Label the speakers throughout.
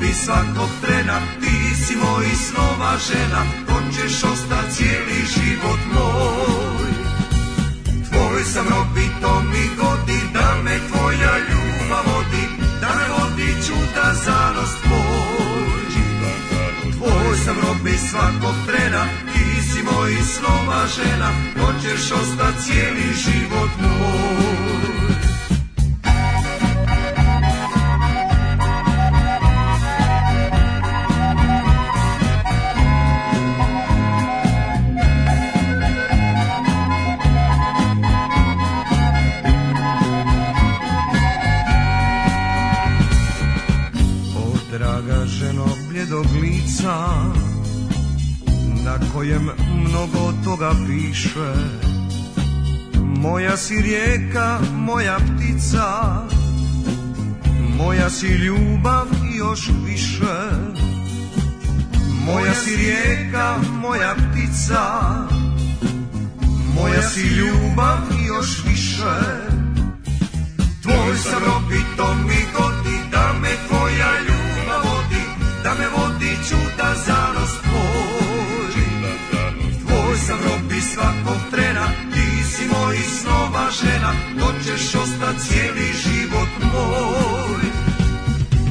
Speaker 1: ti svakog trena, ti si mojih snova žena, hoćeš ostat cijeli život moj. Tvoj sam rob i to mi godi, da me tvoja ljubav vodi, da me vodi čuda zanos tvoj. Tvoj sam rob i svakog trena, ti si mojih snova žena, hoćeš ostat cijeli život moj. O draga ženo bljedog lica Na kojem mnogo toga piše Moja si rijeka, moja ptica Moja si ljubav i još više Moja si rijeka, moja ptica Moja si ljubav i još više Tvoj sam rob i to mi godi, da me tvoja ljubav vodi, da me vodi čuda zanos tvoj. Tvoj sam rob i svakog trena, ti si moj snova žena, to ćeš ostat cijeli život moj.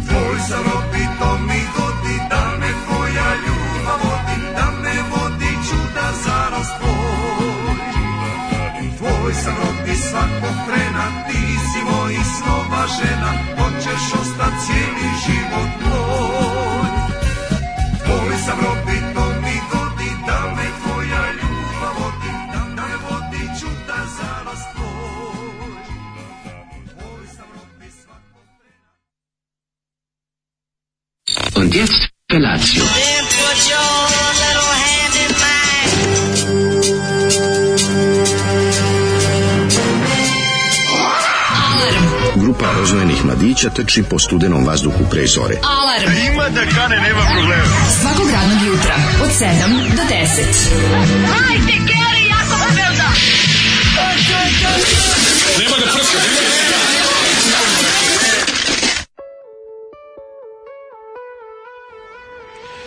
Speaker 1: Tvoj sam rob i to mi godi, da me tvoja ljubav vodi, da me vodi čuda zanos tvoj. Tvoj sam rob i svakog trena, ti si mojih snova žena, hoćeš ostat cijeli život moj. Tvoj sam rob i to mi godi, da me tvoja ljubav vodi, da da me vodi čuda za nas tvoj. Tvoj sam rob i svakog trena.
Speaker 2: Und jetzt Felatio.
Speaker 3: Then put your little hand in mine.
Speaker 4: Grupa rozvojenih mladića trči po studenom vazduhu pre zore.
Speaker 5: Alarm. Ima da kane, nema problema. Svakog radnog jutra, od 7 do 10.
Speaker 3: Hajde, Geri, jako se velda.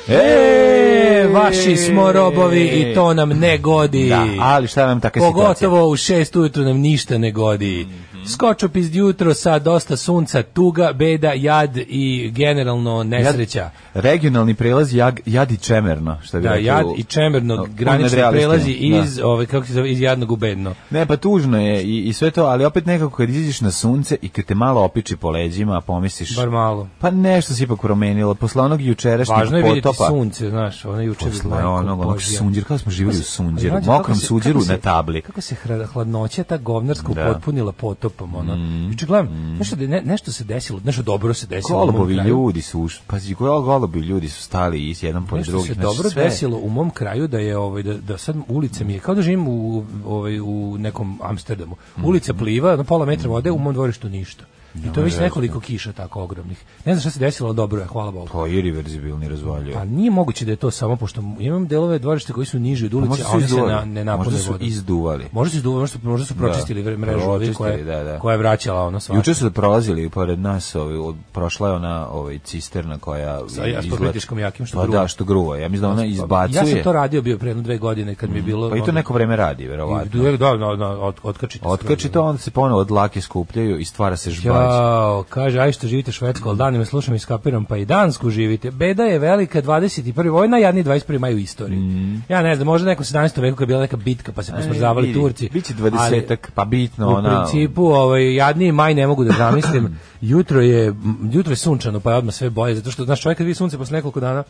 Speaker 6: E, vaši smo robovi i to nam ne godi.
Speaker 7: Da, ali šta nam takve situacije? Mhm.
Speaker 6: Pogotovo u šest ujutru nam ništa ne godi. Skočopis jutro sa dosta sunca, tuga, beda, jad i generalno nesreća.
Speaker 7: Regionalni prelaz jag, Jad i Čemerno, što bi
Speaker 6: Da,
Speaker 7: rekli
Speaker 6: jad
Speaker 7: u-
Speaker 6: i čemerno
Speaker 7: u- u
Speaker 6: granični
Speaker 7: nadrealistinu,
Speaker 6: prelazi
Speaker 7: da.
Speaker 6: iz, ovaj, kako se zove, iz jadnog u bedno.
Speaker 7: Ne, pa tužno je i, i sve to, ali opet nekako kad iziđeš na sunce i kad te malo opiči po leđima, pomisliš...
Speaker 6: Bar malo.
Speaker 7: Pa nešto se ipak promenilo, posle onog jučerašnjeg
Speaker 6: Važno je vidjeti
Speaker 7: potopa...
Speaker 6: sunce, znaš, ono juče bi
Speaker 7: Posle
Speaker 6: majko
Speaker 7: onog, onog
Speaker 6: Božja.
Speaker 7: sunđer, kako
Speaker 6: Pa,
Speaker 7: smo živjeli u sunđeru,
Speaker 6: Mlađe, kako
Speaker 7: mokrom
Speaker 6: se-
Speaker 7: sunđeru
Speaker 6: kako se-
Speaker 7: na tabli.
Speaker 6: Kako se hra- hladnoća ta govnarska
Speaker 7: Da. Mm.
Speaker 6: potpunila potopom, ono. Juče gledam, nešto, da je ne- nešto se desilo, nešto dobro se desilo. u mom
Speaker 7: Golubovi
Speaker 6: kraju.
Speaker 7: ljudi su ušli, pazi, gol- golubi ljudi su stali i jedan po
Speaker 6: Nešto
Speaker 7: drugim.
Speaker 6: se
Speaker 7: znači,
Speaker 6: dobro
Speaker 7: sve-
Speaker 6: desilo u mom kraju da je ovaj da, da sad ulica mi je kao da živim u ovaj u nekom Amsterdamu.
Speaker 7: Mm.
Speaker 6: Ulica pliva, na pola metra vode, u mom dvorištu ništa. I to je već nekoliko kiša tako ogromnih. Ne znam šta se desilo, ali dobro je, hvala Bogu.
Speaker 7: To je irreverzibilni razvaljuje.
Speaker 6: Pa nije moguće da je to samo pošto imam delove dvorišta koji su niži od ulice,
Speaker 7: Pa možda
Speaker 6: a
Speaker 7: su
Speaker 6: oni se
Speaker 7: izduvali.
Speaker 6: na, ne napune
Speaker 7: Možda su
Speaker 6: vodom.
Speaker 7: izduvali.
Speaker 6: Možda su izduvali, možda su, možda su pročistili
Speaker 7: Da,
Speaker 6: mrežu ovih koja,
Speaker 7: pročistili, da, da.
Speaker 6: koja je vraćala ono svašta.
Speaker 7: Juče su prolazili pored nas, ovaj, od- prošla je ona ovaj, cisterna koja...
Speaker 6: Sa ja- s
Speaker 7: izla-
Speaker 6: političkom jakim što
Speaker 7: Pa
Speaker 6: gruva.
Speaker 7: da, što gruva. Ja mislim da ona izbacuje.
Speaker 6: Ja sam to radio bio pre jedno dve godine kad mi je bilo...
Speaker 7: Pa i to
Speaker 6: ono-
Speaker 7: neko vreme radi,
Speaker 6: I-
Speaker 7: verovatno.
Speaker 6: Da, da, da, da, od, otkačite.
Speaker 7: Otkači to, onda se ponovo od lake skupljaju i stvara se žbać.
Speaker 6: Jao, kaže, aj što živite švedsko, ali danima slušam i skapiram, pa i dansku živite. Beda je velika, 21. vojna, jadni 21. maj u istoriji. Ja ne znam, možda nekom 17. veku kad je bila neka bitka, pa se posmrzavali
Speaker 7: Mm. E, vidi,
Speaker 6: Turci.
Speaker 7: biće
Speaker 6: ali
Speaker 7: 20-ak, pa bitno
Speaker 6: u
Speaker 7: ona-
Speaker 6: principu, ovaj, jadni maj ne mogu da zamislim. jutro je, m, jutro je sunčano, pa je odmah sve boje, zato što, znaš, čovjek kad vidi sunce posle nekoliko dana,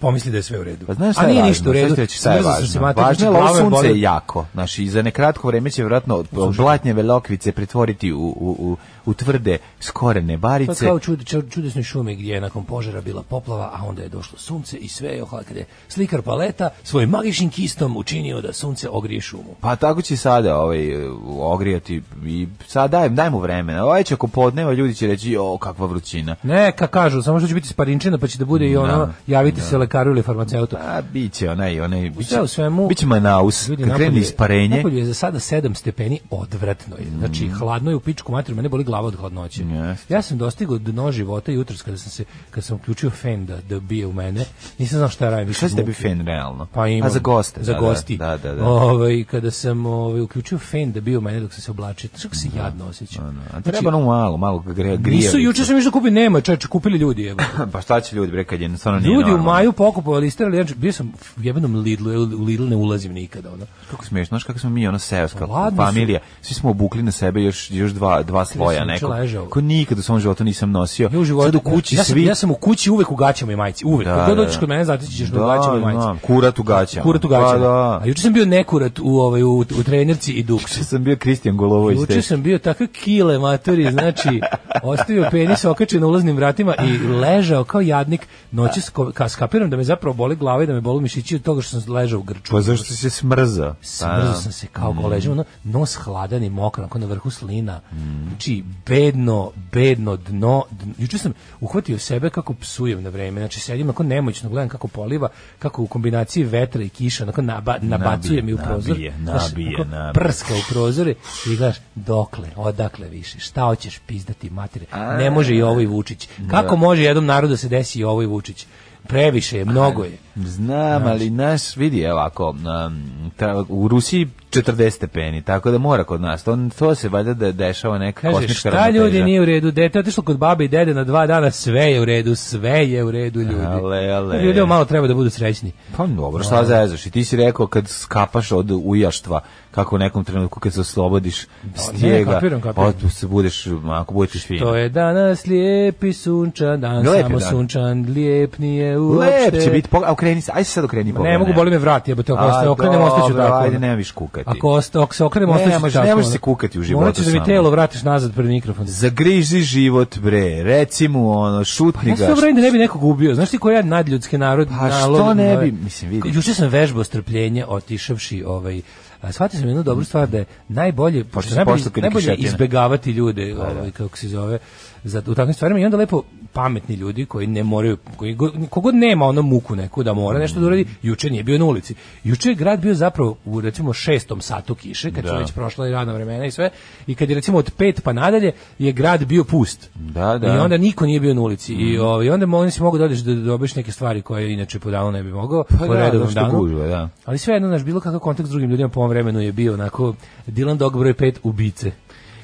Speaker 6: pomisli da je sve u redu.
Speaker 7: Pa znaš šta
Speaker 6: A
Speaker 7: je
Speaker 6: nije
Speaker 7: važno?
Speaker 6: ništa u
Speaker 7: Znaš
Speaker 6: redu.
Speaker 7: ti reći šta je
Speaker 6: Smrzao sam se
Speaker 7: važno?
Speaker 6: mater,
Speaker 7: Važno je da
Speaker 6: glava
Speaker 7: ovo
Speaker 6: me
Speaker 7: sunce
Speaker 6: boli.
Speaker 7: je jako. Znači, i za nekratko vreme će vjerojatno od- blatnjeve lokvice pretvoriti u, u, u, u tvrde skorene
Speaker 6: Pa
Speaker 7: barice.
Speaker 6: kao u čud, čud- čudesnoj šumi gdje je nakon požara bila poplava, a onda je došlo sunce i sve je ohla kada je slikar paleta svojim magičnim kistom učinio da sunce ogrije šumu.
Speaker 7: Pa tako će sada ovaj, ogrijati i sad dajem, daj mu vremena. Ovaj će ako podneva, ljudi će reći, o, kakva vrućina.
Speaker 6: Neka kažu, samo što će biti sparinčena pa će da bude i ono, javiti se lekaru ili farmaceutu.
Speaker 7: A biće onaj, onaj, biće,
Speaker 6: sve u svemu-
Speaker 7: biće manaus,
Speaker 6: Ljudi,
Speaker 7: kad krene
Speaker 6: napolje-
Speaker 7: isparenje. Mm.
Speaker 6: Napolje je za sada 7 stepeni, odvratno je. Znači, hladno je u pičku materiju, mene boli glava od hladnoće.
Speaker 7: Jeste.
Speaker 6: Ja sam dostigao dno života jutros kada sam se kad sam uključio fen da, da bije u mene. Nisam znao šta radim. više
Speaker 7: Šta
Speaker 6: od
Speaker 7: ste bi
Speaker 6: muke.
Speaker 7: fen realno?
Speaker 6: Pa imam.
Speaker 7: A za goste?
Speaker 6: Za
Speaker 7: da,
Speaker 6: gosti.
Speaker 7: Da, da, da.
Speaker 6: Ovaj, kada sam ovaj, uključio fen da bio u mene dok sam se oblačio. Znaš kako se jadno osjećam.
Speaker 7: A treba ono malo, malo gre, grijevicu.
Speaker 6: znači- Nisu, juče sam išao da kupim, nema čoveče, kupili ljudi. Evo.
Speaker 7: Pa šta će ljudi bre kad je stvarno nije
Speaker 6: Ljudi u
Speaker 7: normalno?
Speaker 6: maju pokupovali, isterali, ja bio sam u jebenom Lidlu, ja u Lidl ne ulazim nikada. Ono.
Speaker 7: Kako smiješ, znaš kako smo mi ono seoska
Speaker 6: Pa Ladni su.
Speaker 7: familija, svi smo obukli na sebe još, još dva, dva sloja
Speaker 6: sam
Speaker 7: nekog,
Speaker 6: juče ležao.
Speaker 7: ko nikad u svom životu nisam nosio.
Speaker 6: Ja u životu,
Speaker 7: Sad u kući
Speaker 6: ja, sam,
Speaker 7: svi...
Speaker 6: ja sam u kući uvek u gaćama i majici, uvek.
Speaker 7: Da,
Speaker 6: Da, Kad god
Speaker 7: da,
Speaker 6: dođeš
Speaker 7: da.
Speaker 6: kod mene, zatići ćeš me
Speaker 7: Da,
Speaker 6: u gaćama i majici.
Speaker 7: znam, kurat u gaćama.
Speaker 6: Kurat u gaćama.
Speaker 7: Pa da.
Speaker 6: A juče sam bio nekurat u, ovaj, u, u trenerci i duksu.
Speaker 7: Juče sam bio Kristijan Golovović.
Speaker 6: Juče sam bio takve kile maturi, znači ostavio penis okačen na ulaznim vratima i ležao kao jadnik noćas ko- ka skapiram da me zapravo boli glava i da me boli mišići od toga što sam ležao u grču.
Speaker 7: Pa zašto si se smrzao?
Speaker 6: Smrzao sam se kao
Speaker 7: Mm.
Speaker 6: ko ležim, ono, nos hladan i mokran, ako na vrhu slina. Znači, bedno, bedno dno. dn- Juče sam uhvatio sebe kako psujem na vreme. Znači, sedim ako nemoćno, gledam kako poliva, kako u kombinaciji vetra i kiša, onako naba, nabacuje mi u prozor.
Speaker 7: nabije,
Speaker 6: Znaš,
Speaker 7: nabije,
Speaker 6: onako
Speaker 7: nabije.
Speaker 6: Prska u prozore i gledaš, dokle, odakle više, šta hoćeš pizdati materi. Ne može i ovo i Vučić. Kako može jednom narodu da se desi i ovo i Vučić? Previše je, mnogo je.
Speaker 7: Znam,
Speaker 6: Znači.
Speaker 7: ali naš, vidi, evo ako, um, ta- u Rusiji 40 stepeni, tako da mora kod nas. To, to se valjda da dešava neka
Speaker 6: Kaže,
Speaker 7: kosmička
Speaker 6: šta ljudi
Speaker 7: ravnoteža.
Speaker 6: nije u redu, dete otišlo kod babe i dede na dva dana, sve je u redu, sve je u redu ljudi.
Speaker 7: Ale, ale.
Speaker 6: Ljudi malo treba da budu srećni.
Speaker 7: Pa dobro, šta zezaš? I ti si rekao kad skapaš od ujaštva, kako u nekom trenutku kad se oslobodiš stijega,
Speaker 6: kapiram, kapiram.
Speaker 7: od- se budeš, ako budeš fin.
Speaker 6: To je danas lijepi sunčan dan,
Speaker 7: Lep je
Speaker 6: samo
Speaker 7: dan.
Speaker 6: sunčan, lijep nije uopšte.
Speaker 7: Lep će biti, pogled, a okreni se, ajde se sad okreni pogled.
Speaker 6: Ne mogu, boli me vrat, jebote, ako se okrenem, ostaću
Speaker 7: dobro,
Speaker 6: tako.
Speaker 7: Ajde,
Speaker 6: ono.
Speaker 7: ne viš kukati.
Speaker 6: Ako, osta, ako se okrenem,
Speaker 7: Ne
Speaker 6: ostaću
Speaker 7: možeš-
Speaker 6: tako.
Speaker 7: ne možeš
Speaker 6: ono.
Speaker 7: se kukati u životu
Speaker 6: Morat ćeš da mi
Speaker 7: samo.
Speaker 6: telo vratiš nazad pred mikrofon.
Speaker 7: Zagriži život, bre, reci mu, ono, šutni
Speaker 6: Pa Ja
Speaker 7: ga.
Speaker 6: sam uradim da ne bi nekog ubio. Znaš ti koji ja nadljudski narod?
Speaker 7: Pa što
Speaker 6: nalog-
Speaker 7: ne bi?
Speaker 6: na-
Speaker 7: Mislim, vidi.
Speaker 6: Juče sam vežbao strpljenje otišavši ovaj a shvatio sam jednu dobru stvar da je najbolje pošto
Speaker 7: si
Speaker 6: najbolje,
Speaker 7: Mm. pošto kad je
Speaker 6: najbolje
Speaker 7: kišotina.
Speaker 6: izbegavati ljude, ovaj kako se zove, za u takvim stvarima i onda lepo pametni ljudi koji ne moraju koji go- kogod nema ono muku neku da mora nešto da uradi,
Speaker 7: Mm.
Speaker 6: juče nije bio na ulici. Juče je grad bio zapravo u recimo šestom satu kiše, kad su
Speaker 7: Da.
Speaker 6: već prošla i radna vremena i sve, i kad je recimo od pet pa nadalje je grad bio pust.
Speaker 7: Da, Mhm. da.
Speaker 6: I onda niko nije bio na ulici i ovaj onda mo- onda si mogao da odeš da dobiješ neke stvari koje inače po danu ne bi mogao
Speaker 7: Pa
Speaker 6: po
Speaker 7: da,
Speaker 6: redovnom
Speaker 7: zašto
Speaker 6: danu.
Speaker 7: gužva, da.
Speaker 6: Ali svejedno naš bilo kakav kontakt s drugim ljudima po ovom vremenu je bio onako Dylan Dog broj 5 ubice.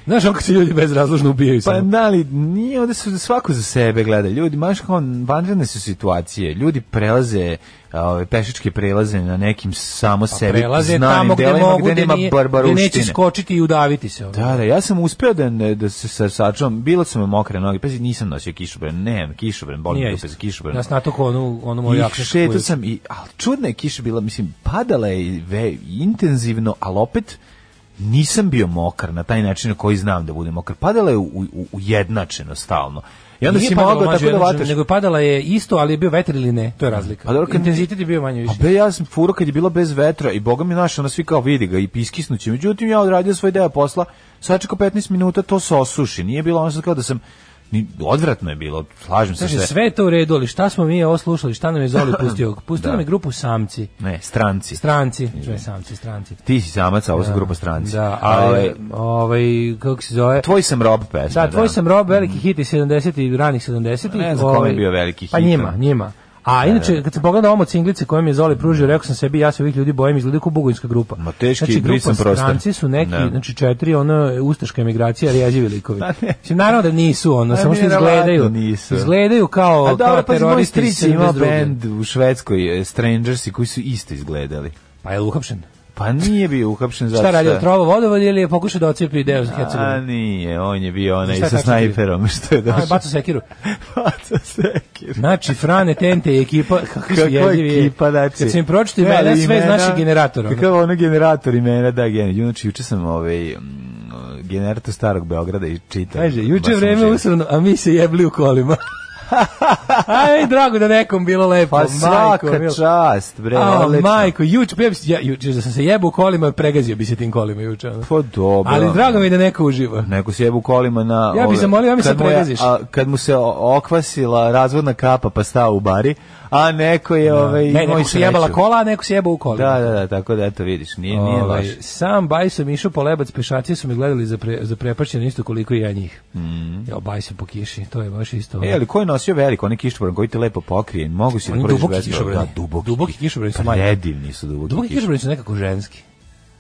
Speaker 6: Znaš, ako se ljudi bezrazložno ubijaju
Speaker 7: Pa
Speaker 6: samo.
Speaker 7: da, ali nije, ovde su svako za sebe gleda. Ljudi, baš kao vanredne su situacije. Ljudi prelaze ove pešičke prelaze na nekim samo sebi
Speaker 6: Pa Prelaze
Speaker 7: znanim
Speaker 6: tamo gde
Speaker 7: delovima
Speaker 6: mogu, gde,
Speaker 7: nema
Speaker 6: nije, gde
Speaker 7: barbaruštine.
Speaker 6: neće skočiti i udaviti se. ono.
Speaker 7: Da, da, ja sam uspeo da, ne- da se sa sačuvam, bilo su me mokre noge, pazi, nisam nosio kišobran, nemam kišobran, boli
Speaker 6: Nije
Speaker 7: me dupe
Speaker 6: isto.
Speaker 7: za kišobran.
Speaker 6: Ja sam natukao onu, onu moju
Speaker 7: I
Speaker 6: jakšićku
Speaker 7: šetao
Speaker 6: koju-
Speaker 7: sam, i, ali čudna je kiša bila, mislim, padala je i ve, intenzivno, ali opet nisam bio mokar na taj način na koji znam da budem mokar. Padala je u, u, ujednačeno stalno. I onda
Speaker 6: Nije
Speaker 7: si
Speaker 6: padala
Speaker 7: mogao
Speaker 6: mlađe
Speaker 7: tako da
Speaker 6: jednom,
Speaker 7: vataš.
Speaker 6: Nego je padala je isto, ali je bio vetar ili ne, to je razlika.
Speaker 7: Pa dobro, kad-
Speaker 6: Intenzitet je bio manje više.
Speaker 7: A be, ja sam furo kad je bilo bez vetra i boga mi naš, ono svi kao vidi ga i piskisnuće. Međutim, ja odradio svoj deo posla, sačekao 15 minuta, to se osuši. Nije bilo ono sad kao da sam, ni, odvratno je bilo, slažem se
Speaker 6: Kaže,
Speaker 7: sve.
Speaker 6: sve je to u redu, ali šta smo mi ovo slušali, šta nam je Zoli pustio? Pustio nam je grupu Samci.
Speaker 7: Ne, stranci.
Speaker 6: Stranci, sve samci, stranci.
Speaker 7: Ti si samac, a ovo su grupa stranci.
Speaker 6: Da, ali,
Speaker 7: Ovaj,
Speaker 6: ovaj, kako se zove?
Speaker 7: tvoj sam rob pesma.
Speaker 6: Da, tvoj sam rob, veliki hit iz 70 i ranih 70
Speaker 7: Ne znam kome je bio veliki
Speaker 6: Pa
Speaker 7: hit.
Speaker 6: njima, njima. A inače, kad se pogleda ovom od singlice koje mi je Zoli pružio, rekao sam sebi, ja se ovih ljudi bojim, izgleda kao bugovinska grupa.
Speaker 7: Ma teški,
Speaker 6: znači, grupa
Speaker 7: brisan prostor.
Speaker 6: stranci su neki,
Speaker 7: Da.
Speaker 6: znači četiri, ono, ustaška emigracija, rijeđivi likovi. Mislim, naravno da nisu, ono,
Speaker 7: Pa
Speaker 6: samo što
Speaker 7: vjerovatno
Speaker 6: izgledaju.
Speaker 7: nisu.
Speaker 6: Izgledaju kao,
Speaker 7: A
Speaker 6: kao
Speaker 7: dobro, pa moj
Speaker 6: teroristi iz
Speaker 7: stric je imao
Speaker 6: 72..
Speaker 7: bend u Švedskoj, eh, Strangersi, koji su isto izgledali.
Speaker 6: Pa je li uhapšen?
Speaker 7: Pa nije bio uhapšen zato
Speaker 6: Šta radi,
Speaker 7: što-
Speaker 6: je trovao vodovod ili je pokušao da ocijepi deo za
Speaker 7: A
Speaker 6: Hercegovinu?
Speaker 7: nije, on je bio onaj
Speaker 6: Šta je
Speaker 7: sa
Speaker 6: tačno bio?
Speaker 7: snajperom što je
Speaker 6: Aj,
Speaker 7: došao.
Speaker 6: baca sekiru.
Speaker 7: Baca sekir.
Speaker 6: Znači, Frane, Tente i ekipa, kakvi su
Speaker 7: Kako
Speaker 6: jezivi.
Speaker 7: je ekipa, znači.
Speaker 6: Kad sam im pročito imena,
Speaker 7: Ali
Speaker 6: sve iz
Speaker 7: imena-
Speaker 6: naših generatora. ono.
Speaker 7: Kako ono generator imena, da, generator. Znači, juče sam ovaj, mm, generator starog Beograda i čitam.
Speaker 6: Kaže,
Speaker 7: Baš
Speaker 6: juče
Speaker 7: sam
Speaker 6: vreme
Speaker 7: uživao.
Speaker 6: usrano, a mi se jebli u kolima. Aj, drago da nekom bilo lepo.
Speaker 7: Pa
Speaker 6: majko
Speaker 7: svaka
Speaker 6: mila.
Speaker 7: čast, bre,
Speaker 6: A,
Speaker 7: odlično.
Speaker 6: majko, juče, ja, bi se- ja, juče da sam se jebao u kolima, pregazio bi se tim kolima juče. ono.
Speaker 7: Pa dobro.
Speaker 6: Ali drago mi je da neko uživa.
Speaker 7: Neko se jebu kolima na...
Speaker 6: Ja bi
Speaker 7: ove-
Speaker 6: zamolio, ja mi se
Speaker 7: kad mu je-
Speaker 6: pregaziš.
Speaker 7: a, Kad mu se o- okvasila razvodna kapa pa stao u bari, a neko je... Ovaj,
Speaker 6: Ne,
Speaker 7: imao i
Speaker 6: neko se
Speaker 7: sreću.
Speaker 6: jebala kola, a neko se jebao u kolima.
Speaker 7: Da, da, da, tako da, eto vidiš, nije, nije
Speaker 6: Ovaj,
Speaker 7: loše.
Speaker 6: Sam Baj sam išao po lebac, pešaci su me gledali za, pre, za isto koliko i ja njih. Ja, Baj se po kiši, to je baš isto.
Speaker 7: Mhm. E, ali ko je nosio velik, onaj kišobran koji te lepo pokrije, mogu si da
Speaker 6: Oni
Speaker 7: prođeš
Speaker 6: duboki
Speaker 7: bez toga.
Speaker 6: kišobrani.
Speaker 7: Da, duboki.
Speaker 6: Duboki kišobrani su manji.
Speaker 7: Predivni su duboki,
Speaker 6: duboki
Speaker 7: kišobrani.
Speaker 6: kišobrani su nekako ženski.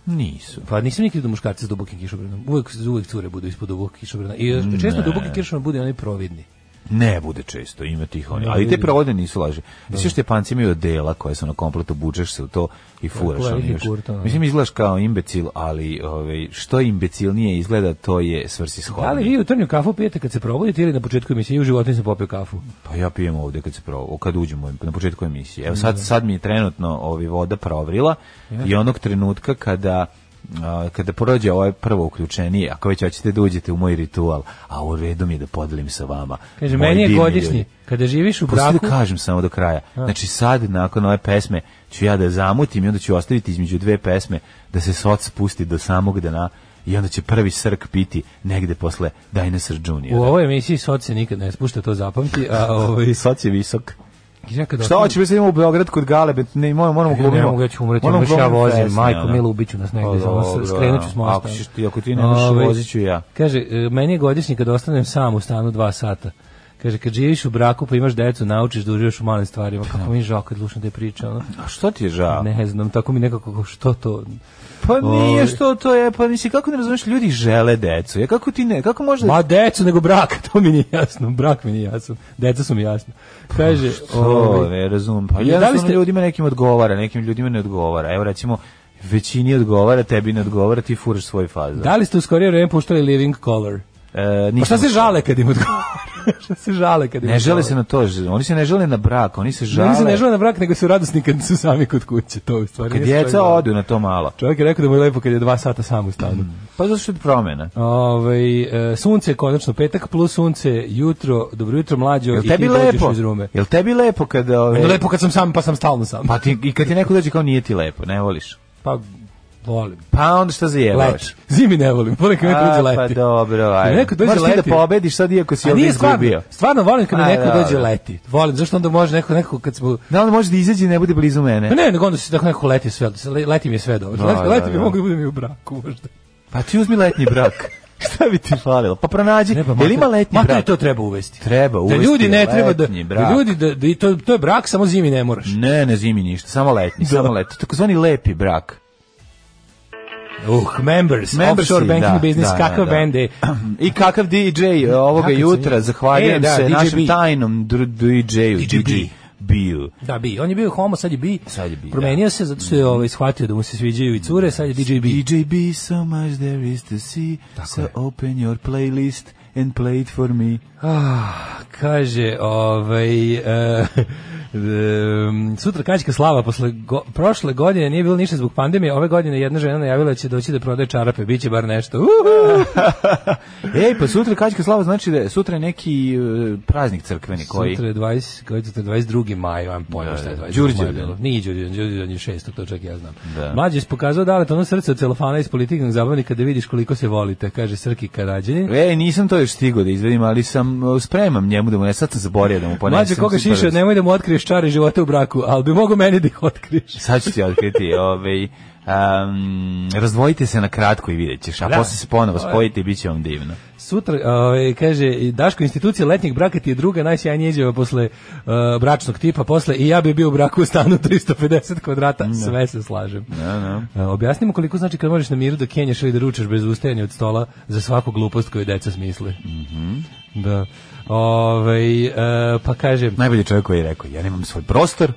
Speaker 7: Nisu.
Speaker 6: Pa nisam nikad vidio muškarca s dubokim kišobranom. Uvek, uvek cure budu ispod dubokog kišobrana. I često duboki kišobran bude oni providni.
Speaker 7: Ne bude često, ima tih oni. Ali te provode nisu laže. Mislim što Japanci imaju odela koje se na komplet obučeš se u to i furaš.
Speaker 6: veliki
Speaker 7: ono još.
Speaker 6: kurta, ono.
Speaker 7: Mislim, izgledaš kao imbecil, ali ovaj, što imbecilnije izgleda, to je svrsishodnije.
Speaker 6: Da li vi jutarnju kafu pijete kad se probudite ili na početku emisije? Ja U životu nisam popio kafu.
Speaker 7: Pa ja pijem ovde kad se provo, kad uđemo na početku emisije. Evo sad sad mi je trenutno ovi voda provrila i onog trenutka kada a, kada prođe ovaj prvo uključenije, ako već hoćete da uđete u moj ritual, a u redu mi je da podelim sa vama.
Speaker 6: Kaže,
Speaker 7: moji
Speaker 6: meni je
Speaker 7: divni
Speaker 6: godišnji.
Speaker 7: ljudi.
Speaker 6: Kada živiš u
Speaker 7: Pusti
Speaker 6: braku,
Speaker 7: da kažem samo do kraja. Znači sad, nakon ove pesme, ću ja da zamutim i onda ću ostaviti između dve pesme da se soc spusti do samog dana i onda će prvi srk biti negde posle Dinosaur
Speaker 6: u
Speaker 7: Junior.
Speaker 6: ovoj emisiji sod se nikad ne spušta, to zapamti. A, ovaj,
Speaker 7: Soc je visok.
Speaker 6: ja kad
Speaker 7: Šta
Speaker 6: ostanem-
Speaker 7: hoće, mi sad idemo u Beograd kod Galebe, ne, moramo, moramo
Speaker 6: Ja
Speaker 7: glumimo.
Speaker 6: Pa ne mogu, ja ću umreti,
Speaker 7: moramo
Speaker 6: baš ja
Speaker 7: glumimo
Speaker 6: vozim,
Speaker 7: pesme,
Speaker 6: majko
Speaker 7: ono.
Speaker 6: Milo ubiću nas negde,
Speaker 7: Pa
Speaker 6: samo
Speaker 7: dobro,
Speaker 6: s- skrenut ću s
Speaker 7: ono,
Speaker 6: mosta.
Speaker 7: Ako, ćeš ti, ako ti ne možeš,
Speaker 6: Ovaj,
Speaker 7: vozit ću ja.
Speaker 6: Kaže, e, meni je godišnji kad ostanem sam u stanu dva sata. Kaže, kad živiš u braku pa imaš decu, naučiš da uživaš u malim stvarima. Kako mi je žao kad slušam te priče, ono.
Speaker 7: A što ti je žao?
Speaker 6: Ne znam, tako mi nekako, što to...
Speaker 7: Pa nije
Speaker 6: Ovaj.
Speaker 7: što to je, pa mislim, kako ne razumeš, ljudi žele decu, ja kako ti ne, kako možda...
Speaker 6: Ma decu nego brak, to mi nije jasno, brak mi nije jasno, deca su mi jasno. Kaže,
Speaker 7: To,
Speaker 6: ovaj,
Speaker 7: ne razumem, pa
Speaker 6: I da li
Speaker 7: jednostavno
Speaker 6: ste-
Speaker 7: ljudima nekim odgovara, nekim ljudima ne odgovara, evo recimo, većini odgovara, tebi ne odgovara, ti furaš svoj fazon.
Speaker 6: da li ste u skorije vreme puštali Living Color?
Speaker 7: E,
Speaker 6: Pa šta
Speaker 7: nisam-
Speaker 6: se žale kad im odgovara? šta se žale kad im
Speaker 7: Ne žele
Speaker 6: odgovara?
Speaker 7: se na to, ž- oni se ne žele na brak, oni se žele...
Speaker 6: Ne, oni se ne žele na brak, nego su radosni kad su sami kod kuće, to je u stvari.
Speaker 7: Kad
Speaker 6: nije sve
Speaker 7: djeca
Speaker 6: glavno.
Speaker 7: odu na to malo.
Speaker 6: Čovjek je rekao da mu je lepo kad je dva sata sam u stanu.
Speaker 7: Pa zato što je promjena.
Speaker 6: Ovaj, e, sunce je konačno petak, plus sunce jutro, dobro jutro mlađo
Speaker 7: Jel
Speaker 6: i
Speaker 7: tebi
Speaker 6: ti dođeš
Speaker 7: lepo?
Speaker 6: iz rume.
Speaker 7: Jel tebi lepo kada ove...
Speaker 6: Onda lepo kad sam sam, pa sam stalno sam.
Speaker 7: Pa ti, i kad ti neko dođe kao nije ti lepo, ne voliš.
Speaker 6: Pa, volim.
Speaker 7: Pa onda šta zajebaš?
Speaker 6: Leti. Zimi ne volim, volim kad mi
Speaker 7: A,
Speaker 6: dođe leti.
Speaker 7: Pa dobro,
Speaker 6: Kad
Speaker 7: ajde.
Speaker 6: mi neko dođe
Speaker 7: Moraš ti
Speaker 6: leti.
Speaker 7: da pobediš sad iako si
Speaker 6: A
Speaker 7: ovdje
Speaker 6: nije stvarno,
Speaker 7: izgubio.
Speaker 6: stvarno volim kad mi
Speaker 7: A,
Speaker 6: neko
Speaker 7: dobro.
Speaker 6: dođe leti. Volim, zašto onda može neko, neko kad smo...
Speaker 7: Da onda može da izađe i ne bude blizu mene.
Speaker 6: Pa ne, nego onda se tako neko leti sve, le- leti mi je sve dobro.
Speaker 7: Da,
Speaker 6: leti,
Speaker 7: da,
Speaker 6: leti mi
Speaker 7: da.
Speaker 6: mogu da budem i u braku možda.
Speaker 7: Pa ti uzmi letnji brak. šta bi ti falilo? Pa pronađi.
Speaker 6: Ne, pa
Speaker 7: Jel
Speaker 6: makar-
Speaker 7: ima letnji
Speaker 6: makar
Speaker 7: brak?
Speaker 6: to treba uvesti.
Speaker 7: Treba uvesti
Speaker 6: Da ljudi ne treba da,
Speaker 7: letnji brak. Mm.
Speaker 6: da ljudi da, da i to to je brak samo zimi ne moraš.
Speaker 7: Ne, ne zimi ništa, samo letnji, samo letnji. Takozvani lepi brak.
Speaker 6: Uh, members,
Speaker 7: Membersi,
Speaker 6: offshore banking
Speaker 7: da,
Speaker 6: business,
Speaker 7: da,
Speaker 6: kakav
Speaker 7: da.
Speaker 6: band je.
Speaker 7: I kakav DJ ovoga
Speaker 6: Kakav
Speaker 7: jutra,
Speaker 6: sam-
Speaker 7: zahvaljujem
Speaker 6: E, da,
Speaker 7: se
Speaker 6: DJ
Speaker 7: našem
Speaker 6: B.
Speaker 7: tajnom dr- DJ-u,
Speaker 6: DJ B.
Speaker 7: DJ Biu.
Speaker 6: Da, bi. On je bio homo, sad je bi.
Speaker 7: Sad je bi,
Speaker 6: Promenio se zato što je ovaj, shvatio da mu se sviđaju i cure, sad je DJ bi.
Speaker 7: DJ B, so much there is to see, so
Speaker 6: je.
Speaker 7: open your playlist and play it for me.
Speaker 6: Ah, Kaže, ovaj... e, em, sutra kačka slava posle go- prošle godine nije bilo ništa zbog pandemije ove godine jedna žena najavila da će doći da prodaje čarape biće bar nešto Uhu!
Speaker 7: Ej, pa sutra Kačka Slava znači da je sutra je neki e, praznik crkveni koji...
Speaker 6: Sutra je 20, koji je sutra 22. maj, vam
Speaker 7: Da,
Speaker 6: pojma šta je
Speaker 7: da,
Speaker 6: 22.
Speaker 7: Đurđevdan.
Speaker 6: maj bilo. Nije Đurđevdan, Đurđevdan je 6. to čak ja znam.
Speaker 7: Da.
Speaker 6: Mlađe je pokazao dale to ono srce od celofana iz politiknog zabavnika da vidiš koliko se volite, kaže Srki Karadjanin.
Speaker 7: Ej, E, nisam to još stigao da izvedim, ali sam e, spremam njemu da mu ne, sad sam zaborio da mu ponesem.
Speaker 6: Mlađe koga
Speaker 7: Super.
Speaker 6: šiša, nemoj da mu otkriješ čare života u braku, ali bi mogo meni da ih otkriješ.
Speaker 7: Sad ću ti otkriti, ovaj, um, razdvojite se na kratko i vidjet ćeš, a
Speaker 6: Da.
Speaker 7: posle se ponovo spojite i bit će vam divno.
Speaker 6: Sutra, ovaj, kaže, i Daško, institucija letnjeg braka ti je druga najsjajnija izjava posle eh, bračnog tipa, posle i ja bi bio u braku u stanu 350 kvadrata, sve se slažem. Eh, objasnimo koliko znači kad možeš na miru da kenjaš ili da ručaš bez ustajanja od stola za svaku glupost koju deca smisle.
Speaker 7: Mhm.
Speaker 6: Da. Ovaj, eh, pa kaže,
Speaker 7: Najbolji čovjek koji je rekao, ja nemam svoj prostor,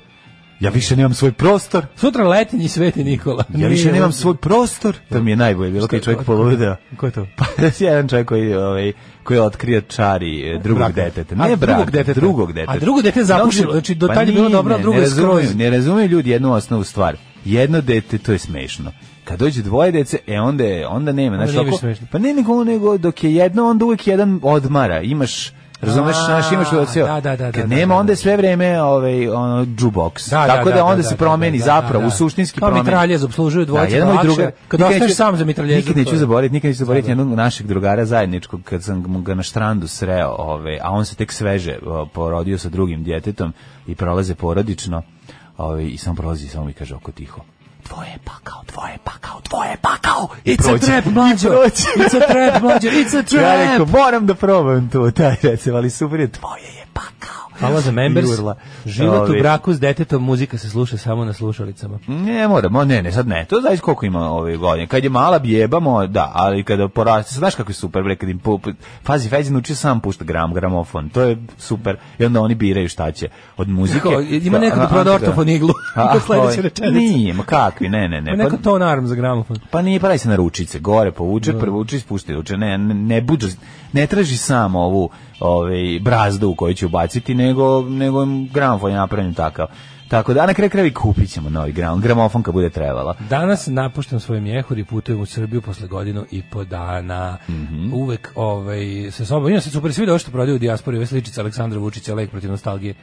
Speaker 7: ja više nemam svoj prostor,
Speaker 6: sutra letinji sveti Nikola.
Speaker 7: ja više
Speaker 6: Nije-
Speaker 7: nemam svoj prostor. To mi je najbolje bilo kad je čovjek poludeo.
Speaker 6: Ko je to?
Speaker 7: Pa jedan čovjek koji, ovaj, koji je otkrio čari e, drugog
Speaker 6: Braka.
Speaker 7: deteta.
Speaker 6: A,
Speaker 7: Ne
Speaker 6: drugog
Speaker 7: braka,
Speaker 6: deteta.
Speaker 7: drugog deteta. pa
Speaker 6: A drugo dete je zapušilo, znači, do tad je bilo
Speaker 7: nije,
Speaker 6: dobro, a drugo
Speaker 7: ne
Speaker 6: je
Speaker 7: razumeju,
Speaker 6: skroz.
Speaker 7: Ne razumeju ljudi jednu osnovu stvar. Jedno dete, to je smešno. Kad dođe dvoje dece, e onda je, onda nema,
Speaker 6: Onda
Speaker 7: znači
Speaker 6: nije više smešno.
Speaker 7: pa ne nego nego dok je jedno onda uvijek jedan odmara. Imaš Razumeš,
Speaker 6: A,
Speaker 7: znaš, imaš udacio.
Speaker 6: da, da, da,
Speaker 7: Kad
Speaker 6: da,
Speaker 7: nema,
Speaker 6: da,
Speaker 7: onda
Speaker 6: da.
Speaker 7: je sve vreme ovaj, ono, jukebox.
Speaker 6: Da, da,
Speaker 7: Tako da
Speaker 6: da,
Speaker 7: onda
Speaker 6: da,
Speaker 7: se
Speaker 6: da,
Speaker 7: promeni
Speaker 6: da, da,
Speaker 7: zapravo,
Speaker 6: da. Pa
Speaker 7: u suštinski
Speaker 6: Kao
Speaker 7: promeni.
Speaker 6: mitraljez, obslužuju dvojicu,
Speaker 7: jedan
Speaker 6: to
Speaker 7: ovaj
Speaker 6: je
Speaker 7: druga-
Speaker 6: lakše. Kad
Speaker 7: nikad
Speaker 6: ostaneš
Speaker 7: neću-
Speaker 6: sam za mitraljezu,
Speaker 7: Nikad
Speaker 6: to
Speaker 7: neću
Speaker 6: je-
Speaker 7: zaboraviti, nikad neću zaboraviti
Speaker 6: Da, da.
Speaker 7: jednog našeg drugara zajedničkog, kad sam ga na štrandu sreo, ovaj, a on se tek sveže o, porodio sa drugim djetetom i prolaze porodično, ovaj, i sam prolazi i samo mi kaže oko tiho. Tvoje je pakao, tvoje je pakao, tvoje je pakao. I
Speaker 6: It's a
Speaker 7: prođe.
Speaker 6: trap, mlađo.
Speaker 7: I prođe.
Speaker 6: It's a trap, mlađo. It's a trap.
Speaker 7: Ja rekao, moram da probam to, taj recept, ali super je, tvoje je pakao.
Speaker 6: Hvala za members.
Speaker 7: I urla.
Speaker 6: Život
Speaker 7: Ovaj,
Speaker 6: u braku s detetom, muzika se sluša samo na slušalicama.
Speaker 7: Ne moramo, ne, ne, sad ne, to znaš koliko ima ove godine. Kad je mala bjebamo, da, ali kada poraste, znaš kako je super, bre, kad im pu, pu- pazi, Fezin uči sam pušta gram, gramofon, to je super, i onda oni biraju šta će od muzike.
Speaker 6: Kao, ima neko da proda
Speaker 7: Antigra-
Speaker 6: ortofon iglu.
Speaker 7: A,
Speaker 6: To sledeća
Speaker 7: ovaj,
Speaker 6: rečenica.
Speaker 7: Nije, ma kakvi, ne, ne,
Speaker 6: Ima
Speaker 7: ne.
Speaker 6: neko
Speaker 7: Pa,
Speaker 6: to narm za gramofon.
Speaker 7: pa nije, pravi se na ručice, gore povuče, prevuče, spušti ruče, ne, ne, ne buđa, ne traži samo ovu ovaj, brazdu u koju će ubaciti, nego, nego im gramofon je napravljen takav. Tako da, a na kraju krajevi kupit ćemo novi gram, gramofon kad bude trebala.
Speaker 6: Danas napuštam svoj mjehur i putujem u Srbiju posle godinu i po dana.
Speaker 7: Mhm.
Speaker 6: Uvek ovaj, sa sobom. Imam se super svi došto prodaju u dijaspori ove sličice Aleksandra Vučića, lek protiv nostalgije.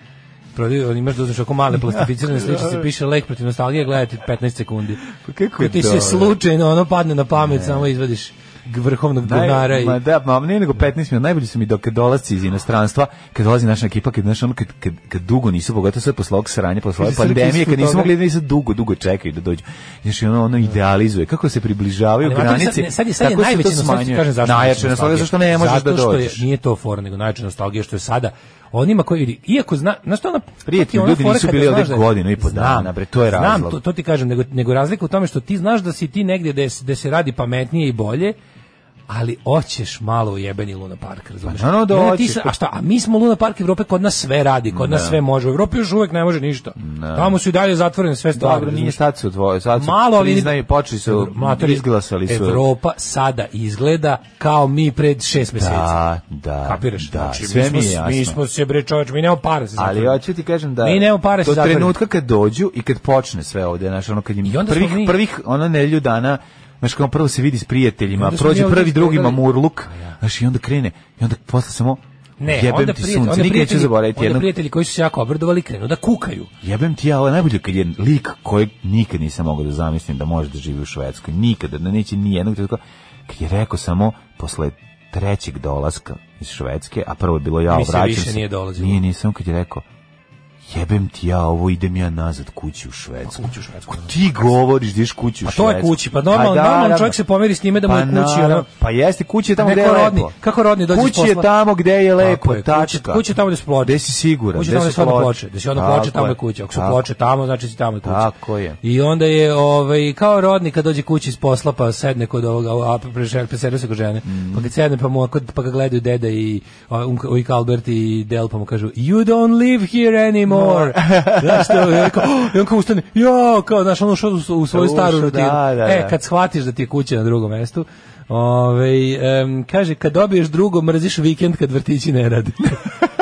Speaker 6: Prodaju, on imaš da uzmeš oko male plastificirane sličice, piše lek protiv nostalgije, gledajte 15 sekundi.
Speaker 7: Pa kako je
Speaker 6: Kad ti
Speaker 7: dobro.
Speaker 6: se slučajno ono padne na pamet, samo izvadiš g- vrhovnog govnara i...
Speaker 7: Ma da, ma ne nego 15 minuta, najbolji su mi dok dolazi iz inostranstva, kad dolazi naša ekipa, kad znaš ono, kad, kad, kad dugo nisu, pogotovo sve posle ovog sranja, posle ove
Speaker 6: Kad se crkli
Speaker 7: pandemije,
Speaker 6: ispod
Speaker 7: kad nisu
Speaker 6: toga.
Speaker 7: mogli, nisu dugo, dugo čekaju da dođu. Znaš, i ono, ono idealizuje, kako se približavaju
Speaker 6: Ali Matović,
Speaker 7: granici,
Speaker 6: sad, sad je, sad je
Speaker 7: tako se to
Speaker 6: najveća nostalgija, ti
Speaker 7: smanjuje.
Speaker 6: kažem zašto.
Speaker 7: Najjače nostalgija, zašto ne možeš
Speaker 6: Zato
Speaker 7: da
Speaker 6: što je-
Speaker 7: dođeš.
Speaker 6: nije to fora, nego najjače nostalgija što je sada. Onima koji vidi, iako zna, znaš što ona...
Speaker 7: Prijatelji,
Speaker 6: to ti je ona
Speaker 7: ljudi
Speaker 6: fora
Speaker 7: nisu
Speaker 6: kada
Speaker 7: bili
Speaker 6: znaš
Speaker 7: ovde
Speaker 6: da je-
Speaker 7: godinu i po
Speaker 6: Znam,
Speaker 7: dana, bre, to je razlog.
Speaker 6: Znam, to, to ti kažem, nego, nego razlika u tome što ti znaš da si ti negdje gde, se- gde se radi pametnije i bolje, ali hoćeš malo u jebeni Luna Park, razumeš?
Speaker 7: Pa naravno da
Speaker 6: Ne, ti
Speaker 7: hoćeš,
Speaker 6: sa-
Speaker 7: pa-
Speaker 6: a šta, a mi smo Luna Park Evrope, kod nas sve radi, kod nas sve može. U Evropi još uvek ne može ništa. Tamo su i dalje zatvorene sve stvari.
Speaker 7: Dobro, nije
Speaker 6: razumeš?
Speaker 7: sad su odvojili, sad su
Speaker 6: malo ali
Speaker 7: priznaju, počeli su,
Speaker 6: Matori,
Speaker 7: izglasali su.
Speaker 6: Evropa sada izgleda kao mi pred šest mjeseci.
Speaker 7: Da, da,
Speaker 6: Kapiraš?
Speaker 7: da,
Speaker 6: Znači,
Speaker 7: sve mi
Speaker 6: mi,
Speaker 7: je
Speaker 6: smo,
Speaker 7: jasno.
Speaker 6: mi smo se bre čoveč, mi nemamo pare za
Speaker 7: Ali
Speaker 6: zatvore.
Speaker 7: hoću ti kažem da
Speaker 6: Mi nemamo pare
Speaker 7: do
Speaker 6: za zatvore.
Speaker 7: trenutka kad dođu i kad počne sve ovde, znaš, ono kad im
Speaker 6: I onda smo
Speaker 7: prvih
Speaker 6: mi-
Speaker 7: prvih ono nedelju dana Znaš, kao prvo se vidi s prijateljima,
Speaker 6: Onda smo mi
Speaker 7: prođe
Speaker 6: ovdje
Speaker 7: prvi drugi
Speaker 6: izgledali-
Speaker 7: mamurluk, znaš, i onda krene, i onda posle samo,
Speaker 6: Ne,
Speaker 7: jebem
Speaker 6: onda
Speaker 7: ti
Speaker 6: prijatelji, onda
Speaker 7: sunce, nikad neću
Speaker 6: prijatelji,
Speaker 7: zaboraviti
Speaker 6: onda
Speaker 7: jednog,
Speaker 6: prijatelji koji su se jako obradovali krenu da kukaju.
Speaker 7: jebem ti ja, ovo je najbolje kad je lik kojeg nikad nisam mogao da zamislim da može da živi u Švedskoj, nikada, da neće ni jednog trenutka, kad je rekao samo posle trećeg dolaska iz Švedske, a prvo je bilo ja,
Speaker 6: Mi se
Speaker 7: vraćam
Speaker 6: više
Speaker 7: se,
Speaker 6: nije dolazilo.
Speaker 7: Nije, nije, samo kad je rekao, jebem ti ja ovo, idem ja nazad kući u Švedsku.
Speaker 6: Kuću u Švedsku.
Speaker 7: Ti govoriš da ideš kući u
Speaker 6: Pa to
Speaker 7: Švedsku.
Speaker 6: je kući, pa normalno,
Speaker 7: da,
Speaker 6: normalno
Speaker 7: naravno.
Speaker 6: čovjek se pomeri s njime da mu je
Speaker 7: Pa
Speaker 6: kući, ono.
Speaker 7: naravno, Pa jeste, kući je tamo
Speaker 6: Neko
Speaker 7: gde je
Speaker 6: rodni-
Speaker 7: lepo.
Speaker 6: kako rodni dođe s
Speaker 7: Kući je
Speaker 6: posla?
Speaker 7: tamo gde je lepo,
Speaker 6: Tako je, kući-
Speaker 7: tačka.
Speaker 6: kući je tamo gde su ploče.
Speaker 7: Gde si siguran,
Speaker 6: Kuće tamo
Speaker 7: su
Speaker 6: da su odmah
Speaker 7: ploče.
Speaker 6: ploče, da si odmah ploče,
Speaker 7: Tako
Speaker 6: tamo je kuća. Ako su
Speaker 7: Tako.
Speaker 6: ploče tamo, znači si tamo je kuća.
Speaker 7: Tako je.
Speaker 6: I onda je ovaj kao rodni kad dođe kući iz posla pa sedne kod ovoga a prešer preserio se kod žene.
Speaker 7: Mm.
Speaker 6: Pa kad sedne pa mu ovako- pa ga gledaju deda i Ujk Albert i Del pa mu kažu you don't live here anymore. Znaš što je rekao, i on kao ustane, jo, kao znaš ono što u, u svoju
Speaker 7: Ušao,
Speaker 6: staru
Speaker 7: da,
Speaker 6: rutinu.
Speaker 7: da,
Speaker 6: E,
Speaker 7: da.
Speaker 6: kad shvatiš da ti je kuća na drugom mestu, Ove, kaže, kad dobiješ drugo, mrziš vikend kad vrtići ne rade.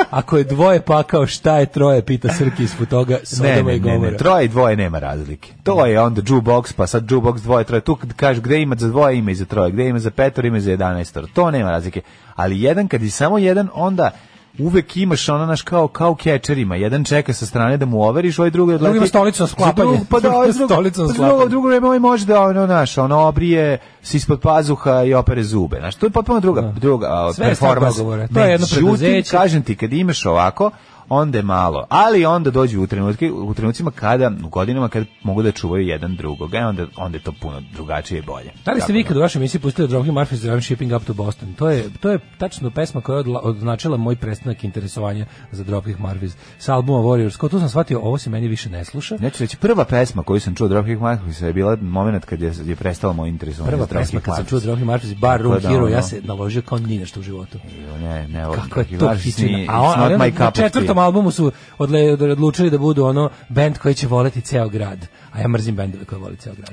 Speaker 6: Ako je dvoje pakao, šta je troje, pita Srki ispod toga,
Speaker 7: Ne,
Speaker 6: Sodoma
Speaker 7: ne,
Speaker 6: i
Speaker 7: ne, ne,
Speaker 6: Gomora.
Speaker 7: troje i dvoje nema razlike. To je onda jukebox, pa sad jukebox dvoje, troje. Tu kad kažeš gde ima za dvoje, ima i za troje, gde ima za petor, ima i za jedanaestor. To nema razlike. Ali jedan, kad je samo jedan, onda uvek imaš ono naš kao kao u kečerima. Jedan čeka sa strane da mu overiš, ovaj drugi odleti.
Speaker 6: Drugi ima stolicu na sklapanje.
Speaker 7: Za drugog- Pa da, ovaj
Speaker 6: Drugi ima
Speaker 7: drug,
Speaker 6: stolicu na
Speaker 7: pa
Speaker 6: sklapanje.
Speaker 7: drugo, drugo vreme ovaj može da ono naš, ono obrije se ispod pazuha i opere zube. Znaš, to je potpuno druga, druga a,
Speaker 6: Sve je stvar
Speaker 7: performans.
Speaker 6: dogovora. To je jedno
Speaker 7: Međutim,
Speaker 6: preduzeće.
Speaker 7: kažem ti, kad imaš ovako, onda je malo. Ali onda dođu u, trenutke, u trenucima kada, u godinama kada mogu da čuvaju jedan drugog. E onda, onda je to puno drugačije i bolje.
Speaker 6: Da li ste
Speaker 7: Tako
Speaker 6: vi kad u vašoj emisiji pustili Dropkick Murphys Drive Shipping Up to Boston? To je, to je tačno pesma koja je odla- označila moj prestanak interesovanja za Dropkick Murphys sa albuma Warriors. Kao tu sam shvatio, ovo se meni više ne sluša.
Speaker 7: Neću reći, prva pesma koju sam čuo od Dropkick Murphys je bila moment kad je, je prestalo moje interesovanje.
Speaker 6: Prva
Speaker 7: za Dropkick
Speaker 6: pesma kad sam
Speaker 7: Murphys.
Speaker 6: čuo Dropkick Murphys, Bar Room
Speaker 7: Tako da,
Speaker 6: Hero, ja
Speaker 7: ono.
Speaker 6: se naložio kao ni na što u životu.
Speaker 7: Ne, ne, ovo
Speaker 6: Kako je
Speaker 7: Dropkick
Speaker 6: to
Speaker 7: Murphys
Speaker 6: hićina.
Speaker 7: nije-
Speaker 6: A
Speaker 7: it's not
Speaker 6: on,
Speaker 7: my
Speaker 6: na
Speaker 7: cup of
Speaker 6: četvrtom
Speaker 7: tea.
Speaker 6: albumu su odle, odlučili da budu ono band koji će voleti ceo grad. A ja mrzim bendove koji voli ceo grad.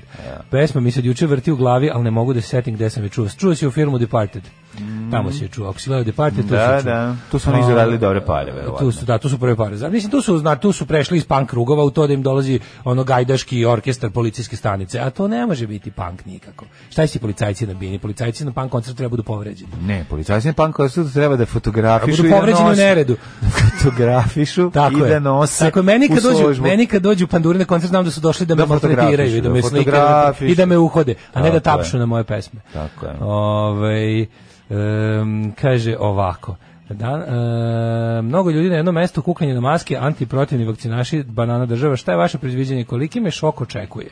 Speaker 6: Pesma mi se od juče vrti u glavi, ali ne mogu da se setim gde sam je čuo. Čuo si u filmu Departed. Tamo se je čuo. Ako si gledao Departed, tu
Speaker 7: Mm. Da,
Speaker 6: se čuo.
Speaker 7: da. Tu su oni
Speaker 6: A,
Speaker 7: zaradili dobre pare, verovatno.
Speaker 6: Tu su, da, tu su prve pare. Zar- Mislim, tu su, zna, tu su prešli iz punk krugova u to da im dolazi ono gajdaški orkestar policijske stanice. A to ne može biti punk nikako. Šta si policajci nabijeni? Policajci na punk koncertu treba budu povređeni.
Speaker 7: Ne, policajci na punk koncertu treba da fotografišu
Speaker 6: Budu
Speaker 7: i da
Speaker 6: povređeni u
Speaker 7: nose.
Speaker 6: neredu.
Speaker 7: fotografišu
Speaker 6: Tako
Speaker 7: i
Speaker 6: je.
Speaker 7: da nose
Speaker 6: Tako je, meni kad
Speaker 7: u
Speaker 6: dođu,
Speaker 7: složbu.
Speaker 6: meni kad dođu panduri na koncert znam da su došli da me
Speaker 7: Da fotografišu,
Speaker 6: maltretiraju i da me
Speaker 7: da
Speaker 6: slikaju pa- i da me uhode, a ne da
Speaker 7: Tako je.
Speaker 6: tapšu na moje pesme.
Speaker 7: Tako je.
Speaker 6: Ovaj, em, kaže ovako. Dan, e, mnogo ljudi na jednom mestu kukanje na maske, antiprotivni vakcinaši, banana država. Šta je vaše predviđanje? Koliki me šok očekuje?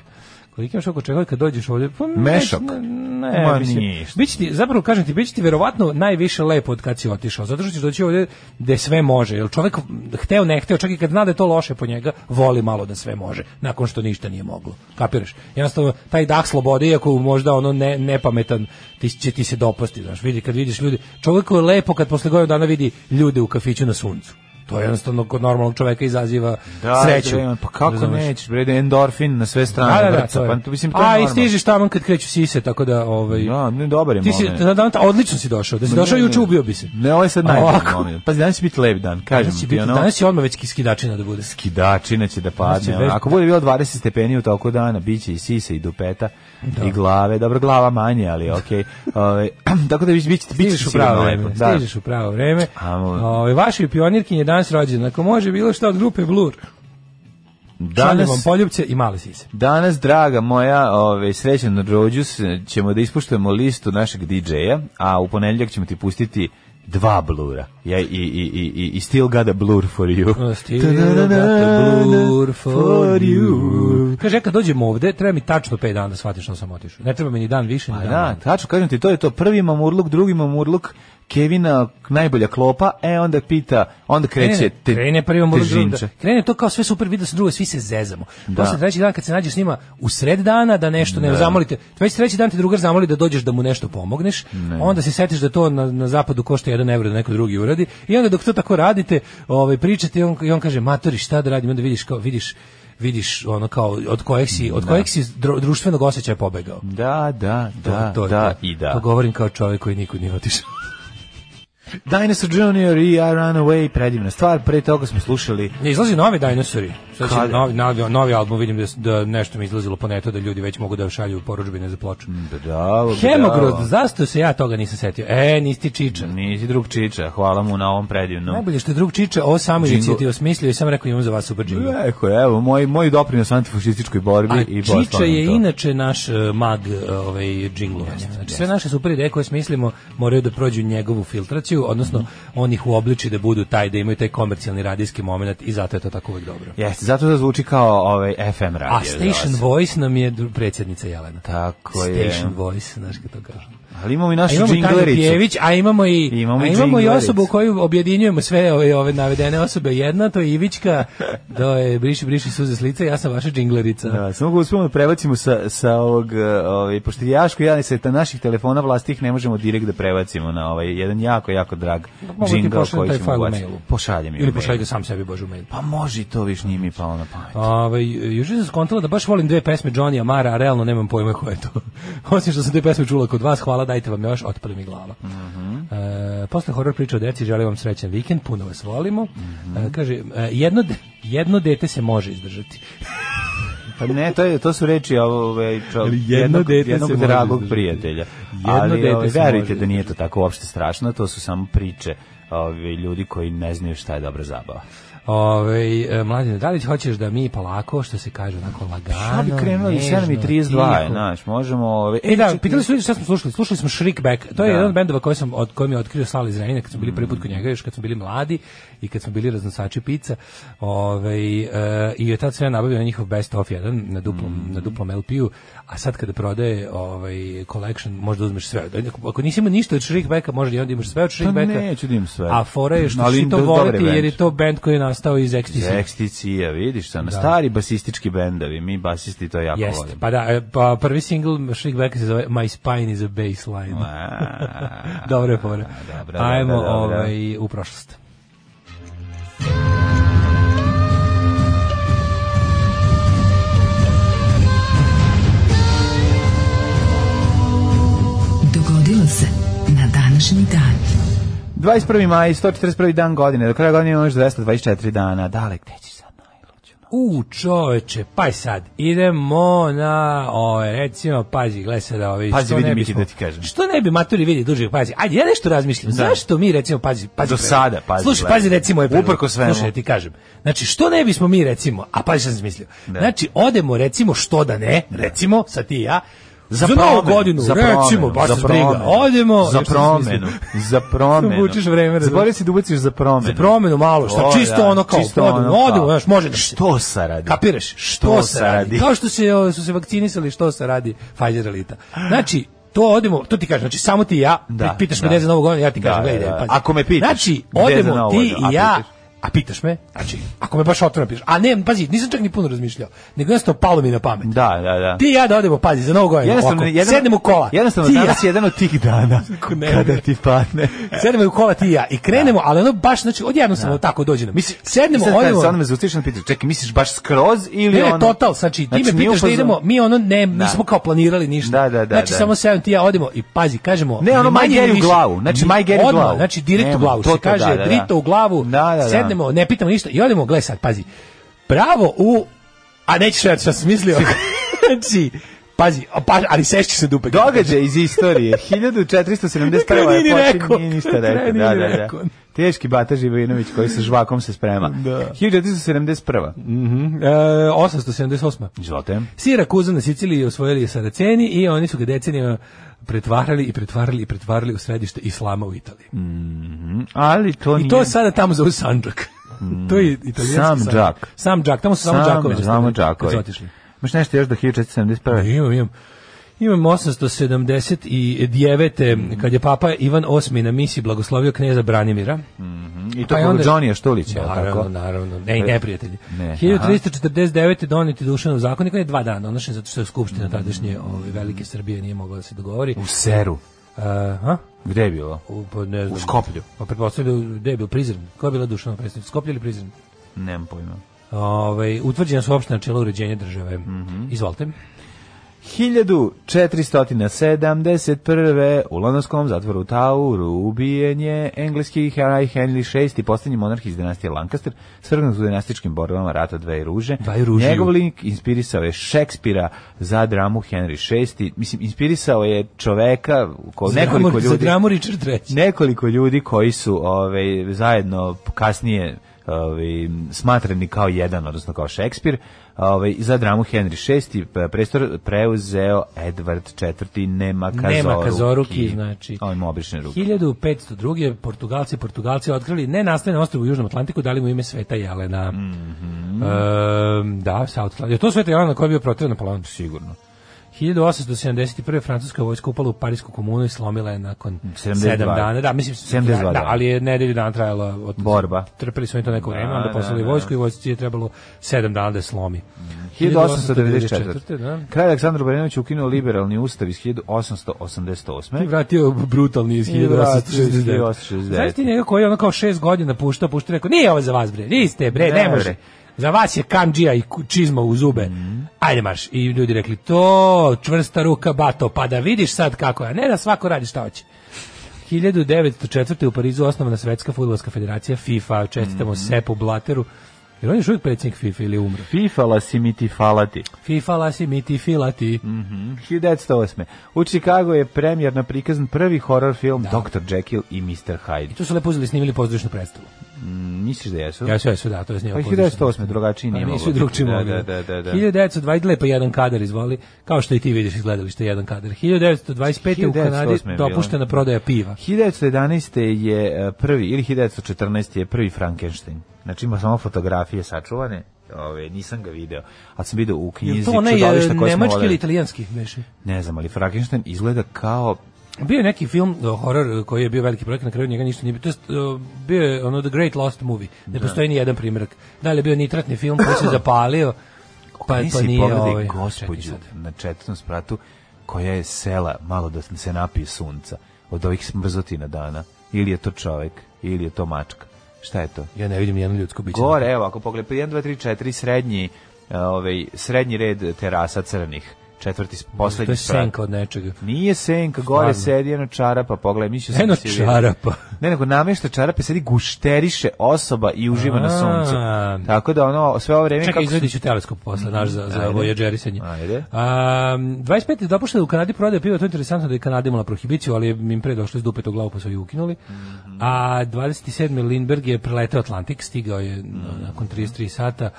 Speaker 6: Koliki me šok očekuje kad dođeš ovdje? Pa, ne-
Speaker 7: Mešok?
Speaker 6: Ne, ne,
Speaker 7: Ma,
Speaker 6: E, mislim,
Speaker 7: ništa.
Speaker 6: Biće ti, zapravo kažem ti, biće ti verovatno najviše lepo od kad si otišao, zato što ćeš doći ovdje gde sve može, jer čovjek hteo ne hteo, čak i kad zna da je to loše po njega, voli malo da sve može, nakon što ništa nije moglo, kapiraš? Jednostavno, taj dah slobode, iako možda ono ne, nepametan, ti, će ti se dopasti, znaš, vidi, kad vidiš ljudi, čovjeku je lepo kad posle godinu dana vidi ljude u kafiću na suncu, to jednostavno kod normalnog čovjeka izaziva
Speaker 7: da,
Speaker 6: sreću.
Speaker 7: bre, pa kako
Speaker 6: Razumeš?
Speaker 7: nećeš, bre, da endorfin na sve strane
Speaker 6: Da, da, da,
Speaker 7: vrca,
Speaker 6: to je.
Speaker 7: pa tu mislim to je
Speaker 6: A i
Speaker 7: normalno.
Speaker 6: stižeš tamo kad kreću sise, tako da ovaj
Speaker 7: Da, ne, dobar je
Speaker 6: Ti si,
Speaker 7: moment.
Speaker 6: na dan, odlično si došao. Da si
Speaker 7: Ma
Speaker 6: došao
Speaker 7: ne,
Speaker 6: juče
Speaker 7: ne.
Speaker 6: ubio bi se.
Speaker 7: Ne, ovo je sad
Speaker 6: A
Speaker 7: najbolji
Speaker 6: ovako?
Speaker 7: moment. Pazi, danas će biti lep dan, kažem
Speaker 6: Danas će
Speaker 7: ti,
Speaker 6: biti,
Speaker 7: ono,
Speaker 6: danas je odmah već skidačina da bude.
Speaker 7: skidačina će da
Speaker 6: će
Speaker 7: padne. ono.
Speaker 6: već-
Speaker 7: Ako bude bilo 20 stepeni u toku dana, bit će i sise i dupeta i glave. Dobro, glava manje, ali okej. Ovaj, tako da bit će bit
Speaker 6: Stižeš
Speaker 7: će
Speaker 6: u pravo
Speaker 7: sigurno
Speaker 6: vreme.
Speaker 7: lepo. Da.
Speaker 6: Stižeš u pravo vreme.
Speaker 7: Amo.
Speaker 6: Ovaj vaši pionirkin je danas rođen. Ako može bilo šta od grupe Blur. Šaljem vam
Speaker 7: Danas,
Speaker 6: poljubce i male sise.
Speaker 7: Danas, draga moja, ove, srećan rođus, ćemo da ispuštujemo listu našeg DJ-a, a u ponedjeljak ćemo ti pustiti dva blura. Ja, i, i, i, i, i still got a blur for you.
Speaker 6: Still got a blur for you. Kaže, ja kad dođem ovde, treba mi tačno 5 dana da shvatim što sam otišao. Ne treba mi ni dan više, ni
Speaker 7: Pa
Speaker 6: dan
Speaker 7: da,
Speaker 6: manje.
Speaker 7: tačno, kažem ti, to je to. Prvi mamurluk, drugi mamurluk, Kevina najbolja klopa, e onda pita, onda kreće te,
Speaker 6: E, krene prvi mamurluk, drugi-
Speaker 7: težinče.
Speaker 6: krene to kao sve super, vidi da se drugo, svi se zezamo. Posle treći dan kad se nađeš s njima u sred dana da nešto ne zamolite, već treći dan ti drugar zamoli da dođeš da mu nešto pomogneš, onda se setiš da to na, na zapadu košta 1 evro da neko drugi uradi i onda dok to tako radite, ovaj, pričate i on, i on kaže, matori šta da radim, onda vidiš kao, vidiš vidiš ono kao od kojeg si od kojeg si dru- društvenog osjećaja pobegao.
Speaker 7: Da, da,
Speaker 6: To-
Speaker 7: da,
Speaker 6: to je
Speaker 7: da,
Speaker 6: to.
Speaker 7: i
Speaker 6: To
Speaker 7: da.
Speaker 6: govorim kao čovjek koji nikud nije otišao.
Speaker 7: Dinosaur Junior i I Run Away, predivna stvar, pre toga smo slušali
Speaker 6: Ne izlazi novi Dinosauri. Sad će
Speaker 7: Kad?
Speaker 6: novi, novi, novi album, vidim da, s- da nešto mi izlazilo po netu, da ljudi već mogu da šalju poručbine za ploču.
Speaker 7: Bravo,
Speaker 6: Hemogrod,
Speaker 7: bravo.
Speaker 6: zašto se ja toga nisam setio? E, nisi ti čiča.
Speaker 7: Nisi drug čiča, hvala mu na ovom predivnom.
Speaker 6: Najbolje što je drug čiča, ovo samo
Speaker 7: Jingle.
Speaker 6: inicijativa smislio i sam rekao imam za vas super džingo.
Speaker 7: Eko, evo, moj, moj doprinos antifašističkoj borbi
Speaker 6: A
Speaker 7: E, i
Speaker 6: Čiča
Speaker 7: poslanom
Speaker 6: je
Speaker 7: to.
Speaker 6: inače naš e, mag e, ovaj džinglovanja. Znači sve naše super ideje koje smislimo moraju da prođu njegovu filtraciju, odnosno
Speaker 7: Mhm.
Speaker 6: on ih uobliči da budu taj da imaju taj komercijalni radijski momenat i zato je to tako uvek dobro.
Speaker 7: Jeste, zato da zvuči kao ovaj FM radio.
Speaker 6: A
Speaker 7: za
Speaker 6: Station
Speaker 7: vas.
Speaker 6: Voice nam je dru- predsjednica Jelena.
Speaker 7: Tako je.
Speaker 6: Station Voice, znaš kako to kažem.
Speaker 7: Ali imamo i
Speaker 6: A
Speaker 7: našu
Speaker 6: imamo Tanju
Speaker 7: džinglericu.
Speaker 6: Pjević, a imamo i,
Speaker 7: Imamo
Speaker 6: a
Speaker 7: i
Speaker 6: imamo i
Speaker 7: džinglericu.
Speaker 6: osobu koju objedinjujemo sve ove, ove navedene osobe. Jedna, to je Ivićka, to je Briši, Briši suze s lica, ja sam vaša džinglerica.
Speaker 7: Da, samo ga uspemo da prebacimo sa, sa ovog, eh, ovaj, pošto je Jaško i ja sa ta naših telefona vlastih ne možemo direkt da prebacimo na ovaj jedan jako, jako drag
Speaker 6: Mogu ti
Speaker 7: džingl
Speaker 6: pošaljem
Speaker 7: koji
Speaker 6: taj
Speaker 7: ćemo
Speaker 6: fajl u
Speaker 7: ubaciti.
Speaker 6: mailu.
Speaker 7: Pošaljem je
Speaker 6: Ili
Speaker 7: u mailu.
Speaker 6: pošalj ga sam sebi, Bože, u mail.
Speaker 7: ovaj Pa može i to, viš nije mi palo na pamet.
Speaker 6: Ovaj juče sam skontala da baš volim dve pesme Johnny Amara, a realno nemam pojma ko je to. Osim što sam te pesme čula kod vas, hvala, dajte vam još, otpada mi glava.
Speaker 7: Mhm.
Speaker 6: E, posle horor priče o deci, želim vam srećan vikend, puno vas volimo. E, kaže, e, jedno, de- jedno dete se može izdržati.
Speaker 7: Pa ne, to, je, to su reči ovaj, čo,
Speaker 6: Ali jedno
Speaker 7: jednog,
Speaker 6: dete
Speaker 7: jednog
Speaker 6: se može
Speaker 7: dragog
Speaker 6: izdržati.
Speaker 7: prijatelja.
Speaker 6: Jedno
Speaker 7: Ali
Speaker 6: dete
Speaker 7: ovaj,
Speaker 6: se
Speaker 7: verujte
Speaker 6: može
Speaker 7: da nije to tako uopšte strašno, to su samo priče ovaj, ljudi koji ne znaju šta je dobra zabava.
Speaker 6: Ove, mladine, e, da li hoćeš da mi polako, što se kaže, onako lagano,
Speaker 7: Šta bi krenulo i 7.32 je,
Speaker 6: tiho?
Speaker 7: znaš, možemo... Ovaj,
Speaker 6: E da,
Speaker 7: čekaj,
Speaker 6: pitali su ljudi šta smo slušali. Slušali smo Shriekback. To je
Speaker 7: Da.
Speaker 6: jedan od bendova koji sam od koji mi je otkrio Sala iz Renina kad smo bili prvi put kod njega, još kad smo bili mladi i kad smo bili raznosači pica. Ovaj e, i od tad sam ja nabavio njihov best of jedan na duplom
Speaker 7: Mm.
Speaker 6: na duplom LP-u, a sad kada prodaje ovaj collection, možda uzmeš sve. Ako nisi imao ništa od Shriekbacka, možda i onda imaš sve od Shriekbacka.
Speaker 7: Pa neću da imam sve.
Speaker 6: A fora je što
Speaker 7: Ali
Speaker 6: ćeš ti to
Speaker 7: do- dobar je
Speaker 6: voleti jer je
Speaker 7: bend.
Speaker 6: to bend koji je nastao iz XTC.
Speaker 7: Eksticija, vidiš, na stari basistički bendovi, mi basisti to jako
Speaker 6: Jeste.
Speaker 7: volimo.
Speaker 6: Pa da, e, pa prvi single Shriekbacka se zove My Spine is a Bassline.
Speaker 7: A,
Speaker 6: Dobre fore.
Speaker 7: Dobra,
Speaker 6: Ajmo
Speaker 7: dobra, dobra.
Speaker 6: ovaj, u prošlost.
Speaker 5: Dogodilo se na današnji
Speaker 7: 21. maj, 141. dan godine, do kraja godine imamo još 224 dana. Dale, gde ćeš sad najluđu noć?
Speaker 6: U, čoveče, pa sad, idemo na, o, recimo, pazi, gle sada ovi,
Speaker 7: Pazi,
Speaker 6: što
Speaker 7: vidi
Speaker 6: ne
Speaker 7: Miki
Speaker 6: bismo-
Speaker 7: da ti kažem.
Speaker 6: Što ne bi maturi vidi duže, pazi, ajde, ja nešto razmišljam, zašto mi, recimo, pazi, pazi.
Speaker 7: Do
Speaker 6: pre-
Speaker 7: sada, pazi,
Speaker 6: Slušaj,
Speaker 7: gledaj.
Speaker 6: pazi, recimo, je predlog.
Speaker 7: Uprkos svemu.
Speaker 6: Slušaj, ti kažem, znači, što ne bismo mi, recimo, a pazi šta sam mislio, znači, odemo, recimo, što da ne, recimo, sad ti i ja, za, novu
Speaker 7: promenu,
Speaker 6: godinu,
Speaker 7: za
Speaker 6: recimo,
Speaker 7: promenu,
Speaker 6: baš
Speaker 7: za
Speaker 6: nas briga,
Speaker 7: promenu,
Speaker 6: odemo,
Speaker 7: za
Speaker 6: znaš šta sam mislio?
Speaker 7: promenu, za promenu.
Speaker 6: Vučeš vreme, razumeš?
Speaker 7: Zaboravi si da ubaciš za promenu.
Speaker 6: Za promenu malo, šta
Speaker 7: O,
Speaker 6: čisto
Speaker 7: da,
Speaker 6: ono kao,
Speaker 7: čisto
Speaker 6: odemo,
Speaker 7: ono kao.
Speaker 6: odemo, znaš, može da se-
Speaker 7: Što se radi?
Speaker 6: Kapiraš? Što se radi? Kao što se, o, su se vakcinisali, što se radi Pfizer elita. Znači, to odemo, to ti kažem, znači samo ti i ja,
Speaker 7: Da,
Speaker 6: pitaš me
Speaker 7: da.
Speaker 6: gde za novu godinu, ja ti
Speaker 7: Da,
Speaker 6: kažem,
Speaker 7: da,
Speaker 6: gledaj,
Speaker 7: da.
Speaker 6: pazi.
Speaker 7: Ako me pitaš,
Speaker 6: znači,
Speaker 7: gde za
Speaker 6: odemo
Speaker 7: Novu
Speaker 6: ti
Speaker 7: godinu,
Speaker 6: i
Speaker 7: a
Speaker 6: ja,
Speaker 7: pitaš?
Speaker 6: a pitaš me, znači, ako me baš otvoreno pitaš, a ne, pazi, nisam čak ni puno razmišljao, nego jednostavno palo mi na pamet.
Speaker 7: Da, da, da.
Speaker 6: Ti i ja da odemo, pazi, za novu godinu,
Speaker 7: Jednostavno,
Speaker 6: ovako,
Speaker 7: jedan-
Speaker 6: sednemo u kola,
Speaker 7: Jednostavno,
Speaker 6: ti i ja,
Speaker 7: danas je jedan od tih dana
Speaker 6: ne,
Speaker 7: kada
Speaker 6: ne.
Speaker 7: ti padne.
Speaker 6: sednemo u kola ti i ja i krenemo, ali ono baš, znači, odjedno sam ono tako dođe nam. sednemo,
Speaker 7: Sad kad
Speaker 6: odemo,
Speaker 7: se ono me zaustiš, ono pitaš, čekaj, misliš baš skroz ili
Speaker 6: Ne, ne,
Speaker 7: ono...
Speaker 6: total, znači ti me
Speaker 7: mi
Speaker 6: pitaš da
Speaker 7: upoznamo-
Speaker 6: idemo, mi ono ne,
Speaker 7: Da.
Speaker 6: nismo kao planirali ništa.
Speaker 7: Da, da, da,
Speaker 6: znači
Speaker 7: da.
Speaker 6: samo sedam ti i ja odemo i pazi, kažemo.
Speaker 7: Ne, ono,
Speaker 6: ni manje,
Speaker 7: my Gary
Speaker 6: ni
Speaker 7: u
Speaker 6: više.
Speaker 7: glavu, znači, my Gary u
Speaker 6: Odmah,
Speaker 7: glavu.
Speaker 6: znači direkt u
Speaker 7: Nema,
Speaker 6: glavu,
Speaker 7: to,
Speaker 6: se
Speaker 7: to,
Speaker 6: kaže
Speaker 7: da, da, da.
Speaker 6: drito u glavu,
Speaker 7: Da, da, da.
Speaker 6: sednemo, ne pitamo ništa i odemo, gle sad, pazi, pravo u, a nećeš reći šta sam mislio, znači, pazi, a pa, ali sešće se dupe.
Speaker 7: Događaj iz istorije. 1471.
Speaker 6: Kraj nije ni
Speaker 7: je
Speaker 6: rekao.
Speaker 7: počin, nije ništa
Speaker 6: Kraj
Speaker 7: rekao.
Speaker 6: nije
Speaker 7: Da,
Speaker 6: ni
Speaker 7: da, da.
Speaker 6: rekao.
Speaker 7: Teški Bata Živinović koji sa žvakom se sprema.
Speaker 6: Da.
Speaker 7: 1471.
Speaker 6: Mhm, e, 878.
Speaker 7: Izvolite.
Speaker 6: Sirakuza na Siciliji osvojili je Saraceni i oni su ga decenijama pretvarali i pretvarali i pretvarali u središte islama u Italiji.
Speaker 7: Ali to nije... Mm.
Speaker 6: I to je sada tamo zove Sandžak. to je italijanski
Speaker 7: Sam Đak.
Speaker 6: Sam Đak, tamo su samo
Speaker 7: Sam
Speaker 6: Đakovi.
Speaker 7: Samo
Speaker 6: ostavili Kad
Speaker 7: Đakovi.
Speaker 6: su otišli.
Speaker 7: Imaš nešto još do 1471.
Speaker 6: Imam, imam. Imam 879. kad je papa Ivan VIII na misi blagoslovio kneza Branimira.
Speaker 7: Mm. I to
Speaker 6: Pa i
Speaker 7: kod
Speaker 6: onda-
Speaker 7: Johnija Štulića, je li
Speaker 6: naravno,
Speaker 7: tako?
Speaker 6: naravno. Ne, i neprijatelji.
Speaker 7: Ne,
Speaker 6: 1349. doneti Dušanov zakonik, on je dva dana donošen zato što je skupština tadašnje ove, Velike Srbije nije mogla da se dogovori.
Speaker 7: Mm. U Seru.
Speaker 6: Uh, ha?
Speaker 7: Gde je bilo?
Speaker 6: U, pa ne znam.
Speaker 7: Skoplju.
Speaker 6: Pa pretpostavljaju da je bio Prizren. Koja je bila Dušanova predstavnica? Skoplje ili Prizren?
Speaker 7: Nemam pojma.
Speaker 6: Ove, Ovaj, utvrđena su opšta načela uređenja države.
Speaker 7: Mhm.
Speaker 6: Izvolite.
Speaker 7: 1471. u londonskom zatvoru Tauru ubijen je engleski Harry Henry VI i posljednji monarh iz dinastije Lancaster, svrgnut u dinastičkim borbama rata dve ruže.
Speaker 6: Dvaju ružiju.
Speaker 7: Njegov lik inspirisao je Šekspira za dramu Henry VI. Mislim, inspirisao je čoveka, ko,
Speaker 6: Za
Speaker 7: nekoliko
Speaker 6: dramu- Za
Speaker 7: ljudi,
Speaker 6: dramu Richard III.
Speaker 7: nekoliko ljudi koji su ovaj, zajedno kasnije ovaj, smatrani kao jedan, odnosno kao Šekspir, ovaj, za dramu Henry VI pa je prestor preuzeo Edward IV. Nema kazoruki.
Speaker 6: Nema kazoruki, znači.
Speaker 7: Ovaj mu obrišne ruke.
Speaker 6: 1502. Portugalci i Portugalci otkrili nenastavljeno ostrvo u Južnom Atlantiku, dali mu ime Sveta Jelena.
Speaker 7: Mhm.
Speaker 6: Ehm, da, South Atlantic. Je to Sveta Jelena koja je bio protivan Napoleon? Sigurno. 1871. francuska vojska upala u Parijsku komunu i slomila je nakon
Speaker 7: 72.
Speaker 6: 7 dana. Da, mislim,
Speaker 7: 72
Speaker 6: da,
Speaker 7: dana.
Speaker 6: ali je nedelju dana trajala od,
Speaker 7: Borba.
Speaker 6: Trpeli su oni to neko vreme,
Speaker 7: Da,
Speaker 6: onda
Speaker 7: da,
Speaker 6: poslali
Speaker 7: da, Mhm.
Speaker 6: vojsku i vojsci je trebalo 7 dana da je slomi.
Speaker 7: 1894.
Speaker 6: da.
Speaker 7: Kralj Aleksandar Obrenović ukinuo liberalni ustav iz
Speaker 6: I
Speaker 7: 1888.
Speaker 6: vratio brutalni iz
Speaker 7: I vratio iz
Speaker 6: 1869.
Speaker 7: 1869.
Speaker 6: Znaš ti njega koji je ono kao šest godina pušta, pušta, rekao, nije ovo za vas bre, vi ste bre, ne,
Speaker 7: Ne,
Speaker 6: može.
Speaker 7: bre. Mhm.
Speaker 6: Za vas je kamđija i ku- čizma u zube. Ajde marš. I ljudi rekli, to, čvrsta ruka, bato, pa da vidiš sad kako je. a Ne da svako radi šta hoće. 1904. u Parizu osnovana Svetska futbolska federacija FIFA. Čestitamo
Speaker 7: Mhm.
Speaker 6: Sepu Blateru. Jer on je još uvijek predsjednik FIFA ili je umro.
Speaker 7: Fifala si mi ti falati.
Speaker 6: FIFA lasi mi ti filati.
Speaker 7: 1908. U Chicago je premjerno prikazan prvi horror film Dr. Jekyll i Mr. Hyde.
Speaker 6: Tu su lepo uzeli i snimili pozdravišnu predstavu.
Speaker 7: Misliš da jesu?
Speaker 6: Ja sve su da, to je
Speaker 7: Pa
Speaker 6: snimao.
Speaker 7: i
Speaker 6: pozorišna
Speaker 7: 1908. drugačiji nije
Speaker 6: A
Speaker 7: moglo.
Speaker 6: Pa nisu drugčije
Speaker 7: Da,
Speaker 6: mogli.
Speaker 7: Da, da, da. da.
Speaker 6: 1920 lepo jedan kadar izvoli, kao što i ti vidiš iz gledališta jedan kadar. 1925. u
Speaker 7: 1908 je
Speaker 6: Kanadi
Speaker 7: bilo.
Speaker 6: dopuštena prodaja piva.
Speaker 7: 1911. je e, prvi, ili 1914. je prvi Frankenstein. Znači ima samo fotografije sačuvane, ove, nisam ga video, ali sam video u knjizi
Speaker 6: Je to onaj e,
Speaker 7: čudališta koje smo
Speaker 6: nemački ili
Speaker 7: voleli.
Speaker 6: italijanski beše?
Speaker 7: Ne znam, ali Frankenstein izgleda kao
Speaker 6: Bio je neki film o, horor e, koji je bio veliki projekt na kraju njega ništa nije bilo. To jest, e, bio je ono The Great Lost Movie. Ne postoji ni jedan primjerak. Da li je bio nitratni film koji se zapalio? Pa,
Speaker 7: Nisi
Speaker 6: pa nije
Speaker 7: pogledaj
Speaker 6: ovaj.
Speaker 7: gospođu
Speaker 6: čekaj sad.
Speaker 7: na četvrtom spratu koja je sela malo da se napije sunca od ovih smrzotina dana. Ili je to čovek, ili je to mačka. Šta je to?
Speaker 6: Ja ne vidim ni jedno ljudsko biće.
Speaker 7: Gore, evo, ako pogledate, 1, 2, 3, 4, srednji, e, ovaj, srednji red terasa crnih. četvrti,
Speaker 6: To
Speaker 7: poslednji
Speaker 6: je
Speaker 7: sprat.
Speaker 6: senka od nečega.
Speaker 7: Nije senka, gore
Speaker 6: Stvarno.
Speaker 7: sedi jedno čarapa, pogledaj, mišlja sam
Speaker 6: Eno
Speaker 7: da si vidio.
Speaker 6: čarapa.
Speaker 7: Ne, nego namješta čarape, sedi gušteriše osoba i uživa na suncu.
Speaker 6: A.
Speaker 7: Tako da ono, sve ovo vreme...
Speaker 6: Čekaj,
Speaker 7: kako su-
Speaker 6: izvedit ću teleskop posle, naš, za, za
Speaker 7: Ajde.
Speaker 6: vojađerisanje.
Speaker 7: Ajde.
Speaker 6: Um, 25. je dopušteno da u Kanadi prodaje piva, to je interesantno da je Kanada imala prohibiciju, ali je im pre došlo iz dupe to glavu pa su je ukinuli.
Speaker 7: Mhm.
Speaker 6: A 27. Lindberg je preletao Atlantik, stigao je
Speaker 7: Mhm.
Speaker 6: nakon 33 sata. Uh,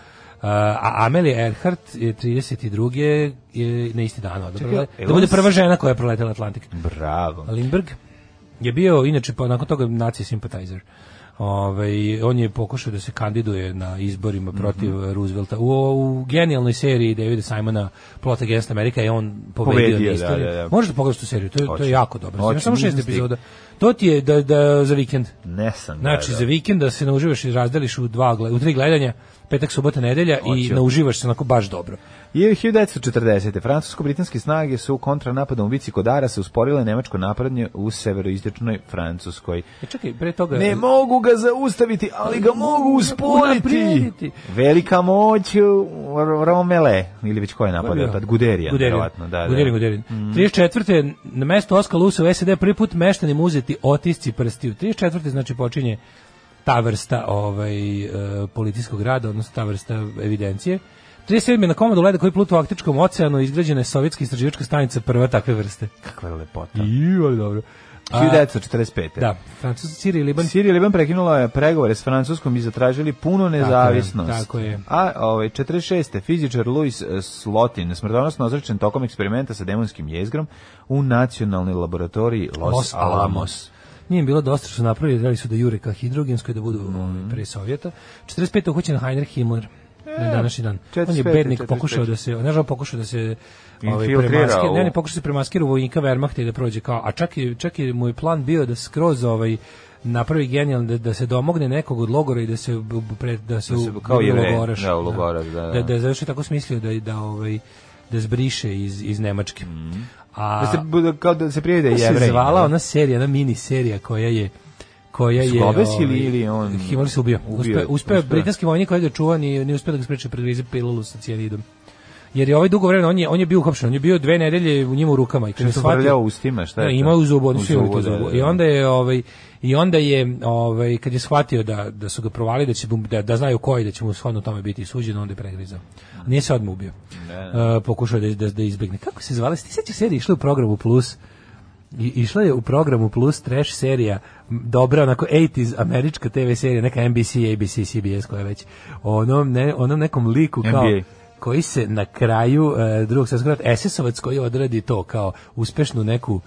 Speaker 6: a Amelie Earhart je 32. je na isti dan odabrala.
Speaker 7: Čekaj,
Speaker 6: Da bude
Speaker 7: Elos-
Speaker 6: prva žena koja je preletela Atlantik.
Speaker 7: Bravo.
Speaker 6: Lindberg Pa je bio inače pa nakon toga naci simpatizer. Ovaj on je pokušao da se kandiduje na izborima
Speaker 7: Mhm.
Speaker 6: protiv Roosevelta. U, u genijalnoj seriji Davida Simona Plot Against America je on pobedio,
Speaker 7: Pobedio,
Speaker 6: na
Speaker 7: da,
Speaker 6: istoriju.
Speaker 7: da, da.
Speaker 6: Možete pogledati tu seriju, to je, to
Speaker 7: Hoću.
Speaker 6: je jako dobro. Ima
Speaker 7: Hoću,
Speaker 6: samo šest
Speaker 7: nisam stigao.
Speaker 6: epizoda. To ti je da, da za vikend.
Speaker 7: Ne sam.
Speaker 6: Znači,
Speaker 7: da,
Speaker 6: za vikend da se nauživaš i razdeliš u, dva, gle- u tri gledanja, petak, subota, nedelja i
Speaker 7: Hoću.
Speaker 6: nauživaš se onako baš dobro.
Speaker 7: I 1940. Francusko-britanske snage su u kontranapadom u Vici Kodara se usporile nemačko napadanje u severoistočnoj Francuskoj.
Speaker 6: E, čekaj, pre toga...
Speaker 7: Ne mogu ga zaustaviti, ali ga mogu usporiti.
Speaker 6: Unaprijediti.
Speaker 7: Velika moć uh, Romele, ili već ko je
Speaker 6: Ko je
Speaker 7: napada
Speaker 6: bio?
Speaker 7: tad? Guderija,
Speaker 6: Guderin.
Speaker 7: verovatno. Da, Mm. da.
Speaker 6: Guderin, Guderin. 34. na mesto Oskar Lusa u SED prvi put meštanim uzeti otisci prstiju. 34. znači počinje ta vrsta ovaj, e, policijskog rada, odnosno ta vrsta evidencije. 37. na komadu leda koji pluta u Arktičkom oceanu izgrađena je sovjetska istraživačka stanica prva takve vrste.
Speaker 7: Kakva je lepota.
Speaker 6: Ijo, dobro. A,
Speaker 7: 1945.
Speaker 6: da, francuski Siri Liban.
Speaker 7: Sirija i Liban prekinula je pregovore s Francuskom i zatražili puno nezavisnost.
Speaker 6: tako je.
Speaker 7: A ovaj, 46. fizičar Louis eh, Slotin smrtonosno ozračen tokom eksperimenta sa demonskim jezgrom u nacionalnoj laboratoriji Los,
Speaker 6: Los Alamos.
Speaker 7: Alamos.
Speaker 6: Nije im bilo dosta što su napravili, dali su da jure ka hidrogenskoj da budu
Speaker 7: Mhm.
Speaker 6: ovaj, pre Sovjeta. 45. uhoćen Heinrich Himmler
Speaker 7: E,
Speaker 6: na današnji dan. On je
Speaker 7: 45.,
Speaker 6: bednik
Speaker 7: 45..
Speaker 6: pokušao da se, ne znam, pokušao da se ovaj,
Speaker 7: Infiltrira
Speaker 6: premaskira, ne,
Speaker 7: u-
Speaker 6: ne, pokušao da se premaskira u vojnika Wehrmachta i da prođe kao, a čak i, čak i mu je plan bio da skroz ovaj, napravi genijalno da, da se domogne nekog od logora i da se bu- bu- pre, da se,
Speaker 7: Da se
Speaker 6: u-
Speaker 7: kao
Speaker 6: bude
Speaker 7: Jevrej,
Speaker 6: logoraš,
Speaker 7: da, u logoraš, da, da.
Speaker 6: da, da, je zašto tako smislio da da ovaj da zbriše iz iz Nemačke. A
Speaker 7: Mhm. Da se, bude- kao da se prijede
Speaker 6: kako se
Speaker 7: jevrej.
Speaker 6: zvala ona serija, ona mini serija koja je koja je
Speaker 7: Slobes
Speaker 6: ovaj,
Speaker 7: ili- ili on-
Speaker 6: Himmler se ubio.
Speaker 7: Ubio je,
Speaker 6: Uspeo, uspeo je
Speaker 7: uspeo.
Speaker 6: britanski vojnik koji ga čuva ni ni uspeo da ga spreči pred vize pilulu sa cijanidom. Jer je ovaj dugo vremena on je on je bio uhapšen, on je bio dve nedelje u njemu u rukama i kad je
Speaker 7: Što
Speaker 6: shvatio-
Speaker 7: vrljao ustima, šta je
Speaker 6: Ne,
Speaker 7: to?
Speaker 6: imao je u zubu, on
Speaker 7: U
Speaker 6: svi imali to
Speaker 7: zubu, da,
Speaker 6: u zubu.
Speaker 7: da,
Speaker 6: I
Speaker 7: da.
Speaker 6: onda je ovaj i onda je ovaj kad je shvatio da da su ga provali da će mu- da, da znaju koji da će mu shodno tome biti suđeno, onda je pregrizao. Nije se odmah ubio. E, pokušao je da, da, da izbegne. Kako se zvala? Ti sećaš serije išla je u programu Plus? I, išla je u programu Plus trash serija, m, dobra onako 80s američka TV serija, neka NBC, ABC, CBS koja već. Onom, ne, onom nekom liku kao
Speaker 7: NBA.
Speaker 6: koji se na kraju e, drugog svjetskog rata SS-ovac koji odradi to kao uspešnu neku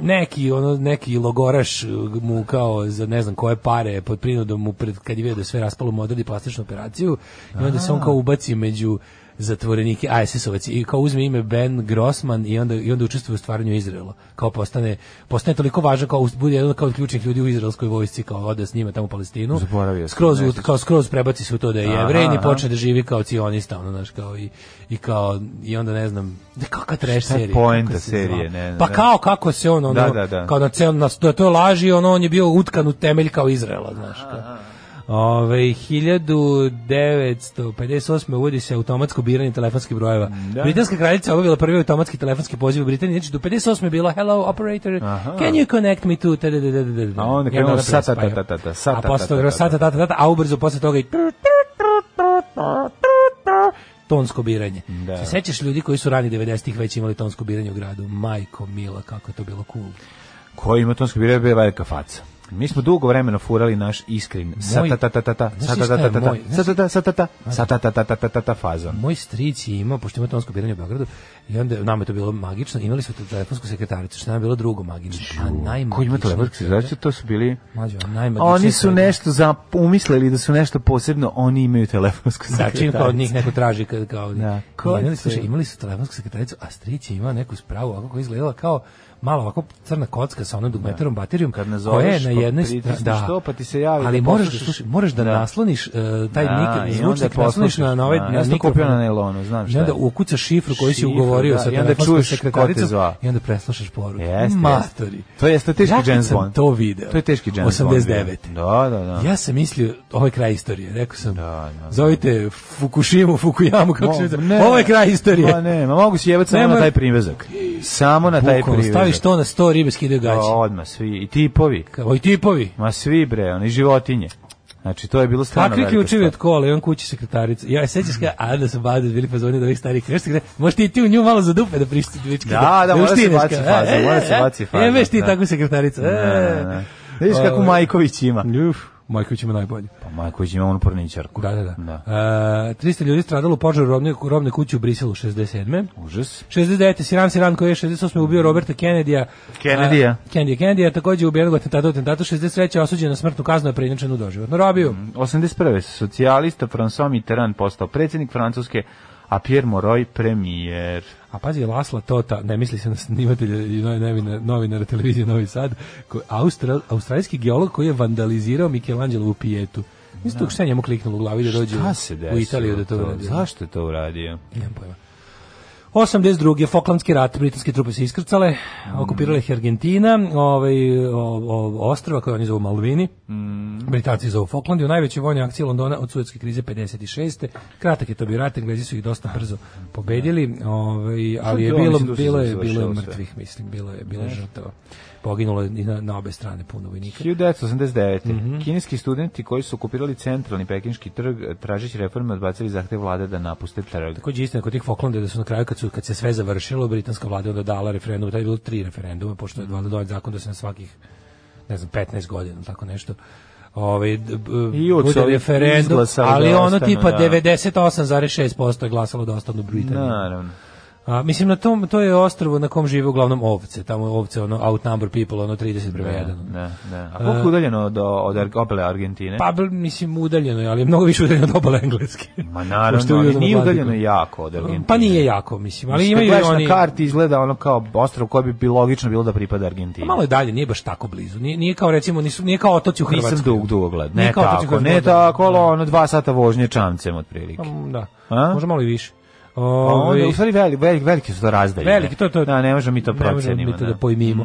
Speaker 6: neki ono neki logoraš e, mu kao za ne znam koje pare pod prinudom mu pred kad je video da je sve raspalo mu odradi plastičnu operaciju i onda se on kao ubaci među zatvorenike ISIS-ovac i kao uzme ime Ben Grossman i onda i onda učestvuje u stvaranju Izraela kao postane postane toliko važan kao us- bude jedan kao od ključnih ljudi u izraelskoj vojsci kao ode s njima tamo u Palestinu
Speaker 7: Zaboravio sam,
Speaker 6: skroz u-
Speaker 7: nešto
Speaker 6: kao skroz prebaci se u to da je
Speaker 7: Aha,
Speaker 6: jevrej i
Speaker 7: aha.
Speaker 6: počne da živi kao cionista ono znaš kao i, i kao i onda ne znam da kakva trash
Speaker 7: je
Speaker 6: serija
Speaker 7: poenta
Speaker 6: kako se
Speaker 7: serije,
Speaker 6: zva-
Speaker 7: ne, ne,
Speaker 6: pa
Speaker 7: ne.
Speaker 6: kao kako se on ono
Speaker 7: Da, da, da.
Speaker 6: kao na cel na to, to je laži ono on je bio utkan u temelj kao Izraela znaš kao. Ove, 1958. uvodi se automatsko biranje telefonskih brojeva.
Speaker 7: Mm,
Speaker 6: Britanska kraljica obavila prvi automatski telefonski poziv u Britaniji. Znači, do 58. je bilo Hello, operator, can you connect me to... Ta, da, da, da, da, da.
Speaker 7: A onda
Speaker 6: Ja
Speaker 7: krenulo
Speaker 6: dobro
Speaker 7: sa, ta, ta,
Speaker 6: prespajam.
Speaker 7: ta, ta, ta, sa,
Speaker 6: A
Speaker 7: ta,
Speaker 6: posle
Speaker 7: ta, ta,
Speaker 6: toga
Speaker 7: ta,
Speaker 6: sa, ta, ta, ta, ta, a ubrzo posle toga i tonsko biranje.
Speaker 7: Da.
Speaker 6: Se sećaš ljudi koji su rani 90-ih već imali tonsko biranje u gradu? Majko, mila, kako je to bilo cool.
Speaker 7: Koji ima tonski bio bio je velika faca. Mi smo dugo vremena furali naš iskrin. Sa
Speaker 6: Moj-
Speaker 7: ta ta ta ta ta,
Speaker 6: Znaš
Speaker 7: sa
Speaker 6: ti
Speaker 7: ta ta
Speaker 6: šta je
Speaker 7: ta ta,
Speaker 6: moj?
Speaker 7: sa ta ta sa ta ta, sa ta ta ta ta ta ta ta fazon.
Speaker 6: Moj stric je imao, pošto ima tonsko biranje u Beogradu, i onda nama je to bilo magično, imali su tu telefonsku sekretaricu, što nam je bilo drugo magično. A najmagično.
Speaker 7: Koji ima telefon? Znači to su bili
Speaker 6: Mlađo, najmagično.
Speaker 7: Oni su nešto za umislili da su nešto posebno, oni imaju telefonsku
Speaker 6: Da, čim Znači, kao od
Speaker 7: sekretaricu.
Speaker 6: njih neko traži kad kao.
Speaker 7: Dakle, Da,
Speaker 6: Da,
Speaker 7: ko
Speaker 6: imali,
Speaker 7: će?
Speaker 6: slušaj, imali su telefonsku sekretaricu, a strić je imao neku spravu, ovako koja je izgledala kao mala ovako crna kocka sa onom dugmetarom baterijom koja
Speaker 7: Kad
Speaker 6: je
Speaker 7: nazoveš,
Speaker 6: na
Speaker 7: pa
Speaker 6: jednoj
Speaker 7: pritisneš
Speaker 6: strani- da.
Speaker 7: to, pa ti se javi
Speaker 6: ali
Speaker 7: da
Speaker 6: moraš da
Speaker 7: poslušaš.
Speaker 6: slušaj, moraš da,
Speaker 7: Da.
Speaker 6: nasloniš eh, taj
Speaker 7: Da,
Speaker 6: nik
Speaker 7: i onda
Speaker 6: zvučnik nasloniš na, na ovaj
Speaker 7: poslušaš.
Speaker 6: na
Speaker 7: Ja sam to
Speaker 6: mikrofon.
Speaker 7: kupio na nailonu, znam šta
Speaker 6: I onda
Speaker 7: je.
Speaker 6: ukucaš šifru koju si
Speaker 7: Šifru,
Speaker 6: ugovorio
Speaker 7: da,
Speaker 6: sa
Speaker 7: i onda
Speaker 6: telefonskom
Speaker 7: čuješ ko te
Speaker 6: sekretaricom
Speaker 7: zvao.
Speaker 6: i onda preslušaš poruku.
Speaker 7: Jeste,
Speaker 6: Matori.
Speaker 7: jeste. To jeste teški
Speaker 6: ja kad
Speaker 7: James
Speaker 6: sam
Speaker 7: Bond.
Speaker 6: to video.
Speaker 7: To je teški James Bond bio.
Speaker 6: 89.
Speaker 7: Da, da, da.
Speaker 6: Ja sam mislio, ovo je kraj istorije, rekao sam.
Speaker 7: Da, da, da.
Speaker 6: Zovite Fukushimu, Fukuyamu, kako
Speaker 7: Mo-
Speaker 6: se zove.
Speaker 7: ne.
Speaker 6: Ovo je kraj istorije.
Speaker 7: Ma ne, ma mogu si jebati samo
Speaker 6: Nemoj-
Speaker 7: na taj privezak. Samo na taj
Speaker 6: Bukvalno,
Speaker 7: privezak.
Speaker 6: staviš to na sto ribe skidaju
Speaker 7: Da,
Speaker 6: gaće.
Speaker 7: Odmah svi, i tipovi.
Speaker 6: Oj tipovi.
Speaker 7: Ma svi bre, oni životinje. Znači, to je bilo stvarno
Speaker 6: Kakvi
Speaker 7: velika
Speaker 6: ključevi
Speaker 7: stvar.
Speaker 6: od kola, imam kući sekretarica. Ja se sećaš kada, a da sam bade bili fazoni do ovih starih krešta, gde možeš ti, ti u nju malo za dupe da prišti dvički.
Speaker 7: Da, da, mora se baci faza, mora se baci faza,
Speaker 6: E, veš ti
Speaker 7: da.
Speaker 6: tako sekretarica. E,
Speaker 7: Ne, ne, ne. Vidiš kako
Speaker 6: Ovaj.
Speaker 7: Majković ima.
Speaker 6: Uf, Majković ima najbolje.
Speaker 7: Pa Majković ima onu porničarku.
Speaker 6: Da, da, da. E, 300 ljudi stradalo u požaru robne, robne kuće u Briselu 67.
Speaker 7: Užas.
Speaker 6: 69. Siran Siran koji je 68. ubio Roberta Kennedyja.
Speaker 7: Kennedyja.
Speaker 6: A, Kennedyja, Kennedyja takođe ubijen u atentatu, u atentatu 63. osuđen na smrtnu kaznu, a preinačen u doživotnu robiju.
Speaker 7: Mhm. 81. Socijalista François Mitterrand postao predsjednik Francuske, a Pierre Moroj premijer.
Speaker 6: A pazi, Lasla Tota, ne misli se na snimatelja i noj- novina- novinara televizije Novi Sad, koji, Austra, australijski geolog koji je vandalizirao Michelangelovu pijetu. Mislim, tu šta je njemu kliknulo u glavi da dođe
Speaker 7: Šta
Speaker 6: u-
Speaker 7: se
Speaker 6: u
Speaker 7: desilo
Speaker 6: Italiju da to uradi.
Speaker 7: Zašto je to uradio?
Speaker 6: Nemam pojma. 82. Falklandski rat, britanske trupe se iskrcale,
Speaker 7: Mm.
Speaker 6: okupirale ih Argentina, ovaj, o, o, ostrava koje oni zovu Malvini,
Speaker 7: Mm.
Speaker 6: Britanci zovu Falklandi, u najvećoj vojnoj akciji Londona od sudske krize 56. Kratak je to bio rat, Englezi su ih dosta brzo pobedili, ovaj, ali je
Speaker 7: to,
Speaker 6: bilo,
Speaker 7: mislim da su
Speaker 6: bilo, je,
Speaker 7: završilo
Speaker 6: bilo je
Speaker 7: sve.
Speaker 6: mrtvih, mislim, bilo je, bilo je žrtava. Poginulo je i na, na obe strane puno vojnika.
Speaker 7: 1989.
Speaker 6: Mhm.
Speaker 7: Kineski studenti koji su okupirali centralni pekinški trg, eh, tražeći reforme, odbacili zahtev vlade da napuste trg.
Speaker 6: Takođe je istina kod tih Falklanda da su na kraju kad su kad se sve završilo britanska vlada je onda dala referendum, tad je bilo tri referenduma pošto je valjda donet zakon da se na svakih ne znam 15 godina ili tako nešto. Ovaj d- b-
Speaker 7: I od
Speaker 6: bude
Speaker 7: ovih
Speaker 6: referendum,
Speaker 7: izglasa
Speaker 6: ali
Speaker 7: da
Speaker 6: ono
Speaker 7: ostanu,
Speaker 6: tipa
Speaker 7: da.
Speaker 6: 98,6% je glasalo da ostanu u Britaniji.
Speaker 7: Naravno.
Speaker 6: A, mislim na tom to je ostrvo na kom žive uglavnom ovce, tamo je ovce ono outnumber people ono 30 prema 1.
Speaker 7: Da, da. A
Speaker 6: E,
Speaker 7: koliko je udaljeno do, od Ar- obale Argentine?
Speaker 6: Pa bl- mislim udaljeno je, ali je mnogo više udaljeno od obale engleske.
Speaker 7: Ma
Speaker 6: Pošto je
Speaker 7: naravno,
Speaker 6: u
Speaker 7: ali
Speaker 6: Južnom
Speaker 7: nije
Speaker 6: Atlantiku.
Speaker 7: udaljeno jako od Argentine.
Speaker 6: Pa nije jako, mislim, ali
Speaker 7: Mislim,
Speaker 6: imaju
Speaker 7: kad
Speaker 6: i
Speaker 7: gledaš
Speaker 6: oni...
Speaker 7: na karti izgleda ono kao ostrov koji bi bilo logično bilo da pripada Argentini.
Speaker 6: Pa malo je dalje, nije baš tako blizu. Nije, nije kao recimo, nisu, nije kao otoci u Hrvatskoj.
Speaker 7: Nisam dug, dugo gled. Ne
Speaker 6: Nije kao otoci u
Speaker 7: tako, ne
Speaker 6: Hrvatskoj.
Speaker 7: tako, ali ono dva sata vožnje čamcem otprilike.
Speaker 6: Mm, Da,
Speaker 7: A?
Speaker 6: možda malo i više.
Speaker 7: A onda,
Speaker 6: Ove,
Speaker 7: u stvari, veli, veli, veliki su to razdaljine.
Speaker 6: ovaj- veliki, to, to,
Speaker 7: Da, ne možemo mi to
Speaker 6: ne možemo
Speaker 7: procenimo.
Speaker 6: mi to da
Speaker 7: da.
Speaker 6: pojmimo.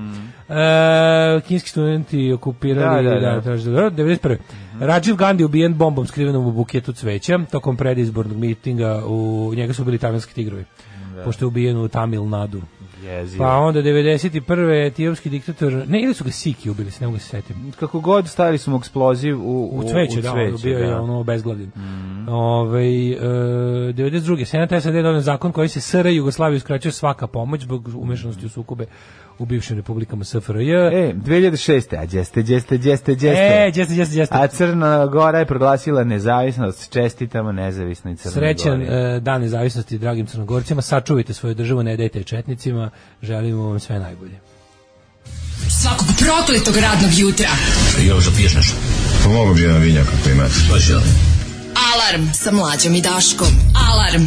Speaker 6: E, kinski studenti okupirali
Speaker 7: Da,
Speaker 6: da, Mhm.
Speaker 7: da, da.
Speaker 6: 91. Rajiv Gandhi ubijen bombom skrivenom u buketu cveća tokom predizbornog mitinga u njega su bili tamilski tigrovi. Pošto je ubijen u Tamil Nadu.
Speaker 7: Jezivo.
Speaker 6: Pa onda 91. etiopski diktator, ne, ili su ga Siki ubili, se ne mogu se setim.
Speaker 7: Kako god stari smo eksploziv u,
Speaker 6: U cveće, da, ono, bio je ono obezglavljen. Ovaj, e, 92. Senat SAD donio zakon koji se SR Jugoslaviju uskraćuje svaka pomoć zbog umešanosti u sukube u bivšim republikama SFRJ. E,
Speaker 7: E, 2006. A djeste, djeste, djeste, djeste.
Speaker 6: e jeste, jeste, jeste.
Speaker 7: A Crna Gora je proglasila nezavisnost. Čestitamo nezavisnoj Crnoj
Speaker 6: Srećan
Speaker 7: Gori.
Speaker 6: e, dan nezavisnosti dragim crnogorcima. Sačuvajte svoju državu, ne dajte je četnicima. Želimo vam sve najbolje.
Speaker 5: Svakog prokletog radnog jutra.
Speaker 8: Pomogu bi jedan vinjak ako imate.
Speaker 5: Alarm sa mlađom i Daškom. Alarm.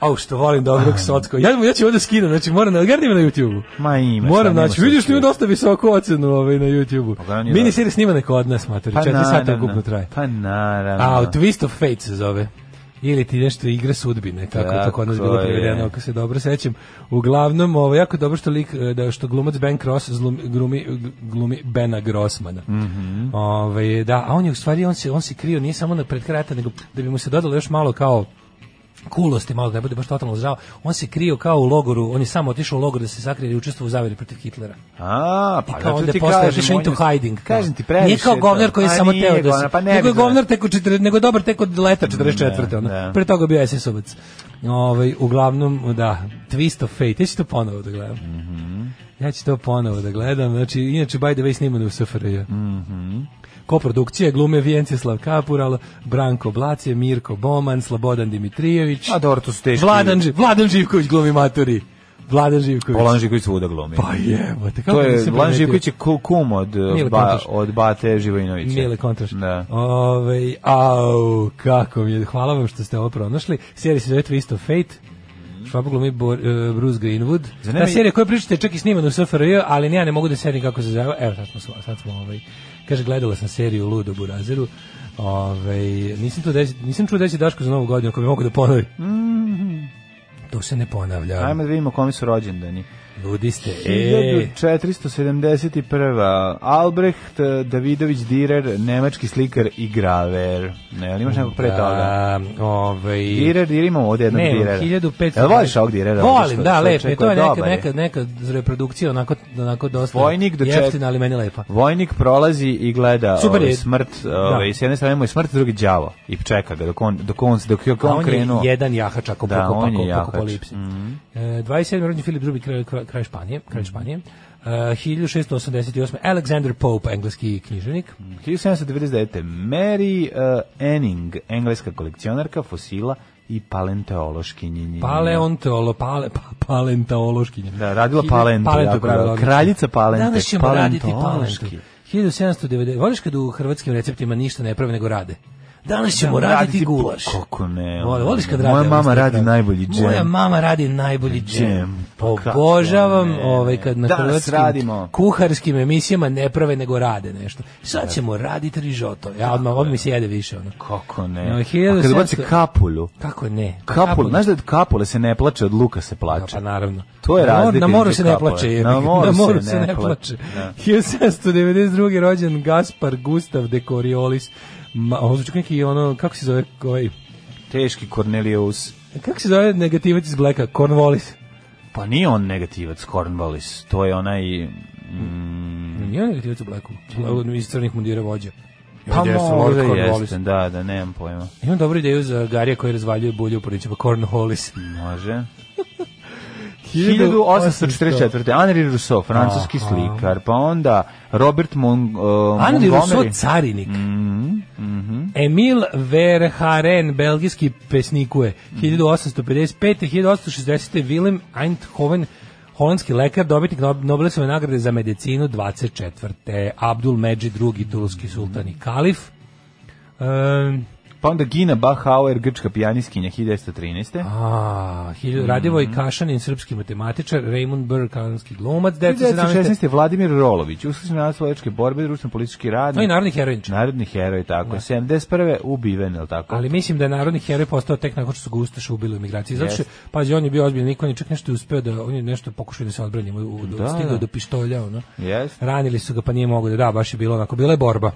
Speaker 6: Au, što volim dobrog socko. Ja, ja ću ovdje skinem, znači moram, na- gledaj me na YouTube-u.
Speaker 7: Ma ima.
Speaker 6: Moram
Speaker 7: šta, nema
Speaker 6: naći,
Speaker 7: šta
Speaker 6: vidiš ima
Speaker 7: skrivati.
Speaker 6: dosta visoku ocenu ovaj, na YouTube-u.
Speaker 7: Pa, naravno,
Speaker 6: Mini
Speaker 7: da.
Speaker 6: serija snima neko od nas, mater. Četiri
Speaker 7: na-
Speaker 6: sata
Speaker 7: na- na-
Speaker 6: ukupno traje.
Speaker 7: Pa naravno.
Speaker 6: A, Twist of Fate se zove. Ili ti nešto igra sudbine, tako ono je to kod nas
Speaker 7: Tako
Speaker 6: bilo
Speaker 7: je.
Speaker 6: prevedeno, ako se dobro sećam. Uglavnom, ovo jako je dobro što lik e, da što glumac Ben Cross zlumi- glumi, glumi Bena Grossmana. Ovaj, da, a on je u stvari on se on se krio nije samo na pred kraj rata, nego da bi mu se dodalo još malo kao kulosti malo da ne bude baš totalno zdravo. On se krio kao u logoru, on je samo otišao u logor da se sakrije i učestvovao u zaveri protiv Hitlera.
Speaker 7: A,
Speaker 6: I
Speaker 7: pa
Speaker 6: kao
Speaker 7: kao
Speaker 6: onda
Speaker 7: ti
Speaker 6: posle
Speaker 7: kažem,
Speaker 6: otišao
Speaker 7: on je-
Speaker 6: into hiding. kao.
Speaker 7: Kažem ti previše.
Speaker 6: Nije kao
Speaker 7: je to.
Speaker 6: govnar koji je
Speaker 7: Pa
Speaker 6: samo
Speaker 7: nije
Speaker 6: teo da se...
Speaker 7: govnar, pa ne
Speaker 6: nego
Speaker 7: bi
Speaker 6: je
Speaker 7: znao.
Speaker 6: govnar tek u četiri- nego je dobar tek od leta 44. ono.
Speaker 7: da.
Speaker 6: Pre toga je bio SS-ovac. Ovaj, uglavnom, da, Twist of Fate. Ja ću to ponovo da gledam.
Speaker 7: Mhm.
Speaker 6: Ja ću to ponovo da gledam. Znači, inače, by the way, snimano u SFRJ.
Speaker 7: Mhm.
Speaker 6: Koprodukcije glume Vjenceslav Kapural, Branko Blacije, Mirko Boman, Slobodan Dimitrijević,
Speaker 7: A dobro, to su teški.
Speaker 6: Vladan, Ži- Vladan Živković glumi maturi. Vladan Živković.
Speaker 7: Vladan Živković svuda glumi.
Speaker 6: Pa jebote, kako
Speaker 7: to je,
Speaker 6: nisam
Speaker 7: Vladan
Speaker 6: primetio?
Speaker 7: Živković je ku- kum od, uh,
Speaker 6: Mile
Speaker 7: ba-
Speaker 6: Kontraš.
Speaker 7: od Bate Živojinovića.
Speaker 6: Mile Kontraš.
Speaker 7: Znači, Da.
Speaker 6: Ovaj, au, kako mi je. Hvala vam što ste ovo pronašli. Serija se zove Twist of Fate. Švab glumi Bor, e, Bruce Greenwood.
Speaker 7: Za
Speaker 6: Ta
Speaker 7: mene-
Speaker 6: serija koju pričate je čak i snimana u SFRJ, ali ne, ja ne mogu da sedim kako se zove. Evo, sad smo, sva- sad smo ovaj, kaže, gledala sam seriju Ludo u Burazeru. Ove, nisam, to desi, nisam čuo desi Daško za novu godinu, ako bi mogu da ponovi.
Speaker 7: Mhm.
Speaker 6: To se ne ponavlja.
Speaker 7: Ajmo da vidimo kome su rođendani.
Speaker 6: Ludi ste. E,
Speaker 7: 1471. Albrecht eh, Davidović Direr, nemački slikar i graver. Ne, ali imaš nekog pre toga?
Speaker 6: da, ovaj,
Speaker 7: Direr, Direr, imamo ovdje jednog
Speaker 6: Ne,
Speaker 7: Direra.
Speaker 6: imam 1500.
Speaker 7: Jel voliš ovog Direra?
Speaker 6: Volim, da, lepo.
Speaker 7: lepo.
Speaker 6: je, To je neka, neka, neka reprodukcija onako, onako dosta
Speaker 7: Vojnik do čet-
Speaker 6: jeftina, ali meni lepa.
Speaker 7: Vojnik prolazi i gleda
Speaker 6: Super
Speaker 7: ovaj,
Speaker 6: je.
Speaker 7: smrt, ovaj,
Speaker 6: Da.
Speaker 7: s jedne strane mu je smrt, s druge đavo i čeka ga dok on dok on dok je
Speaker 6: A
Speaker 7: on, krenuo.
Speaker 6: je jedan jahač ako
Speaker 7: Da,
Speaker 6: da,
Speaker 7: on je
Speaker 6: on
Speaker 7: jahač. Mhm.
Speaker 6: apokalipsi. E, 27. rođen Filip II. kralj, kralj Španije. Kralj Španije. E, 1688. Alexander Pope, engleski književnik.
Speaker 7: 1799. Mary uh, Enning, engleska kolekcionarka fosila i paleontološkinje.
Speaker 6: Paleontolo, pale, pa, palentaološkinja.
Speaker 7: Da, radila
Speaker 6: Hilj-
Speaker 7: Palentu,
Speaker 6: Palentu
Speaker 7: jako dobro.
Speaker 6: pravila odlično.
Speaker 7: Kraljica Palente,
Speaker 6: Danas ćemo raditi
Speaker 7: paleontološki.
Speaker 6: Palentu. 1790. Voliš kad u hrvatskim receptima ništa ne prave nego rade? Danas ćemo
Speaker 7: Da,
Speaker 6: raditi,
Speaker 7: raditi
Speaker 6: gulaš.
Speaker 7: po- kako ne,
Speaker 6: Voli- Voliš kad
Speaker 7: moja
Speaker 6: rade?
Speaker 7: mama
Speaker 6: ono što
Speaker 7: radi
Speaker 6: pravi?
Speaker 7: najbolji džem.
Speaker 6: Moja mama radi najbolji džem.
Speaker 7: Džem, pa kako
Speaker 6: Obožavam
Speaker 7: ne.
Speaker 6: ovaj kad na
Speaker 7: Danas
Speaker 6: hrvatskim
Speaker 7: radimo.
Speaker 6: kuharskim emisijama ne prave nego rade nešto. Sad ćemo raditi rižoto. Ja odmah, odmah mi se jede više. Ono.
Speaker 7: Kako
Speaker 6: No,
Speaker 7: ne? A
Speaker 6: 1700
Speaker 7: kada baci kapulju,
Speaker 6: Kako ne? Pa
Speaker 7: kapulju, znaš da od kapule se ne plače, od luka se
Speaker 6: Da,
Speaker 7: plače.
Speaker 6: pa naravno.
Speaker 7: To je
Speaker 6: Na moru-
Speaker 7: razlika
Speaker 6: Na moru
Speaker 7: između
Speaker 6: se ne
Speaker 7: kapova.
Speaker 6: plače. jebi
Speaker 7: Na
Speaker 6: ga.
Speaker 7: moru
Speaker 6: na
Speaker 7: se
Speaker 6: moru
Speaker 7: ne
Speaker 6: se ne
Speaker 7: plače,
Speaker 6: plače.
Speaker 7: da.
Speaker 6: 1792. rođen Gaspar Gustav de Coriolis. Ma, ovo zvuči kao neki ono, kako se zove, ovaj,
Speaker 7: Teški Cornelius.
Speaker 6: kako se zove negativac iz Blacka? Cornwallis.
Speaker 7: Pa nije on negativac, Cornwallis. To je onaj... Mm.
Speaker 6: Nije on negativac u Blacku. Blacku iz crnih mundira vođa.
Speaker 7: Pa
Speaker 6: Jeste,
Speaker 7: možda
Speaker 6: Lord Cornwallis.
Speaker 7: jeste, da, da, nemam pojma.
Speaker 6: Imam dobru ideju za Garija koji razvaljuje bulje u poričima. Cornwallis.
Speaker 7: Može. 1844. Henri Rousseau, francuski
Speaker 6: Aha.
Speaker 7: slikar, pa onda Robert Mon, uh,
Speaker 6: Henri
Speaker 7: Montgomery.
Speaker 6: Rousseau, Pa carinik. Emil Verhaeren, belgijski pesnikuje, 1855. 1860. Willem Eindhoven, holandski lekar, dobitnik Nob- Nobelove nagrade za medicinu 24. Abdul Međi II, tulski sultan i kalif. Um,
Speaker 7: Pa onda Gina Bachauer, grčka pijaniskinja 1913.
Speaker 6: a, hilj- Radivoj Kašanin, srpski matematičar, Raymond Burr, kanadski glumac, 1917.
Speaker 7: 1916. Vladimir Rolović, uslišen narod slovačke borbe, društveno-politički radnik.
Speaker 6: No i narodni herojnič.
Speaker 7: Narodni heroj, tako. je. 71. ubiven, je li tako?
Speaker 6: Ali mislim da je narodni heroj postao tek nakon što su ga Ustaše ubili u migraciji. Zato što,
Speaker 7: Jeste.
Speaker 6: pazi, on je bio ozbiljan, niko on je čak nešto uspeo da, on je nešto pokušao da se odbrani, mu je u-
Speaker 7: Da,
Speaker 6: stigao
Speaker 7: da.
Speaker 6: do pištolja, ono.
Speaker 7: Jeste.
Speaker 6: Ranili su ga, pa nije mogo da da, baš je bilo onako, bila je borba.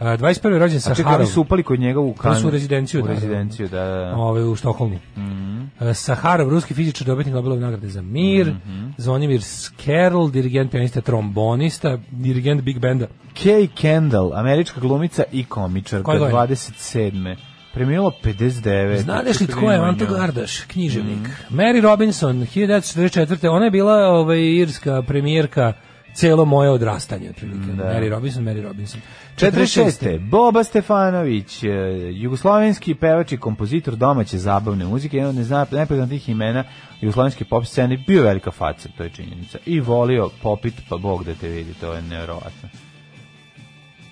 Speaker 6: A, 21. je rođen
Speaker 7: Mm. A čekaj,
Speaker 6: Saharov,
Speaker 7: oni su upali kod njega u kan...
Speaker 6: To su u rezidenciju,
Speaker 7: U
Speaker 6: da, da.
Speaker 7: rezidenciju, da, da, da.
Speaker 6: ovaj, u Štokholmu.
Speaker 7: Mm.
Speaker 6: E, Saharov, ruski fizičar, dobitnik Nobelove nagrade za mir,
Speaker 7: Mm-hmm.
Speaker 6: Zvonimir Skerl, dirigent, pijanista, trombonista, dirigent Big Benda.
Speaker 7: Kay Kendall, američka glumica i komičarka,
Speaker 6: Koje godine?
Speaker 7: 27. Preminula 59.
Speaker 6: Znadeš li
Speaker 7: Čekaj,
Speaker 6: tko je
Speaker 7: imamo
Speaker 6: Anto
Speaker 7: nju.
Speaker 6: Gardaš, književnik?
Speaker 7: Mm.
Speaker 6: Mary Robinson, 1944. Ona je bila ovaj, irska premijerka celo moje odrastanje, otprilike. Mary Robinson, Mary Robinson.
Speaker 7: 46. Boba Stefanović, eh, jugoslovenski pevač i kompozitor domaće zabavne muzike, jedan od nezna- najpoznatijih imena jugoslovenske pop scene, bio je velika faca, to je činjenica. I volio popit, pa bog da te vidi, to je nevjerovatno.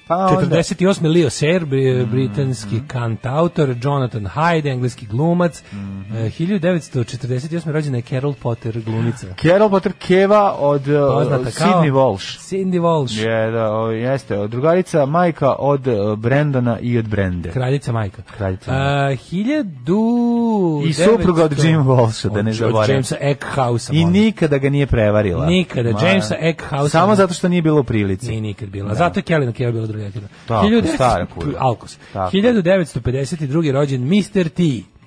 Speaker 7: Pa onda, Mhm.
Speaker 6: 48. Leo Sayer, bri- britanski kantautor, Jonathan Hyde, engleski glumac.
Speaker 7: Mhm.
Speaker 6: E, 1948. rođena je Carol Potter, glumica.
Speaker 7: Carol Potter Keva od eh,
Speaker 6: Poznata kao
Speaker 7: Sidney Walsh.
Speaker 6: Cindy Walsh,
Speaker 7: Je, da, o, jeste, drugarica majka od eh, Brendona i od Brende.
Speaker 6: kraljica majka. Eh,
Speaker 7: Kraljica majka.
Speaker 6: A, 1900...
Speaker 7: I supruga od Jim Walsha, da ne
Speaker 6: Od- Od
Speaker 7: zaboravim.
Speaker 6: Jamesa Eckhouse.
Speaker 7: I nikada ga nije prevarila.
Speaker 6: Nikada,
Speaker 7: Ma,
Speaker 6: Jamesa Eckhouse-
Speaker 7: Samo zato što nije bilo u prilici.
Speaker 6: Nije nikad bila. Zato je Kelly na Kelly bila druga Kelly.
Speaker 7: Tako, stara kurva.
Speaker 6: Alkos.
Speaker 7: Tako.
Speaker 6: 1952. rođen Mr. T.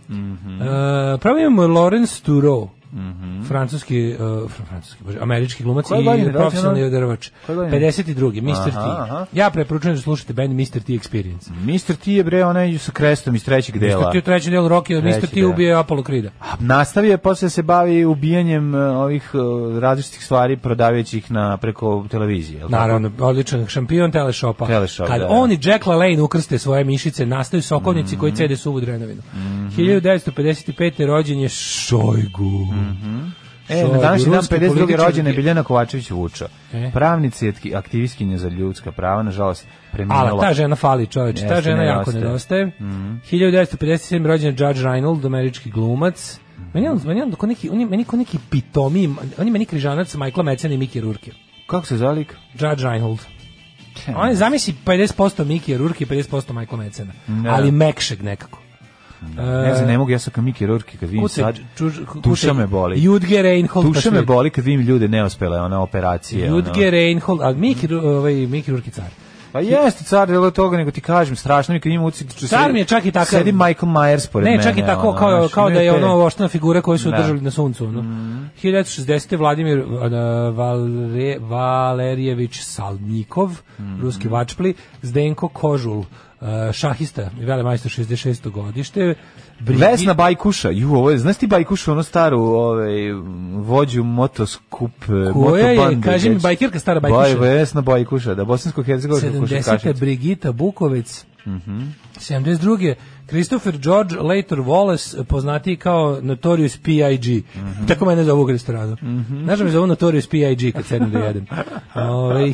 Speaker 7: Mhm.
Speaker 6: Mm pravo imamo Lawrence Turow. Francuski, uh, fr- francuski, bože, američki glumac
Speaker 7: Koje godine
Speaker 6: i
Speaker 7: rođen
Speaker 6: profesionalni
Speaker 7: on?
Speaker 6: odrvač.
Speaker 7: Koje godine?
Speaker 6: 52. Mr. T.
Speaker 7: Aha, aha.
Speaker 6: Ja preporučujem da slušate band Mr. T Experience.
Speaker 7: Mr. T je bre onaj sa krestom iz trećeg dela.
Speaker 6: Mr. T u trećem delu Rocky, Mr. T
Speaker 7: deo.
Speaker 6: ubije Apollo Creed-a.
Speaker 7: A nastavio je posle da se bavi ubijanjem e, ovih e, različitih stvari prodavajući ih na preko televizije. jel tako?
Speaker 6: Naravno, odličan šampion teleshopa.
Speaker 7: Teleshop,
Speaker 6: Kad
Speaker 7: da.
Speaker 6: on i Jack LaLanne ukrste svoje mišice, nastaju sokovnici
Speaker 7: Mhm.
Speaker 6: koji cede suvu drenovinu. 1955. rođen je Šojgu.
Speaker 7: E, na današnji dan
Speaker 6: Ruski
Speaker 7: 52.
Speaker 6: političar
Speaker 7: rođena je
Speaker 6: i-
Speaker 7: Biljana Kovačević Vuča.
Speaker 6: E.
Speaker 7: Pravnica i atki- aktivistkinja za ljudska prava, nažalost, preminula.
Speaker 6: Ala, ta žena fali, čoveč, ta
Speaker 7: Jeste,
Speaker 6: žena jako
Speaker 7: nedostaje. Mhm. Mhm.
Speaker 6: nedostaje. 1957. rođen je Judge Reinhold, američki glumac. Meni je on, meni je on ko neki, on je meni ko neki pitomi, on je meni križanac Michaela Metzena i Miki Rurke.
Speaker 7: Kako se zalik?
Speaker 6: Judge Reinhold.
Speaker 7: Hm.
Speaker 6: On je zamisli 50% Miki Rurke i 50% Michaela Metzena. Ali mekšeg nekako.
Speaker 7: Ne znam, ne mogu, ja sam kao Miki Rorke kad vidim
Speaker 6: Kute,
Speaker 7: sad,
Speaker 6: E. čuž- kute-
Speaker 7: tuša me boli.
Speaker 6: Judge Reinhold.
Speaker 7: Tuša me boli kad vidim ljude neospele, ona operacije. ono.
Speaker 6: Judge Reinhold, ali Miki, Ru- ovaj, Miki Rurke car.
Speaker 7: Pa jeste, car je od toga, nego ti kažem, strašno mi kad imam ucik.
Speaker 6: Car mi je čak i takav.
Speaker 7: Sedi Michael Myers pored
Speaker 6: Ne,
Speaker 7: mene.
Speaker 6: čak i tako
Speaker 7: ono,
Speaker 6: kao,
Speaker 7: znaš,
Speaker 6: kao da je
Speaker 7: imaju te-
Speaker 6: ono oštana figura koju su
Speaker 7: Da. Mhm.
Speaker 6: držali na suncu. Ono. 1960. Vladimir uh, Valre, Valerijević Salnikov,
Speaker 7: Mhm.
Speaker 6: ruski vačpli, Zdenko Kožul, uh, šahista, velemajstor 66. godište. Brigi-
Speaker 7: Vesna Bajkuša, ju, ovo je, znaš ti Bajkušu, ono staru ovaj, vođu motoskup,
Speaker 6: Koja je,
Speaker 7: motobande,
Speaker 6: kaži mi,
Speaker 7: već.
Speaker 6: bajkirka stara Bajkuša?
Speaker 7: Baj, Vesna Bajkuša, da, bosansko-hercegovička
Speaker 6: 70.
Speaker 7: košarkašica.
Speaker 6: Brigita Bukovec,
Speaker 7: Mhm.
Speaker 6: 72. Christopher George Later Wallace, poznatiji kao Notorious P.I.G.
Speaker 7: Mhm.
Speaker 6: Tako mene zovu u restoranu. Znaš da me zovu Notorious P.I.G. kad sedem da jedem. Ovaj, Ove,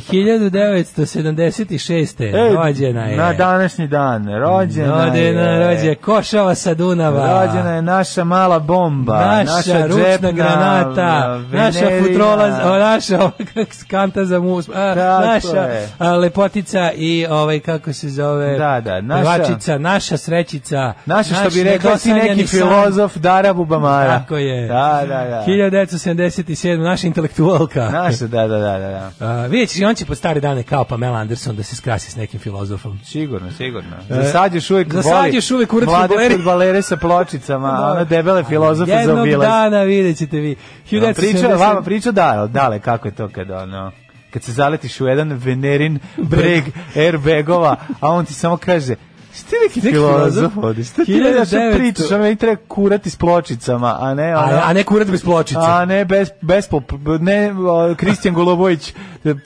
Speaker 6: 1976.
Speaker 7: Ej,
Speaker 6: rođena je.
Speaker 7: Na današnji dan, rođena
Speaker 6: Rodena,
Speaker 7: je.
Speaker 6: rođe, Košava sa Dunava.
Speaker 7: Rođena je naša mala bomba,
Speaker 6: Naša, ručna
Speaker 7: Pa, džepna,
Speaker 6: granata,
Speaker 7: venerina.
Speaker 6: naša futrola, o, naša ova, skanta za mus, a,
Speaker 7: Tako
Speaker 6: naša
Speaker 7: je.
Speaker 6: a, lepotica i ovaj kako se zove,
Speaker 7: Da, da, naša-
Speaker 6: pevačica, naša srećica,
Speaker 7: Naša što
Speaker 6: naš
Speaker 7: bi rekao ti neki
Speaker 6: nedosanjani san.
Speaker 7: filozof Dara Bubamara.
Speaker 6: Tako je.
Speaker 7: Da, da, da.
Speaker 6: 1977, naša intelektualka.
Speaker 7: Naša, da, da, da, da, da.
Speaker 6: A, vidjet ćeš, i on će pod stare dane kao Pamela Anderson da se skrasi s nekim filozofom.
Speaker 7: Sigurno, sigurno. Za sad još uvijek
Speaker 6: za
Speaker 7: voli
Speaker 6: sad još E, uvijek ured
Speaker 7: mlade
Speaker 6: fudbaleri.
Speaker 7: fudbalere sa pločicama, a ono debele filozofe za
Speaker 6: Jednog
Speaker 7: obilaz.
Speaker 6: dana vidjet ćete vi.
Speaker 7: Da,
Speaker 6: 1970
Speaker 7: priča, vama priča da, dale, kako je to kad ono kad se zaletiš u jedan venerin breg airbagova, a on ti samo kaže Šta ti neki
Speaker 6: Neki
Speaker 7: filozof
Speaker 6: filozof?
Speaker 7: ovdje? Šta ti ne daš
Speaker 6: 1900?
Speaker 7: pričaš? Ono meni treba kurati s pločicama, a ne...
Speaker 6: A,
Speaker 7: ono-
Speaker 6: a ne kurat bez pločice.
Speaker 7: A ne, bez, bez pop, ne, o, Kristijan Golobović,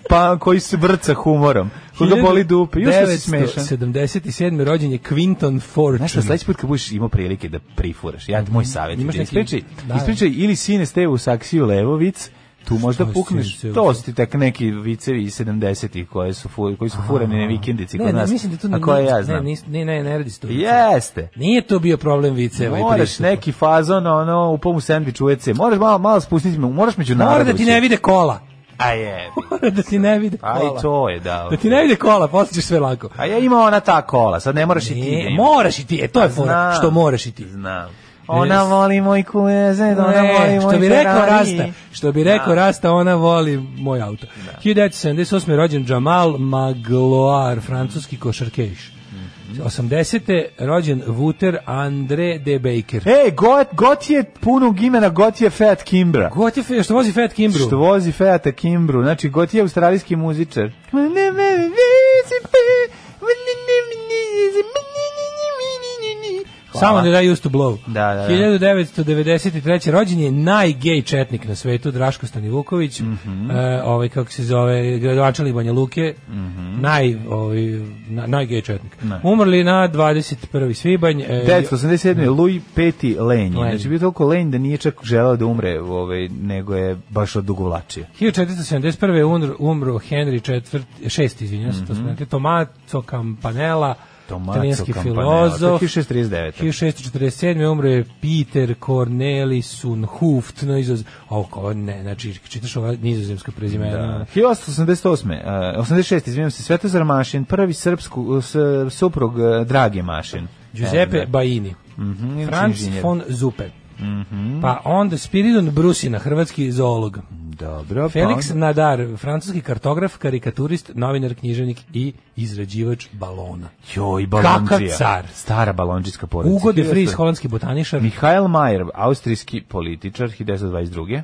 Speaker 7: pa, koji se vrca humorom. Koga boli dupe, još da si smešan.
Speaker 6: 1977. rođen je Quinton Fortune.
Speaker 7: Znaš šta, sledeći put kad budeš imao prilike da prifuraš, ja, moj savjet,
Speaker 6: Mm, Imaš
Speaker 7: je da
Speaker 6: neki-
Speaker 7: ispričaj,
Speaker 6: Da.
Speaker 7: ispričaj ili sine ste u saksiju Levovic, tu možda
Speaker 6: je
Speaker 7: pukneš,
Speaker 6: Sine Steve?
Speaker 7: to su ti tak neki vicevi iz 70-ih koje su, fu- koji su furani na vikendici
Speaker 6: ne,
Speaker 7: kod
Speaker 6: ne,
Speaker 7: nas,
Speaker 6: mislim da to
Speaker 7: a koje ja
Speaker 6: ne,
Speaker 7: znam.
Speaker 6: nis- ne, ne, ne radi se to.
Speaker 7: Jeste.
Speaker 6: Nije to bio problem viceva i
Speaker 7: Moraš
Speaker 6: pristupa.
Speaker 7: neki fazon, ono, u pomu sandvič u EC. Moraš malo, malo spustiti, moraš među narodu.
Speaker 6: Mora da ti ne vide kola.
Speaker 7: A je.
Speaker 6: Mora da ti ne vide
Speaker 7: A i
Speaker 6: kola.
Speaker 7: to je, da.
Speaker 6: Da ti ne vide kola, posle ćeš sve lako.
Speaker 7: A ja imam ona ta kola, sad ne moraš i ti da
Speaker 6: Ne,
Speaker 7: imaš.
Speaker 6: moraš i ti, e, to je fora,
Speaker 7: Znam.
Speaker 6: što moraš i ti.
Speaker 7: Znam. Ona voli moj kuezed, ona voli
Speaker 6: Ne,
Speaker 7: moj
Speaker 6: što bi rekao
Speaker 7: Ferrari.
Speaker 6: Rasta, što bi rekao Rasta, ona voli moj auto. 1978. je rođen Jamal Magloire, francuski košarkeš. 80. rođen Wouter André de Baker.
Speaker 7: Ej, got, got je punog imena, got je Fiat Kimbra.
Speaker 6: Goti fe, što vozi Fiat Kimbru.
Speaker 7: Što vozi Fiat Kimbru, znači got je australijski muzičar.
Speaker 6: Samo da used to blow.
Speaker 7: Da, da, da.
Speaker 6: 1993. rođen je najgej četnik na svetu, Draško Stanivuković,
Speaker 7: Mhm.
Speaker 6: e, ovaj, kako se zove, gradovačali Banja Luke,
Speaker 7: Mhm.
Speaker 6: naj, ovaj, na, najgej četnik. Umrli na 21. svibanj. e,
Speaker 7: 1987. je Louis V. Lenji.
Speaker 6: Lenji.
Speaker 7: Znači, bio je toliko Lenji da nije čak želeo da umre, ovaj, nego je baš odugovlačio.
Speaker 6: 1471. umro, umro Henry IV, šesti, izvinjam se, to smo rekli, Tomaco Campanella,
Speaker 7: Mhm. Tomaco
Speaker 6: italijanski
Speaker 7: Campanella,
Speaker 6: filozof.
Speaker 7: to je 1639.
Speaker 6: 1647. umro je Peter Cornelis Unhuft, no izoz... O, ko, ne, znači, čitaš ova nizozemska prezimena.
Speaker 7: Da. 1888. eh, 86. izvinjam se, Svetozar Mašin, prvi srpsku, s, suprug eh, Drage Mašin.
Speaker 6: Giuseppe
Speaker 7: E,
Speaker 6: Baini.
Speaker 7: Mhm,
Speaker 6: Franz
Speaker 7: inženjer. Mhm.
Speaker 6: von Zupe. Pa onda Spiridon Brusina, hrvatski zoolog.
Speaker 7: Dobro,
Speaker 6: Felix
Speaker 7: pa onda-
Speaker 6: Nadar, francuski kartograf, karikaturist, novinar, književnik i izrađivač balona.
Speaker 7: Joj, balonđija.
Speaker 6: Kakav car.
Speaker 7: Stara balonđijska porodica.
Speaker 6: Ugo de Vries, holandski botaničar.
Speaker 7: Mihael Mayer, austrijski političar, 1922.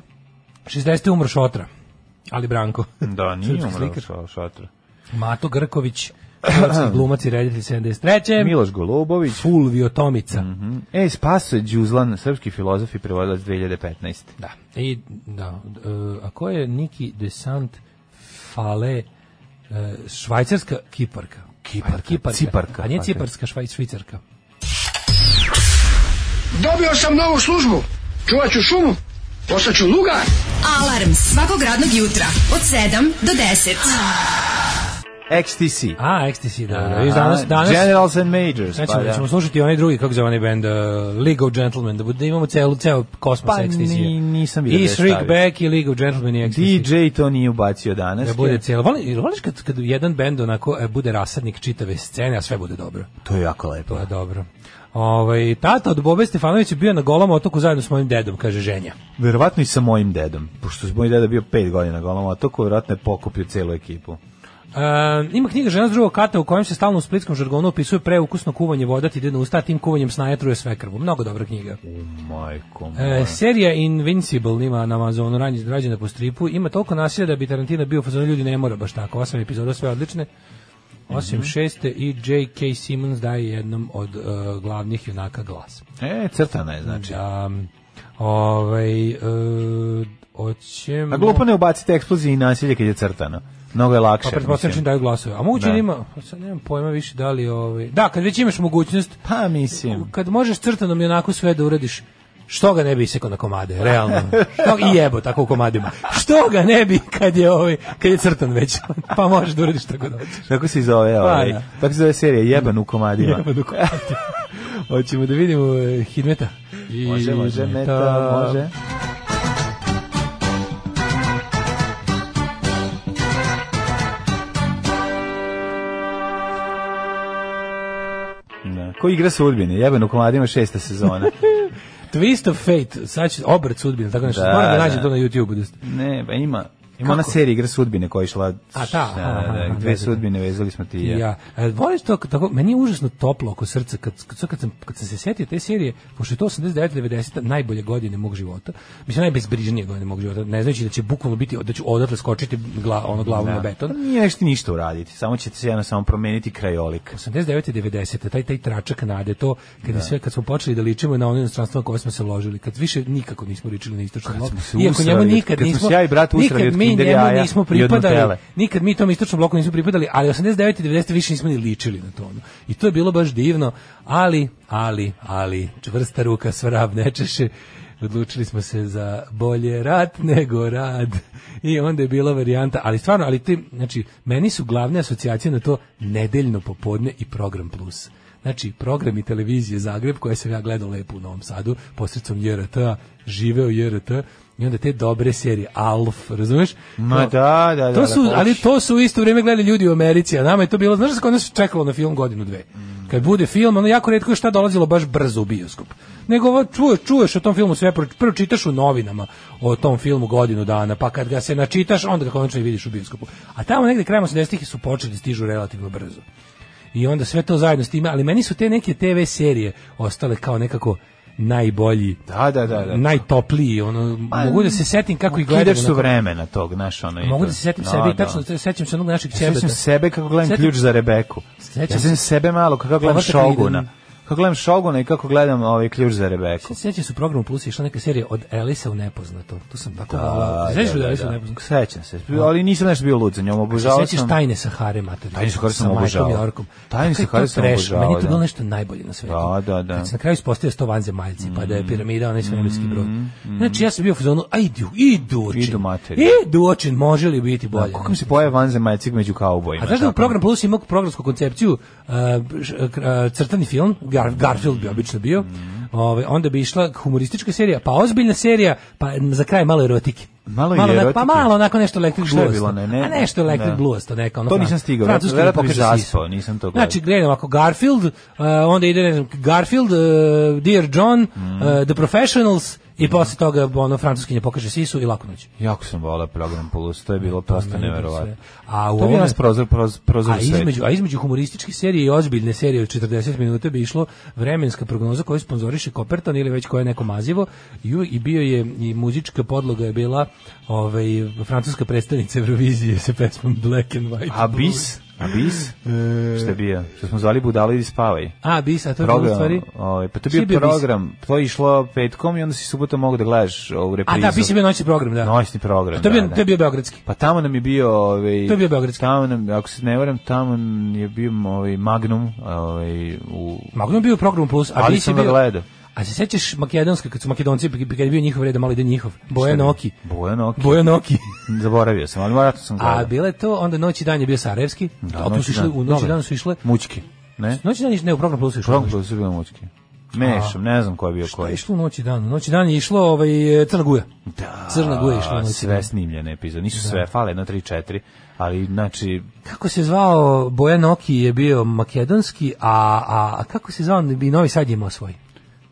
Speaker 6: 60. umro Šotra. Ali Branko.
Speaker 7: Da, nije
Speaker 6: Srpski
Speaker 7: umrlo
Speaker 6: slikar.
Speaker 7: šo, šatra.
Speaker 6: Mato Grković, hrvatski glumac i reditelj 73.
Speaker 7: Miloš Golubović.
Speaker 6: Fulvio Tomica.
Speaker 7: Mhm. E, Spaso Đuzlan, srpski filozof i prevodilac 2015.
Speaker 6: Da. I, da. e, a ko je Niki Desant Fale e, švajcarska kiparka?
Speaker 7: Kiparka,
Speaker 6: Pa, kiparka.
Speaker 7: ciparka.
Speaker 6: A nije
Speaker 7: Pa,
Speaker 6: ciparska, švaj, švicarka.
Speaker 9: Dobio sam novu službu. Čuvat ću šumu. Postaću lugar.
Speaker 5: Alarm svakog radnog jutra od 7 do 10.
Speaker 7: XTC.
Speaker 6: A, Ecstasy, da. da. Još danas, danas,
Speaker 7: Generals and Majors.
Speaker 6: Znači,
Speaker 7: pa da.
Speaker 6: ćemo slušati onaj drugi, kako zove onaj band, uh, League of Gentlemen, da, bude, da imamo celu, ceo kosmos
Speaker 7: Pa,
Speaker 6: Ecstasy-a.
Speaker 7: ni- nisam vidio da
Speaker 6: I
Speaker 7: je
Speaker 6: Shriek
Speaker 7: stavio.
Speaker 6: Back i League of Gentlemen i Ecstasy.
Speaker 7: DJ to nije ubacio danas.
Speaker 6: Da bude cijelo. Voli, voliš kad, kad jedan bend onako e, bude rasadnik čitave scene, a sve bude dobro.
Speaker 7: To je jako lepo.
Speaker 6: To je dobro. Ovaj, tata od Bobe Stefanovića bio na golom otoku zajedno s mojim dedom, kaže ženja.
Speaker 7: Verovatno i sa mojim dedom, pošto je moj deda bio pet godina na golom otoku, verovatno je pokupio celu ekipu.
Speaker 6: E, ima knjiga Žena s drugog kata u kojem se stalno u splitskom žargonu opisuje preukusno kuvanje voda ti ide na usta, a tim kuvanjem snaje truje sve krvu. Mnogo dobra knjiga.
Speaker 7: Majko moja.
Speaker 6: E, serija Invincible ima na Amazonu ranj- rađena po stripu. Ima toliko nasilja da bi Tarantino bio fazon ljudi ne mora baš tako. Osam epizoda sve odlične. Osim
Speaker 7: Mhm.
Speaker 6: šeste i J.K. Simmons daje jednom od e, glavnih junaka glas.
Speaker 7: E, crtana je, znači.
Speaker 6: Da, ovaj, e, hoćemo...
Speaker 7: A glupo ne ubacite eksplozije i nasilje kad je crtano. Mnogo je lakše.
Speaker 6: Pa pretpostavljam čim
Speaker 7: mislim.
Speaker 6: daju glasove. A moguće
Speaker 7: Da.
Speaker 6: da. ima, pa sad nemam pojma više da li ovaj... Da, kad već imaš mogućnost,
Speaker 7: Pa mislim.
Speaker 6: kad možeš crtanom i onako sve da uradiš, što ga ne bi isekao na komade, realno. Što ga- i jebo tako u komadima. Što ga ne bi kad je ovaj, kad je crtan već, pa možeš da uradiš što god hoćeš.
Speaker 7: Kako se zove ovaj?
Speaker 6: Pa da.
Speaker 7: Tako se zove serija, jeban u komadima.
Speaker 6: Jebo Pa do komade. Hoćemo da vidimo eh, Hidmeta.
Speaker 7: Može, može,
Speaker 6: Hidmeta.
Speaker 7: meta, može. Da. Ko igra sudbine? Jebeno komadima šesta sezona.
Speaker 6: Twist of Fate, sad će obrt sudbine, tako nešto.
Speaker 7: Da,
Speaker 6: Moram da
Speaker 7: da.
Speaker 6: nađem to na YouTube-u. da ste-
Speaker 7: ne, pa ima. Ima ona serija igra sudbine koja je išla...
Speaker 6: A, ta,
Speaker 7: Da,
Speaker 6: aha,
Speaker 7: da,
Speaker 6: aha,
Speaker 7: dve
Speaker 6: vezano.
Speaker 7: sudbine vezali smo ti i
Speaker 6: Ja.
Speaker 7: ja.
Speaker 6: ja. E, voliš to kad tako, meni je užasno toplo oko srca kad, kad, kad, sam, kad sam se setio te serije, pošto je to 89 90 najbolje godine mog života. Mislim najbezbrižnije godine mog života. Ne znajući da će bukvalno biti da ću odatle skočiti gla, ono glavom na
Speaker 7: Pa
Speaker 6: beton.
Speaker 7: Nije nešto ništa uraditi, samo ćete se jedno samo promeniti krajolik.
Speaker 6: 89 i 90 taj taj tračak nade to kad je sve kad smo počeli da ličimo na ono inostranstvo na koje smo se ložili kad više nikako nismo ličili na istočno bloku
Speaker 7: smo se
Speaker 6: iako njemu
Speaker 7: usrali od-
Speaker 6: nikad
Speaker 7: kad smo
Speaker 6: nismo
Speaker 7: se ja i brat usrali
Speaker 6: nikad
Speaker 7: od
Speaker 6: mi
Speaker 7: Kinder
Speaker 6: njemu
Speaker 7: jaja
Speaker 6: nismo
Speaker 7: i od
Speaker 6: pripadali
Speaker 7: Nutelle.
Speaker 6: nikad mi tom istočnom bloku nismo pripadali, ali 89 i 90 više nismo ni ličili na to. ono. I to je bilo baš divno, ali, ali, ali, čvrsta ruka svarav ne češe, odlučili smo se za bolje rat nego rad. I onda je bila varijanta, ali stvarno, ali ti, znači, meni su glavne asocijacije na to nedeljno popodne i program plus. Znači, program i televizije Zagreb, koje sam ja gledao lepo u Novom Sadu, posredstvom JRT-a, živeo JRT, i onda te dobre serije, Alf, razumeš?
Speaker 7: Ma
Speaker 6: To-
Speaker 7: da, da, da.
Speaker 6: to
Speaker 7: da,
Speaker 6: su,
Speaker 7: hoće.
Speaker 6: ali to su u isto vrijeme gledali ljudi u Americi, a nama je to bilo, znaš kako nas čekalo na film godinu dve. Kad bude film, ono jako retko je šta dolazilo baš brzo u bioskop. Nego ovo čuješ, čuješ o tom filmu sve, pro- prvo čitaš u novinama o tom filmu godinu dana, pa kad ga se načitaš, onda ga konačno i vidiš u bioskopu. A tamo negde krajem 80-ih su počeli da stižu relativno brzo. I onda sve to zajedno s time, ali meni su te neke TV serije ostale kao nekako najbolji,
Speaker 7: Da, da, da, da.
Speaker 6: najtopliji, ono, mogu da se setim kako ih gledam.
Speaker 7: Kidaš su
Speaker 6: onako.
Speaker 7: vremena tog, znaš, ono. i
Speaker 6: Mogu
Speaker 7: to.
Speaker 6: da se setim
Speaker 7: Da,
Speaker 6: sebe, i
Speaker 7: da.
Speaker 6: tačno se sećam se onog našeg
Speaker 7: Sećam
Speaker 6: ćebeta.
Speaker 7: sebe kako gledam
Speaker 6: Sećam-
Speaker 7: ključ za Rebeku.
Speaker 6: Sećam
Speaker 7: ja sećam
Speaker 6: se-
Speaker 7: sebe malo kako gledam
Speaker 6: Povratak na
Speaker 7: Šoguna.
Speaker 6: Eden.
Speaker 7: Kako gledam Šoguna i kako gledam ovaj ključ za Rebeku.
Speaker 6: Sećam se u programu Plus išla neka serija od Elisa u nepoznato. Tu sam tako volao.
Speaker 7: Da,
Speaker 6: Sećaš
Speaker 7: da,
Speaker 6: se da
Speaker 7: da,
Speaker 6: Elisa u
Speaker 7: da.
Speaker 6: nepoznato?
Speaker 7: Sećam se, ali nisam nešto bio lud za njom, obožavao sam.
Speaker 6: Se sećaš tajne Sahare materije.
Speaker 7: Tajne Sahare sam obožavao. Tajne
Speaker 6: Tajne Sahare
Speaker 7: Sahare sam obožavao,
Speaker 6: Meni je to
Speaker 7: da.
Speaker 6: bilo nešto najbolje na svetu.
Speaker 7: Da, da, Mm, da.
Speaker 6: Kad se na kraju ispostavio sto vanzemaljci, pa da je piramida onaj svemirski brod. Znači ja sam bio u fazonu, a idu, idu očin.
Speaker 7: mm. Idu materije.
Speaker 6: Idu očin, može li biti bolje?
Speaker 7: Kako mi se pojave vanzemaljcik među
Speaker 6: A
Speaker 7: kaubojima?
Speaker 6: Pa znaš da u
Speaker 7: tako?
Speaker 6: program Plus ima programsku koncepciju uh, š- uh, crtani film, Gar- Garfield bi obično bio,
Speaker 7: Mhm.
Speaker 6: ovaj, onda bi išla humoristička serija, pa ozbiljna serija, pa za kraj malo erotike.
Speaker 7: Malo i
Speaker 6: onako-
Speaker 7: erotike.
Speaker 6: Pa malo onako nešto electric
Speaker 7: Šta je
Speaker 6: blues.
Speaker 7: bilo, ne, ne?
Speaker 6: A nešto electric
Speaker 7: Da.
Speaker 6: blues, to neka. Ono
Speaker 7: To
Speaker 6: fran-
Speaker 7: nisam stigao,
Speaker 6: francuski
Speaker 7: verovatno bi
Speaker 6: lepokača sisa.
Speaker 7: zaspao, nisam to gledao.
Speaker 6: Znači, gledam ako Garfield, uh, onda ide ne znam, Garfield, uh, Dear John,
Speaker 7: Mhm.
Speaker 6: uh, The Professionals, i posle toga ono francuskinja pokaže sisu i laku noć.
Speaker 7: Jako sam volao program Plus, to je bilo prosto
Speaker 6: meni je bilo
Speaker 7: neverovatno.
Speaker 6: sve. A u
Speaker 7: To je bio
Speaker 6: ovome-
Speaker 7: nas prozor, prozor, prozor
Speaker 6: A između, a između humorističke serije i ozbiljne serije od 40 minuta bi išlo vremenska prognoza koju sponzoriše Koperton ili već koje neko mazivo i, u- i bio je i muzička podloga je bila ovaj, francuska predstavnica Eurovizije sa pesmom Black and White.
Speaker 7: Abis? Abis? Šta je bio? Što smo zvali Budalo idi spavaj.
Speaker 6: Abis, a to je bilo u
Speaker 7: Program,
Speaker 6: stvari...
Speaker 7: ovaj, pa to
Speaker 6: Šta
Speaker 7: je
Speaker 6: je bio
Speaker 7: bio
Speaker 6: Bis?
Speaker 7: program, to je išlo petkom i onda si subotom mogu da gledaš ovu
Speaker 6: A
Speaker 7: reprizu.
Speaker 6: da, Abis je bio noćni program, da.
Speaker 7: Noćni program,
Speaker 6: To je bio,
Speaker 7: da, da.
Speaker 6: to je bio beogradski.
Speaker 7: Pa tamo nam je bio... Ovaj,
Speaker 6: To je bio Beogradski.
Speaker 7: Tamo nam, ako se ne varam, tamo je bio ovaj, Magnum ovaj, u...
Speaker 6: Magnum je bio u programu plus, a
Speaker 7: Ali
Speaker 6: Abis je
Speaker 7: sam ga
Speaker 6: bio...
Speaker 7: gledao.
Speaker 6: A se sećaš makedonske, kad su makedonci, kad je bio njihov red, malo ide njihov, Bojan
Speaker 7: je?
Speaker 6: Oki.
Speaker 7: Bojan Oki.
Speaker 6: Bojan Oki.
Speaker 7: Zaboravio sam, ali vratno sam
Speaker 6: A
Speaker 7: gledao.
Speaker 6: bile to, onda noć i dan je bio Sarajevski, da,
Speaker 7: noć
Speaker 6: su
Speaker 7: i
Speaker 6: išle,
Speaker 7: dan.
Speaker 6: u noć i
Speaker 7: Dobre.
Speaker 6: dan su išle,
Speaker 7: Mućki, ne?
Speaker 6: noć i dan, je- ne, u program plusu išlo.
Speaker 7: Program koji su bile mućke. Mešam, ne znam ko je bio
Speaker 6: Pa
Speaker 7: koji.
Speaker 6: išlo u noć i dan, u noć i dan je išlo ovaj, e, Crna Guja. Da. Crna Guja je išla u
Speaker 7: A,
Speaker 6: noć i dan.
Speaker 7: sve snimljene epizode, nisu sve, fale jedno, tri, četiri, ali znači,
Speaker 6: Kako se zvao Bojan Oki je bio makedonski, a, a, a kako se zvao, bi Novi Sad je imao svoj.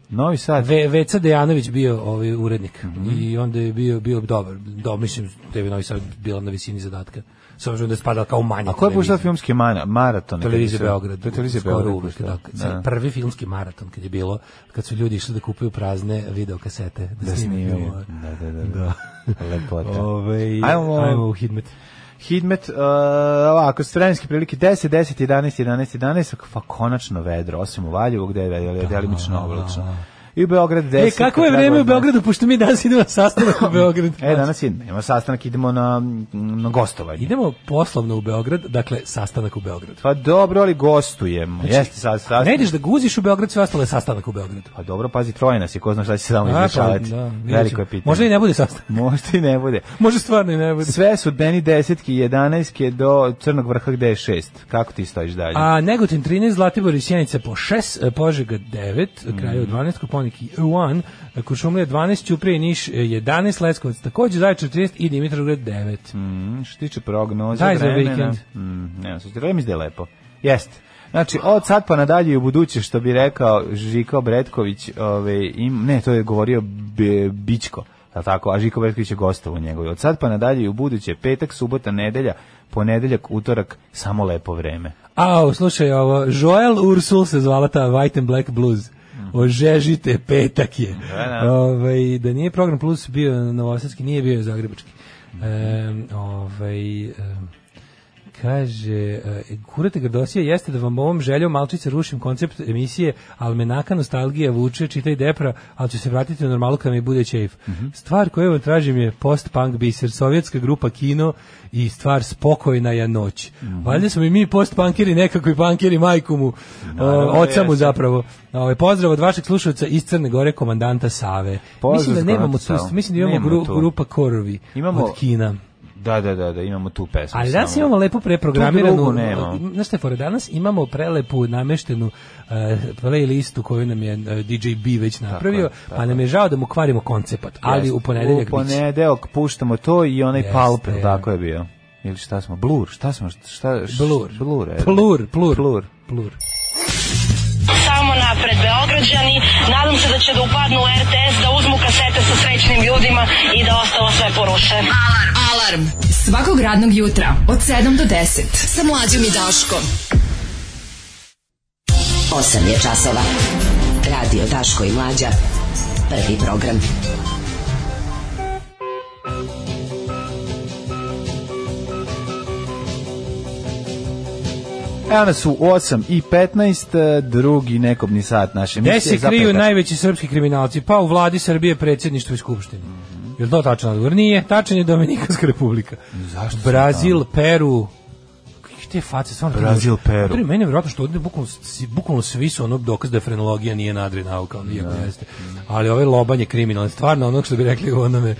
Speaker 7: Novi Sad,
Speaker 6: Ve, Veca Dejanović bio ovaj urednik
Speaker 7: Mhm.
Speaker 6: i onda je bio bio dobar. Do, mislim, TV Novi Sad bila na visini zadatka. S obzirom da je spadala kao manje.
Speaker 7: A ko Pa je puštao filmske mana, maratone?
Speaker 6: Televizija
Speaker 7: Kad su-
Speaker 6: Beograd.
Speaker 7: To je televizija
Speaker 6: skoro
Speaker 7: Beograd.
Speaker 6: uvek,
Speaker 7: puštala.
Speaker 6: da. Sad, Prvi filmski maraton kad je bilo, kad su ljudi išli da kupuju prazne videokasete. Da, snime
Speaker 7: Da snimamo.
Speaker 6: filmove.
Speaker 7: Da, da, da. da. Lepota.
Speaker 6: Ovaj,
Speaker 7: Ajmo,
Speaker 6: ajmo,
Speaker 7: ajmo
Speaker 6: u Hidmet.
Speaker 7: Hidmet, uh, ovako, su vremenske prilike 10, 10, 11, 11, 11, pa konačno vedro, osim u Valjevu gde je vedro, delimično oblačno. I u Beograd 10.
Speaker 6: E, kako je
Speaker 7: kad
Speaker 6: vreme u
Speaker 7: Beograd-
Speaker 6: Beogradu, pošto mi danas idemo na sastanak u Beogradu.
Speaker 7: E, danas idemo, imamo sastanak, idemo na, na gostovanje.
Speaker 6: Idemo poslovno u Beograd, dakle, sastanak u Beogradu.
Speaker 7: Pa dobro, ali gostujem. Jeste sad sastanak.
Speaker 6: Znači, Ne ideš da guziš u Beograd, sve ostalo je sastanak u Beogradu.
Speaker 7: Pa dobro, pazi, troje nas je, ko zna šta će se tamo
Speaker 6: A, pa,
Speaker 7: izrešavati.
Speaker 6: da, vidjet
Speaker 7: Veliko
Speaker 6: ćemo.
Speaker 7: je pitanje.
Speaker 6: Možda i ne bude sastanak.
Speaker 7: Možda i ne bude.
Speaker 6: Može stvarno i ne bude.
Speaker 7: Sve su deni desetki, jedanajske do crnog vrha gde je šest. Kako ti stojiš dalje?
Speaker 6: A Negotin 13, Zlatibor i Sjenica po 6, eh, Požega 9,
Speaker 7: Mhm.
Speaker 6: mm. Kraljevo 12, Koponik 1, eh, Kuršumlija 12, Ćuprije i Niš eh, 11, Leskovac takođe, Zaječar 13 i Dimitrovgrad 9.
Speaker 7: Mm, što se tiče prognoze
Speaker 6: Daj za
Speaker 7: vremena,
Speaker 6: vikend.
Speaker 7: mm, ne, sad vreme izde je lepo. Jeste. Znači, od sad pa nadalje i u buduće, što bi rekao Žiko Bretković, ove, im, ne, to je govorio Be- Bićko, je li tako, a Žiko Bretković je gostavo u njegovi. Od sad pa nadalje i u buduće, petak, subota, nedelja, ponedeljak, utorak, samo lepo vreme.
Speaker 6: Au, slušaj ovo, Joel Ursul se zvala ta White and Black Blues. Ožežite, petak je.
Speaker 7: Mhm. Da, da.
Speaker 6: Ovaj, da nije program plus bio novosadski, nije bio zagrebački.
Speaker 7: Mhm.
Speaker 6: E, ovaj, e, kaže, e, kurate grdosije, jeste da vam ovom željom malčice rušim koncept emisije Almenaka nostalgija vuče, čitaj depra, ali ću se vratiti u normalu kada mi bude čeif.
Speaker 7: Mhm.
Speaker 6: Stvar koju vam tražim je post-punk biser, sovjetska grupa kino i stvar spokojna je noć.
Speaker 7: Mhm.
Speaker 6: Valjda smo i mi post-punkiri nekako i punkiri majku mu, o, oca mu
Speaker 7: jeste.
Speaker 6: zapravo. Ovaj, pozdrav od vašeg slušalca iz Crne Gore, komandanta Save.
Speaker 7: Pozdrav
Speaker 6: mislim da
Speaker 7: za komandanta
Speaker 6: nemamo tu,
Speaker 7: Savu.
Speaker 6: mislim da imamo
Speaker 7: Nemamo
Speaker 6: gru,
Speaker 7: tu.
Speaker 6: grupa Korovi
Speaker 7: Imamo-
Speaker 6: od Kina.
Speaker 7: Da, da, da, da, imamo tu pesmu.
Speaker 6: Ali danas
Speaker 7: samo.
Speaker 6: imamo lepo
Speaker 7: Tu
Speaker 6: preprogramiranu,
Speaker 7: drugu nemamo.
Speaker 6: znaš šta je fora, danas imamo prelepu nameštenu uh, playlistu koju nam je eh, DJ B već napravio, pa nam je žao da mu kvarimo koncept, ali
Speaker 7: Jeste.
Speaker 6: u ponedeljak
Speaker 7: u
Speaker 6: biće.
Speaker 7: ponedeljak puštamo to i onaj
Speaker 6: Jeste.
Speaker 7: palp tako je bio ili šta smo blur šta smo šta š-
Speaker 6: Blur.
Speaker 7: blur e.
Speaker 6: Plur, plur,
Speaker 7: Plur.
Speaker 6: plur.
Speaker 3: Samo napred Beograđani, nadam se da će da upadnu u RTS, da uzmu kasete sa srećnim ljudima i da ostalo sve poruše.
Speaker 5: Alarm. Alarm. Svakog radnog jutra od 7 do 10. Sa mlađom i Daškom.
Speaker 10: 8 je časova. Radio Daško i Mlađa. Prvi program.
Speaker 7: evo nas u 8 i 15 e, drugi nekobni sat naše
Speaker 6: Gde
Speaker 7: emisije
Speaker 6: se kriju
Speaker 7: Zapravo,
Speaker 6: najveći srpski kriminalci? Pa u vladi Srbije, predsjedništvo i skupštini. Je li to tačan odgovor? Nije, tačan je Dominikanska republika.
Speaker 7: Zašto sam
Speaker 6: Brazil, Peru, Kakve te face stvarno
Speaker 7: Brazil, Peru.
Speaker 6: Tri, meni je vjerojatno što ovdje bukvalno, s- bukvalno svi su ono dokaz da frenologija nije nadrinauka, ono iako jeste. Ali ove lobanje kriminalne, stvarno ono što bi rekli u onome,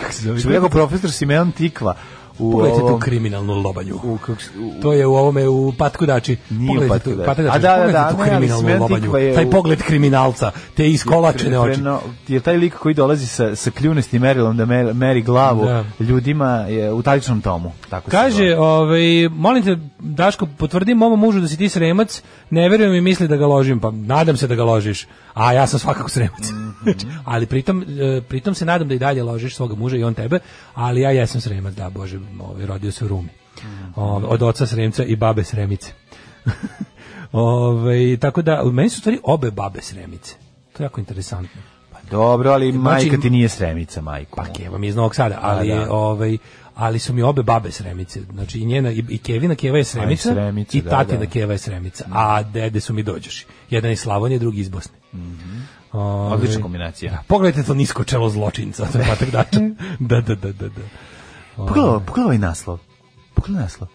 Speaker 6: kako se zove?
Speaker 7: što bi rekao profesor Simeon Tikva u
Speaker 6: Pogledajte tu
Speaker 7: ovom-
Speaker 6: kriminalnu lobanju.
Speaker 7: u kak- u-
Speaker 6: To je u ovome u Patkudači.
Speaker 7: Nije u
Speaker 6: Pogledajte tu,
Speaker 7: Patkudači.
Speaker 6: Patkudači.
Speaker 7: A da, da,
Speaker 6: Pogledajte
Speaker 7: da,
Speaker 6: tu
Speaker 7: ne, ali
Speaker 6: kriminalnu
Speaker 7: Sven
Speaker 6: lobanju.
Speaker 7: Tikva je
Speaker 6: Taj
Speaker 7: u-
Speaker 6: pogled kriminalca, te iskolačene oči.
Speaker 7: Freno- je taj lik koji dolazi sa, sa kljunesti merilom da mer- meri glavu
Speaker 6: Da.
Speaker 7: ljudima je u taličnom tomu. Tako se
Speaker 6: Kaže,
Speaker 7: zove.
Speaker 6: ovaj, molim te, Daško, potvrdi mom mužu da si ti sremac, ne verujem i misli da ga ložim, pa nadam se da ga ložiš, a ja sam svakako sremac.
Speaker 7: Mhm.
Speaker 6: ali pritom, e, pritom se nadam da i dalje ložiš svoga muža i on tebe, ali ja jesam sremac, da, Bože, ovaj, rodio se u Rumi.
Speaker 7: Mhm.
Speaker 6: Ovaj, od oca sremca i babe sremice. Ovaj, tako da, meni su u stvari obe babe sremice. To je jako interesantno.
Speaker 7: Pa dobro, ali majka ti nije sremica, majko.
Speaker 6: Pa Keva mi Znači, je iz Novog Sada, ali
Speaker 7: A,
Speaker 6: je,
Speaker 7: da.
Speaker 6: ovaj ali su mi obe babe sremice. Znači i njena i, i Kevina Keva je sremica,
Speaker 7: A, i sremica,
Speaker 6: i
Speaker 7: da,
Speaker 6: tatina
Speaker 7: da. Mm.
Speaker 6: Keva je sremica, a dede su mi dođoši. Jedan iz Slavonije, drugi iz Bosne.
Speaker 7: Mhm.
Speaker 6: Ovaj,
Speaker 7: Odlična kombinacija.
Speaker 6: Da, pogledajte to nisko čelo zločinca, to je patak dača. da, da, da, da, da.
Speaker 7: Pogledaj, pogledaj ovaj naslov. Pogledaj naslov.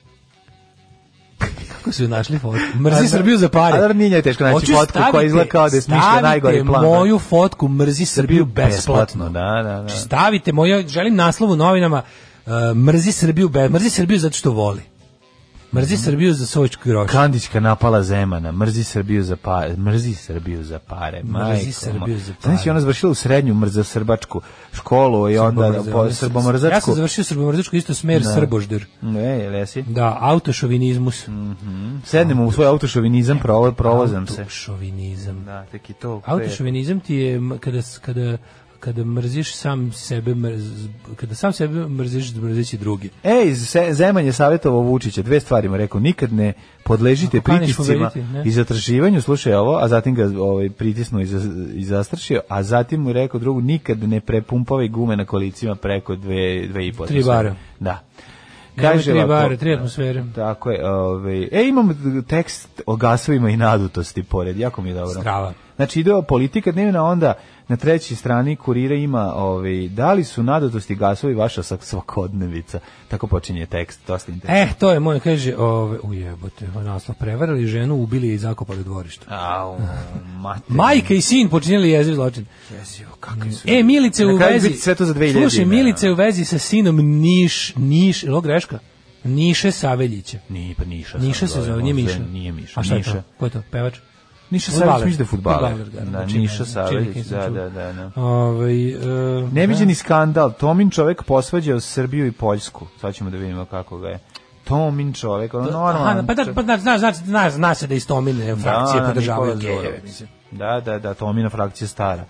Speaker 6: Kako su ju našli fotku? Mrzi Srbiju za pare.
Speaker 7: Ali nije teško naći
Speaker 6: Hoću
Speaker 7: fotku koja
Speaker 6: stavite-
Speaker 7: izgleda kao da je smišlja najgori
Speaker 6: stavite
Speaker 7: plan.
Speaker 6: moju fotku mrzi Srbiju besplatno.
Speaker 7: besplatno, da, da, da.
Speaker 6: Znači, Stavite moju, želim naslov u novinama uh, mrzi Srbiju, be, mrzi Srbiju zato što voli. Mrzi
Speaker 7: Mhm.
Speaker 6: Srbiju za sovičku grošu.
Speaker 7: Kandićka napala Zemana, mrzi Srbiju za pare, mrzi Srbiju za pare, majko
Speaker 6: Srbiju
Speaker 7: moja.
Speaker 6: za pare.
Speaker 7: Znaš, i ona završila u srednju mrza srbačku školu i onda
Speaker 6: Srbomrzač.
Speaker 7: po, srbomrzačku.
Speaker 6: Ja sam završio srbomrzačku isto smer srbožder.
Speaker 7: Ne, jel jesi?
Speaker 6: Da, autošovinizmus.
Speaker 7: Mhm. Sednemo u svoj
Speaker 6: E,
Speaker 7: autošovinizam, provo, provozam se.
Speaker 6: Autošovinizam.
Speaker 7: Da, tek i to.
Speaker 6: Autošovinizam ti je m- kada, s- kada, kada mrziš sam sebe, mrz, kada sam sebe mrziš mrzeći druge.
Speaker 7: Ej, E, Se- Zeman je savjetovao Vučića, dve stvari mu rekao, nikad ne podležite
Speaker 6: Ako kaniš
Speaker 7: pritiscima
Speaker 6: pobediti, pa ne.
Speaker 7: i zatraživanju, slušaj ovo, a zatim ga ovaj, pritisnuo i, za, i zastrašio, a zatim mu je rekao drugu, nikad ne prepumpovaj gume na kolicima preko dve, dve i po.
Speaker 6: Tri bara.
Speaker 7: Da.
Speaker 6: Kaže tri
Speaker 7: ovako-
Speaker 6: bare, tri atmosfere.
Speaker 7: Tako je. Ovaj, e, imam tekst o gasovima i nadutosti pored, jako mi je dobro.
Speaker 6: Strava.
Speaker 7: Znači ide o politika dnevna, onda na trećoj strani kurira ima ovaj, da li su nadutosti gasovi vaša sak- svakodnevica. Tako počinje tekst, dosta interesantno.
Speaker 6: Eh, to je moj, kaže, ove, ujebote, naslov, prevarali ženu, ubili je i zakopali u dvorištu.
Speaker 7: Au, mate.
Speaker 6: Majka i sin počinili jeziv zločin.
Speaker 7: Jezio, kakvi su.
Speaker 6: E, Milice
Speaker 7: Na
Speaker 6: u
Speaker 7: kraju
Speaker 6: vezi...
Speaker 7: biti sve to za 2000
Speaker 6: Slušaj,
Speaker 7: imena.
Speaker 6: Milice u vezi sa sinom Niš, Niš, ili ovo greška? Niše Saveljića.
Speaker 7: Nije, pa Niša.
Speaker 6: Niša se
Speaker 7: zove,
Speaker 6: zove, nije
Speaker 7: možda
Speaker 6: Miša.
Speaker 7: Nije Miša.
Speaker 6: A šta je
Speaker 7: Niša.
Speaker 6: to? Ko je to? Pevač?
Speaker 7: Niša
Speaker 6: Fudbaler.
Speaker 7: Savjeć, mislim da je fudbaler.
Speaker 6: Fudbaler, da,
Speaker 7: Da,
Speaker 6: znači,
Speaker 7: Niša
Speaker 6: ne, čini
Speaker 7: Savjeć,
Speaker 6: mi se da
Speaker 7: da,
Speaker 6: sam čuo.
Speaker 7: da, da. da.
Speaker 6: Ovaj, e,
Speaker 7: Neviđeni skandal. Tomin čovek posvađao Srbiju i Poljsku. Sad ćemo da vidimo kako ga je. Tomin čovek, ono normalno.
Speaker 6: Aha, pa da, pa da, znaš, znaš, znaš, znaš se da iz Tomine frakcije
Speaker 7: da,
Speaker 6: podržavaju
Speaker 7: Nikola
Speaker 6: gejeve,
Speaker 7: Đorović.
Speaker 6: mislim.
Speaker 7: Da, da, da, Tomina frakcija stara.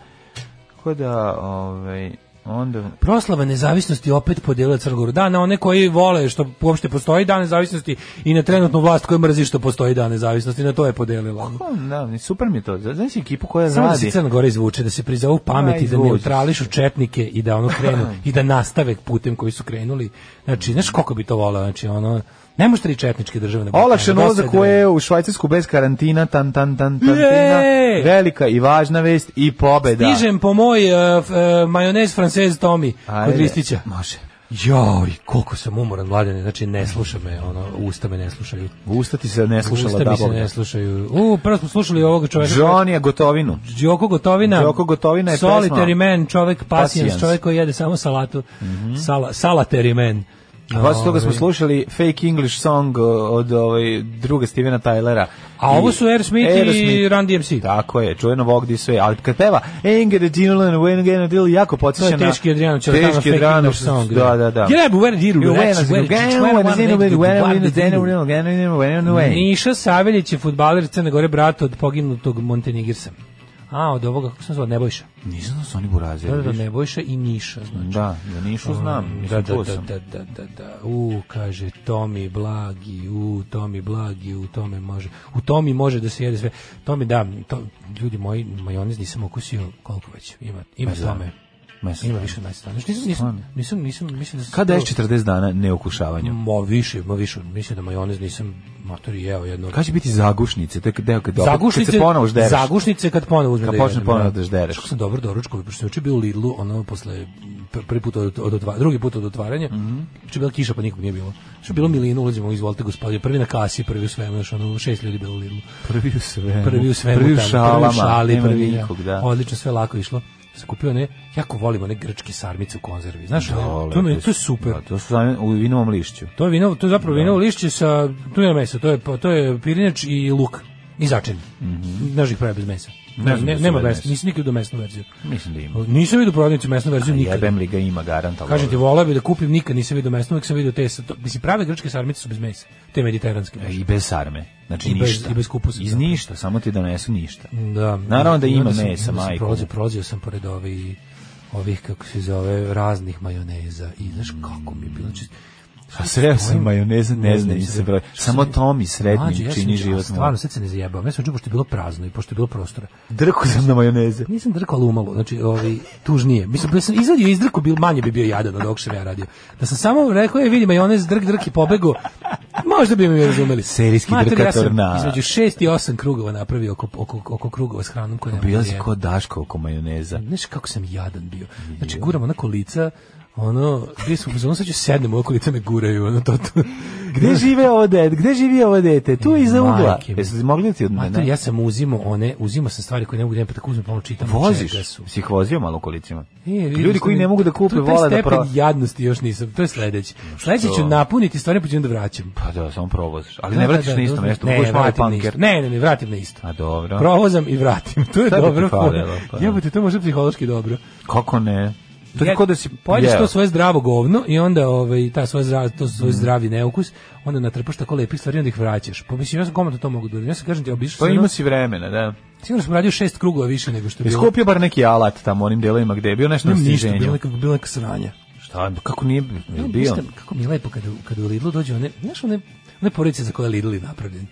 Speaker 7: Tako da, ovaj, onda...
Speaker 6: Proslava nezavisnosti opet podijela Crnogoru. Da, na one koji vole što uopšte postoji dan nezavisnosti i na trenutnu vlast koja mrzi što postoji dan nezavisnosti, na to je podelila. ono.
Speaker 7: Pa, Da, ni super mi je to. Znaš ekipu koja
Speaker 6: Samo da se
Speaker 7: radi.
Speaker 6: Crna Gora izvuče, da se prizovu
Speaker 7: Aj,
Speaker 6: pameti, da
Speaker 7: izvuči
Speaker 6: neutrališu četnike i da ono krenu, i da nastave putem koji su krenuli. Znači, znaš koliko bi to volao, znači ono, ne može tri četničke države na Balkanu,
Speaker 7: Olakšan
Speaker 6: dosta
Speaker 7: ulazak
Speaker 6: je
Speaker 7: u EU u Švajcarsku bez karantina, tan tan tan tan
Speaker 6: Jej!
Speaker 7: Velika i važna vest i pobeda.
Speaker 6: Stižem po moj uh, f- uh, majonez francez Tomi kod
Speaker 7: Ajde.
Speaker 6: Ristića.
Speaker 7: Može.
Speaker 6: Joj, koliko sam umoran, mladene, znači ne sluša me, ono, usta me ne slušaju.
Speaker 7: Ustati se ne slušala
Speaker 6: usta
Speaker 7: da
Speaker 6: mi se ne slušaju. U, prvo smo slušali ovoga čoveka.
Speaker 7: Johnny Gotovinu.
Speaker 6: Đoko Gotovina.
Speaker 7: Đoko Gotovina je
Speaker 6: Solitary
Speaker 7: pesma.
Speaker 6: man, čovjek pasijans,
Speaker 7: Pasijans.
Speaker 6: čovjek koji jede samo salatu. Sala, salatary man.
Speaker 7: A Posle toga smo
Speaker 6: Ovaj.
Speaker 7: slušali fake English song uh, od ovaj druga Stevena Tylera.
Speaker 6: A
Speaker 7: I-
Speaker 6: ovo su Aerosmith i
Speaker 7: Aerosmith.
Speaker 6: Run DMC.
Speaker 7: Tako je, čujeno Walk This Way, ali kad peva Ain't gonna deal and when gonna deal, jako podsjeća
Speaker 6: To je
Speaker 7: na...
Speaker 6: teški Adriano Celentano,
Speaker 7: Teški
Speaker 6: fake
Speaker 7: Adriano,
Speaker 6: English song.
Speaker 7: da, da, da.
Speaker 6: Grab, where did you
Speaker 7: You went,
Speaker 6: relax, where did you- where did you-
Speaker 7: you went, when
Speaker 6: where
Speaker 7: is
Speaker 6: did
Speaker 7: it,
Speaker 6: you-
Speaker 7: when is it, when is it, when is it?
Speaker 6: Niša Saveljić je futbaler Crne Gore, brat od poginutog Montenegirsa. A, od ovoga, kako sam zvao, Nebojša.
Speaker 7: Nisam znao da su oni burazili.
Speaker 6: Da, da, da,
Speaker 7: vidiš.
Speaker 6: Nebojša i Niša, znači.
Speaker 7: Da, za Nišu znam,
Speaker 6: Da,
Speaker 7: mislim,
Speaker 6: da,
Speaker 7: čuo
Speaker 6: da,
Speaker 7: sam.
Speaker 6: da, da, da, da. U, kaže, Tomi blagi, u, Tomi blagi, u tome može, u Tomi može da se jede sve. Tomi, da, to, ljudi moji, majonez nisam okusio koliko već, ima, ima
Speaker 7: Pa da.
Speaker 6: tome.
Speaker 7: Ma, sad.
Speaker 6: Ima više od 20 dana. Znači, Nisam, nisam, nisam, nisam, mislim da sam
Speaker 7: Kada
Speaker 6: to-
Speaker 7: je 40 dana neukušavanja?
Speaker 6: Ma više, ma više, mislim da majonez nisam matori jeo jedno.
Speaker 7: Kada će biti zagušnice? To je deo kad, opet-
Speaker 6: Zagušnice,
Speaker 7: kad se ponovo ždereš.
Speaker 6: zagušnice kad ponovo uzmem
Speaker 7: Kad
Speaker 6: da
Speaker 7: počne
Speaker 6: jedem,
Speaker 7: ponovo
Speaker 6: da.
Speaker 7: da ždereš.
Speaker 6: Što sam dobro doručkovi, pošto sam juče bio u Lidlu, ono posle pr- prvi put od, od, otva- drugi put od otvaranja.
Speaker 7: Mhm.
Speaker 6: Mm je bila kiša, pa nikog nije bilo. Što je bilo milino, ulazimo, izvolite gospodine, prvi na kasi, prvi u svemu, još ono šest ljudi bilo u Lidlu.
Speaker 7: Prvi u svemu.
Speaker 6: Prvi u svemu,
Speaker 7: E, Prvi u
Speaker 6: tamo,
Speaker 7: šalama.
Speaker 6: prvi u šali,
Speaker 7: Nema
Speaker 6: prvi
Speaker 7: nikog, da.
Speaker 6: Odlično, sve lako išlo. Sam kupio ne, jako volim one grčke sarmice u konzervi. Znaš, one,
Speaker 7: O,
Speaker 6: to, mi-
Speaker 7: lepo
Speaker 6: to je
Speaker 7: su.
Speaker 6: super.
Speaker 7: Da, pa to su zame- u vinovom lišću.
Speaker 6: To je vino, to je zapravo vino lišće sa tu je meso, to je pa, to je pirinač i luk i začin. Znaš ih pravi bez mesa. Ne,
Speaker 7: Mhm. znam
Speaker 6: ne-
Speaker 7: da su
Speaker 6: nema
Speaker 7: bez
Speaker 6: mesa,
Speaker 7: mesa.
Speaker 6: nisam nikad do mesnu verziju.
Speaker 7: Mislim da ima.
Speaker 6: Nisam vidio u prodavnici mesnu verziju nikad.
Speaker 7: Jebem li ga ima garant, ali...
Speaker 6: Kažem ti,
Speaker 7: ovo-
Speaker 6: volao bi da kupim, nikad nisam vidio mesnu, uvijek sam vidio te, sa- to, mislim, prave grčke sarmice su bez mesa, te mediteranske.
Speaker 7: I bez sarme. Znači
Speaker 6: I bez-
Speaker 7: ništa.
Speaker 6: i bez kupusa. Mm.
Speaker 7: Iz ništa, samo ti donesu ništa.
Speaker 6: Da.
Speaker 7: Naravno da
Speaker 6: I onda
Speaker 7: ima
Speaker 6: sam-
Speaker 7: mesa,
Speaker 6: onda sam
Speaker 7: majko.
Speaker 6: Prolazio, prolazio sam pored ovih, ovih, kako se zove, raznih majoneza i znaš
Speaker 7: Mm.
Speaker 6: kako mi je bilo. Znači,
Speaker 7: A sreo sam majoneza, ne znam
Speaker 6: znam
Speaker 7: mi
Speaker 6: se
Speaker 7: se broj.
Speaker 6: broj.
Speaker 7: Samo Tomi
Speaker 6: mlađe,
Speaker 7: srednji
Speaker 6: ja sam-
Speaker 7: čini
Speaker 6: a
Speaker 7: život.
Speaker 6: Stvarno, sad se ne zajebavam. Ja sam čuo pošto je bilo prazno i pošto je bilo prostora.
Speaker 7: Drku sam na majoneze.
Speaker 6: Pa Nisam drkao ali umalo, znači ovaj, tužnije. Mislim, da sam izvadio iz drku, bil, manje bi bio jadan od ovog što sam ja radio. Da sam samo rekao, je, vidi, majonez, drk, drk i pobego, možda bi mi razumeli.
Speaker 7: Serijski
Speaker 6: Mater,
Speaker 7: drkator
Speaker 6: ja sam
Speaker 7: na-
Speaker 6: Između šest i osam krugova napravio oko, oko, oko krugova s hranom koja ne mogu
Speaker 7: Bila
Speaker 6: da
Speaker 7: si
Speaker 6: jedem.
Speaker 7: ko Daško oko majoneza.
Speaker 6: Znaš kako sam jadan bio. Znači, guram onako lica, ono, gdje smo, ono sad ću sednem, oko lica me guraju, ono, to, to.
Speaker 7: Gde žive ovo dete? Gde živi ovo dete? Tu iza ugla.
Speaker 6: E, Majke mi.
Speaker 7: Jesi mogli ti od
Speaker 6: Mater,
Speaker 7: mene?
Speaker 6: ja sam uzimo one, uzimo sam stvari koje ne mogu da imam, pa tako uzmem pomoć čitam. čega
Speaker 7: Voziš?
Speaker 6: su.
Speaker 7: Si ih vozio malo u kolicima?
Speaker 6: E, vidiš,
Speaker 7: Ljudi koji
Speaker 6: to mi-
Speaker 7: ne mogu da kupe
Speaker 6: to je taj
Speaker 7: vole da
Speaker 6: stepen
Speaker 7: pro...
Speaker 6: jadnosti još nisam, to je sledeći. Sledeći ću napuniti stvari pa ću onda vraćam.
Speaker 7: Pa da, samo provoziš. Ali
Speaker 6: Da,
Speaker 7: ne
Speaker 6: da,
Speaker 7: vratiš
Speaker 6: da,
Speaker 7: na isto
Speaker 6: dobro.
Speaker 7: mesto,
Speaker 6: Ne,
Speaker 7: kupiš malo
Speaker 6: vratim na isto.
Speaker 7: panker.
Speaker 6: Ne, ne, ne, vratim na isto.
Speaker 7: A dobro.
Speaker 6: Provozam i vratim. To je
Speaker 7: Šta bi ti
Speaker 6: dobro.
Speaker 7: falilo, pa da.
Speaker 6: Jebote, to je možda psihološki dobro.
Speaker 7: Kako ne? To je kao da si
Speaker 6: pojedeš
Speaker 7: jeo.
Speaker 6: to svoje zdravo govno i onda ovaj ta svoje zdravo, to svoj zdravi neukus, onda natrpaš tako lepih stvari i onda ih vraćaš. Pa mislim ja sam komotno to mogu da uradim. Ja sam kažem ti obišao
Speaker 7: Pa
Speaker 6: sam.
Speaker 7: ima
Speaker 6: jedno-
Speaker 7: si vremena, da.
Speaker 6: Sigurno sam radio šest krugova više nego što je
Speaker 7: Je
Speaker 6: bilo.
Speaker 7: skupio bar neki alat tamo onim delovima gde je bio nešto na
Speaker 6: Nemam ništa, bilo
Speaker 7: stiženju.
Speaker 6: nekako bilo neka sranja.
Speaker 7: Šta, kako nije je
Speaker 6: Ne,
Speaker 7: bio?
Speaker 6: ništa, kako mi je lepo kada, kada u Lidlu dođe one, znaš one, one porodice za koje Lidl je napravljen.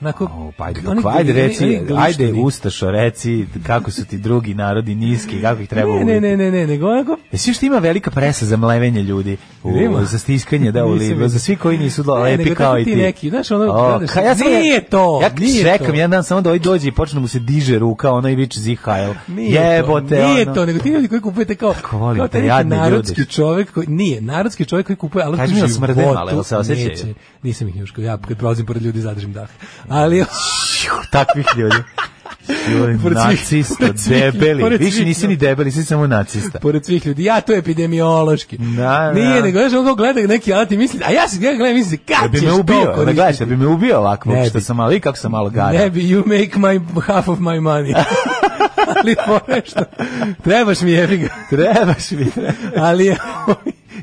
Speaker 6: Onako,
Speaker 7: O, pa ajde,
Speaker 6: oni
Speaker 7: dok, ajde
Speaker 6: glini-
Speaker 7: reci,
Speaker 6: oni glištani.
Speaker 7: ajde Ustašo, reci kako su ti drugi narodi niski, kako ih treba
Speaker 6: Ne,
Speaker 7: uliti.
Speaker 6: ne, ne, ne, ne, nego onako,
Speaker 7: Jesi još ima velika presa za mlevenje ljudi, u,
Speaker 6: Ima.
Speaker 7: za stiskanje, da, u
Speaker 6: Nisam
Speaker 7: libu,
Speaker 6: vidio.
Speaker 7: za svi koji nisu
Speaker 6: Ne,
Speaker 7: lepi
Speaker 6: nego
Speaker 7: kao
Speaker 6: tako
Speaker 7: i ti.
Speaker 6: ti neki, znaš, ono, gledaš,
Speaker 7: ka- ja sam- ono-
Speaker 6: nije to,
Speaker 7: Ja
Speaker 6: nije
Speaker 7: čekam
Speaker 6: to.
Speaker 7: jedan dan samo da ovaj dođe i počne mu se diže ruka, ono i viče zihajl.
Speaker 6: Nije
Speaker 7: Jebote,
Speaker 6: to, nije
Speaker 7: ono.
Speaker 6: to, nego ti ljudi koji kupujete kao,
Speaker 7: Kako volim
Speaker 6: kao
Speaker 7: te
Speaker 6: taj neki
Speaker 7: jadne ljude.
Speaker 6: narodski čovjek koji, nije, narodski čovjek koji kupuje, ali
Speaker 7: Kaži
Speaker 6: u
Speaker 7: mi, jel
Speaker 6: životu
Speaker 7: smrde malo, jel se osjećaju?
Speaker 6: neće. nisam ih njuškao, ja kad prolazim pored ljudi zadržim dah, ali
Speaker 7: takvih ljudi. Ljudi,
Speaker 6: Pored svih-
Speaker 7: Nacista,
Speaker 6: pored svih-
Speaker 7: debeli.
Speaker 6: pored
Speaker 7: Više
Speaker 6: svih
Speaker 7: nisi ni
Speaker 6: ljudi.
Speaker 7: debeli, si samo nacista.
Speaker 6: pored svih ljudi, ja to je epidemiološki.
Speaker 7: Da,
Speaker 6: Nije,
Speaker 7: da.
Speaker 6: nego znaš, on kao gleda neki alat i misli, a ja se ja gledam i mislim,
Speaker 7: Da
Speaker 6: kad
Speaker 7: bi
Speaker 6: ćeš
Speaker 7: me
Speaker 6: to
Speaker 7: ubio, da
Speaker 6: koristiti?
Speaker 7: gledaš, da bi me ubio ovako,
Speaker 6: Ne
Speaker 7: što
Speaker 6: bi.
Speaker 7: sam ali kako sam malo
Speaker 6: Ne
Speaker 7: gara.
Speaker 6: bi, you make my half of my money. ali pošto, trebaš mi jebi ga.
Speaker 7: Trebaš mi, trebaš.
Speaker 6: ali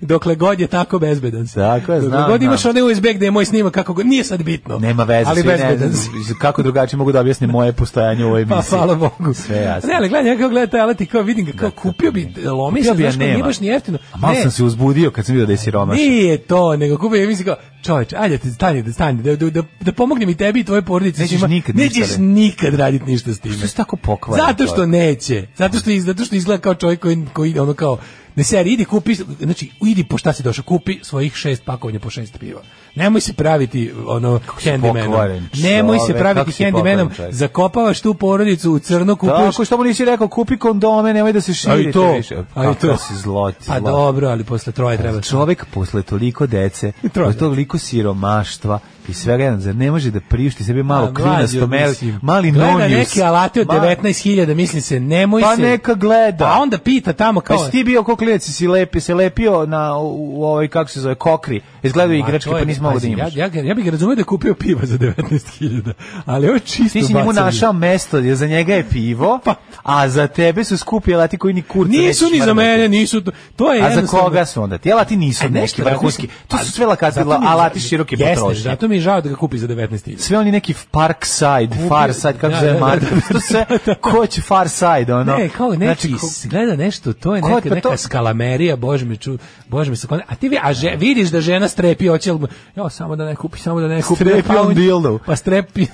Speaker 6: dokle god je tako bezbedan si.
Speaker 7: Tako je,
Speaker 6: Dokle
Speaker 7: znam,
Speaker 6: god
Speaker 7: znam.
Speaker 6: imaš onaj USB gde je moj snimak kako god, nije sad bitno.
Speaker 7: Nema veze,
Speaker 6: ali
Speaker 7: svi ne,
Speaker 6: bezbedan si.
Speaker 7: kako drugačije mogu da objasnim moje postojanje u ovoj
Speaker 6: Pa,
Speaker 7: emisiji.
Speaker 6: hvala Bogu.
Speaker 7: Sve jasno. Dakle,
Speaker 6: Ne, ali gledaj, ja kao gledam taj alat i kao vidim ga, kao kupio bi, lomi
Speaker 7: Kupio
Speaker 6: se,
Speaker 7: bi, a
Speaker 6: znaš, kao nije
Speaker 7: nema.
Speaker 6: baš ni jeftino.
Speaker 7: A malo
Speaker 6: Ne,
Speaker 7: sam se uzbudio kad sam vidio da je siromašan.
Speaker 6: Nije to, nego kupio i mislim kao, čoveče, ajde, te stani, da stani, da, da, da, da pomognem i tebi i tvoje porodice.
Speaker 7: Nećeš
Speaker 6: svima.
Speaker 7: nikad ništa
Speaker 6: Nećeš
Speaker 7: raditi.
Speaker 6: nikad raditi ništa s time.
Speaker 7: Što si tako pokvaren
Speaker 6: Zato što
Speaker 7: čovjek?
Speaker 6: neće. Zato što, iz- zato što izgleda kao čovjek koji, koji ono kao, ne seri, idi kupi, znači, idi po šta si došao, kupi svojih šest pakovanja po šest piva. Nemoj se praviti ono
Speaker 7: pokvaren
Speaker 6: handymanom. Nemoj se
Speaker 7: čovek, kako
Speaker 6: praviti
Speaker 7: si pokvaren
Speaker 6: handymanom.
Speaker 7: čovek.
Speaker 6: Zakopavaš tu porodicu u crno, kupuješ
Speaker 7: Tako što mu nisi rekao, kupi kondome, nemoj da se širite
Speaker 6: i to,
Speaker 7: više.
Speaker 6: a i to.
Speaker 7: Kako si zlot,
Speaker 6: Pa
Speaker 7: zlot.
Speaker 6: dobro, ali posle troje treba.
Speaker 7: Čovek posle toliko dece,
Speaker 6: Troje.
Speaker 7: posle toliko siromaštva i svega, jedan, zar ne može da priušti sebi malo
Speaker 6: Pa,
Speaker 7: klinasto,
Speaker 6: mlađo,
Speaker 7: mali,
Speaker 6: mislim.
Speaker 7: mali
Speaker 6: Gleda
Speaker 7: nonijus.
Speaker 6: neke alate od
Speaker 7: Ma-
Speaker 6: 19.000, misli se, nemoj
Speaker 7: Pa
Speaker 6: se.
Speaker 7: neka gleda.
Speaker 6: A onda pita tamo
Speaker 7: Pa
Speaker 6: kao...
Speaker 7: si ti bio ko klinac, si lepi, se lepio na u, u ovaj, kako se zove, kokri. Izgledaju
Speaker 6: Ma,
Speaker 7: igračke,
Speaker 6: to je-
Speaker 7: pa nisi mogao da
Speaker 6: pazi,
Speaker 7: imaš.
Speaker 6: Ja, ja, ga- ja bih ga razumio da je kupio piva za 19.000, ali ovo je čisto
Speaker 7: Ti si njemu
Speaker 6: bacanje.
Speaker 7: našao mesto, jer za njega je pivo,
Speaker 6: Pa-
Speaker 7: a za tebe su skupi alati koji ni kurca
Speaker 6: Nisu
Speaker 7: nećeš
Speaker 6: ni za
Speaker 7: mrdati.
Speaker 6: mene, nisu... To, to je
Speaker 7: A za
Speaker 6: jednostavno-
Speaker 7: koga su onda? Ti alati nisu
Speaker 6: E,
Speaker 7: neki
Speaker 6: nešto razmišljam.
Speaker 7: vrhunski. To su sve
Speaker 6: Zato
Speaker 7: lakati,
Speaker 6: mi je žao-
Speaker 7: alati široke
Speaker 6: Jeste,
Speaker 7: potrošnje.
Speaker 6: Zato mi je žao da ga kupi za 19.000.
Speaker 7: Sve oni neki Parkside, Farside, kako se zove
Speaker 6: Da, da, da,
Speaker 7: marka.
Speaker 6: da,
Speaker 7: To sve, ko će Farside, ono?
Speaker 6: Ne, kao neki,
Speaker 7: ko-
Speaker 6: s- gleda nešto, to je
Speaker 7: Ko-
Speaker 6: neka,
Speaker 7: pa
Speaker 6: neka
Speaker 7: to-
Speaker 6: skalamerija, bože me ču, bože me sakon. A ti vi, a že, vidiš da žena strepi, hoće li, mu- jo, samo da ne kupi, samo da ne kupi.
Speaker 7: Strepi
Speaker 6: Pa
Speaker 7: on dildo.
Speaker 6: Pa strepi,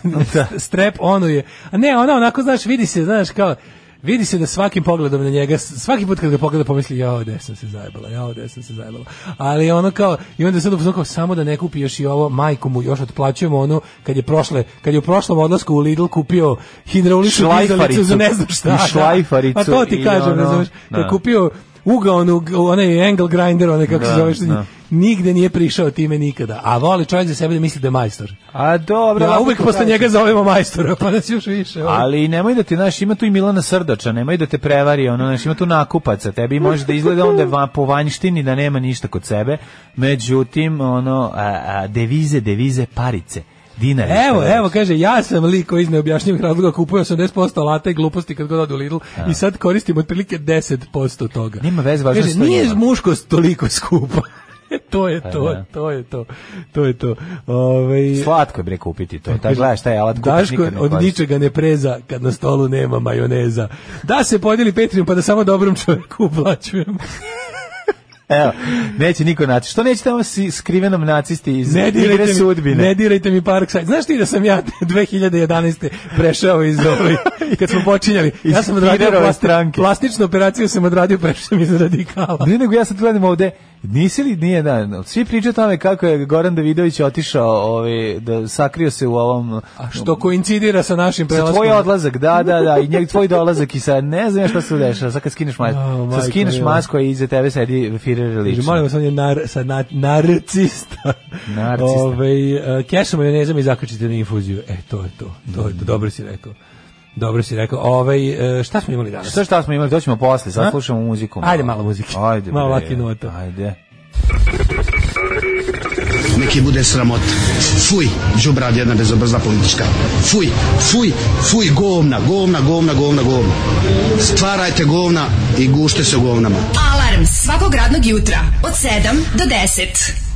Speaker 6: strep onu je. A ne, ona onako, znaš, vidi se, znaš, kao, Vidi se da svakim pogledom na njega, s- svaki put kad ga pogleda pomisli, ja ovde sam se zajebala, ja ovde sam se zajebala. Ali ono kao, i onda sad upozno kao, samo da ne kupi još i ovo, majku mu još otplaćujemo ono, kad je prošle, kad je u prošlom odlasku u Lidl kupio hidrauličnu dizalicu za ne znam šta.
Speaker 7: I
Speaker 6: da.
Speaker 7: šlajfaricu
Speaker 6: A to ti
Speaker 7: i
Speaker 6: kažem,
Speaker 7: ono,
Speaker 6: ne znaš, da
Speaker 7: da.
Speaker 6: je kupio uga onu, onaj angle grinder, onaj kako
Speaker 7: Da,
Speaker 6: se zove, što
Speaker 7: da.
Speaker 6: nigde nije prišao time nikada. A voli čovjek za sebe da misli da je majstor.
Speaker 7: A dobro.
Speaker 6: Ja
Speaker 7: lako
Speaker 6: uvek
Speaker 7: to
Speaker 6: posle
Speaker 7: kažeš.
Speaker 6: njega zovemo majstora, pa nas još više. ono.
Speaker 7: Ali nemoj da ti, znaš, ima tu i Milana Srdača, nemoj da te prevari, ono, znaš, ima tu nakupaca, tebi može da izgleda onda va, po vanjštini da nema ništa kod sebe, međutim, ono, a, a, devize, devize, parice, dinare.
Speaker 6: Evo,
Speaker 7: šta
Speaker 6: evo, kaže, ja sam lik koji iz neobjašnjivih razloga kupuje 80% alata i gluposti kad god odu u Lidl i sad koristim otprilike 10% toga.
Speaker 7: Nema veze, važno je
Speaker 6: Kaže,
Speaker 7: što
Speaker 6: nije
Speaker 7: ima. Pa
Speaker 6: muškost toliko skupa. to je to,
Speaker 7: da.
Speaker 6: to je to, to je to. Ovaj,
Speaker 7: Slatko je bre kupiti to. Taj gledaš taj alat kupiš
Speaker 6: Daško
Speaker 7: nikad ne
Speaker 6: od
Speaker 7: koristi.
Speaker 6: ničega ne preza kad na stolu nema majoneza. Da se podijeli Patreon pa da samo dobrom čovjeku uplaćujem.
Speaker 7: Evo, neće niko naći. Što neće tamo si skrivenom nacisti iz
Speaker 6: Ne
Speaker 7: igre
Speaker 6: dirajte, mi,
Speaker 7: sudbine?
Speaker 6: ne dirajte mi Parkside. Znaš ti da sam ja 2011. prešao iz ovaj, kad smo počinjali.
Speaker 7: Iz
Speaker 6: Ja sam odradio
Speaker 7: Hitlerove
Speaker 6: plasti-
Speaker 7: stranke.
Speaker 6: plastičnu operaciju, sam odradio prešao sam iz radikala.
Speaker 7: Ne, nego ja sad gledam ovde, nisi li, nije, da, svi pričaju o tome kako je Goran Davidović otišao, ovaj, da sakrio se u ovom...
Speaker 6: A što koincidira sa našim
Speaker 7: Sa
Speaker 6: prelaskom.
Speaker 7: tvoj odlazak, da, da, da, i njeg tvoj dolazak i sa ne znam ja šta se dešava, sad kad skineš masku,
Speaker 6: Au,
Speaker 7: sad
Speaker 6: majko
Speaker 7: skineš
Speaker 6: mila.
Speaker 7: masku i iza tebe sedi inspirirali
Speaker 6: Kaže,
Speaker 7: lično.
Speaker 6: Znači, molim vas, on je nar, sa na, narcista. Ovaj, e,
Speaker 7: Narcista.
Speaker 6: Ove, kešu majonezom i zakačite na infuziju. E, to je to, to
Speaker 7: Mm.
Speaker 6: je to, dobro si rekao. Dobro si rekao. Ove, šta smo imali danas?
Speaker 7: Sve šta smo imali, to ćemo posle,
Speaker 6: A?
Speaker 7: sad slušamo muziku.
Speaker 6: Ajde malo muzike.
Speaker 7: Ajde,
Speaker 6: Malo
Speaker 7: bre.
Speaker 6: laki nota.
Speaker 7: Ajde.
Speaker 4: Neki bude sramot. Fuj, džubrad jedna bezobrzna politička. Fuj, fuj, fuj, govna, govna, govna, govna, govna. Stvarajte govna i gušte se u govnama.
Speaker 5: Alarm svakog radnog jutra od 7 do 10.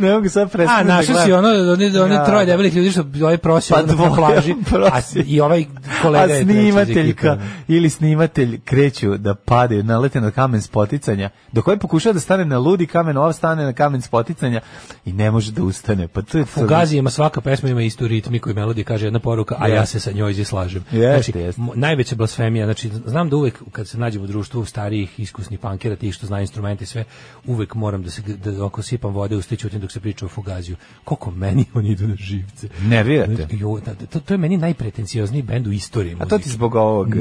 Speaker 7: Ne mogu sad
Speaker 6: A,
Speaker 7: prestati.
Speaker 6: našao si ono, oni, oni
Speaker 7: Da.
Speaker 6: troje debelih ljudi što ovaj prosio
Speaker 7: Pa
Speaker 6: ono na
Speaker 7: dvoje
Speaker 6: plaži, a,
Speaker 7: prosio.
Speaker 6: i ovaj kolega je
Speaker 7: a
Speaker 6: treći iz
Speaker 7: snimateljka
Speaker 6: ekipe.
Speaker 7: ili snimatelj kreću da pade, nalete na kamen spoticanja, dok ovaj pokušava da stane na ludi kamen, ova stane na kamen spoticanja i ne može da ustane. Pa to je
Speaker 6: U Gazijima svaka pesma ima istu ritmiku i melodiju, kaže jedna poruka, a ja se sa njoj izislažem.
Speaker 7: Jeste,
Speaker 6: znači,
Speaker 7: jeste.
Speaker 6: mo- najveća blasfemija, znači, znam da uvek kad se nađem u društvu starijih, iskusnih pankera, tih što znaju instrumente i sve, uvek moram da se, da ako sipam vode, ustiću u tim dok se priča o Fugaziju. Koliko meni oni idu na živce.
Speaker 7: Nervirate.
Speaker 6: Znači, jo, da- da- to, to je meni najpretenciozniji bend u istoriji
Speaker 7: A to ti
Speaker 6: muzike.
Speaker 7: zbog ovog, eh,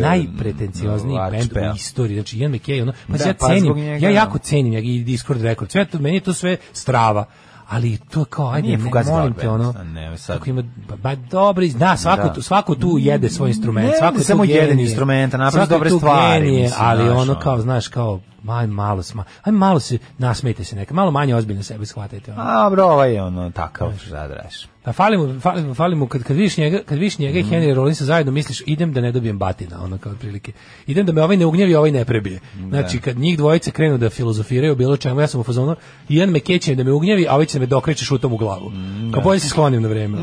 Speaker 6: Najpretenciozniji
Speaker 7: Arch
Speaker 6: bend
Speaker 7: Bell.
Speaker 6: u istoriji. Znači, Ian McKay, ono, pa
Speaker 7: Da,
Speaker 6: ja
Speaker 7: pa zbog
Speaker 6: cenim,
Speaker 7: njega,
Speaker 6: ja jako
Speaker 7: da.
Speaker 6: cenim ja, i Discord Record. Sve to, meni je to sve strava. Ali to je kao, ajde,
Speaker 7: Nije
Speaker 6: ne,
Speaker 7: Fugazi
Speaker 6: molim
Speaker 7: dobar
Speaker 6: te,
Speaker 7: band,
Speaker 6: ono,
Speaker 7: sad ne, sad-
Speaker 6: kako ima, ba, ba dobro, iz- da, svako,
Speaker 7: Da.
Speaker 6: Tu, svako tu jede svoj instrument,
Speaker 7: Ne,
Speaker 6: svako
Speaker 7: ne
Speaker 6: tu
Speaker 7: samo jedan
Speaker 6: genije.
Speaker 7: instrument, a napravi
Speaker 6: Svako je
Speaker 7: dobre
Speaker 6: tu
Speaker 7: stvari,
Speaker 6: genije,
Speaker 7: mislim,
Speaker 6: ali
Speaker 7: znaš,
Speaker 6: ono
Speaker 7: ono.
Speaker 6: kao, znaš, kao, aj malo, sma, aj malo se, nasmejte se neka, malo manje ozbiljno sebe shvatajte. Ono.
Speaker 7: A, bro, ovaj je ono takav, šta da radiš.
Speaker 6: Da fali mu, fali mu, fali mu kad, kad vidiš njega, kad vidiš njega i Henry Rollinsa zajedno misliš idem da ne dobijem batina, ono kao prilike. Idem da me ovaj ne ugnjevi, ovaj ne prebije. Znači kad njih dvojice krenu da filozofiraju o bilo čemu, ja sam u fazonu jedan me keće da me ugnjevi, a ovaj će da me dokreće šutom u glavu. Kao bolje se sklonim na vreme.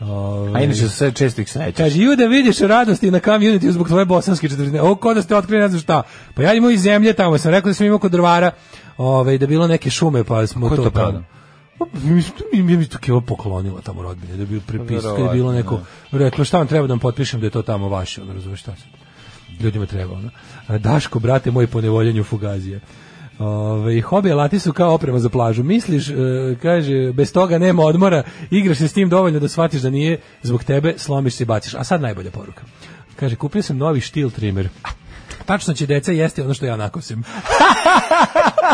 Speaker 6: Ovaj,
Speaker 7: A inače sve često ih srećeš.
Speaker 6: Kaže, ju da vidiš radosti na community zbog tvoje bosanske četvrtine. Ovo ko da ste otkrili ne znam šta. Pa ja imao iz zemlje tamo, sam rekao da sam imao kod drvara, ovaj, da je bilo neke šume, pa smo
Speaker 7: Ko je
Speaker 6: to,
Speaker 7: to
Speaker 6: tamo.
Speaker 7: prodao?
Speaker 6: Pa, Mi, su- mi, mi, mi to kevo poklonila tamo rodbine, da bi prepisao, kad je bilo neko, reklo šta vam treba da vam potpišem da je to tamo vaše, ono razumiješ šta sad. Ljudima treba, ono. A, Daško, brate moj, po nevoljenju fugazije. Ove, hobi alati su kao oprema za plažu. Misliš, e, kaže, bez toga nema odmora, igraš se s tim dovoljno da shvatiš da nije zbog tebe, slomiš se i baciš. A sad najbolja poruka. Kaže, kupio sam novi štil trimer. Tačno će deca jesti ono što ja nakosim.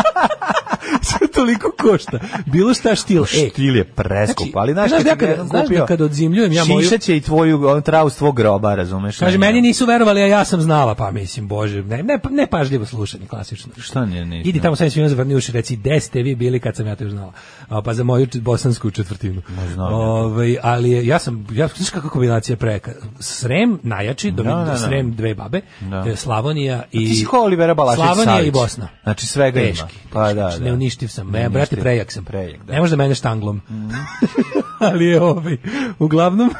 Speaker 6: Sve toliko košta. Bilo šta štil. E,
Speaker 7: Štil je preskup,
Speaker 6: Znači,
Speaker 7: ali znaš,
Speaker 6: znaš da
Speaker 7: kad,
Speaker 6: kad-
Speaker 7: kad,
Speaker 6: znaš da kad odzimljujem ja moju-
Speaker 7: Šišat će i tvoju on, travu s tvog groba, razumeš?
Speaker 6: Kaže,
Speaker 7: Ono.
Speaker 6: meni nisu verovali, a ja sam znala, pa mislim, bože, ne, ne, ne pažljivo slušanje, klasično.
Speaker 7: Šta nije ništa?
Speaker 6: Idi tamo sam svima zavrni uši, reci, gde ste vi bili kad sam ja to još znala. A, pa za moju č- bosansku četvrtinu.
Speaker 7: znam ja.
Speaker 6: Ovaj, ali je- ja sam, ja, znaš kakva kombinacija preka? Srem, najjači, do,
Speaker 7: Da, da, da.
Speaker 6: Srem dve babe,
Speaker 7: Da.
Speaker 6: e, Slavonija i...
Speaker 7: Ti si ko Olivera Balašić
Speaker 6: Slavonija
Speaker 7: Savić.
Speaker 6: i Bosna.
Speaker 7: Znači, svega ima.
Speaker 6: Teški,
Speaker 7: Pa
Speaker 6: teški,
Speaker 7: da,
Speaker 6: znači,
Speaker 7: da.
Speaker 6: Neuništiv sam, ne,
Speaker 7: Neuništiv.
Speaker 6: brate, prejak sam.
Speaker 7: Prejak, da. Mhm.
Speaker 6: Ne može da mene štanglom. ali je ovaj, uglavnom,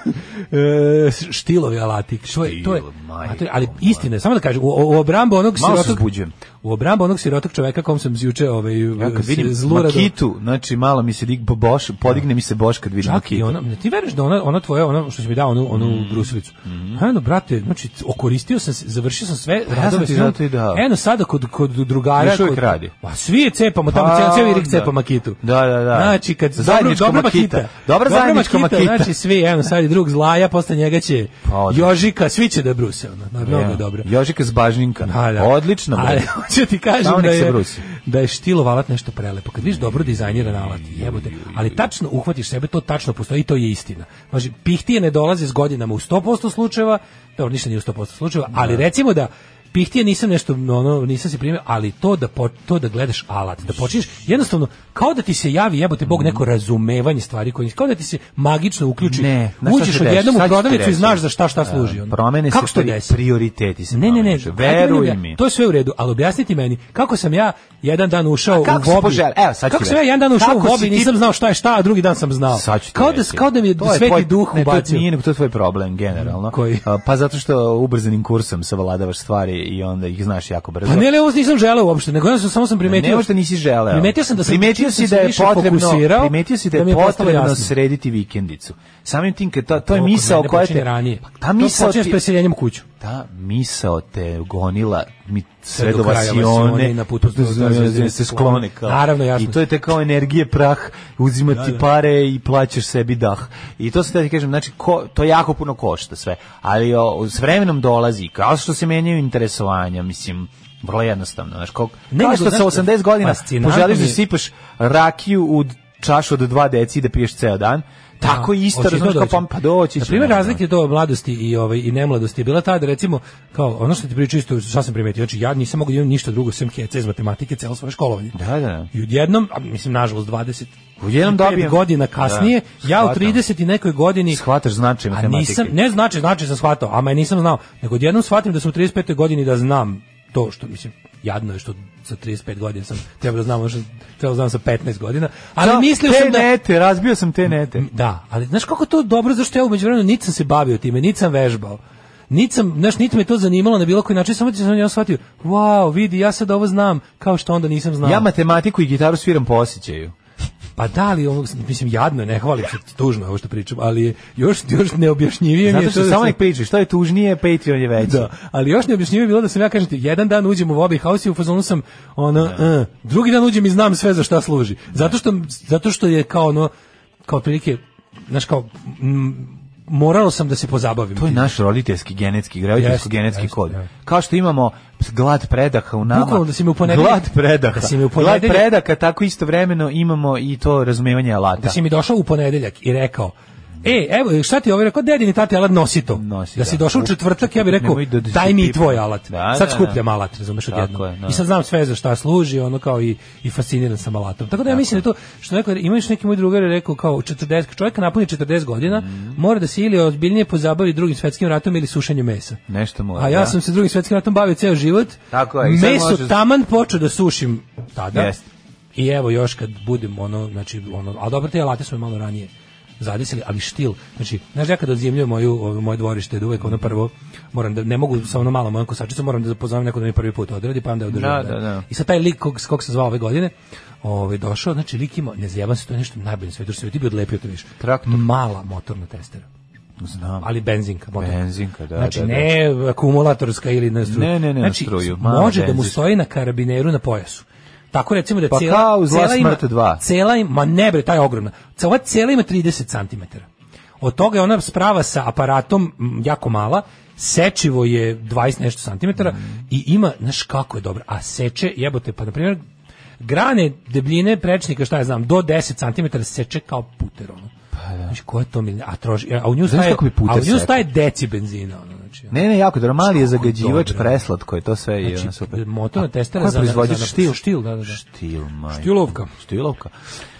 Speaker 6: e, štilovi alati. To je, to je, a to
Speaker 7: Štil,
Speaker 6: je-
Speaker 7: majko
Speaker 6: ali istina, je, samo da kažem, u, u, u obrambu onog
Speaker 7: Malo se
Speaker 6: sirotog-
Speaker 7: zbuđujem.
Speaker 6: u obrambu onog sirotog čoveka kom sam zjuče ovaj,
Speaker 7: Ja kad vidim
Speaker 6: zlurado-
Speaker 7: Makitu, znači malo mi se dig boš, podigne mi se boš kad vidim
Speaker 6: Čak i
Speaker 7: Makitu.
Speaker 6: ona, ono, ne, ti veruješ da ona, ona tvoja, ona što si mi dao, onu, onu
Speaker 7: Mm.
Speaker 6: brusilicu. Eno, brate, znači, okoristio sam, se, završio sam sve.
Speaker 7: Mhm. sam
Speaker 6: radove
Speaker 7: ti
Speaker 6: s njom.
Speaker 7: zato i dao.
Speaker 6: Eno, sada kod, kod drugara.
Speaker 7: Još uvijek
Speaker 6: kod-
Speaker 7: radi.
Speaker 6: Ma, svi je cepamo, tamo
Speaker 7: Pa,
Speaker 6: cijeli, cijeli rik
Speaker 7: onda.
Speaker 6: cepa makitu.
Speaker 7: Da, da, da.
Speaker 6: Znači, kad,
Speaker 7: Zajednička
Speaker 6: dobro, dobra
Speaker 7: makita.
Speaker 6: makita.
Speaker 7: Dobra zajednička makita.
Speaker 6: Znači, svi, eno, sad i drug zlaja, posle njega će
Speaker 7: Pa, odlično.
Speaker 6: Jožika, svi će da bruse, ono, na- mnogo
Speaker 7: Ja.
Speaker 6: je dobro.
Speaker 7: Jožika z Bažninka.
Speaker 6: Da, da.
Speaker 7: Odlično. bre.
Speaker 6: Ali hoću ti kažem
Speaker 7: Samo nek
Speaker 6: da
Speaker 7: se
Speaker 6: je,
Speaker 7: brusi.
Speaker 6: da je štilov alat nešto prelepo. Kad vidiš dobro dizajniran alat, jebote. Ali tačno uhvatiš sebe, to tačno postoji i to je istina. Znači, pihtije ne dolaze s godinama u 100% slučajeva, dobro, ništa nije u 100% slučajeva, ali recimo da pihtije nisam nešto ono nisam se primio, ali to da po- to da gledaš alat, da počinješ jednostavno kao da ti se javi jebote bog neko
Speaker 7: Mm.
Speaker 6: razumevanje stvari koje nisi- kao da ti se magično uključi.
Speaker 7: Ne, znaš šta
Speaker 6: Uđeš
Speaker 7: se
Speaker 6: odjednom
Speaker 7: desi?
Speaker 6: u
Speaker 7: Sad ću ti
Speaker 6: prodavnicu i
Speaker 7: reći.
Speaker 6: znaš za šta šta
Speaker 7: Da,
Speaker 6: služi. ono.
Speaker 7: Promene se
Speaker 6: Kako se to
Speaker 7: pri-
Speaker 6: desi?
Speaker 7: prioriteti se
Speaker 6: Ne, ne, ne,
Speaker 7: promenišu.
Speaker 6: ajde meni
Speaker 7: Veruj
Speaker 6: obja-
Speaker 7: mi.
Speaker 6: To je sve u redu, ali objasniti meni kako sam ja jedan dan ušao
Speaker 7: A kako si
Speaker 6: u Vobi.
Speaker 7: poželeo? Evo, sad ću
Speaker 6: kako sam ja
Speaker 7: reći.
Speaker 6: jedan dan ušao
Speaker 7: Kako
Speaker 6: u
Speaker 7: si
Speaker 6: Vobi,
Speaker 7: ti-
Speaker 6: nisam znao šta je šta, a drugi dan sam znao.
Speaker 7: Sad ću ti
Speaker 6: kao da
Speaker 7: reći.
Speaker 6: kao da mi je
Speaker 7: To
Speaker 6: sveti
Speaker 7: tvoj-
Speaker 6: duh
Speaker 7: ne, To
Speaker 6: ubacio. Mm,
Speaker 7: nije, nego to je tvoj problem, generalno.
Speaker 6: Koji?
Speaker 7: A, Pa zato što ubrzanim kursom savladavaš stvari i onda ih znaš jako brzo.
Speaker 6: Pa ne, ali ovo nisam želeo uopšte, nego ja sam samo sam primetio.
Speaker 7: Ne, možda nisi želeo.
Speaker 6: Primetio sam da sam
Speaker 7: primetio
Speaker 6: čim
Speaker 7: si
Speaker 6: se
Speaker 7: da je
Speaker 6: više
Speaker 7: potrebno,
Speaker 6: fokusirao,
Speaker 7: primetio si da je
Speaker 6: mi postalo
Speaker 7: potrebno
Speaker 6: jasno.
Speaker 7: srediti vikendicu. Samim tim kad ta, to je
Speaker 6: Ovo kod
Speaker 7: misao
Speaker 6: Pa mene
Speaker 7: koja
Speaker 6: počinje
Speaker 7: te
Speaker 6: ranije.
Speaker 7: Pa
Speaker 6: To
Speaker 7: ta misao
Speaker 6: počinje s
Speaker 7: ti-
Speaker 6: preseljenjem u kuću.
Speaker 7: ta misao te gonila mi sve
Speaker 6: do
Speaker 7: do
Speaker 6: kraja Vasione
Speaker 7: vasione
Speaker 6: i na putu
Speaker 7: do Vasione se sklone kao.
Speaker 6: Naravno, jasno.
Speaker 7: i to je te kao energije prah uzimati
Speaker 6: Da, da.
Speaker 7: pare i plaćaš sebi dah i to se da ti kažem znači ko, to jako puno košta sve ali o, s vremenom dolazi kao što se menjaju interesovanja mislim Vrlo jednostavno, znaš, kog,
Speaker 6: Ne,
Speaker 7: kao
Speaker 6: nego,
Speaker 7: što sa
Speaker 6: znaš,
Speaker 7: 80 godina
Speaker 6: fascinantno
Speaker 7: poželiš da
Speaker 6: mi je-
Speaker 7: sipaš rakiju u čašu od 2 deci i da piješ ceo dan, tako i isto,
Speaker 6: Hoće i to
Speaker 7: razumiješ, kao
Speaker 6: doći.
Speaker 7: pa- pa doći
Speaker 6: Na
Speaker 7: će,
Speaker 6: primjer,
Speaker 7: znaš,
Speaker 6: razlike do mladosti i ovaj i nemladosti je bila ta da recimo kao ono što ti pričam isto šta sam primetio, znači ja nisam mogao da imam ništa drugo sem hece iz matematike celo svoje školovanje.
Speaker 7: Da, da, da.
Speaker 6: I odjednom, a mislim nažalost 20
Speaker 7: Odjednom
Speaker 6: i pet
Speaker 7: dobijem.
Speaker 6: godina kasnije,
Speaker 7: Da,
Speaker 6: ja u
Speaker 7: shvatam.
Speaker 6: 30 i nekoj godini
Speaker 7: Shvataš značaj
Speaker 6: a
Speaker 7: matematike.
Speaker 6: nisam, ne znači, znači sam shvatao, ama je nisam znao, nego odjednom shvatim da sam u 35. godini da znam to što, mislim, jadno je što sa 35 godina sam trebao da znam, ono što sam trebao da znam sa 15 godina, ali
Speaker 7: Da,
Speaker 6: mislio
Speaker 7: te
Speaker 6: sam da...
Speaker 7: nete, razbio sam te nete.
Speaker 6: Da, ali znaš kako je to dobro, zašto ja umeđu vremenu niti sam se bavio time, niti sam vežbao. Niti sam, znaš, niti me to zanimalo na bilo koji način, samo ti sam ja shvatio, wow, vidi, ja sad ovo znam, kao što onda nisam znao.
Speaker 7: Ja matematiku i gitaru sviram po osjećaju.
Speaker 6: Pa da, ali ono, mislim, jadno je, ne hvalim se, tužno je ovo što pričam, ali je još, još neobjašnjivije mi je
Speaker 7: Zato
Speaker 6: to
Speaker 7: što
Speaker 6: da
Speaker 7: samo
Speaker 6: sam-
Speaker 7: nek pričaš, što je tužnije, Patreon je veći.
Speaker 6: Da, ali još neobjašnjivo je bilo da sam ja kažem ti, jedan dan uđem u Bobby House i u fazonu sam ono, eh, drugi dan uđem i znam sve za šta služi. Zato što, zato što je kao ono, kao prilike, znaš kao, m, morao sam da se pozabavim.
Speaker 7: To je
Speaker 6: tim.
Speaker 7: naš roditeljski genetski, roditeljsko genetski
Speaker 6: jeste,
Speaker 7: kod.
Speaker 6: jeste.
Speaker 7: Kao što imamo glad predaka u nama.
Speaker 6: Bukvalno da si me u ponedeljak-
Speaker 7: Glad predaka.
Speaker 6: da si me u
Speaker 7: glad
Speaker 6: ponedeljak-
Speaker 7: predaka, tako istovremeno imamo i to razumevanje alata.
Speaker 6: Da si mi došao u ponedeljak i rekao, E, evo, šta ti je ovo rekao? Dedini tati alat nosi to.
Speaker 7: Nosi,
Speaker 6: da
Speaker 7: da.
Speaker 6: si došao u četvrtak, ja bih rekao,
Speaker 7: Nemoj da- da si
Speaker 6: daj mi i
Speaker 7: ti-
Speaker 6: tvoj alat.
Speaker 7: Da, da,
Speaker 6: sad
Speaker 7: da.
Speaker 6: skupljam alat, razumeš
Speaker 7: Tako
Speaker 6: odjednom.
Speaker 7: je, da.
Speaker 6: I sad znam sve za šta služi, ono kao i, i fasciniran sam alatom. Tako da ja mislim da to, što neko, imaš neki moj drugar je rekao kao 40, čovjek napuni 40 godina,
Speaker 7: Mhm.
Speaker 6: mora da se ili ozbiljnije pozabavi drugim svetskim ratom ili sušenjem mesa.
Speaker 7: Nešto mora,
Speaker 6: A ja
Speaker 7: da.
Speaker 6: sam se drugim svetskim ratom bavio ceo život.
Speaker 7: Tako je, i sad
Speaker 6: Meso
Speaker 7: možeš-
Speaker 6: taman počeo da sušim tada.
Speaker 7: Jeste.
Speaker 6: I evo još kad budem ono, znači ono, a dobro te alate su me malo ranije zadesili, ali štil. Znači, znaš, ja kad odzimljujem moju, ovo, moje dvorište, da uvek ono prvo, moram da, ne mogu sa ono malom mojom kosačicom, moram da pozovem neko da mi prvi put odradi, pa onda je održavam.
Speaker 7: Da, da, da.
Speaker 6: I sad taj lik kog, s kog se zvao ove godine, ovaj, došao, znači lik ima, ne zjebam se, to je nešto najbolje na svetu, što se ti bi odlepio to više.
Speaker 7: Traktor.
Speaker 6: Mala motorna testera.
Speaker 7: Znam.
Speaker 6: Ali benzinka. motorna.
Speaker 7: Benzinka, da,
Speaker 6: Znači,
Speaker 7: da, da.
Speaker 6: ne akumulatorska ili na struju.
Speaker 7: Ne, ne, ne, na
Speaker 6: znači,
Speaker 7: struju, mala
Speaker 6: može da mu
Speaker 7: benzinka.
Speaker 6: stoji na karabineru na pojasu. Tako recimo da je
Speaker 7: Pa
Speaker 6: cijela,
Speaker 7: kao u Zla
Speaker 6: cijela ima-
Speaker 7: smrt dva.
Speaker 6: Cela ima, ma ne bre, ta je ogromna. Ce- Ova cela ima 30 cm. Od toga je ona sprava sa aparatom m, jako mala, sečivo je 20 nešto centimetara i ima, znaš kako je dobro, a seče, jebote, pa na primjer, grane debljine prečnika, šta ja znam, do 10 cm seče kao puter, ono. Znači, ko je to milina? A, troši, a u nju
Speaker 7: Pa Znaš
Speaker 6: staje,
Speaker 7: kako bi puter
Speaker 6: a u nju
Speaker 7: sekao?
Speaker 6: staje deci benzina, ono, znači.
Speaker 7: Ne, ne, jako dobro, mali je
Speaker 6: Kako
Speaker 7: zagađivač,
Speaker 6: dobro.
Speaker 7: preslatko je, to sve je ono
Speaker 6: Znači,
Speaker 7: super.
Speaker 6: motorna
Speaker 7: A
Speaker 6: testera
Speaker 7: ko je
Speaker 6: za-
Speaker 7: proizvođač
Speaker 6: za- za-
Speaker 7: štil?
Speaker 6: štil, da, da, da.
Speaker 7: Štil, majko.
Speaker 6: Štilovka.
Speaker 7: Štilovka.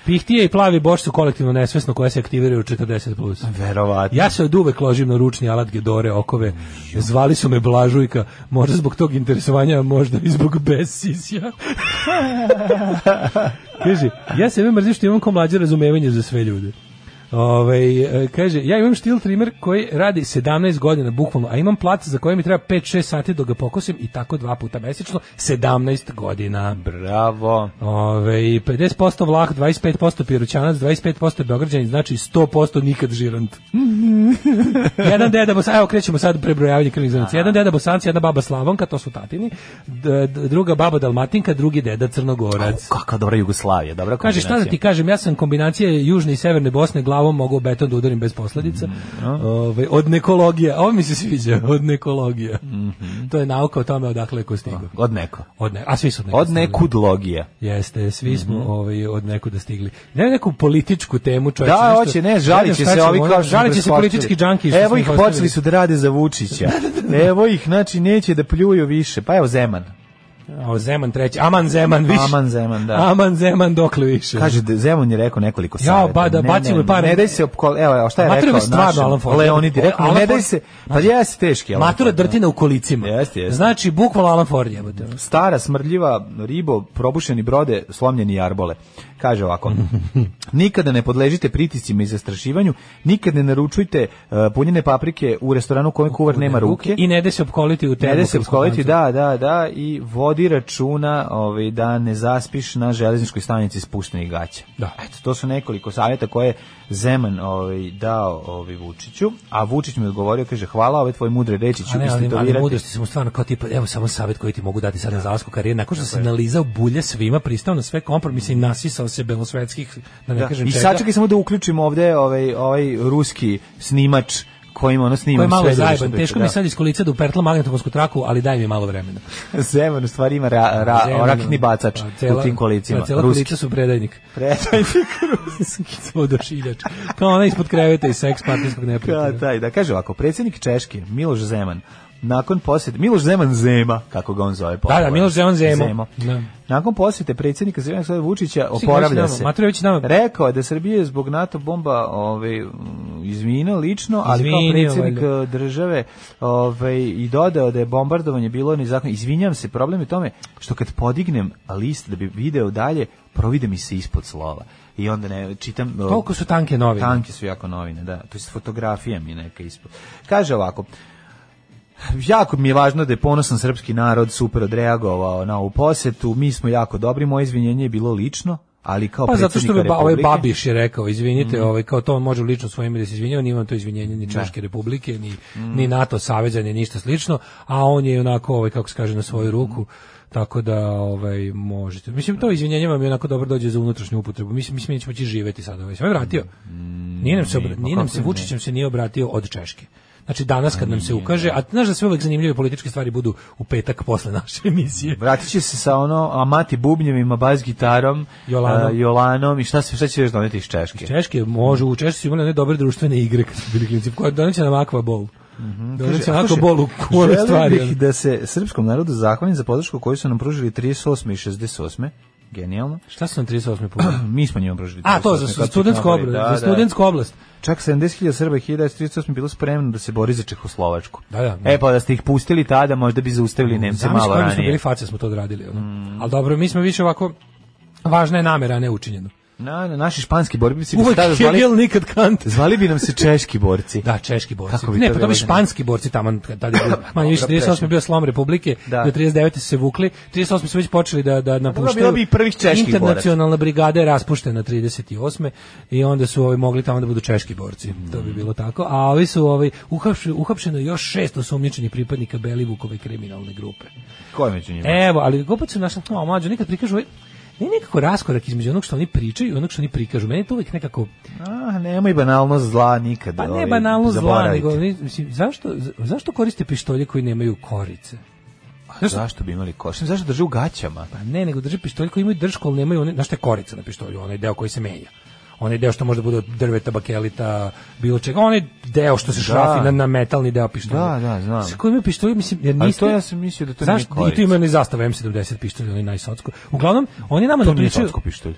Speaker 6: Pihtije i plavi boš su kolektivno nesvesno koje se aktiviraju u 40+. Plus.
Speaker 7: Verovatno.
Speaker 6: Ja se od uvek ložim na ručni alat Gedore okove. Zvali su me Blažujka, možda zbog tog interesovanja, a možda i zbog besisja. kaže, ja se mrzim što imam ko mlađe razumevanje za sve ljude. Ovaj, e, kaže, ja imam štil trimer koji radi 17 godina bukvalno, a imam plac za koje mi treba 5-6 sati dok ga pokosim i tako dva puta mesečno, 17 godina.
Speaker 7: Bravo.
Speaker 6: Ove, 50% Vlah, 25% Pirućanac, 25% Beograđanin, znači 100% nikad žirant. jedan deda Bosanac, evo krećemo sad prebrojavanje krvnih zrnaca. Jedan deda Bosanac, jedna baba Slavonka, to su tatini, d- d- druga baba Dalmatinka, drugi deda Crnogorac.
Speaker 7: Kakva dobra Jugoslavija, dobra
Speaker 6: Kaže, šta da ti
Speaker 7: kombinacija.
Speaker 6: kažem, ja sam kombinacije južne i severne Bosne glavom mogu u beton da udarim bez posledica. Ove, od nekologija, ovo mi se sviđa, od nekologija. To je nauka o tome odakle je ko stigao.
Speaker 7: Od neko.
Speaker 6: Od ne, a svi su od nekog
Speaker 7: Od
Speaker 6: stigli.
Speaker 7: nekudlogija.
Speaker 6: Jeste, svi smo ovaj, od nekuda stigli. Ne neku političku temu, čovječe.
Speaker 7: Da,
Speaker 6: Pa nešto-
Speaker 7: hoće, ne,
Speaker 6: ne znam
Speaker 7: žalit će
Speaker 6: šta
Speaker 7: se
Speaker 6: ćemo,
Speaker 7: ovi
Speaker 6: ono,
Speaker 7: kao što
Speaker 6: žalit će
Speaker 7: smo
Speaker 6: se
Speaker 7: pretpostavili.
Speaker 6: politički džanki. što
Speaker 7: Evo
Speaker 6: smo
Speaker 7: ih
Speaker 6: ostavili.
Speaker 7: počeli su da rade za Vučića. Evo ih, znači neće da pljuju više. Pa evo Zeman.
Speaker 6: O, Zeman treći. Aman Zeman, više.
Speaker 7: Aman Zeman, da.
Speaker 6: Aman Zeman, dokle više.
Speaker 7: Kaže da Zeman je rekao nekoliko
Speaker 6: Jao,
Speaker 7: saveta.
Speaker 6: ba, da
Speaker 7: Ne,
Speaker 6: bacimo
Speaker 7: ne,
Speaker 6: pare.
Speaker 7: Ne daj se opkol, evo, šta je
Speaker 6: Matura
Speaker 7: rekao?
Speaker 6: mi stvarno
Speaker 7: našem
Speaker 6: Alan Ford.
Speaker 7: Leonidi rekao,
Speaker 6: Alan
Speaker 7: ne daj
Speaker 6: Ford-
Speaker 7: se, pa jesi teški Alan
Speaker 6: Matura
Speaker 7: Ford, da.
Speaker 6: drtina u kolicima.
Speaker 7: Jeste, jeste.
Speaker 6: Znači, bukvalno Alan Ford jebote.
Speaker 7: Stara, smrdljiva, ribo, probušeni brode, slomljeni jarbole. Kaže ovako, nikada ne podležite pritiscima i zastrašivanju, nikad ne naručujte uh, punjene paprike u restoranu u kojem kuvar nema ruke.
Speaker 6: I ne da se opkoliti u termu.
Speaker 7: Ne da se opkoliti, da, da, da, i vodi računa ovaj, da ne zaspiš na železničkoj stanici spuštenih gaća.
Speaker 6: Da.
Speaker 7: Eto, to su nekoliko savjeta koje je Zeman ovaj, dao ovaj, Vučiću, a Vučić mi je odgovorio, kaže, hvala ove tvoje mudre reči, ću
Speaker 6: A ne, ali, ali
Speaker 7: istetovirati.
Speaker 6: mudrosti su mu stvarno kao tipa, evo samo savjet koji ti mogu dati sad na zalasku karijere. Nakon što se nalizao bulje svima, pristao na sve kompromise i nasisao se belosvetskih, da ne
Speaker 7: Da.
Speaker 6: kažem
Speaker 7: I
Speaker 6: čega.
Speaker 7: sačekaj samo da uključimo ovde ovaj, ovaj ruski snimač kojim ono
Speaker 6: Ko je
Speaker 7: snimam
Speaker 6: malo
Speaker 7: sve. završno
Speaker 6: zajeban,
Speaker 7: priču,
Speaker 6: teško
Speaker 7: da.
Speaker 6: mi sad iz kolica da upertla magnetofonsku traku, ali daj mi malo vremena.
Speaker 7: Zeman u stvari ima ra, ra,
Speaker 6: Zeman,
Speaker 7: rakni bacač
Speaker 6: pa, cela-
Speaker 7: u tim kolicima.
Speaker 6: pa, Cela
Speaker 7: Ruski.
Speaker 6: kolica su predajnik.
Speaker 7: Predajnik
Speaker 6: ruski. Vodošiljač. Kao ona ispod kreveta i seks partijskog neprijatelja.
Speaker 7: Da, taj, da kaže ovako, predsjednik Češke, Miloš Zeman, nakon posjete, Miloš Zeman Zema, kako ga on zove.
Speaker 6: Da, da, Miloš Zeman Zemo. Da.
Speaker 7: Nakon posjete predsjednika Zemljana Slava Vučića
Speaker 6: Svi kažu
Speaker 7: oporavlja
Speaker 6: nama,
Speaker 7: se.
Speaker 6: Maturović nama-
Speaker 7: Rekao je da Srbije zbog NATO bomba ovaj, mm, izvinio lično, ali
Speaker 6: Izvinio,
Speaker 7: kao predsjednik
Speaker 6: valjda.
Speaker 7: eh, države ovaj, i dodao da je bombardovanje bilo nezakonito. Izvinjam se, problem je u tome što kad podignem list da bi video dalje, provide mi se ispod slova. I onda ne, čitam... eh,
Speaker 6: Toliko su tanke novine.
Speaker 7: Tanke su jako novine, da. To je fotografija mi neka ispod. Kaže ovako, jako mi je važno da je ponosan srpski narod super odreagovao na ovu posetu. Mi smo jako dobri, moje izvinjenje je bilo lično, ali kao
Speaker 6: Pa zato što
Speaker 7: predsjednika
Speaker 6: bi ba, ovaj
Speaker 7: Republike- Mm.
Speaker 6: Babiš je rekao, izvinite, ovaj kao to on može lično svojim ime da se izvinjava, nije on to izvinjenje ni Češke republike, ni
Speaker 7: Mm.
Speaker 6: ni NATO saveza, ni ništa slično, a on je onako ovaj kako se kaže na svoju ruku. Tako da ovaj možete. Mislim to izvinjenje vam je onako dobro dođe za unutrašnju upotrebu. Mislim mislim mi ćemo ti živeti sada ovaj. Sve vratio. Nije nam se obra-
Speaker 7: pa
Speaker 6: nije nam
Speaker 7: kako
Speaker 6: se
Speaker 7: ne?
Speaker 6: Vučićem se nije obratio od Češke. Znači danas kad nam se ukaže, a znaš da sve uvek zanimljive političke stvari budu u petak posle naše emisije.
Speaker 7: Vratit će se sa ono Amati bubnjevima, bas gitarom,
Speaker 6: Jolanom.
Speaker 7: eh, Jolanom i šta, se, šta će još doneti iz Češke?
Speaker 6: Češke može, u Češke su imali one dobre društvene igre kad su bili klinci. Koja doneće nam Aqua Bowl. Doneće nam
Speaker 7: Mhm. Kaže,
Speaker 6: Aqua Bowl u kore
Speaker 7: želeo
Speaker 6: stvari. ono.
Speaker 7: bih da se srpskom narodu zahvalim za podršku koju su nam pružili 38. i 68. Genijalno.
Speaker 6: Šta su nam 38. puta?
Speaker 7: Mi smo njima pružili 38.
Speaker 6: A, to za
Speaker 7: kad su
Speaker 6: studentsku
Speaker 7: napravili.
Speaker 6: oblast.
Speaker 7: Da,
Speaker 6: Za
Speaker 7: da.
Speaker 6: studentsku oblast.
Speaker 7: Čak 70.000 Srba i 1938 bilo spremno da se bori za Čehoslovačku.
Speaker 6: Da, da.
Speaker 7: E pa da ste ih pustili tada, možda bi zaustavili Nemce
Speaker 6: Zamisli
Speaker 7: malo
Speaker 6: koji smo bili
Speaker 7: ranije. Mm.
Speaker 6: face smo to odradili. ono. Ali dobro, mi smo više ovako, važna je namera, a ne učinjeno.
Speaker 7: Na, na, naši španski borbici bi se
Speaker 6: Uvek
Speaker 7: tada zvali,
Speaker 6: Hegel, nikad Kant.
Speaker 7: zvali bi nam se češki borci.
Speaker 6: Da, češki borci.
Speaker 7: Kako bi
Speaker 6: ne,
Speaker 7: to
Speaker 6: pa to bi
Speaker 7: bilo?
Speaker 6: španski borci tamo kad tad je bilo. Manje više
Speaker 7: Dobro,
Speaker 6: 38 je
Speaker 7: prešli.
Speaker 6: bio slom Republike,
Speaker 7: Da.
Speaker 6: do 39 su se vukli, 38 su već počeli da da napuštaju.
Speaker 7: bilo bi i prvih čeških
Speaker 6: Internacionalna brigada je raspuštena 38 i onda su ovi mogli tamo da budu češki borci. To
Speaker 7: Mm.
Speaker 6: bi bilo tako. A ovi su ovi uhapšeni uhapšeno je još šest osumnjičenih pripadnika Belivukove kriminalne grupe.
Speaker 7: Ko je među njima?
Speaker 6: Evo, ali opet su našli, no, mlađo, nekad prikažu ovaj, ne nekako raskorak između onog što oni pričaju i onog što oni prikažu. Meni je to uvijek nekako
Speaker 7: A, Ah, nemoj banalno zla nikada.
Speaker 6: pa ne
Speaker 7: ovaj,
Speaker 6: banalno zla,
Speaker 7: zaboravite.
Speaker 6: nego ni- mislim, zašto, zašto koriste pištolje koji nemaju korice?
Speaker 7: A Zašto bi imali koš? Zašto drže u gaćama?
Speaker 6: Pa ne, nego drže pištolje koji imaju držku, ali nemaju one, znaš šta je korica na pištolju, onaj deo koji se menja. Onaj deo što može da bude od drveta, bakelita, bilo čega, onaj deo što se šrafi na, na metalni deo pištolja.
Speaker 7: Da, da, znam.
Speaker 6: Sa kojim imaju pištolje, mislim, jer
Speaker 7: Ali
Speaker 6: niste...
Speaker 7: to ja sam mislio da to nije
Speaker 6: Zašto? I tu
Speaker 7: korica.
Speaker 6: imaju oni zastava M70 pištolje, onaj najsocko. Uglavnom, oni nama
Speaker 7: To
Speaker 6: ne
Speaker 7: nije
Speaker 6: pričaju...
Speaker 7: svatsko pištolj.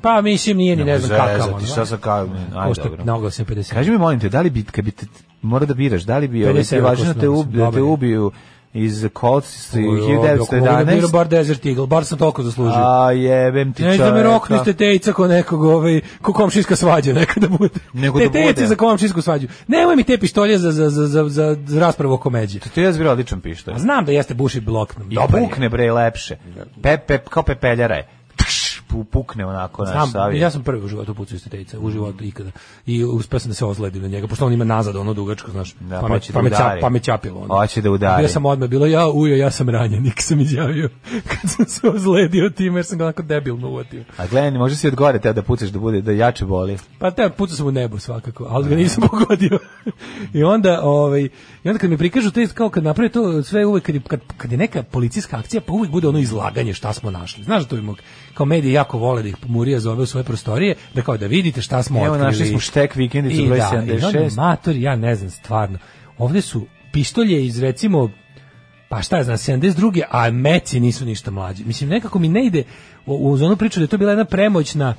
Speaker 6: Pa mislim, nije ni ne, znam kakav. ono,
Speaker 7: Zezati, šta sa kakav? Aj,
Speaker 6: Košta
Speaker 7: dobro.
Speaker 6: na oglasu 50.
Speaker 7: Kaži mi, molim te, da li bi, kad bi te, mora da biraš, da li bi ovaj,
Speaker 6: 50
Speaker 7: ti važno da te,
Speaker 6: ako
Speaker 7: ub, da te
Speaker 6: dobro.
Speaker 7: ubiju iz Colts
Speaker 6: Ovo je
Speaker 7: 1911,
Speaker 6: bar Desert Eagle, bar sam toliko zaslužio.
Speaker 7: a jebem ti
Speaker 6: Ne
Speaker 7: čoveka.
Speaker 6: da me roknu ste tejca ko nekog, ovaj, ko komšijska svađa nekada bude.
Speaker 7: Nego
Speaker 6: te
Speaker 7: da bude.
Speaker 6: tejci za komšijsku svađu. Nemoj mi te pištolje za, za, za, za, za, za raspravu oko međe.
Speaker 7: To je zbira odličan pištolj.
Speaker 6: A znam da jeste buši blok.
Speaker 7: I
Speaker 6: Dobar je.
Speaker 7: pukne bre lepše. Pep, pep, kao pepeljara je. Tš, pu- Pukne onako,
Speaker 6: Znam,
Speaker 7: znaš, stavi.
Speaker 6: ja sam prvi u životu pucao iz tetejca, u životu ikada. I uspeo sam da se ozledim na njega, pošto on ima nazad ono dugačko, znaš,
Speaker 7: Da,
Speaker 6: pa, me,
Speaker 7: hoće da
Speaker 6: pa, me,
Speaker 7: udari.
Speaker 6: ća- pa me ćapilo. Ono.
Speaker 7: Hoće da udari.
Speaker 6: Bio sam odmah, bilo ja, ujo, ja sam ranjen, nik sam izjavio kad sam se ozledio time, jer sam ga onako debilno uvatio.
Speaker 7: A gledaj, ne može si od gore teo da pucaš da bude, da jače boli.
Speaker 6: Pa te pucao sam u nebo svakako, ali ga nisam pogodio. I onda, ovaj, i onda kad mi prikažu te kao kad naprave to sve uvek kad, je- kad, kad je neka policijska akcija, pa uvek bude ono izlaganje šta smo našli. Znaš da to imamo, kao mediji jako vole da ih Murija zove u svoje prostorije, da kao da vidite šta smo
Speaker 7: Evo,
Speaker 6: otkrili.
Speaker 7: našli smo štek vikendicu
Speaker 6: I
Speaker 7: broj
Speaker 6: da, i onda
Speaker 7: 76.
Speaker 6: matori, ja ne znam stvarno. Ovde su pistolje iz recimo pa šta ja znam, 72. a meci nisu ništa mlađi. Mislim, nekako mi ne ide u- uz onu priču da je to bila jedna premoćna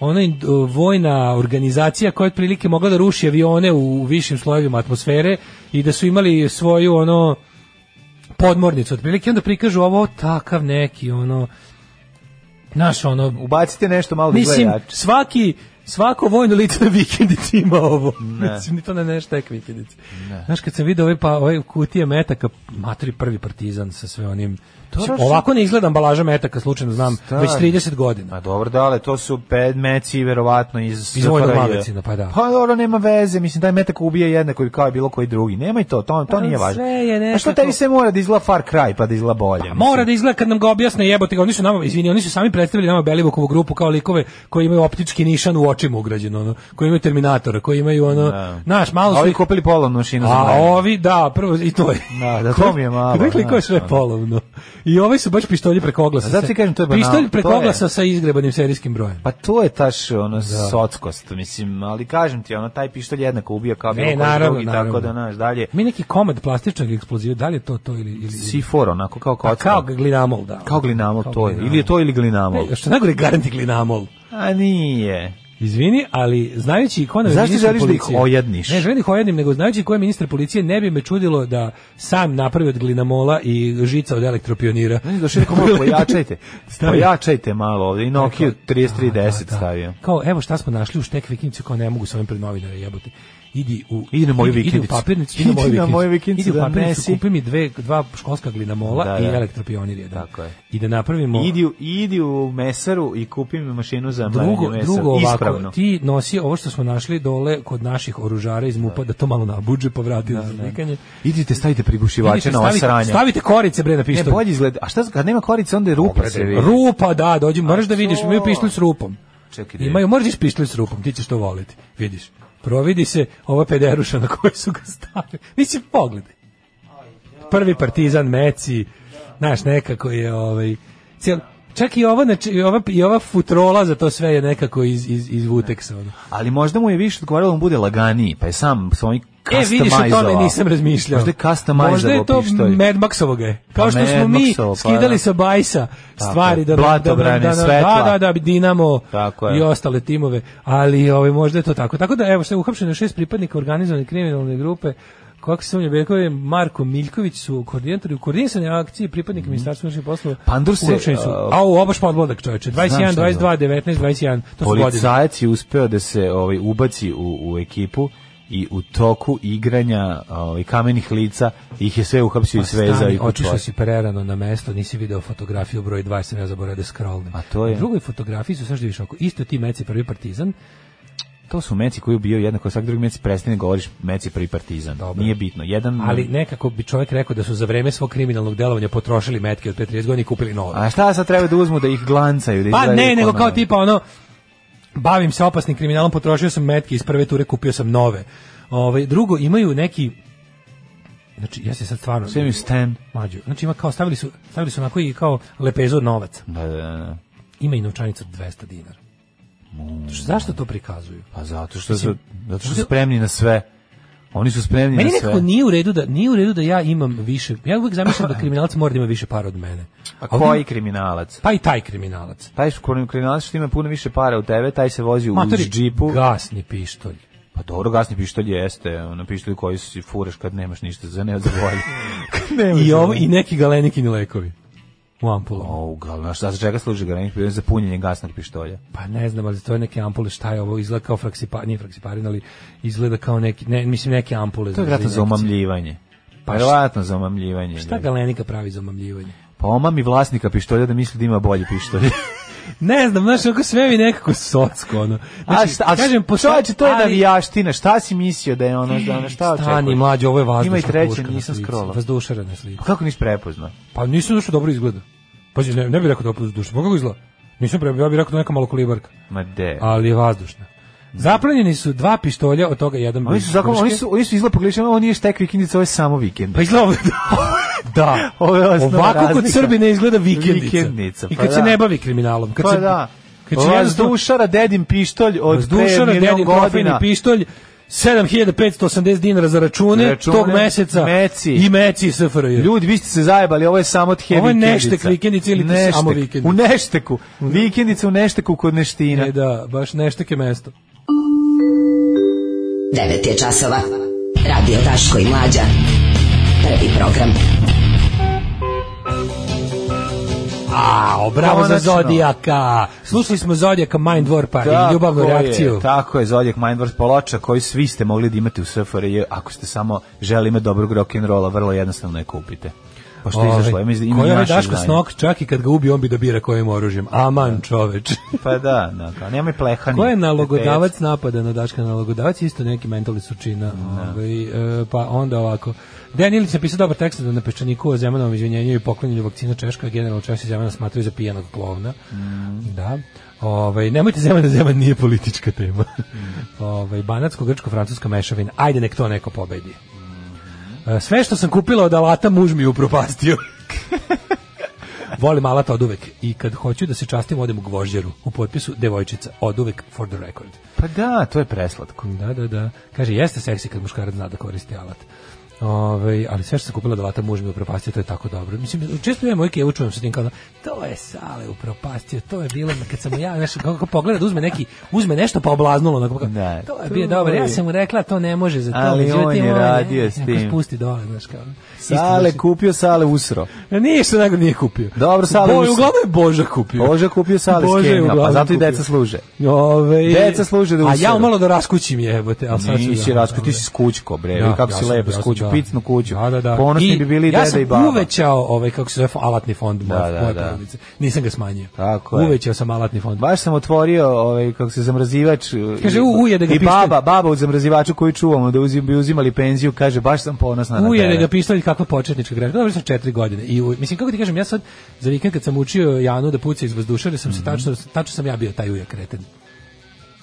Speaker 6: ona in- vojna organizacija koja je otprilike mogla da ruši avione u višim slojevima atmosfere i da su imali svoju ono podmornicu otprilike I onda prikažu ovo takav neki ono naš ono
Speaker 7: Ubacite nešto malo da
Speaker 6: Mislim,
Speaker 7: gleda jače.
Speaker 6: svaki svako vojno lice na vikendici ima ovo. Mislim, ni to ne nešto tek vikendici. Znaš, kad sam vidio ove, pa, ove kutije metaka, matri prvi partizan sa sve onim... Mislim,
Speaker 7: baš-
Speaker 6: ovako ne izgleda ambalaža metaka, slučajno znam,
Speaker 7: Stari.
Speaker 6: već 30 godina.
Speaker 7: A dobro, da, ali to su pedmeci verovatno iz
Speaker 6: Iz vojnog
Speaker 7: SFRJ.
Speaker 6: magazina, pa da.
Speaker 7: Pa dobro, nema veze, mislim, taj metak ubije jednako i kao i bilo koji drugi. Nemoj to, to, to
Speaker 6: Pa,
Speaker 7: nije
Speaker 6: sve
Speaker 7: važno.
Speaker 6: je
Speaker 7: A što
Speaker 6: nekako-
Speaker 7: tebi se mora da izgleda Far Cry, pa da izgleda bolje?
Speaker 6: Pa
Speaker 7: mislim?
Speaker 6: mora da izgleda kad nam ga objasne jebote, ga, oni su nama, izvini, oni su sami predstavili nama Belivukovu grupu kao likove koji imaju optički nišan u očima ugrađeno, ono, koji imaju Terminatora, koji imaju ono,
Speaker 7: Da.
Speaker 6: naš, malo
Speaker 7: A
Speaker 6: su...
Speaker 7: ovi kupili polovnu mašinu za
Speaker 6: A
Speaker 7: mlade.
Speaker 6: ovi, da, prvo, i to je.
Speaker 7: Da, da, to mi je malo,
Speaker 6: Rekli ko je
Speaker 7: znaš,
Speaker 6: sve
Speaker 7: ono.
Speaker 6: polovno. I ovi su baš pištolji preko oglasa.
Speaker 7: A zato
Speaker 6: sa-
Speaker 7: ti kažem, to je banalno,
Speaker 6: Pištolj
Speaker 7: to
Speaker 6: preko
Speaker 7: je-
Speaker 6: oglasa sa izgrebanim serijskim brojem.
Speaker 7: Pa to je taš ono sockost, mislim, ali kažem ti, ono taj pištolj jednako ubija kao bilo
Speaker 6: Ne,
Speaker 7: koji
Speaker 6: naravno,
Speaker 7: drugi,
Speaker 6: naravno.
Speaker 7: tako da naš dalje.
Speaker 6: Mi neki komad plastičnog eksploziva, da li je to to ili... ili
Speaker 7: C4, onako kao
Speaker 6: Pa
Speaker 7: kocka.
Speaker 6: kao glinamol, da.
Speaker 7: Kao glinamol,
Speaker 6: Kao
Speaker 7: to je.
Speaker 6: glinamol.
Speaker 7: Ili je to ili glinamol.
Speaker 6: Ne, što najgore garanti glinamol.
Speaker 7: A nije.
Speaker 6: Izvini, ali znajući ko nam je
Speaker 7: Zašto
Speaker 6: ministar
Speaker 7: želiš da ih
Speaker 6: policije-
Speaker 7: ojadniš?
Speaker 6: Ne želim da ih ojadnim, nego znajući ko je ministar policije, ne bi me čudilo da sam napravi od glinamola i žica od elektropionira.
Speaker 7: Ne znam, došli rekao, malo pojačajte.
Speaker 6: Stavi.
Speaker 7: Pojačajte malo ovdje. I Nokia 3310
Speaker 6: Da, da.
Speaker 7: stavio.
Speaker 6: Kao, evo šta smo našli u štek vikindicu, kao ne mogu s ovim pred novinare jebote. Idi u
Speaker 7: Idi na moju
Speaker 6: idi u
Speaker 7: vikendicu.
Speaker 6: papirnicu, idi,
Speaker 7: Idi
Speaker 6: na
Speaker 7: na
Speaker 6: moju
Speaker 7: moju
Speaker 6: vikendicu.
Speaker 7: vikendicu
Speaker 6: Idi u
Speaker 7: da
Speaker 6: papirnicu,
Speaker 7: nesi.
Speaker 6: kupi mi dve, dva školska glinamola
Speaker 7: Da,
Speaker 6: i
Speaker 7: da.
Speaker 6: elektropionir jedan.
Speaker 7: Tako je.
Speaker 6: I da napravimo...
Speaker 7: Idi, u- idi u mesaru i kupi mi mašinu za mlanje
Speaker 6: Drugo,
Speaker 7: mesa.
Speaker 6: drugo ovako,
Speaker 7: Ispravno.
Speaker 6: ti nosi ovo što smo našli dole kod naših oružara iz MUPA, da to malo nabuđe, povrati da, za zlikanje.
Speaker 7: Idite, stavite prigušivače
Speaker 6: Idite,
Speaker 7: na ova
Speaker 6: stavite-
Speaker 7: sranja.
Speaker 6: Stavite korice bre na
Speaker 7: Ne,
Speaker 6: pištolj.
Speaker 7: bolje izgleda. A šta, kad nema korice, onda je rupa se vidi.
Speaker 6: Rupa, da, dođi, moraš da vidiš, imaju
Speaker 7: to.
Speaker 6: pištolj s rupom.
Speaker 7: Čekaj, da
Speaker 6: Imaju, moraš pištolj s rupom, ti ćeš to voliti. Vidiš. Providi se ova pederuša na koju su ga stavili. Mislim, pogledaj. Prvi partizan Meci, znaš, nekako je ovaj... Cijel, čak i ova, znači, i ova, i ova futrola za to sve je nekako iz, iz, iz Vuteksa. Ono.
Speaker 7: Ali možda mu je više odgovaralo da mu bude laganiji, pa je sam svoj
Speaker 6: E, vidiš, o tome
Speaker 7: customizovao.
Speaker 6: nisam razmišljao.
Speaker 7: Možda je customizovao
Speaker 6: Možda je to
Speaker 7: pištolj.
Speaker 6: Mad Maxovoga je. Kao
Speaker 7: Pa
Speaker 6: što
Speaker 7: Mad
Speaker 6: smo mi
Speaker 7: Maxovo, pa
Speaker 6: skidali
Speaker 7: da.
Speaker 6: sa bajsa
Speaker 7: Tako
Speaker 6: stvari
Speaker 7: je.
Speaker 6: da,
Speaker 7: Blatobrane,
Speaker 6: da, da, da,
Speaker 7: svetla.
Speaker 6: da, da, da, Dinamo
Speaker 7: Tako je.
Speaker 6: i ostale timove, ali ovaj, možda je to tako. Tako da, evo, što je uhapšeno šest pripadnika organizovane kriminalne grupe, kako se sumnja Bekovi, Marko Miljković su koordinatori u koordinisanoj akciji pripadnika ministarstva unutrašnjih poslova.
Speaker 7: Mhm. Pandur se,
Speaker 6: uhapšeni su.
Speaker 7: a,
Speaker 6: A u obaš podmladak čoveče. 21,
Speaker 7: šta je to.
Speaker 6: 22, 19, 21. To su godine.
Speaker 7: Policajac Pa je uspeo da se ovaj ubaci u, u ekipu i u toku igranja ovaj, kamenih lica ih je sve uhapsio i svezao i
Speaker 6: Stani, otišao
Speaker 7: kućuo.
Speaker 6: si prerano na mesto, nisi video fotografiju broj 2, jer sam ja zaboravio da scrollnem.
Speaker 7: A to je-
Speaker 6: Na drugoj fotografiji su, sad što više oko, isto ti meci prvi partizan,
Speaker 7: To su meci koji je bio jednako svaki drugi meci prestani govoriš meci prvi partizan.
Speaker 6: Dobro.
Speaker 7: Nije bitno. Jedan
Speaker 6: ali nekako bi čovjek rekao da su za vreme svog kriminalnog delovanja potrošili metke od 5-30 godina i kupili nove.
Speaker 7: A šta sad treba da uzmu da ih glancaju? Da
Speaker 6: Pa
Speaker 7: izgledaju
Speaker 6: ne, nego
Speaker 7: ono-
Speaker 6: kao tipa ono, bavim se opasnim kriminalom, potrošio sam metke iz prve ture, kupio sam nove. Ovaj, drugo, imaju neki, znači ja se sad stvarno...
Speaker 7: Sve mi stan.
Speaker 6: Mlađo, znači ima kao, stavili su, stavili su onako i kao lepezu od novaca.
Speaker 7: Da, da, da.
Speaker 6: ima i novčanica od 200 dinara.
Speaker 7: Mm.
Speaker 6: Što- Zašto to prikazuju?
Speaker 7: Pa zato što su, zato što su spremni na sve. Oni su spremni
Speaker 6: Meni
Speaker 7: na sve.
Speaker 6: nekako nije u redu da nije u redu da ja imam više. Ja uvek zamišljam da kriminalac mora da ima više para od mene.
Speaker 7: A
Speaker 6: ovdje-
Speaker 7: koji kriminalac?
Speaker 6: Pa i taj kriminalac.
Speaker 7: Taj škorni kriminalac što ima puno više para od tebe, taj se vozi u
Speaker 6: Matori,
Speaker 7: džipu.
Speaker 6: gasni pištolj.
Speaker 7: Pa dobro, gasni pištolj jeste, ono pištolj koji si furaš kad nemaš ništa za ne za volju. Kad nemaš
Speaker 6: I
Speaker 7: za
Speaker 6: ovo
Speaker 7: volju.
Speaker 6: i neki galenikini lekovi. U ampulama.
Speaker 7: O, gal, znaš, za čega služi garenik pištolj? Za punjenje gasnog pištolja.
Speaker 6: Pa ne znam, ali to je neke ampule, šta je ovo, izgleda kao fraksipa, nije fraksiparin, ali izgleda kao neki, ne, mislim neke ampule.
Speaker 7: To je vjerojatno za
Speaker 6: injekcije.
Speaker 7: omamljivanje.
Speaker 6: Pa
Speaker 7: Pa
Speaker 6: šta-
Speaker 7: vjerojatno za omamljivanje.
Speaker 6: Šta galenika pravi za omamljivanje?
Speaker 7: Pa omami vlasnika pištolja da misli da ima bolji pištolj.
Speaker 6: Ne znam, znaš, ako sve mi nekako socko, ono.
Speaker 7: a šta, a Znači, kažem,
Speaker 6: postoje-
Speaker 7: to je
Speaker 6: ali-
Speaker 7: navijaština. Šta si mislio da je ono, da ono, šta očekuješ?
Speaker 6: Stani, mlađe, ovo je vazdušna
Speaker 7: Ima i treće,
Speaker 6: puška na
Speaker 7: nisam
Speaker 6: slici.
Speaker 7: scrollao.
Speaker 6: Vazdušara na slici.
Speaker 7: Pa kako nisi prepoznao?
Speaker 6: Pa nisam došao dobro izgleda. Pazi, ne, ne bih rekao da je opet vazdušna. Pa kako izgleda? Nisam pre, ja bih rekao da je neka malo kolibarka.
Speaker 7: Ma de.
Speaker 6: Ali je vazdušna. Zaplenjeni su dva pištolja, od toga jedan
Speaker 7: Oni
Speaker 6: bez
Speaker 7: su, zakon,
Speaker 6: puške.
Speaker 7: oni su, oni su izgleda pogledali, ovo nije štek vikendica, ovo je samo vikend.
Speaker 6: Pa izgleda ovo- da.
Speaker 7: Ovo je osnovna
Speaker 6: Ovako kod
Speaker 7: razlika.
Speaker 6: Srbine izgleda vikendica.
Speaker 7: Vikendica,
Speaker 6: I
Speaker 7: pa
Speaker 6: kad se
Speaker 7: da.
Speaker 6: ne bavi kriminalom. Kad
Speaker 7: Pa
Speaker 6: se,
Speaker 7: da.
Speaker 6: Kad se jednostavno-
Speaker 7: Vazdušara, dedin pištolj od pre
Speaker 6: Vazdušara,
Speaker 7: milion
Speaker 6: dedin trofejni
Speaker 7: godina.
Speaker 6: pištolj, 7580 dinara za račune,
Speaker 7: Račune,
Speaker 6: tog meseca
Speaker 7: meci.
Speaker 6: i meci SFRJ.
Speaker 7: Ljudi, vi ste se zajebali, ovo je samo od
Speaker 6: Ovo je
Speaker 7: vikendica.
Speaker 6: neštek vikendica ili ti samo vikendica?
Speaker 7: U nešteku. Vikendica u nešteku kod neština.
Speaker 6: E da, baš neštake mesto.
Speaker 10: 9 je časova. Radio Daško i Mlađa. Prvi program.
Speaker 6: A, bravo za
Speaker 7: Konačno.
Speaker 6: Zodijaka. Slušali smo Zodijaka Mind Warpa i
Speaker 7: Tako
Speaker 6: ljubavnu
Speaker 7: je,
Speaker 6: reakciju.
Speaker 7: tako je, Zodjak Mindverse ploča koju svi ste mogli da imate u SFRJ ako ste samo želi imati dobrog rock'n'rolla, vrlo jednostavno je kupite. Pa što je izašlo? Ima iz- ima
Speaker 6: koji
Speaker 7: i
Speaker 6: ovaj
Speaker 7: naše
Speaker 6: Daško
Speaker 7: izdanje.
Speaker 6: Snok, čak i kad ga ubi, on bi da bira kojim oružjem. Aman, čoveč.
Speaker 7: Pa da, da, kao, nema i plehani.
Speaker 6: Ko je nalogodavac napada na Daška nalogodavac? Isto neki mentalni sučina. Ovaj, e, pa onda ovako. Dejan Ilić je pisao dobar tekst da na peščaniku o Zemanovom izvinjenju i poklonjenju vakcina Češka, generalno Češi Zemana smatraju za pijanog klovna. Da. Ovaj, nemojte Zeman, Zeman nije politička tema. ovaj, Banatsko-grčko-francuska mešavina. Ajde, nek to neko pobedi. E, Sve što sam kupila od alata muž mi je upropastio. Volim alat od uvek i kad hoću da se častim odem u gvožđeru u potpisu devojčica od uvek for the record.
Speaker 7: Pa da, to je preslatko.
Speaker 6: Da, da, da. Kaže, jeste seksi kad muškarac zna da koristi alat. Ove, ali sve što sam kupila od alata muž mi je upropastio, to je tako dobro. Mislim, često ja moje kevu čujem sa tim kao, to je sale upropastio, to je bilo, kad sam mu ja, znaš, kako pogleda, da uzme neki, uzme nešto pa oblaznulo, onako, kao,
Speaker 7: Da,
Speaker 6: to je
Speaker 7: to
Speaker 6: bio dobro, ja
Speaker 7: je.
Speaker 6: sam mu rekla, to ne može za to.
Speaker 7: Ali on je
Speaker 6: međutim, ne,
Speaker 7: radio s
Speaker 6: neko
Speaker 7: tim.
Speaker 6: Spusti dole, znaš, kao. Isto,
Speaker 7: Sale
Speaker 6: znaš,
Speaker 7: kupio, sale usro.
Speaker 6: Ja ništa nego nije kupio.
Speaker 7: Dobro, Sale,
Speaker 6: Bo,
Speaker 7: us-
Speaker 6: uglavnom je Boža kupio.
Speaker 7: Bože kupio sale
Speaker 6: Bože
Speaker 7: s
Speaker 6: je
Speaker 7: Kenija, pa
Speaker 6: uglavnom
Speaker 7: zato i
Speaker 6: kupio.
Speaker 7: deca služe.
Speaker 6: Ove,
Speaker 7: Deca služe da
Speaker 6: A
Speaker 7: useru.
Speaker 6: ja malo da raskućim jebote, al sad ću
Speaker 7: Nisi
Speaker 6: da-
Speaker 7: rasko, ti si skućko, bre,
Speaker 6: Da,
Speaker 7: kako
Speaker 6: ja
Speaker 7: si
Speaker 6: sam-
Speaker 7: lepo,
Speaker 6: ja sam,
Speaker 7: skuću,
Speaker 6: da.
Speaker 7: picnu kuću.
Speaker 6: Da, da, da.
Speaker 7: Ponosni
Speaker 6: I
Speaker 7: bi bili i
Speaker 6: ja
Speaker 7: deda
Speaker 6: sam
Speaker 7: i baba.
Speaker 6: uvećao ovaj kako se zove alatni fond moje,
Speaker 7: Da, da,
Speaker 6: moje
Speaker 7: da.
Speaker 6: porodice. Nisam ga smanjio.
Speaker 7: Tako je.
Speaker 6: Uvećao sam alatni fond.
Speaker 7: Baš sam otvorio ovaj kako se zamrzivač i-
Speaker 6: Kaže, u, ujede ga
Speaker 7: i
Speaker 6: pištolj.
Speaker 7: baba, baba u zamrzivaču koju čuvamo da uzim, bi uzimali penziju, kaže baš sam ponosna na
Speaker 6: Ujede
Speaker 7: tebe.
Speaker 6: ga pištolj kakva početnička greška. Dobro sam četiri godine. I u- mislim kako ti kažem ja sad za vikend kad sam učio Janu da puca iz vazdušara sam se
Speaker 7: Mhm.
Speaker 6: tačno tačno sam ja bio taj ujak kreten.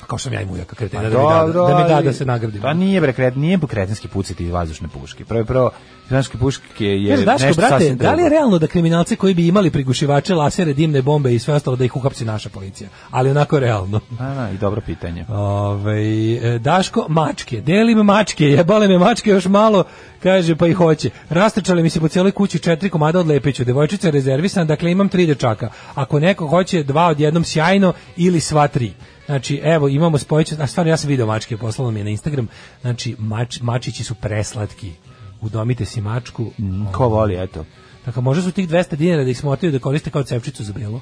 Speaker 6: Kao što sam ja i ujak kreten. Da, mi da,
Speaker 7: Pa Dobro,
Speaker 6: da mi da
Speaker 7: ali-
Speaker 6: da se nagradim.
Speaker 7: Pa nije bre kret, nije po kretenski pucati iz vazdušne puške. Prvo prvo vazdušne puške je
Speaker 6: Kaže, Daško,
Speaker 7: nešto
Speaker 6: brate,
Speaker 7: sasvim
Speaker 6: da li
Speaker 7: drugo.
Speaker 6: je realno da kriminalci koji bi imali prigušivače, lasere, dimne bombe i sve ostalo da ih uhapsi naša policija? Ali onako realno.
Speaker 7: A, da, i dobro pitanje.
Speaker 6: Ovaj, e, Daško, mačke, delim mačke, jebale me mačke još malo, kaže, pa i hoće. Rastrčale mi se po cijeloj kući četiri komada od Lepiću, devojčica je rezervisana, dakle imam tri dečaka. Ako neko hoće, dva odjednom sjajno ili sva tri. Znači, evo, imamo spojeće, a stvarno ja sam video mačke, poslalo mi je na Instagram, znači, mač, mačići su preslatki. Udomite si mačku.
Speaker 7: Ko voli, eto.
Speaker 6: Dakle, može su tih 200 dinara da ih smotaju da koriste kao cepčicu za bilo.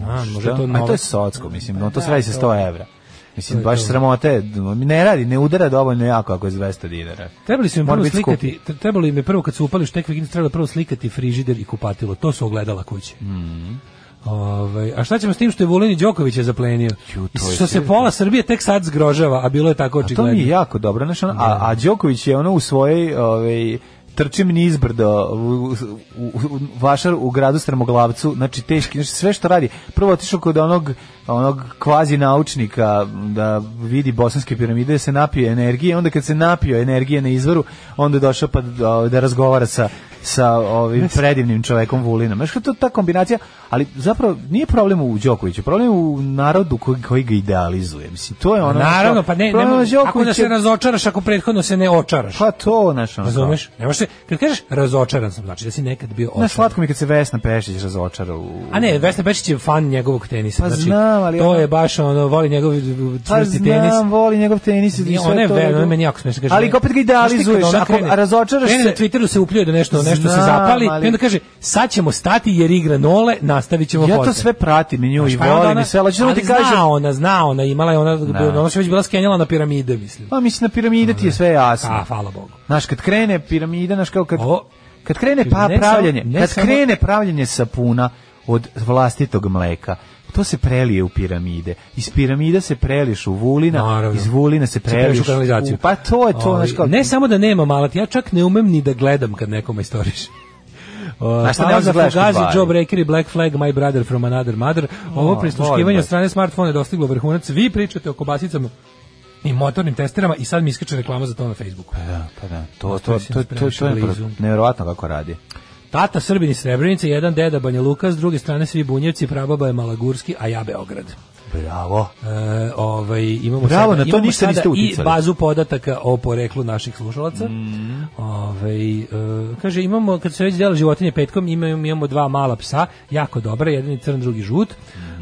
Speaker 6: Može. može to
Speaker 7: A to je
Speaker 6: novac.
Speaker 7: socko, mislim, no to sve se 100 evra.
Speaker 6: To
Speaker 7: Mislim,
Speaker 6: je
Speaker 7: baš
Speaker 6: to.
Speaker 7: sramote, je, ne radi, ne udara dovoljno jako ako je s 200 dinara.
Speaker 6: Trebali su im
Speaker 7: Mora
Speaker 6: prvo
Speaker 7: biti skup.
Speaker 6: slikati, tre- trebalo im je prvo kad su upali u štek vikendicu, trebalo je prvo slikati frižider i kupatilo. To su ogledala kuće.
Speaker 7: Mhm.
Speaker 6: Ovaj, a šta ćemo s tim što je Vulin i Đoković je zaplenio?
Speaker 7: Ju, to je
Speaker 6: što se pola Srbije tek sad zgrožava, a bilo je tako
Speaker 7: To
Speaker 6: očigledno.
Speaker 7: mi je jako dobro, znaš, ono, a, a Đoković je ono u svojoj, ovaj, trčim niz brdo, u, u, u- vašar u gradu Strmoglavcu, znači teški, znači sve što radi. Prvo otišao kod onog, onog kvazi naučnika da vidi bosanske piramide, da se napije energije, onda kad se napio energije na izvoru, onda je došao pa da, da razgovara sa sa ovim predivnim čovekom Vulinom. Znaš, to je ta kombinacija, ali zapravo nije problem u Đokoviću, problem je u narodu koji, koji ga idealizuje. Mislim, to je ono...
Speaker 6: Naravno,
Speaker 7: što-
Speaker 6: pa ne,
Speaker 7: problem
Speaker 6: ne
Speaker 7: je
Speaker 6: ako da
Speaker 7: Đoković
Speaker 6: se
Speaker 7: je-
Speaker 6: razočaraš ako prethodno se ne očaraš.
Speaker 7: pa to, znaš, ono.
Speaker 6: Razumeš? Ne možeš se- kad kažeš razočaran sam, znači da si nekad bio
Speaker 7: kao- Znaš,
Speaker 6: očaran.
Speaker 7: ono, slatko mi je kad se Vesna Pešić razočara u...
Speaker 6: A ne, Vesna Bečić je fan njegovog tenisa.
Speaker 7: Pa
Speaker 6: znači,
Speaker 7: znam, ali
Speaker 6: to
Speaker 7: ona-
Speaker 6: je baš ono, voli njegov uh,
Speaker 7: pa
Speaker 6: čvrsti tenis.
Speaker 7: znam, voli njegov tenis i
Speaker 6: Nije,
Speaker 7: sve
Speaker 6: ona je
Speaker 7: to.
Speaker 6: verno,
Speaker 7: nego-
Speaker 6: meni jako smiješno. Kaže,
Speaker 7: Ali ga opet ga idealizuješ,
Speaker 6: Znaš ti kad ona
Speaker 7: ako
Speaker 6: krene-
Speaker 7: a razočaraš
Speaker 6: krene
Speaker 7: se...
Speaker 6: na Twitteru se upljuje da nešto, nešto se
Speaker 7: Znam,
Speaker 6: zapali,
Speaker 7: ali-
Speaker 6: i onda kaže, sad ćemo stati jer igra nole, nastavit ćemo
Speaker 7: Ja to
Speaker 6: posle.
Speaker 7: sve pratim i nju
Speaker 6: Znaš,
Speaker 7: i
Speaker 6: pa onda
Speaker 7: volim
Speaker 6: ona-
Speaker 7: i sve, ali ću samo
Speaker 6: ali
Speaker 7: ti kažem...
Speaker 6: Zna ona, zna ona, imala je ona, ona se već bila skenjala na piramide, mislim.
Speaker 7: Pa mislim, na piramide ti je sve
Speaker 6: A,
Speaker 7: jasno.
Speaker 6: hvala Bogu.
Speaker 7: Znaš, kad krene piramida, znaš kao kad...
Speaker 6: Ovo-
Speaker 7: Kad krene pa
Speaker 6: Ne samo-
Speaker 7: pravljanje,
Speaker 6: ne
Speaker 7: kad
Speaker 6: samo-
Speaker 7: krene pravljanje sapuna od vlastitog mleka, to se prelije u piramide. Iz piramida se preliš u vulina,
Speaker 6: Naravno.
Speaker 7: iz vulina se
Speaker 6: Se preliš
Speaker 7: preliš
Speaker 6: u kanalizaciju.
Speaker 7: pa to je to,
Speaker 6: Ovaj,
Speaker 7: znaš kao...
Speaker 6: Ne samo da nema malat, ja čak ne umem ni da gledam kad nekome istoriš. pa
Speaker 7: A šta ne možeš da gledaš kod
Speaker 6: Fugazi,
Speaker 7: Bari?
Speaker 6: Joe Breaker i Black Flag, My Brother from Another Mother. Ovo
Speaker 7: O,
Speaker 6: prisluškivanje
Speaker 7: volim
Speaker 6: od strane smartfona je dostiglo vrhunac. Vi pričate o kobasicama i motornim testerama i sad mi iskače reklama za to na Facebooku.
Speaker 7: Da, pa da, to, to,
Speaker 6: Ostavio
Speaker 7: to,
Speaker 6: si
Speaker 7: to,
Speaker 6: nas
Speaker 7: to,
Speaker 6: previše
Speaker 7: to je
Speaker 6: blizu.
Speaker 7: pro- nevjerovatno kako radi.
Speaker 6: Tata Srbini Srebrenica, jedan deda Banja Luka, s druge strane svi bunjevci, prababa je Malagurski, a ja Beograd.
Speaker 7: Bravo.
Speaker 6: E, ovaj, imamo
Speaker 7: Bravo,
Speaker 6: sada,
Speaker 7: na to
Speaker 6: imamo
Speaker 7: ništa
Speaker 6: sada
Speaker 7: niste
Speaker 6: i
Speaker 7: uticali.
Speaker 6: bazu podataka o poreklu naših slušalaca.
Speaker 7: Mm.
Speaker 6: Ovaj, e, kaže, imamo, kad se već dela životinje petkom, imamo, imamo dva mala psa, jako dobra, jedan je crn, drugi žut.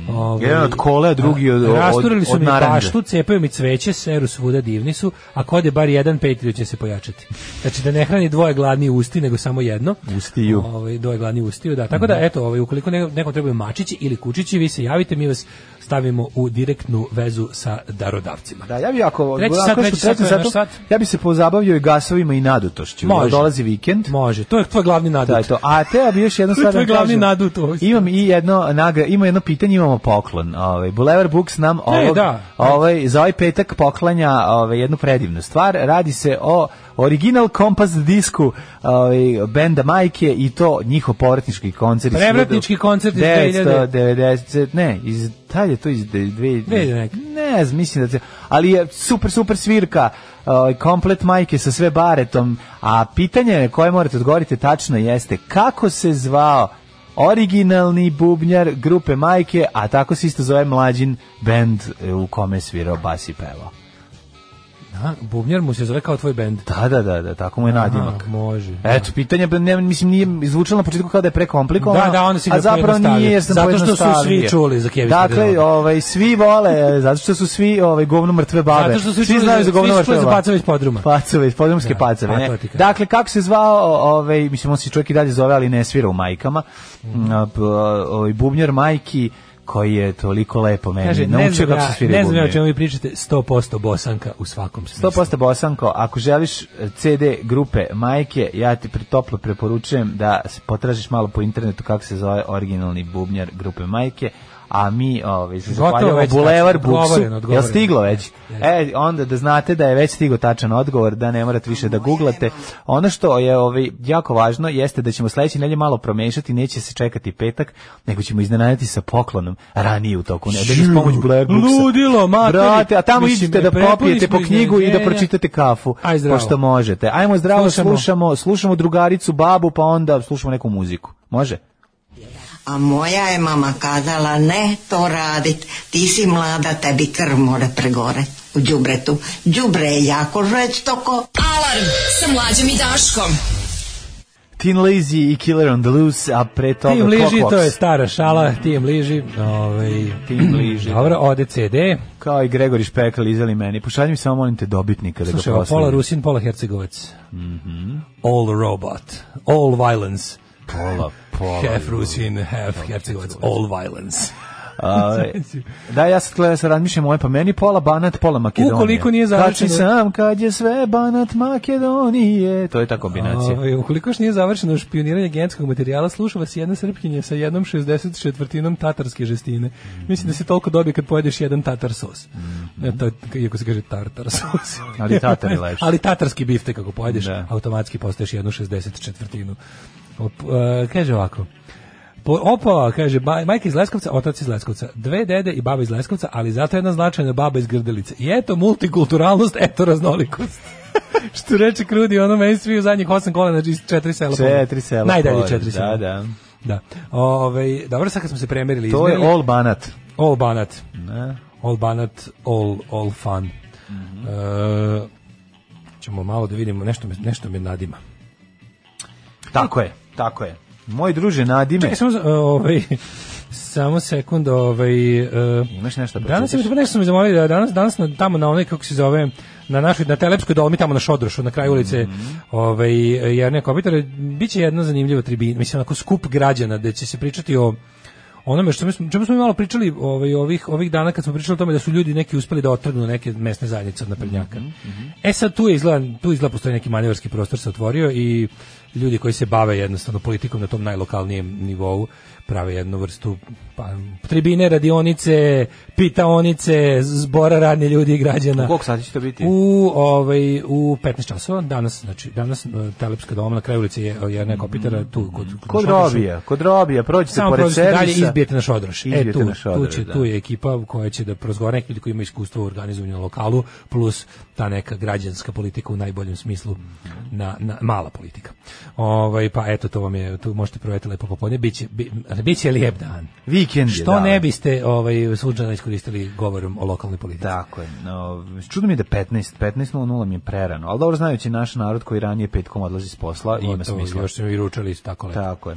Speaker 6: Ovaj,
Speaker 7: Jedan od kole, a drugi od- od-
Speaker 6: Rasturili su
Speaker 7: od
Speaker 6: mi
Speaker 7: naranđe.
Speaker 6: paštu, cepaju mi cveće, seru svuda, divni su. Ako ode bar jedan, petlju će se pojačati. Znači da ne hrani dvoje gladni usti, nego samo jedno.
Speaker 7: Ustiju. Mhm.
Speaker 6: Ovaj dvoje gladni ustiju, da. Tako da eto, ovaj ukoliko ne- nekom trebaju mačići ili kučići, vi se javite, mi vas stavimo smo u direktnu vezu sa darodavcima.
Speaker 7: Da, ja bi ako,
Speaker 6: Treći
Speaker 7: ako
Speaker 6: sat,
Speaker 7: je
Speaker 6: treći
Speaker 7: što treći
Speaker 6: sat,
Speaker 7: sat,
Speaker 6: sat.
Speaker 7: ja bi se pozabavio i gasovima i nadutošću.
Speaker 6: Može.
Speaker 7: Može. Dolazi vikend.
Speaker 6: Može, to je tvoj glavni nadut.
Speaker 7: Da, je to. A te bi još jedno
Speaker 6: To je
Speaker 7: stvar da
Speaker 6: tvoj
Speaker 7: vam
Speaker 6: glavni
Speaker 7: kažem.
Speaker 6: nadut u ovoj stvari.
Speaker 7: Imam i jedno nagra, ima jedno pitanje, imamo poklon. Ovaj Boulevard Books nam ovog,
Speaker 6: E, da.
Speaker 7: ovaj za ovaj petak poklanja ovaj jednu predivnu stvar. Radi se o original kompas disku ovaj benda Majke i to njihov povratnički koncert iz
Speaker 6: Prevratnički
Speaker 7: 1990
Speaker 6: koncert iz 2000.
Speaker 7: 1990, ne, iz tad je to iz de- dve-
Speaker 6: 2000 neka.
Speaker 7: ne znam, mislim da se, ali je super, super svirka, ovaj, komplet majke sa sve baretom, a pitanje na koje morate odgovoriti tačno jeste kako se zvao originalni bubnjar grupe majke, a tako se isto zove mlađin band e, u kome je svirao bas i pevao.
Speaker 6: Aha, bubnjar mu se zove kao tvoj bend.
Speaker 7: Da, da, da, da, tako mu je nadimak.
Speaker 6: Aha, može.
Speaker 7: Eto, pitanje, ne, mislim, nije zvučalo na početku kao da je prekomplikovano,
Speaker 6: Da, da, onda si ga
Speaker 7: a zapravo
Speaker 6: pojednostavio.
Speaker 7: nije, jer sam
Speaker 6: Zato što su
Speaker 7: pojednostavio.
Speaker 6: svi čuli za Kevin
Speaker 7: Dakle,
Speaker 6: Federal.
Speaker 7: ovaj, svi vole, zato što su svi ovaj, govno mrtve babe.
Speaker 6: Zato što su
Speaker 7: svi
Speaker 6: čuli
Speaker 7: znaju za govno
Speaker 6: svi su
Speaker 7: mrtve
Speaker 6: čuli za
Speaker 7: babe.
Speaker 6: pacove iz podruma.
Speaker 7: Pacove, iz podrumske
Speaker 6: Da,
Speaker 7: pacove.
Speaker 6: a to
Speaker 7: Ne?
Speaker 6: ti kažem.
Speaker 7: Dakle, kako se zvao, o- ovaj, mislim, on se čovjek i dalje zove, ali ne svira u majkama,
Speaker 6: Mhm.
Speaker 7: a, p- ovaj, bubnjar majki, koji je toliko lepo meni.
Speaker 6: Kaže, ne
Speaker 7: Naučio
Speaker 6: znam,
Speaker 7: kako se
Speaker 6: ja,
Speaker 7: svira
Speaker 6: ne znam ja o
Speaker 7: bubnjar.
Speaker 6: čemu vi pričate, 100% bosanka u svakom smislu.
Speaker 7: 100% Bosanko, ako želiš eh, CD grupe Majke, ja ti pre- toplo preporučujem da s- potražiš malo po internetu kako se zove originalni bubnjar grupe Majke, a mi ovaj, se
Speaker 6: Gotovo
Speaker 7: zahvaljamo
Speaker 6: već,
Speaker 7: Bulevar
Speaker 6: tačno,
Speaker 7: Buksu.
Speaker 6: odgovoreno,
Speaker 7: Jel
Speaker 6: odgovoreno.
Speaker 7: stiglo već? E, onda da znate da je već stigao tačan odgovor, da ne morate više da googlate. Ono što je ovaj, jako važno jeste da ćemo sledeće nedelje malo promešati, neće se čekati petak, nego ćemo iznenaditi sa poklonom ranije u toku nedelje s pomoć Bulevar Buksa.
Speaker 6: Ludilo, mater.
Speaker 7: Brate, a tamo
Speaker 6: Mislim, e,
Speaker 7: idite da
Speaker 6: prepuni
Speaker 7: popijete
Speaker 6: smo
Speaker 7: po knjigu i da
Speaker 6: iznenađenja.
Speaker 7: pročitate kafu,
Speaker 6: Aj, zdravo.
Speaker 7: pošto možete. Ajmo zdravo,
Speaker 6: Slušamo.
Speaker 7: slušamo, slušamo drugaricu, babu, pa onda slušamo neku muziku. Može?
Speaker 11: A moja je mama kazala, ne to radit, ti si mlada, tebi krv more pregore u džubretu. Džubre je jako žestoko.
Speaker 5: Alarm sa mlađom i Daškom.
Speaker 7: Teen Lazy i Killer on the Loose, a pre toga
Speaker 6: Ti im liži,
Speaker 7: Clockworks.
Speaker 6: to je stara šala, ti im liži. Ovaj,
Speaker 7: Ti im liži.
Speaker 6: Dobro, ode CD.
Speaker 7: Kao i Gregori Špekal izeli meni. Pošalji mi samo, molim te, dobitnika da
Speaker 6: Slušaj,
Speaker 7: ga
Speaker 6: ovo, pola
Speaker 7: poslali.
Speaker 6: Rusin, pola Hercegovac.
Speaker 7: Mhm.
Speaker 6: All robot, all violence.
Speaker 7: Pola, pola.
Speaker 6: half Rusin, half Hercegovac, all violence.
Speaker 7: A, da, ja sad gledam, sad razmišljam moje, pa meni pola Banat, pola Makedonije.
Speaker 6: Ukoliko nije završeno-
Speaker 7: Kači sam kad je sve Banat Makedonije. To je ta kombinacija.
Speaker 6: Ovaj, ukoliko još nije završeno špioniranje genetskog materijala, sluša vas jedna srpkinja sa jednom 60 četvrtinom tatarske žestine.
Speaker 7: Mhm.
Speaker 6: Mislim da se toliko dobije kad pojedeš jedan tatar sos. E, to, je, iako se kaže tartar sos.
Speaker 7: Ali tatar je lepši.
Speaker 6: Ali tatarski bifte kako pojedeš,
Speaker 7: Da.
Speaker 6: automatski postaješ jednu 60 četvrtinu. Op, e, kaže ovako, Po- opa, kaže, ba- majka iz Leskovca, otac iz Leskovca, dve dede i baba iz Leskovca, ali zato jedna značajna baba iz Grdelice. I eto multikulturalnost, eto raznolikost. Što reče Krudi, ono meni svi u zadnjih osam kola, znači iz četiri sela.
Speaker 7: Četiri sela.
Speaker 6: Najdalje
Speaker 7: pored,
Speaker 6: četiri sela.
Speaker 7: Da, da.
Speaker 6: Da. Ove, dobro, sad kad smo se premerili.
Speaker 7: To je
Speaker 6: izmerili-
Speaker 7: All Banat.
Speaker 6: all Banat.
Speaker 7: Ne.
Speaker 6: All Banat, all, all fun.
Speaker 7: Mhm.
Speaker 6: E, ćemo malo da vidimo, nešto me, nešto me nadima.
Speaker 7: Tako je, tako je. Moj druže Nadime.
Speaker 6: Čekaj, samo, za- e, ovaj, samo sekund, ovaj... e,
Speaker 7: Imaš nešto da
Speaker 6: Danas
Speaker 7: pročitaš?
Speaker 6: sam nešto su mi zamolili da danas danas na, tamo na onaj kako se zove na našoj na Telepskoj dolmi tamo na Šodrošu na kraju ulice ovaj Jerne Kopitar biće jedna zanimljiva tribina mislim onako skup građana da će se pričati o onome što mi smo, čemu smo mi malo pričali ovaj, ovih, ovih dana kad smo pričali o tome da su ljudi neki uspeli da otrgnu neke mesne zajednice od naprednjaka. E sad tu je izgleda, tu izgleda postoji neki manjevarski prostor se otvorio i ljudi koji se bave jednostavno politikom na tom najlokalnijem nivou prave jednu vrstu pa, tribine, radionice, pitaonice, zbora radnih ljudi i građana.
Speaker 7: Koliko sati će to biti?
Speaker 6: U ovaj u 15 časova danas znači danas eh, Telepska doma na kraju ulice je Jerne Kopitara tu kod
Speaker 7: Kod
Speaker 6: Šodroša.
Speaker 7: robija, kod robija, prođite
Speaker 6: Samo
Speaker 7: pored
Speaker 6: prođite
Speaker 7: servisa.
Speaker 6: dalje izbijete naš odroš. E,
Speaker 7: Izbijete
Speaker 6: tu,
Speaker 7: naš
Speaker 6: tu,
Speaker 7: odroš,
Speaker 6: će,
Speaker 7: da.
Speaker 6: tu je ekipa koja će da prozgovara neki ljudi koji ima iskustvo u organizovanju na lokalu, plus ta neka građanska politika u najboljem smislu, na, na- mala politika. Ovaj, pa eto, to vam je, tu možete provjeti lepo popodne. Biće, bi, biće lijep dan.
Speaker 7: Vikend je,
Speaker 6: Što
Speaker 7: da.
Speaker 6: ne biste ovaj, sunčana iskoristili govorom o lokalnoj politici?
Speaker 7: Tako je. No, čudno mi je da 15, 15.00 mi je prerano, ali dobro znajući naš narod koji ranije petkom odlazi s posla, ima
Speaker 6: Gotovo,
Speaker 7: smisla.
Speaker 6: Još smo i ručali isto tako lepo.
Speaker 7: Tako je.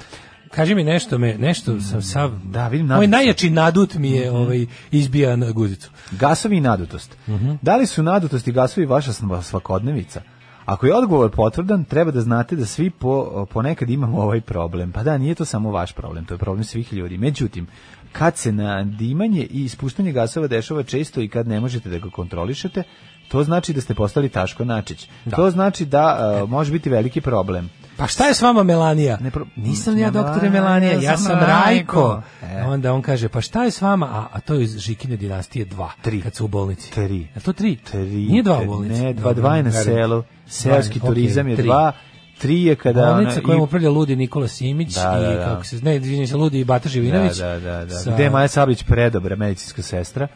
Speaker 6: Kaži mi nešto, me, nešto sam sav...
Speaker 7: Da, vidim,
Speaker 6: Moj
Speaker 7: nadut Mhm. sam.
Speaker 6: najjači nadut mi je ovaj, izbija na guzicu.
Speaker 7: Mhm. Gasovi i nadutost. Da li su nadutost i gasovi vaša sva- svakodnevica? Ako je odgovor potvrdan, treba da znate da svi po, ponekad imamo ovaj problem. Pa da, nije to samo vaš problem, to je problem svih ljudi. Međutim, kad se na dimanje i ispuštanje gasova dešava često i kad ne možete da ga kontrolišete, to znači da ste postali Taško Načić. To znači da uh, može biti veliki problem.
Speaker 6: Pa šta je s vama Melanija? Ne pro... Nisam ja doktore Melanija, ja sam Rajko. E. Onda on kaže, pa šta je s vama? A, a to je iz Žikine dinastije 2,
Speaker 7: Tri.
Speaker 6: kad su u bolnici.
Speaker 7: Tri.
Speaker 6: Je to 3?
Speaker 7: Tri.
Speaker 6: Nije 2 u bolnici?
Speaker 7: Ne, dva, dva je na
Speaker 6: Dobro,
Speaker 7: selu. Seoski
Speaker 6: Dva,
Speaker 7: turizam
Speaker 6: okej,
Speaker 7: je
Speaker 6: tri.
Speaker 7: dva, tri je kada...
Speaker 6: Bolnica
Speaker 7: ono,
Speaker 6: kojom
Speaker 7: i-
Speaker 6: upravlja ludi Nikola Simić
Speaker 7: Da, da,
Speaker 6: i
Speaker 7: da.
Speaker 6: kako se ne, izvinjam se, ludi i Bata
Speaker 7: Da,
Speaker 6: Živinović.
Speaker 7: da, da, da.
Speaker 6: sa-
Speaker 7: Gde je Maja Sablić predobra medicinska sestra,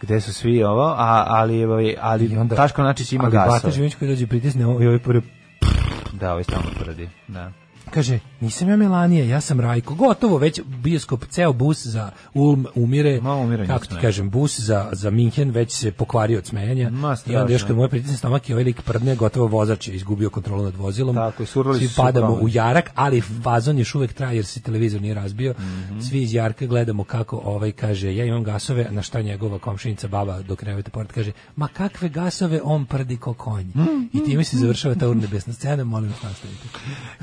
Speaker 7: gde su svi ovo, a, ali, ali, ali Taško Načić ima
Speaker 6: ali Bata
Speaker 7: gasove.
Speaker 6: Živinović koji dođe i pritisne ovo i ovaj prvi
Speaker 7: Da, ovo je stalno tvrdi. Da.
Speaker 6: kaže, nisam ja Melanija, ja sam Rajko. Gotovo, već bioskop, ceo bus za Ulm umire.
Speaker 7: Ma, umiranje
Speaker 6: Kako ti
Speaker 7: smeja.
Speaker 6: kažem, bus za, za Minhen već se pokvario od smejanja.
Speaker 7: Ma,
Speaker 6: I onda još
Speaker 7: strašno.
Speaker 6: kad moj pritisne stomak i ovaj lik prdne, gotovo vozač je izgubio kontrolu nad vozilom.
Speaker 7: Tako je, surali
Speaker 6: Svi
Speaker 7: su se u
Speaker 6: padamo
Speaker 7: promet.
Speaker 6: u jarak, ali vazon još uvek traje jer se televizor nije razbio.
Speaker 7: Mhm.
Speaker 6: Svi iz jarka gledamo kako ovaj kaže, ja imam gasove, na šta njegova komšinica baba do kreveta pored kaže, ma kakve gasove on prdi ko konj.
Speaker 7: Mhm.
Speaker 6: I time se završava ta urnebesna scena, molim vas nastavite.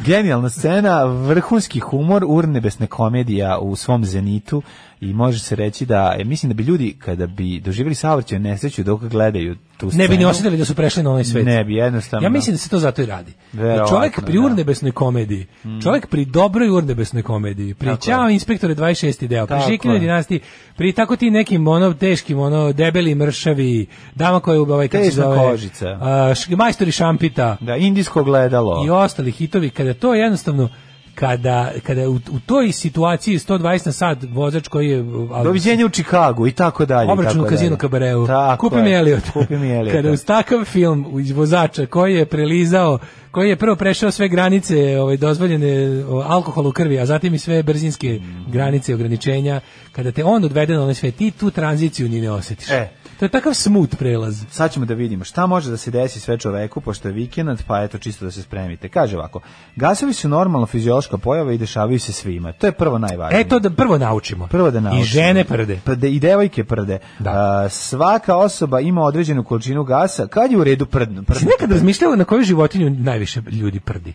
Speaker 7: Genijalna scena, vrhunski humor, urnebesna komedija u svom zenitu i može se reći da, e, mislim da bi ljudi kada bi doživjeli saobraćaj nesreću dok gledaju tu scenu,
Speaker 6: Ne bi ni osjetili da su prešli na onaj svet.
Speaker 7: Ne bi, jednostavno.
Speaker 6: Ja mislim da se to zato i radi. Da
Speaker 7: Verovatno,
Speaker 6: čovjek pri
Speaker 7: da. Mm.
Speaker 6: urnebesnoj komediji, čovjek pri dobroj urnebesnoj komediji, pri
Speaker 7: Tako
Speaker 6: Ćao inspektore 26. deo, pri
Speaker 7: Tako
Speaker 6: Žikinoj
Speaker 7: je.
Speaker 6: dinastiji, pri tako ti nekim ono teškim, ono debeli mršavi, dama koja je u ovaj kako se
Speaker 7: Teška
Speaker 6: zove,
Speaker 7: kožica.
Speaker 6: a, š- majstori šampita
Speaker 7: Da, indijsko gledalo.
Speaker 6: i ostali hitovi, kada to jednostavno kada, kada u, u toj situaciji 120 na sat vozač koji je a,
Speaker 7: Doviđenje u Čikagu i tako dalje. i
Speaker 6: Obračun u
Speaker 7: tako
Speaker 6: kazinu
Speaker 7: dalje.
Speaker 6: kabareu.
Speaker 7: Tako
Speaker 6: Kupi
Speaker 7: je.
Speaker 6: mi Elliot.
Speaker 7: Kupi mi Elliota.
Speaker 6: Kada uz takav film iz vozača koji je prelizao, koji je prvo prešao sve granice ovaj, dozvoljene o, alkoholu u krvi, a zatim i sve brzinske granice i ograničenja, kada te on odvede na onaj sve, ti tu tranziciju ni ne osjetiš.
Speaker 7: E.
Speaker 6: To je takav smut prelaz.
Speaker 7: sad ćemo da vidimo šta može da se desi sve čoveku pošto je vikend, pa eto čisto da se spremite. Kaže ovako, gasovi su normalno fiziološka pojava i dešavaju se svima. To je prvo najvažnije.
Speaker 6: E to da prvo naučimo.
Speaker 7: Prvo da naučimo.
Speaker 6: I žene prde.
Speaker 7: Prde i devojke prde.
Speaker 6: Da.
Speaker 7: A, svaka osoba ima određenu količinu gasa. Kad je u redu prdno?
Speaker 6: Si
Speaker 7: prdno
Speaker 6: nekad razmišljao na koju životinju najviše ljudi prdi?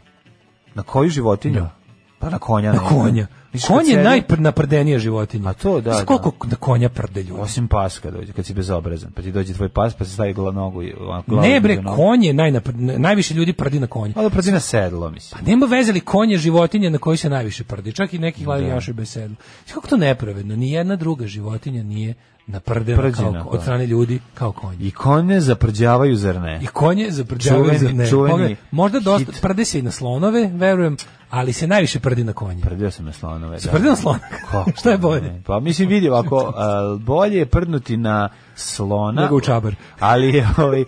Speaker 7: Na koju životinju?
Speaker 6: Da.
Speaker 7: Pa na konja.
Speaker 6: Na
Speaker 7: ne.
Speaker 6: konja.
Speaker 7: Viš kad
Speaker 6: Konj je
Speaker 7: sedi-
Speaker 6: najnaprdenija životinja.
Speaker 7: A to da,
Speaker 6: Znaš Koliko na konja prde ljudi?
Speaker 7: Osim pas kad dođe, kad si bezobrazan, pa ti dođe tvoj pas, pa se stavi gla- nogu i ovako, glavu
Speaker 6: Ne bre,
Speaker 7: između nogu.
Speaker 6: konj je najnapr- najviše ljudi prdi na konju.
Speaker 7: Pa da prdi na sedlo, mislim.
Speaker 6: Nema vezeli konje životinje na koji se najviše prdi, čak i nekih ladijaša i besedu. Znači, Kako to nepravedno, ni jedna druga životinja nije naprdena
Speaker 7: Prđena,
Speaker 6: kao,
Speaker 7: da.
Speaker 6: od strane ljudi kao konje.
Speaker 7: I konje zaprđavaju, zar ne?
Speaker 6: I konje zaprđavaju
Speaker 7: Čuveni-
Speaker 6: za ne.
Speaker 7: čuveni
Speaker 6: Pogledaj, možda dosta,
Speaker 7: hit.
Speaker 6: prde se i na slonove, verujem, ali se najviše prdi na konje.
Speaker 7: Prdio sam na slonove. da.
Speaker 6: Prdi na slona.
Speaker 7: Kako
Speaker 6: Šta je bolje?
Speaker 7: ne? Pa mislim vidi ovako, a, bolje je prdnuti na slona.
Speaker 6: Nego u čabar.
Speaker 7: Ali je, ovaj,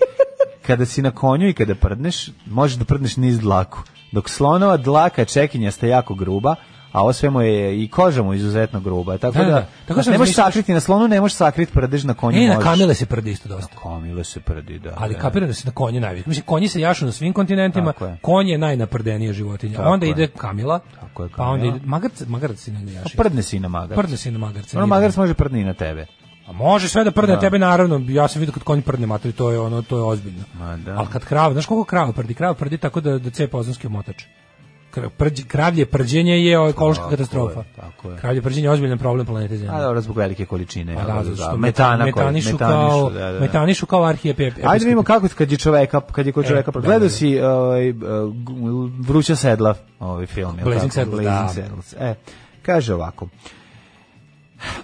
Speaker 7: kada si na konju i kada prdneš, možeš da prdneš niz dlaku. Dok slonova dlaka čekinjasta je jako gruba, a ovo sve mu je i koža mu izuzetno gruba. Tako
Speaker 6: Da,
Speaker 7: da,
Speaker 6: da. Tako
Speaker 7: znaš,
Speaker 6: sam
Speaker 7: ne možeš
Speaker 6: razmišljao-
Speaker 7: sakriti na slonu, ne možeš sakriti prdež na konju.
Speaker 6: E, na
Speaker 7: možeš.
Speaker 6: kamile se prdi isto dosta.
Speaker 7: Kamile se prdi, da.
Speaker 6: Ali
Speaker 7: da.
Speaker 6: kapiram da se na konje najviše. Mislim, konji se jašu na svim kontinentima,
Speaker 7: Tako je.
Speaker 6: konj je najnaprdenija životinja. A
Speaker 7: Tako
Speaker 6: onda
Speaker 7: je.
Speaker 6: ide kamila,
Speaker 7: Tako je,
Speaker 6: pa onda
Speaker 7: kamila.
Speaker 6: ide magarac, magarac se ne
Speaker 7: A
Speaker 6: jaši.
Speaker 7: Prdne si i na magarca.
Speaker 6: Prdne se i na magarca.
Speaker 7: Ono
Speaker 6: nije
Speaker 7: magarac može prdni i na tebe.
Speaker 6: A može sve da prdne tebe naravno. Ja sam vidio kad konj prdne materi, to je ono, to je ozbiljno.
Speaker 7: Ma da.
Speaker 6: Ali kad krava, znaš koliko krava prdi? Krava prdi tako da da cepa ozonski omotač. Kra- prđ- kravlje prđenje je ekološka
Speaker 7: Tako
Speaker 6: katastrofa.
Speaker 7: je, tako je.
Speaker 6: Kravlje prđenje je ozbiljan problem planete Zemlje.
Speaker 7: A dobro, zbog velike količine.
Speaker 6: Pa
Speaker 7: jel,
Speaker 6: da, zato što
Speaker 7: metana koji-
Speaker 6: metanišu,
Speaker 7: metanišu,
Speaker 6: kao,
Speaker 7: da, da, da.
Speaker 6: metanišu kao arhijepe.
Speaker 7: Ajde vidimo kako kad je čoveka, kad je kod
Speaker 6: E,
Speaker 7: čoveka.
Speaker 6: da,
Speaker 7: E,
Speaker 6: da.
Speaker 7: Gledao si ovaj uh, Vruća sedla, ovaj film, je
Speaker 6: Blazing Saddles, da.
Speaker 7: E, kaže ovako.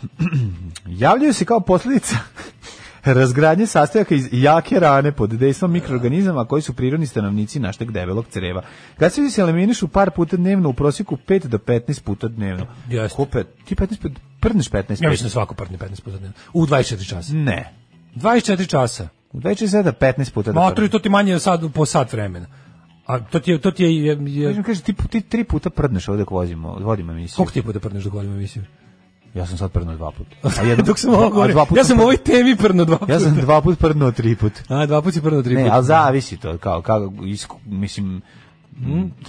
Speaker 7: Javljaju se kao posljedica razgradnje sastojaka iz jake rane pod dejstvom mikroorganizama koji su prirodni stanovnici našeg debelog creva. Gasovi se eliminišu par puta dnevno, u prosjeku 5 do 15 puta dnevno.
Speaker 6: Jeste.
Speaker 7: Kupe, ti 15 puta, prdneš 15 puta.
Speaker 6: Ja mislim da svako prdne 15 puta dnevno. U 24 časa.
Speaker 7: Ne.
Speaker 6: 24 časa.
Speaker 7: U 24 15 puta da
Speaker 6: Ma,
Speaker 7: prdneš.
Speaker 6: to, to ti manje sad, po sat vremena. A to ti je, to ti je, je, je
Speaker 7: Kažem, kaže, ti, ti tri puta prdneš ovdje dok vozimo, vodimo emisiju.
Speaker 6: koliko ti je puta prdneš dok volimo emisiju?
Speaker 7: Ja sam sad prdnuo dva puta.
Speaker 6: Dok sam ovo
Speaker 7: a
Speaker 6: govorio.
Speaker 7: dva puta
Speaker 6: Ja sam
Speaker 7: pr-
Speaker 6: u ovoj temi prdno dva puta.
Speaker 7: Ja sam dva puta prdnuo tri puta.
Speaker 6: A, dva puta si prdno tri
Speaker 7: Ne,
Speaker 6: puta.
Speaker 7: ali zavisi to, kao, kao, isku- mislim,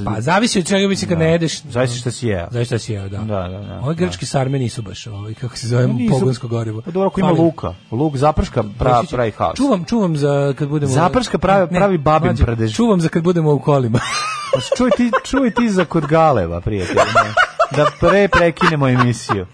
Speaker 6: Pa zavisi od čega mislim kad ne jedeš.
Speaker 7: Zavisi šta si jeo.
Speaker 6: Zavisi šta si jeo, da.
Speaker 7: Da, da, da.
Speaker 6: Ove grčke sarme nisu baš, ovaj, kako se zove,
Speaker 7: Nisu-
Speaker 6: pogonsko gorivo.
Speaker 7: Pa Dobro, ako ima
Speaker 6: Fali-
Speaker 7: luka. Luk zaprška pra,
Speaker 6: Bašić-
Speaker 7: pravi haos.
Speaker 6: Čuvam, čuvam za kad budemo...
Speaker 7: Zaprška pravi,
Speaker 6: Ne,
Speaker 7: pravi babin
Speaker 6: mlađe,
Speaker 7: prdež.
Speaker 6: Čuvam za kad budemo u kolima.
Speaker 7: Pa čuj ti, čuj ti za kod Galeva, prijatelj. ne. Da pre prekinemo emisiju.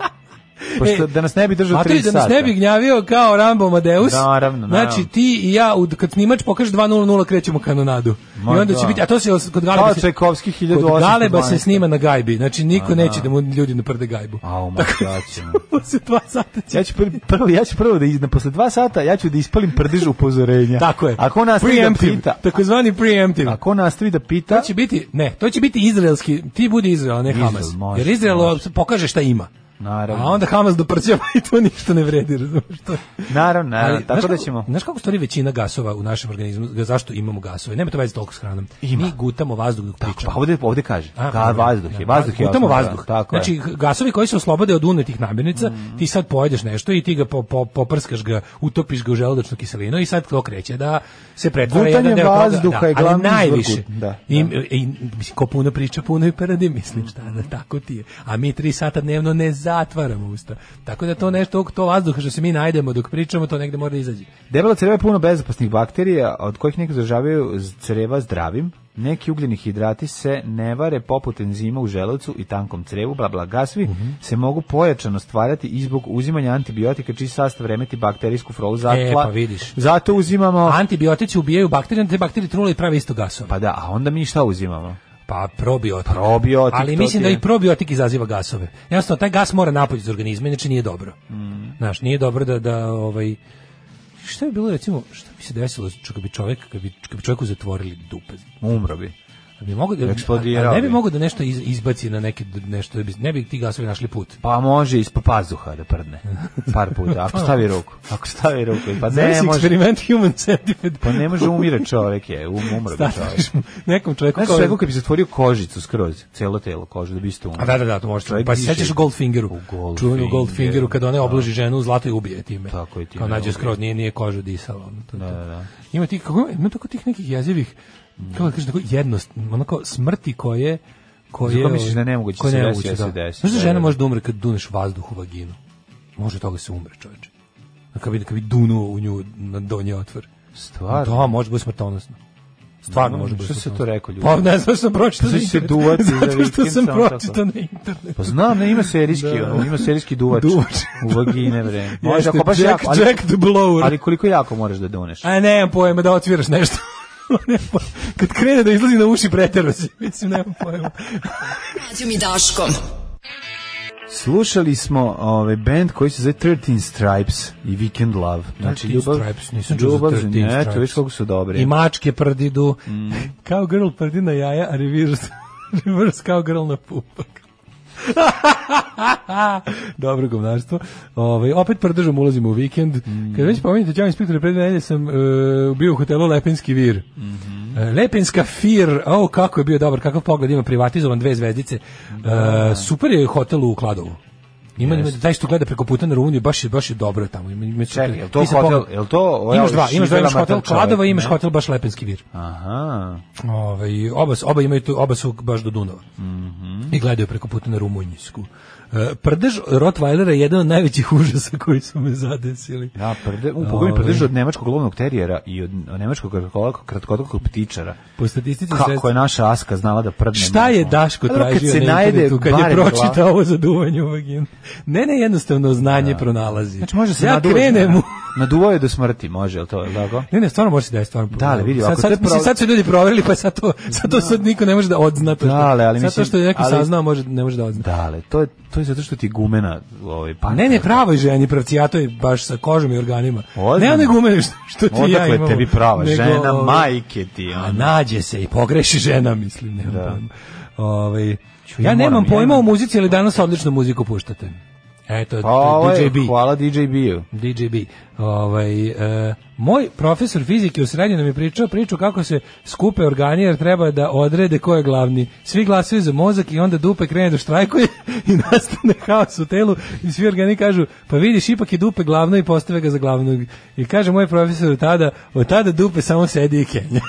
Speaker 7: Pošto
Speaker 6: E,
Speaker 7: da nas ne bi držao
Speaker 6: A to
Speaker 7: 3
Speaker 6: je
Speaker 7: sata.
Speaker 6: da nas ne bi gnjavio kao Rambo Amadeus.
Speaker 7: Naravno, naravno.
Speaker 6: Znači ti i ja, u- kad snimač pokaže 2.00, krećemo kanonadu.
Speaker 7: Ma
Speaker 6: I onda će
Speaker 7: da.
Speaker 6: biti, a to se os- kod
Speaker 7: Kao
Speaker 6: Galeba... se-
Speaker 7: Čajkovski
Speaker 6: Kod
Speaker 7: 1812.
Speaker 6: Galeba se snima na gajbi. Znači niko
Speaker 7: A, da.
Speaker 6: neće da mu ljudi naprde gajbu.
Speaker 7: Au, ma, ja ću-
Speaker 6: Posle dva sata će...
Speaker 7: Ja ću prvi, prvi, ja ću prvo da izna posle 2 sata ja ću da ispalim prdež upozorenja.
Speaker 6: Tako je.
Speaker 7: Ako nas da
Speaker 6: preemptive. Znači,
Speaker 7: pita,
Speaker 6: Takozvani preemptive.
Speaker 7: ako nas da pita,
Speaker 6: To će biti, ne, to će biti izraelski, ti budi Izrael, a ne
Speaker 7: Izrael,
Speaker 6: Hamas.
Speaker 7: može,
Speaker 6: Jer Izrael pokaže šta ima.
Speaker 7: naravno.
Speaker 6: A onda Hamas doprćava i to ništa ne vredi, razumiješ to? je-
Speaker 7: naravno, naravno,
Speaker 6: Ali,
Speaker 7: tako
Speaker 6: znaš
Speaker 7: da
Speaker 6: kako-
Speaker 7: ćemo.
Speaker 6: Znaš kako stoji većina gasova u našem organizmu, ga- zašto imamo gasove? Nema to veze toliko s hranom.
Speaker 7: Ima.
Speaker 6: Mi gutamo vazduh dok
Speaker 7: Tako, pa
Speaker 6: pričamo.
Speaker 7: ovde, ovde kaže.
Speaker 6: A, pa,
Speaker 7: Ga,
Speaker 6: dobro.
Speaker 7: vazduh je, vazduh je.
Speaker 6: Gutamo
Speaker 7: osnova,
Speaker 6: vazduh.
Speaker 7: Tako je.
Speaker 6: znači, g- gasovi koji se oslobode od unetih namirnica, ti sad pojedeš nešto i ti ga po, po, poprskaš ga, utopiš ga u želudačnu kiselinu i sad to kreće da se pretvara
Speaker 7: Gutanje
Speaker 6: jedan deo toga-
Speaker 7: vazduha
Speaker 6: da,
Speaker 7: je
Speaker 6: ali
Speaker 7: glavni izvor
Speaker 6: najviše.
Speaker 7: gut- da,
Speaker 6: I,
Speaker 7: da.
Speaker 6: i, mislim, ko puno priča, puno i paradi, mislim, šta da, tako ti je. A mi tri sata dnevno ne zatvaramo usta. Tako da to nešto, to vazduha što se mi najdemo dok pričamo, to negde mora da izađe.
Speaker 7: Debelo crevo je puno bezopasnih bakterija, od kojih neki zažavaju z- creva zdravim. Neki ugljeni hidrati se ne vare poput enzima u želucu i tankom crevu, bla bla gasvi,
Speaker 6: Mhm.
Speaker 7: se mogu pojačano stvarati i zbog uzimanja antibiotika čiji sastav remeti bakterijsku frolu zatla.
Speaker 6: E, pa vidiš.
Speaker 7: Zato uzimamo...
Speaker 6: Antibiotici ubijaju bakterije, onda te bakterije trule i prave isto gasove.
Speaker 7: Pa da, a onda mi šta uzimamo?
Speaker 6: Pa probiotik.
Speaker 7: Probiotik,
Speaker 6: Ali
Speaker 7: to
Speaker 6: mislim
Speaker 7: ti
Speaker 6: da
Speaker 7: je.
Speaker 6: i probiotik izaziva gasove. Jasno, taj gas mora napolje iz organizma, inače nije dobro.
Speaker 7: Mm.
Speaker 6: Znaš, nije dobro da, da ovaj, šta bi bilo recimo, šta bi se desilo čak bi čovjek, kad bi, kad bi čovjeku zatvorili dupe?
Speaker 7: Umro bi.
Speaker 6: Da bi mogo, da,
Speaker 7: Eksplodirao
Speaker 6: a ne bi
Speaker 7: bi.
Speaker 6: mogao da nešto iz- izbaci na neke, nešto, da bi- ne bi ti gasovi našli put.
Speaker 7: Pa može ispod pazuha da prdne. Par puta, ako stavi ruku. Ako stavi ruku, pa ne
Speaker 6: Pa- Zavisi
Speaker 7: može.
Speaker 6: eksperiment human centipede.
Speaker 7: Pa ne može umire čovjek je, um, umre bi čovjek.
Speaker 6: Staviš mu nekom čovjeku
Speaker 7: Znaš
Speaker 6: kao-
Speaker 7: sve kako bi zatvorio kožicu skroz, celo telo kožu da bi isto umro.
Speaker 6: A da, da, da, to možeš.
Speaker 7: Čovjek
Speaker 6: Pa se
Speaker 7: diše.
Speaker 6: sećaš u Goldfingeru.
Speaker 7: U
Speaker 6: Goldfingeru.
Speaker 7: Goldfingeru,
Speaker 6: Čuvenu Goldfingeru kada ona obloži ženu u zlato i ubije time.
Speaker 7: Tako je, time
Speaker 6: Kao nađe
Speaker 7: ubije.
Speaker 6: skroz, nije, nije kožu disala. ono, To, da, Ima tih, kako, ima tako tih nekih jezivih, kako da kažem, tako jednost, onako smrti koje koje...
Speaker 7: Za koje
Speaker 6: ovaj,
Speaker 7: misliš da je nemoguće
Speaker 6: koje
Speaker 7: se
Speaker 6: je
Speaker 7: desi,
Speaker 6: nemoguće,
Speaker 7: da se
Speaker 6: da.
Speaker 7: desi.
Speaker 6: Znaš da
Speaker 7: Da,
Speaker 6: žena
Speaker 7: da.
Speaker 6: može da umre kad duneš vazduh u vaginu? Može od toga se umre, čoveče. A Kad bi, kad bi dunuo u nju na donji otvor.
Speaker 7: Stvarno?
Speaker 6: Da, može biti smrtonosno. Stvarno
Speaker 7: Ne,
Speaker 6: može biti
Speaker 7: što se
Speaker 6: smrtonosno.
Speaker 7: to rekao, ljudi?
Speaker 6: Pa ne znam što sam pročitao.
Speaker 7: Sad
Speaker 6: na
Speaker 7: će se
Speaker 6: internetu.
Speaker 7: duvati za
Speaker 6: Zato što
Speaker 7: vikend
Speaker 6: sam
Speaker 7: samo tako.
Speaker 6: pročitao na internetu.
Speaker 7: Pa znam, ne, ima serijski,
Speaker 6: Da.
Speaker 7: ono, ima serijski duvač,
Speaker 6: Duvač.
Speaker 7: u vagine, bre. Može,
Speaker 6: Jeste,
Speaker 7: ako baš
Speaker 6: Jack-
Speaker 7: jako, ali,
Speaker 6: Jack the Blower.
Speaker 7: ali koliko jako moraš da doneš?
Speaker 6: A nemam pojma da otviraš nešto. Nemam pojma. Kad krene da izlazi na uši pretero si. Mislim, nemam pojma.
Speaker 10: Mlađom i Daškom.
Speaker 7: Slušali smo ovaj band koji se zove 13 Stripes i Weekend Love. Znači,
Speaker 6: 13
Speaker 7: ljubav,
Speaker 6: Stripes, nisam čuo za
Speaker 7: ljubav,
Speaker 6: 13
Speaker 7: ne,
Speaker 6: Stripes.
Speaker 7: to viš koliko su Mm. dobri.
Speaker 6: I mačke prdidu. Kao girl prdi na jaja, a reverse, reverse kao girl na pupak. Dobro govnarstvo. Ovaj opet prdržom ulazimo u vikend.
Speaker 7: Mhm.
Speaker 6: Kad već pominjete Đan inspektore pre dve nedelje sam e, bio u hotelu Lepenski vir.
Speaker 7: Mhm.
Speaker 6: E, Lepenska fir, o kako je bio dobar, kakav pogled ima privatizovan dve zvezdice. E, super je hotel u Kladovu. Ima ima taj što gleda preko puta na Rumuniju, baš je baš je dobro tamo. Ima ima super.
Speaker 7: Čekaj, jel to
Speaker 6: Ti se
Speaker 7: hotel-
Speaker 6: pogled-
Speaker 7: jel to ovaj
Speaker 6: Imaš dva, imaš dva, imaš
Speaker 7: Šivela
Speaker 6: hotel
Speaker 7: Matal čovek,
Speaker 6: Kladova, imaš
Speaker 7: ne?
Speaker 6: hotel baš Lepenski vir.
Speaker 7: Aha.
Speaker 6: Ovaj oba, su- oba imaju tu, oba su baš do Dunava.
Speaker 7: Mhm.
Speaker 6: I gledaju preko puta na Rumunjsku. E, Prdež Rottweilera je jedan od najvećih užasa koji su me zadesili.
Speaker 7: Da, prde, u pogoni
Speaker 6: Ovaj.
Speaker 7: prdežu od nemačkog lovnog terijera i od nemačkog kratkodokog- kratkodokog ptičara.
Speaker 6: Po statistici
Speaker 7: Kako Ono
Speaker 6: sredstva-
Speaker 7: je naša Aska znala da prdne?
Speaker 6: Šta je
Speaker 7: mozgom?
Speaker 6: Daško
Speaker 7: A dobro,
Speaker 6: tražio na internetu kad je
Speaker 7: barem glava-
Speaker 6: pročitao ovo za duvanje u vaginu? Ne, ne, jednostavno znanje pronalazi.
Speaker 7: Znači može se
Speaker 6: ja
Speaker 7: naduvati,
Speaker 6: krenem u...
Speaker 7: Naduvao je do smrti, može, jel to, jel tako?
Speaker 6: Ne, ne, stvarno može se da je stvarno.
Speaker 7: Da, ali vidi,
Speaker 6: sad,
Speaker 7: ako
Speaker 6: sad,
Speaker 7: te
Speaker 6: mislim,
Speaker 7: pro-
Speaker 6: sad su ljudi proverili, pa sad to, sad to sad niko ne može da odzna. To što,
Speaker 7: Da, ali- ali
Speaker 6: sad to
Speaker 7: mislim-
Speaker 6: što je neko
Speaker 7: ali-
Speaker 6: saznao, može, ne može da odzna.
Speaker 7: Dale, to je, to je zato što ti gumena ovaj, pa
Speaker 6: Ne, ne, pravoj ženi pravcijato je baš sa kožom i organima.
Speaker 7: Ozbiljno?
Speaker 6: Ne one gume što, što ti i ja
Speaker 7: Odakle
Speaker 6: imamo.
Speaker 7: tebi prava
Speaker 6: nego,
Speaker 7: žena,
Speaker 6: ovaj,
Speaker 7: majke ti.
Speaker 6: A
Speaker 7: ono.
Speaker 6: nađe se i pogreši žena, mislim, nemam
Speaker 7: Da.
Speaker 6: pojma. Ovaj,
Speaker 7: ja
Speaker 6: ja nemam
Speaker 7: moram, ja
Speaker 6: pojma
Speaker 7: imam-
Speaker 6: o muzici, ali danas odličnu muziku puštate. Eto,
Speaker 7: Pa ovo
Speaker 6: to je
Speaker 7: je,
Speaker 6: DJ B.
Speaker 7: hvala DJ B-u.
Speaker 6: DJB. Ovaj, e, moj profesor fizike u srednjoj nam je pričao priču kako se skupe organi jer treba da odrede ko je glavni. Svi glasuju za mozak i onda dupe krene da štrajkuje i nastane haos u telu i svi organi kažu pa vidiš ipak je dupe glavno i postave ga za glavnog. I kaže moj profesor od tada, od tada dupe samo sedi i kenja.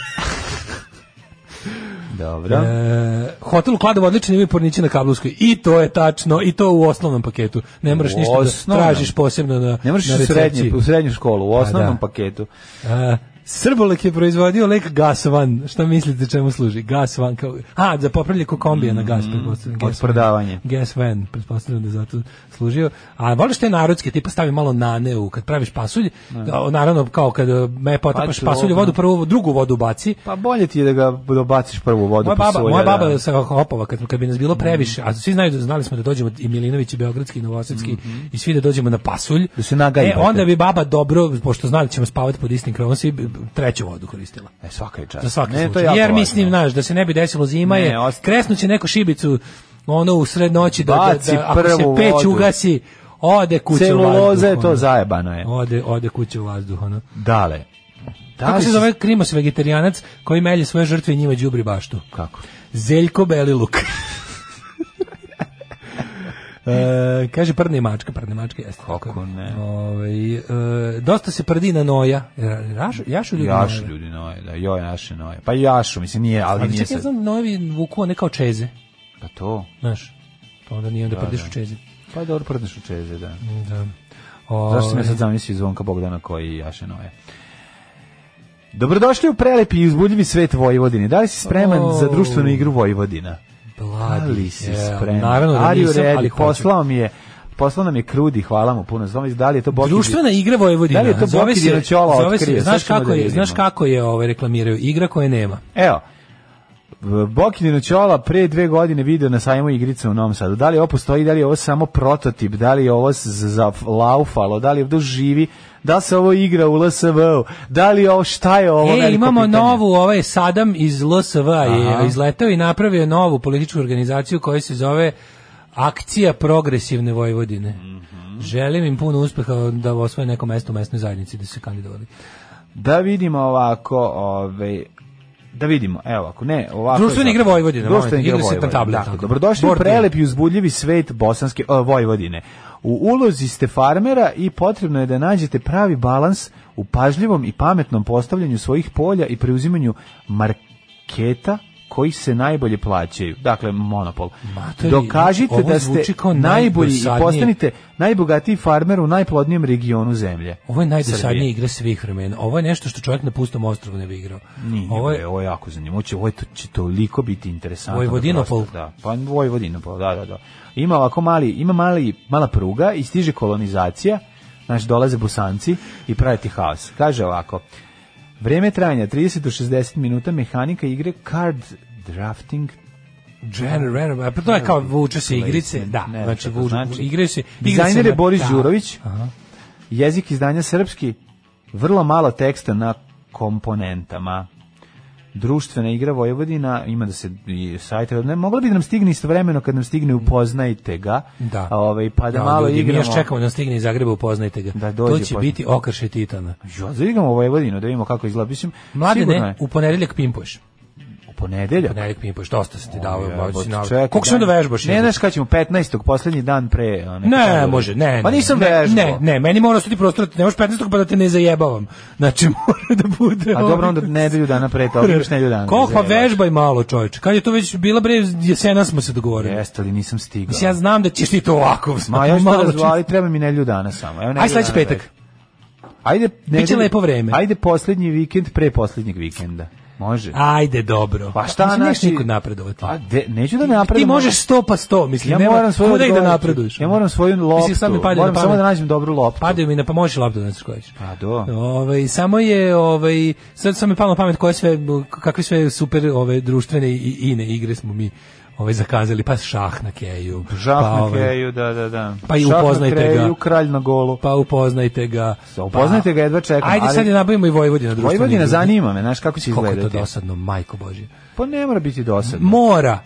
Speaker 7: Dobro.
Speaker 6: E, hotel u Kladovu odličan imaju pornići na Kablovskoj. I to je tačno, i to u osnovnom paketu. Ne moraš
Speaker 7: U
Speaker 6: ništa da
Speaker 7: osnovnom?
Speaker 6: tražiš posebno na,
Speaker 7: Ne moraš
Speaker 6: na
Speaker 7: u, srednje,
Speaker 6: recepciji.
Speaker 7: u srednju školu, u
Speaker 6: Pa
Speaker 7: osnovnom
Speaker 6: da.
Speaker 7: paketu.
Speaker 6: E, Srbolek je proizvodio lek Gasvan. Šta mislite čemu služi? Gasvan kao a za popravljanje kokombija na gas pretpostavljam.
Speaker 7: Mm, od
Speaker 6: Gasvan.
Speaker 7: prodavanja.
Speaker 6: Gasvan, pretpostavljam da je zato služio. A voliš te narodske, tipa stavi malo nane u kad praviš pasulj, a, naravno kao kad e,
Speaker 7: Pa
Speaker 6: mepa otapaš
Speaker 7: ću
Speaker 6: pasulj, u
Speaker 7: ovo.
Speaker 6: vodu prvu, drugu vodu baci,
Speaker 7: Pa bolje ti je da ga dobaciš prvo u vodu
Speaker 6: moja
Speaker 7: pa
Speaker 6: baba,
Speaker 7: solja,
Speaker 6: moja
Speaker 7: da. Mm.
Speaker 6: baba se hopova kad, kad bi nas bilo previše, a svi znaju da znali smo da dođemo i Milinović i Beogradski i Novosadski i svi da dođemo na pasulj.
Speaker 7: Mm-hmm. Da se nagajbate.
Speaker 6: E, onda bi baba dobro, pošto znali da ćemo spavati pod istim krovom, svi bi treću vodu koristila.
Speaker 7: E, svaka je čast.
Speaker 6: Za svaki
Speaker 7: Ne, to je
Speaker 6: slučaj.
Speaker 7: jako
Speaker 6: Jer
Speaker 7: važno.
Speaker 6: mislim, znaš, da se ne bi desilo zima
Speaker 7: Ne,
Speaker 6: je,
Speaker 7: ost-
Speaker 6: kresnuće neko šibicu ono u sred noći da, da,
Speaker 7: Baci
Speaker 6: da- ako se
Speaker 7: prvu
Speaker 6: peć
Speaker 7: vodu.
Speaker 6: ugasi, ode kuće u
Speaker 7: Celuloza
Speaker 6: vazduh.
Speaker 7: je to
Speaker 6: ono.
Speaker 7: zajebano je.
Speaker 6: Ode, ode kuće u vazduh, ono.
Speaker 7: Dale. Da
Speaker 6: Kako
Speaker 7: li
Speaker 6: se
Speaker 7: si-
Speaker 6: zove krimos vegetarijanac koji melje svoje žrtve i njima đubri baštu?
Speaker 7: Kako?
Speaker 6: Zeljko Beliluk. e, kaže prdne mačka, prdne mačka jeste.
Speaker 7: Kako ne?
Speaker 6: Ovaj, e, dosta se prdi na noja. Ra- Rašu, jašu ljudi
Speaker 7: Jaš
Speaker 6: noje.
Speaker 7: ljudi noje, da, joj naše noje. Pa jašu, mislim nije, ali
Speaker 6: Ali
Speaker 7: nije
Speaker 6: čekaj, ja
Speaker 7: sad.
Speaker 6: znam, nojevi vuku one kao čeze.
Speaker 7: Pa to.
Speaker 6: Znaš, pa onda nije onda prdiš u čezi.
Speaker 7: Pa dobro prdneš u čeze, da.
Speaker 6: Da.
Speaker 7: Zašto sam ja
Speaker 6: Ovaj,
Speaker 7: sad zamislio Zvonka Bogdana koji jaše noje? Dobrodošli u prelepi i uzbudljivi svet Vojvodine. Da li si spreman
Speaker 6: O.
Speaker 7: za društvenu igru Vojvodina?
Speaker 6: bladi,
Speaker 7: Ali si
Speaker 6: jeo,
Speaker 7: spreman.
Speaker 6: Naravno da
Speaker 7: Are you
Speaker 6: nisam,
Speaker 7: ready?
Speaker 6: ali hoću.
Speaker 7: poslao mi je Poslao nam je Krudi, hvala mu puno. Znam da li je to Boki
Speaker 6: Društvena igra Vojvodina.
Speaker 7: Da li je to
Speaker 6: zove
Speaker 7: Boki
Speaker 6: se,
Speaker 7: Dinoćola
Speaker 6: zove se,
Speaker 7: otkrio?
Speaker 6: znaš
Speaker 7: Sad ćemo
Speaker 6: kako
Speaker 7: da
Speaker 6: je,
Speaker 7: vidimo.
Speaker 6: znaš kako je ovaj reklamiraju igra koje nema.
Speaker 7: Evo, Bokinino Ćola pre dve godine video na sajmu igrice u Novom Sadu. Da li ovo postoji, da li je ovo samo prototip, da li je ovo s- za laufalo, da li ovdje živi, da li se ovo igra u LSV, da li je ovo, šta je ovo?
Speaker 6: E,
Speaker 7: veliko
Speaker 6: imamo
Speaker 7: pitanje.
Speaker 6: novu, ovaj Sadam iz LSV
Speaker 7: Aha.
Speaker 6: je izletao i napravio novu političku organizaciju koja se zove Akcija progresivne Vojvodine.
Speaker 7: Mhm.
Speaker 6: Želim im puno uspeha da osvoje neko mesto u mesnoj zajednici da su se kandidovali.
Speaker 7: Da vidimo ovako, ovaj, da vidimo, evo ako ne, ovako.
Speaker 6: Društvena igra Vojvodine,
Speaker 7: Društvena
Speaker 6: molim te,
Speaker 7: igra
Speaker 6: igra se na
Speaker 7: Vojvodine.
Speaker 6: tablet,
Speaker 7: Tako,
Speaker 6: tako.
Speaker 7: dobrodošli u
Speaker 6: Board game.
Speaker 7: prelep i uzbudljivi svet bosanske o, Vojvodine. U ulozi ste farmera i potrebno je da nađete pravi balans u pažljivom i pametnom postavljanju svojih polja i preuzimanju marketa koji se najbolje plaćaju. Dakle, monopol.
Speaker 6: Matori,
Speaker 7: Dokažite
Speaker 6: ovo
Speaker 7: da ste
Speaker 6: zvuči kao
Speaker 7: najbolji i
Speaker 6: najdosadnije.
Speaker 7: postanite najbogatiji farmer u najplodnijem regionu zemlje.
Speaker 6: Ovo je najdosadnija
Speaker 7: Srbije.
Speaker 6: igra svih vremena. Ovo je nešto što čovjek na pustom ostrovu ne bi igrao.
Speaker 7: Nije,
Speaker 6: Ovo je
Speaker 7: bre, ovo je jako zanimljivo. Će, ovo je to, će toliko biti interesantno.
Speaker 6: Vojvodinopol.
Speaker 7: prosto, Da, pa Vojvodinopol, da, da, da. Ima ovako mali, ima mali, mala pruga i stiže kolonizacija, znaš, dolaze bosanci i prave ti haos. Kaže ovako, vreme trajanja 30 do 60 minuta, mehanika igre card drafting
Speaker 6: General Random, a pa to je kao vuče se igrice, da,
Speaker 7: Ne,
Speaker 6: znači
Speaker 7: šta to
Speaker 6: vuče,
Speaker 7: znači.
Speaker 6: igre se. igre se
Speaker 7: Dizajner je
Speaker 6: na-
Speaker 7: Boris
Speaker 6: da.
Speaker 7: Đurović. Jezik izdanja srpski. Vrlo malo teksta na komponentama. Društvena igra Vojvodina, ima da se i sajte, ne, mogla bi da nam stigne istovremeno kad nam stigne upoznajte ga,
Speaker 6: Da.
Speaker 7: ovaj, pa da
Speaker 6: Kao
Speaker 7: malo
Speaker 6: ljudi, Mi
Speaker 7: igramo.
Speaker 6: još čekamo da nam stigne iz Zagreba, upoznajte ga.
Speaker 7: Da dođe,
Speaker 6: to će
Speaker 7: pa-
Speaker 6: biti okršaj Titana.
Speaker 7: Jo, da igramo Vojvodinu, da vidimo kako izgleda. Mislim,
Speaker 6: Mlade
Speaker 7: sigurno je.
Speaker 6: ne, u ponedeljak pimpuješ.
Speaker 7: U ponedeljak.
Speaker 6: U ponedeljak pimpuješ, dosta se ti davo.
Speaker 7: Ja,
Speaker 6: mlađe
Speaker 7: bot,
Speaker 6: si navod.
Speaker 7: čekaj,
Speaker 6: Koliko sam da
Speaker 7: dan-
Speaker 6: vežbaš?
Speaker 7: Ne,
Speaker 6: jebote?
Speaker 7: znaš kada ćemo, 15. posljednji dan pre. ono, a, neke
Speaker 6: Ne,
Speaker 7: kategorije.
Speaker 6: može, ne.
Speaker 7: Pa
Speaker 6: ne,
Speaker 7: nisam
Speaker 6: ne,
Speaker 7: vežbao.
Speaker 6: Ne, ne, meni mora ostati prostor, ne možeš 15. pa da te ne zajebavam. Znači, mora da bude...
Speaker 7: A dobro, onda nedelju dana pre toga, imaš nedelju dana.
Speaker 6: Koliko pa
Speaker 7: Zajebavaš.
Speaker 6: vežbaj malo, čovječe. Kad je to već bila bre, jesena smo se dogovorili.
Speaker 7: Jeste, ali nisam stigao.
Speaker 6: Mislim, ja znam da ćeš ti to ovako.
Speaker 7: Ma ja ću
Speaker 6: malo
Speaker 7: to
Speaker 6: ću-
Speaker 7: razvali, treba mi nedelju dana samo. Evo, nedelju
Speaker 6: Aj sledeći
Speaker 7: dana
Speaker 6: petak.
Speaker 7: vežba. Ajde, nedelju-
Speaker 6: lepo vreme.
Speaker 7: Ajde posljednji vikend pre posljednjeg vikenda. Može.
Speaker 6: Ajde, dobro.
Speaker 7: Pa šta
Speaker 6: Mislim, nećeš
Speaker 7: znači-
Speaker 6: nikud napredovati.
Speaker 7: Pa de, neću da
Speaker 6: ti
Speaker 7: napredujem.
Speaker 6: možeš sto pa sto, mislim.
Speaker 7: ja
Speaker 6: nema-
Speaker 7: moram svoju
Speaker 6: kuda i da
Speaker 7: odgovoriti.
Speaker 6: napreduješ.
Speaker 7: Ja moram svoju loptu.
Speaker 6: sad mi padne na
Speaker 7: moram samo
Speaker 6: pamet.
Speaker 7: da nađem dobru loptu.
Speaker 6: Padaju mi na pa možeš loptu da skočiš.
Speaker 7: Pa do.
Speaker 6: Ovaj samo je ovaj sad sam mi palo na pamet koje sve kakve sve super ove društvene i ine igre smo mi ovaj zakazali pa šah na keju.
Speaker 7: Žah
Speaker 6: pa,
Speaker 7: na
Speaker 6: ovaj,
Speaker 7: kreju, da, da, da.
Speaker 6: Pa i
Speaker 7: Žah na
Speaker 6: upoznajte
Speaker 7: kreju,
Speaker 6: ga.
Speaker 7: kralj na golu.
Speaker 6: Pa upoznajte ga.
Speaker 7: Sa, upoznajte
Speaker 6: pa-
Speaker 7: ga, jedva čekam,
Speaker 6: Ajde
Speaker 7: ali-
Speaker 6: sad je nabavimo i Vojvodina društvene
Speaker 7: Vojvodina
Speaker 6: igre.
Speaker 7: zanima me, znaš kako će
Speaker 6: Koliko je
Speaker 7: izgledati.
Speaker 6: to dosadno, majko božje.
Speaker 7: Pa ne mora biti dosadno.
Speaker 6: Mora.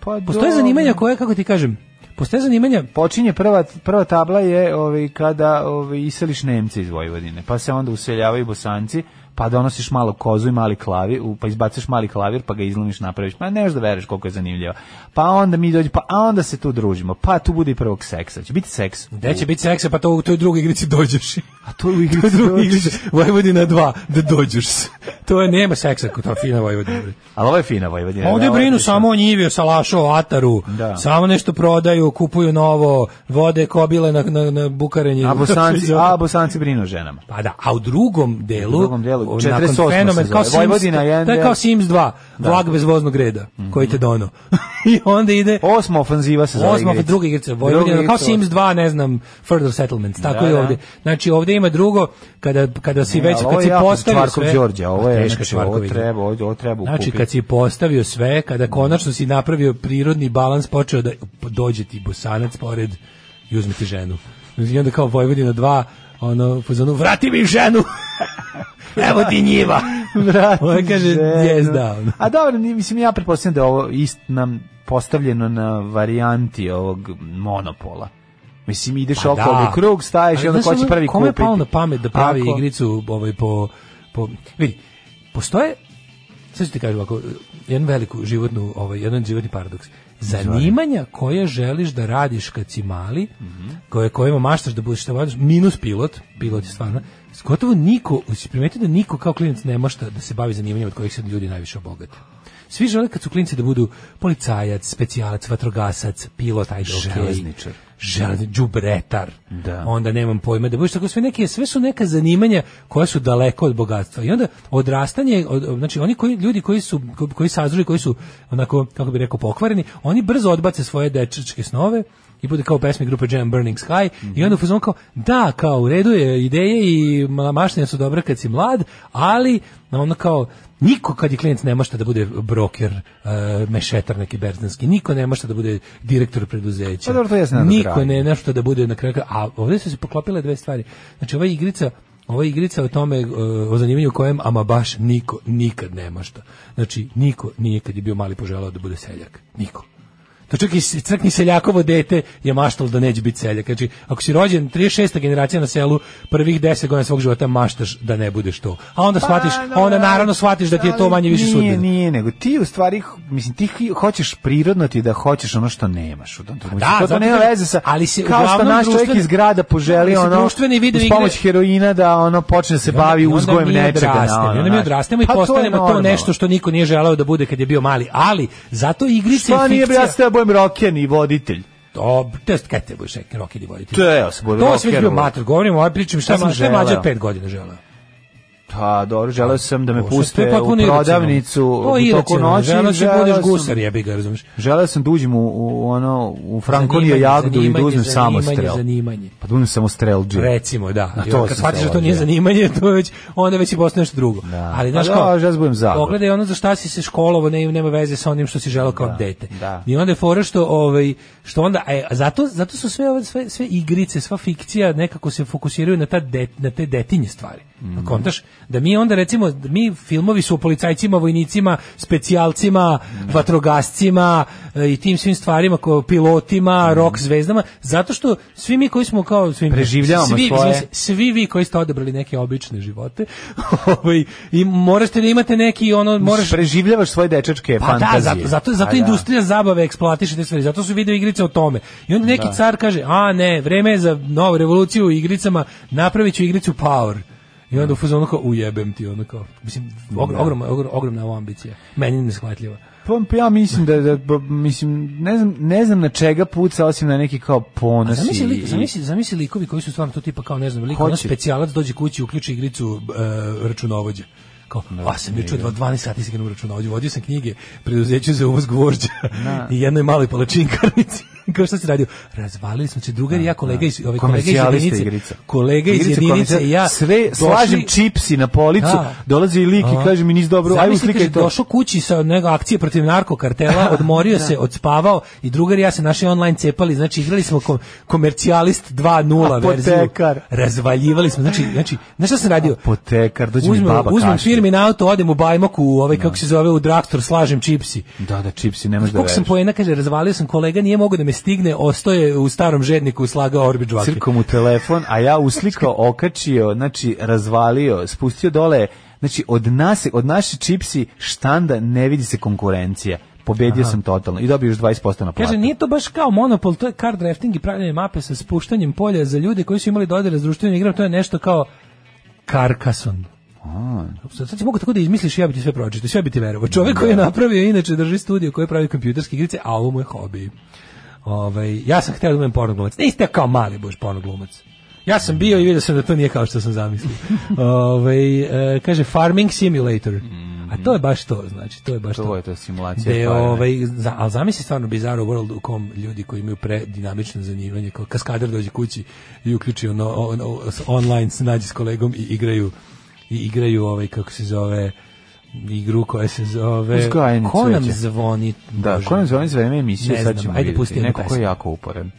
Speaker 7: pa
Speaker 6: Postoje
Speaker 7: do-
Speaker 6: zanimanja koje kako ti kažem, postoje zanimanja
Speaker 7: Počinje prva prva tabla je ovaj kada ovaj iseliš Nemce iz Vojvodine, pa se onda useljavaju Bosanci, pa donosiš malo kozu i mali klavir, u- pa izbaciš mali klavir, pa ga izlomiš, napraviš. Pa ne možeš da veruješ koliko je zanimljivo. Pa onda mi dođe, pa a onda se tu družimo. Pa tu bude i prvog seksa. Će biti seks.
Speaker 6: Gde će biti seksa, pa to u toj drugoj igrici dođeš.
Speaker 7: A to je u igrici
Speaker 6: drugi
Speaker 7: dođeš.
Speaker 6: igrici Vojvodina 2, da dođeš se. To je, nema seksa kod to fina Vojvodina. bre.
Speaker 7: Ali ovo je fina Vojvodina.
Speaker 6: Ovdje
Speaker 7: Ovo je
Speaker 6: brinu
Speaker 7: odlično.
Speaker 6: samo o njivi, o salašu, o ataru.
Speaker 7: Da.
Speaker 6: Samo nešto prodaju, kupuju novo, vode kobile na, na, na bukarenje.
Speaker 7: A bosanci, a bosanci brinu o ženama.
Speaker 6: Pa da, a u drugom delu,
Speaker 7: U drugom delu,
Speaker 6: o,
Speaker 7: 48
Speaker 6: nakon
Speaker 7: se
Speaker 6: fenomen,
Speaker 7: zove.
Speaker 6: kao Sims,
Speaker 7: Vojvodina je
Speaker 6: to je
Speaker 7: jedan
Speaker 6: kao
Speaker 7: del.
Speaker 6: Sims 2, vlak bez voznog reda,
Speaker 7: Mhm.
Speaker 6: koji te dono. I onda ide
Speaker 7: Osma ofanziva se zove
Speaker 6: Osma
Speaker 7: igrica.
Speaker 6: druga igrica
Speaker 7: Druga
Speaker 6: Vojvodina, kao
Speaker 7: igrica,
Speaker 6: Sims 2, ne znam, Further Settlements, tako
Speaker 7: Da,
Speaker 6: i
Speaker 7: da.
Speaker 6: ovdje. Znači ovdje ima drugo, kada, kada si
Speaker 7: Ne,
Speaker 6: već,
Speaker 7: ali ovo
Speaker 6: kad
Speaker 7: je
Speaker 6: si
Speaker 7: jako
Speaker 6: postavio
Speaker 7: Čvarkov
Speaker 6: sve... Pa
Speaker 7: Đorđe, ovo je,
Speaker 6: Teška
Speaker 7: znači, ovo
Speaker 6: Čvarkov igra.
Speaker 7: treba, ovo- ovo treba
Speaker 6: Znači,
Speaker 7: ukupiti.
Speaker 6: kad si postavio sve, kada konačno si napravio prirodni balans, počeo da dođe ti bosanac pored i uzme ti ženu. I onda kao Vojvodina 2, ono, pozvanu, vrati mi ženu! Evo ti njiva!
Speaker 7: Vrati
Speaker 6: Ovo kaže,
Speaker 7: ženu.
Speaker 6: "Yes, da, ono."
Speaker 7: A dobro, ni- mislim, ja pretpostavljam da je ovo ist nam postavljeno na varijanti ovog monopola. Mislim, ideš
Speaker 6: Pa
Speaker 7: okolo
Speaker 6: da.
Speaker 7: u krug, staješ
Speaker 6: Ali
Speaker 7: i onda
Speaker 6: znaš
Speaker 7: ko će
Speaker 6: ono,
Speaker 7: prvi kupiti.
Speaker 6: Kome je palo na pamet da pravi
Speaker 7: Ako-
Speaker 6: igricu ovaj, po, po... Vidi, postoje, sad ću ti kažem ovako, jedan veliku životnu, ovaj, jedan životni paradoks. Zanimanja koje želiš da radiš kad si mali,
Speaker 7: Mhm.
Speaker 6: koje, kojima maštaš da budeš šta voliš, minus pilot, pilot je stvarno, gotovo niko, si primetio da niko kao klinac ne mašta da se bavi zanimanjima od kojih se ljudi najviše obogate. Svi žele kad su klinci da budu policajac, specijalac, vatrogasac, pilot, ajde, okej.
Speaker 7: Železničar.
Speaker 6: Železni, džubretar.
Speaker 7: Da.
Speaker 6: Onda nemam pojma da budeš tako sve neke, sve su neka zanimanja koja su daleko od bogatstva. I onda odrastanje, od, znači oni koji ljudi koji su ko- koji sazreli, koji su onako kako bi rekao pokvareni, oni brzo odbace svoje dečičke snove i bude kao u pesmi grupe Jam Burning Sky i onda u fazonu kao da kao u redu je ideje i ma- mašine su dobre kad si mlad, ali ono kao Niko kad je klijent ne može da bude broker, eh, mešetar neki berzanski, niko ne može da bude direktor preduzeća.
Speaker 7: Pa dobro, to jeste na
Speaker 6: Niko
Speaker 7: kraju.
Speaker 6: ne nešto da bude na kraju. A ovdje su se poklopile dve stvari. Znači ova igrica ova igrica o tome, eh, o zanimanju kojem, ama baš niko, nikad nema šta. Znači, niko nije kad je bio mali poželao da bude seljak. Niko. To čak i, čak ni seljakovo dete je maštalo da neće biti seljak. Znači, ako si rođen 36. generacija na selu, prvih 10 godina svog života maštaš da ne budeš to. A onda Pa, shvatiš, a onda naravno shvatiš da ti je to
Speaker 7: Pa ali
Speaker 6: manje više
Speaker 7: nije,
Speaker 6: sudbina.
Speaker 7: Nije, nego ti u stvari, mislim, ti hi- hoćeš prirodno ti da hoćeš ono što nemaš. U tom trenutku.
Speaker 6: Da,
Speaker 7: Mislim, to, to
Speaker 6: zato
Speaker 7: nema
Speaker 6: kažem,
Speaker 7: veze sa,
Speaker 6: ali se
Speaker 7: kao što
Speaker 6: uglavnom
Speaker 7: naš čovjek
Speaker 6: društvene-
Speaker 7: iz grada poželi
Speaker 6: ali se
Speaker 7: ono,
Speaker 6: društvene video
Speaker 7: uz
Speaker 6: igre-
Speaker 7: pomoć heroina da ono počne da se
Speaker 6: I onda-
Speaker 7: bavi
Speaker 6: i onda
Speaker 7: uzgojem
Speaker 6: mi
Speaker 7: nečega. na
Speaker 6: odrastemo,
Speaker 7: ono,
Speaker 6: i onda mi
Speaker 7: znaš.
Speaker 6: odrastemo i
Speaker 7: Pa to je
Speaker 6: postanemo to,
Speaker 7: normalno.
Speaker 6: nešto što niko nije želeo da bude kad je bio mali, ali zato igrice
Speaker 7: Što
Speaker 6: i
Speaker 7: Pa nije
Speaker 6: fikcija...
Speaker 7: ja s tebom roken i voditelj?
Speaker 6: To, to jest kad te budeš neki rock ili voditelj.
Speaker 7: To je, ja sam budem
Speaker 6: To sve
Speaker 7: rock and
Speaker 6: bio
Speaker 7: roll.
Speaker 6: mater, govorim, ovaj pričam šta
Speaker 7: Ja sam
Speaker 6: sam šta je mlađe
Speaker 7: želeo.
Speaker 6: od pet godina želeo.
Speaker 7: Pa dobro, želeo sam da me
Speaker 6: Ovo što- to je
Speaker 7: puste u
Speaker 6: potpuno iracionalno.
Speaker 7: prodavnicu
Speaker 6: To je
Speaker 7: u toku
Speaker 6: iracionalno,
Speaker 7: noći.
Speaker 6: Želeo si da
Speaker 7: želeo
Speaker 6: budeš
Speaker 7: sam-
Speaker 6: gusar, jebi ga, razumeš.
Speaker 7: Želeo sam da uđem u, u ono, u Frankonija
Speaker 6: Zanimanje,
Speaker 7: jagdu i da
Speaker 6: zanimanje,
Speaker 7: uzmem samostrel.
Speaker 6: Zanimanje, zanimanje.
Speaker 7: Pa da uzmem samostrel džir.
Speaker 6: Recimo, da.
Speaker 7: Na
Speaker 6: I
Speaker 7: to
Speaker 6: onda
Speaker 7: sam
Speaker 6: kad shvatiš
Speaker 7: se
Speaker 6: da to nije
Speaker 7: ložio.
Speaker 6: zanimanje, to je već, onda već i postane nešto drugo.
Speaker 7: Da.
Speaker 6: Ali, znaš
Speaker 7: Pa
Speaker 6: kao,
Speaker 7: da, ja zbudem zabud.
Speaker 6: pogledaj ono za šta si se školovo, ne, nema veze sa onim što si želao kao dete.
Speaker 7: da.
Speaker 6: I onda je fora što, ovaj, što onda, e, a zato, zato su sve, ove, sve, sve igrice, sva fikcija nekako se fokusiraju na, ta det, na te detinje stvari.
Speaker 7: Mhm.
Speaker 6: Kontaš? Da mi onda recimo, da mi filmovi su o policajcima, vojnicima, specijalcima,
Speaker 7: Mhm.
Speaker 6: vatrogascima e, i tim svim stvarima, ko, pilotima,
Speaker 7: Mhm.
Speaker 6: rock zvezdama, zato što svi mi koji smo kao, svi mi-
Speaker 7: Preživljavamo
Speaker 6: svi,
Speaker 7: svoje.
Speaker 6: izvini se, svi vi koji ste odabrali neke obične živote, ovaj, i morate da imate neki ono, moraš...
Speaker 7: preživljavaš svoje dečačke
Speaker 6: Pa da,
Speaker 7: fantazije.
Speaker 6: zato, zato, zato
Speaker 7: Pa da.
Speaker 6: industrija zabave eksploatiše te stvari, zato su video igrice o tome. I onda neki car kaže, a ne, vreme je za novu revoluciju u igricama, napravit ću igricu Power. I onda u fazonu kao, ujebem ti, ono kao, mislim, og- ogromna, ogrom- ogromna je ovo ambicija, meni neshvatljiva.
Speaker 7: Pa, pa ja mislim da, da ba- mislim ne znam ne znam na čega puca osim na neki kao ponos.
Speaker 6: Zamisli,
Speaker 7: i-
Speaker 6: lik, zamisli, zamisli likovi koji su stvarno tu tipa kao ne znam, lik
Speaker 7: Hoće.
Speaker 6: ono specijalac dođe kući i uključi igricu e, računovođe. Kao, a sam juče dva- 12 sati sam krenuo računovođe, vodio sam knjige, preduzeću za uvoz gvožđa i jednoj maloj palačinkarnici. kao šta si radio? Razvalili smo se drugar i ja, kolega iz, ovaj, kolega iz
Speaker 7: Komercijalista
Speaker 6: jedinice,
Speaker 7: igrica.
Speaker 6: kolega iz
Speaker 7: Igrica
Speaker 6: jedinice i ja,
Speaker 7: sve
Speaker 6: došli-
Speaker 7: slažem čipsi na policu,
Speaker 6: Da.
Speaker 7: dolazi lik
Speaker 6: Aha.
Speaker 7: i kaže mi nisi dobro, aj
Speaker 6: Zamisli,
Speaker 7: uslikaj
Speaker 6: kaže,
Speaker 7: to.
Speaker 6: došao kući sa nego akcije protiv narkokartela, odmorio se, odspavao i drugar i ja se naši online cepali, znači igrali smo kom, komercijalist 2.0 verziju.
Speaker 7: Apotekar.
Speaker 6: Razvaljivali smo, znači, znači, znaš šta sam radio?
Speaker 7: Potekar, dođe mi
Speaker 6: Uzmem,
Speaker 7: baba
Speaker 6: uzmem
Speaker 7: kašlje.
Speaker 6: firmin auto, odem u Bajmoku, u ovaj, kako se zove, u Draktor, slažem čipsi.
Speaker 7: Da, da, čipsi, nemaš da
Speaker 6: Koliko sam
Speaker 7: veruješ.
Speaker 6: poena, kaže, razvalio sam kolega, nije mogao da me stigne, ostoje u starom žedniku, slagao orbi džvake.
Speaker 7: Crkom u telefon, a ja uslikao, okačio, znači razvalio, spustio dole, znači od nas, od naše čipsi štanda ne vidi se konkurencija. pobedio sam totalno i dobio još 20% na platu.
Speaker 6: Kaže, nije to baš kao monopol, to je card drafting i pravljanje mape sa spuštanjem polja za ljude koji su imali dodire s društvenim igram, to je nešto kao Carcassonne. Sad, sad si mogu tako da izmisliš, ja bi ti sve pročito, sve bi ti verovo. Čovjek koji je napravio, inače drži studio koji pravi kompjuterske igrice, a ovo mu je hobi. Ovaj, ja sam htio da budem porno glumac. Niste kao mali boš porno glumac. Ja sam bio i vidio sam da to nije kao što sam zamislio. Ovaj, e, kaže Farming Simulator. A to je baš to, znači, to je baš to.
Speaker 7: Mm. To je to simulacija.
Speaker 6: Da je,
Speaker 7: farme.
Speaker 6: ovaj, za, ali zamisli stvarno bizarro world u kom ljudi koji imaju predinamično zanimanje, kao kaskader dođe kući i uključi ono, ono, online se nađe s kolegom i igraju i igraju ovaj, kako se zove, igru koja se zove...
Speaker 7: Uzgajanje
Speaker 6: Ko nam
Speaker 7: cveća.
Speaker 6: zvoni?
Speaker 7: Da,
Speaker 6: Bože?
Speaker 7: ko nam zvoni za vreme emisije,
Speaker 6: Ne
Speaker 7: sad
Speaker 6: znam,
Speaker 7: ćemo
Speaker 6: ajde,
Speaker 7: vidjeti.
Speaker 6: pusti jednu
Speaker 7: Neko ko je
Speaker 6: pesmu.
Speaker 7: jako uporan.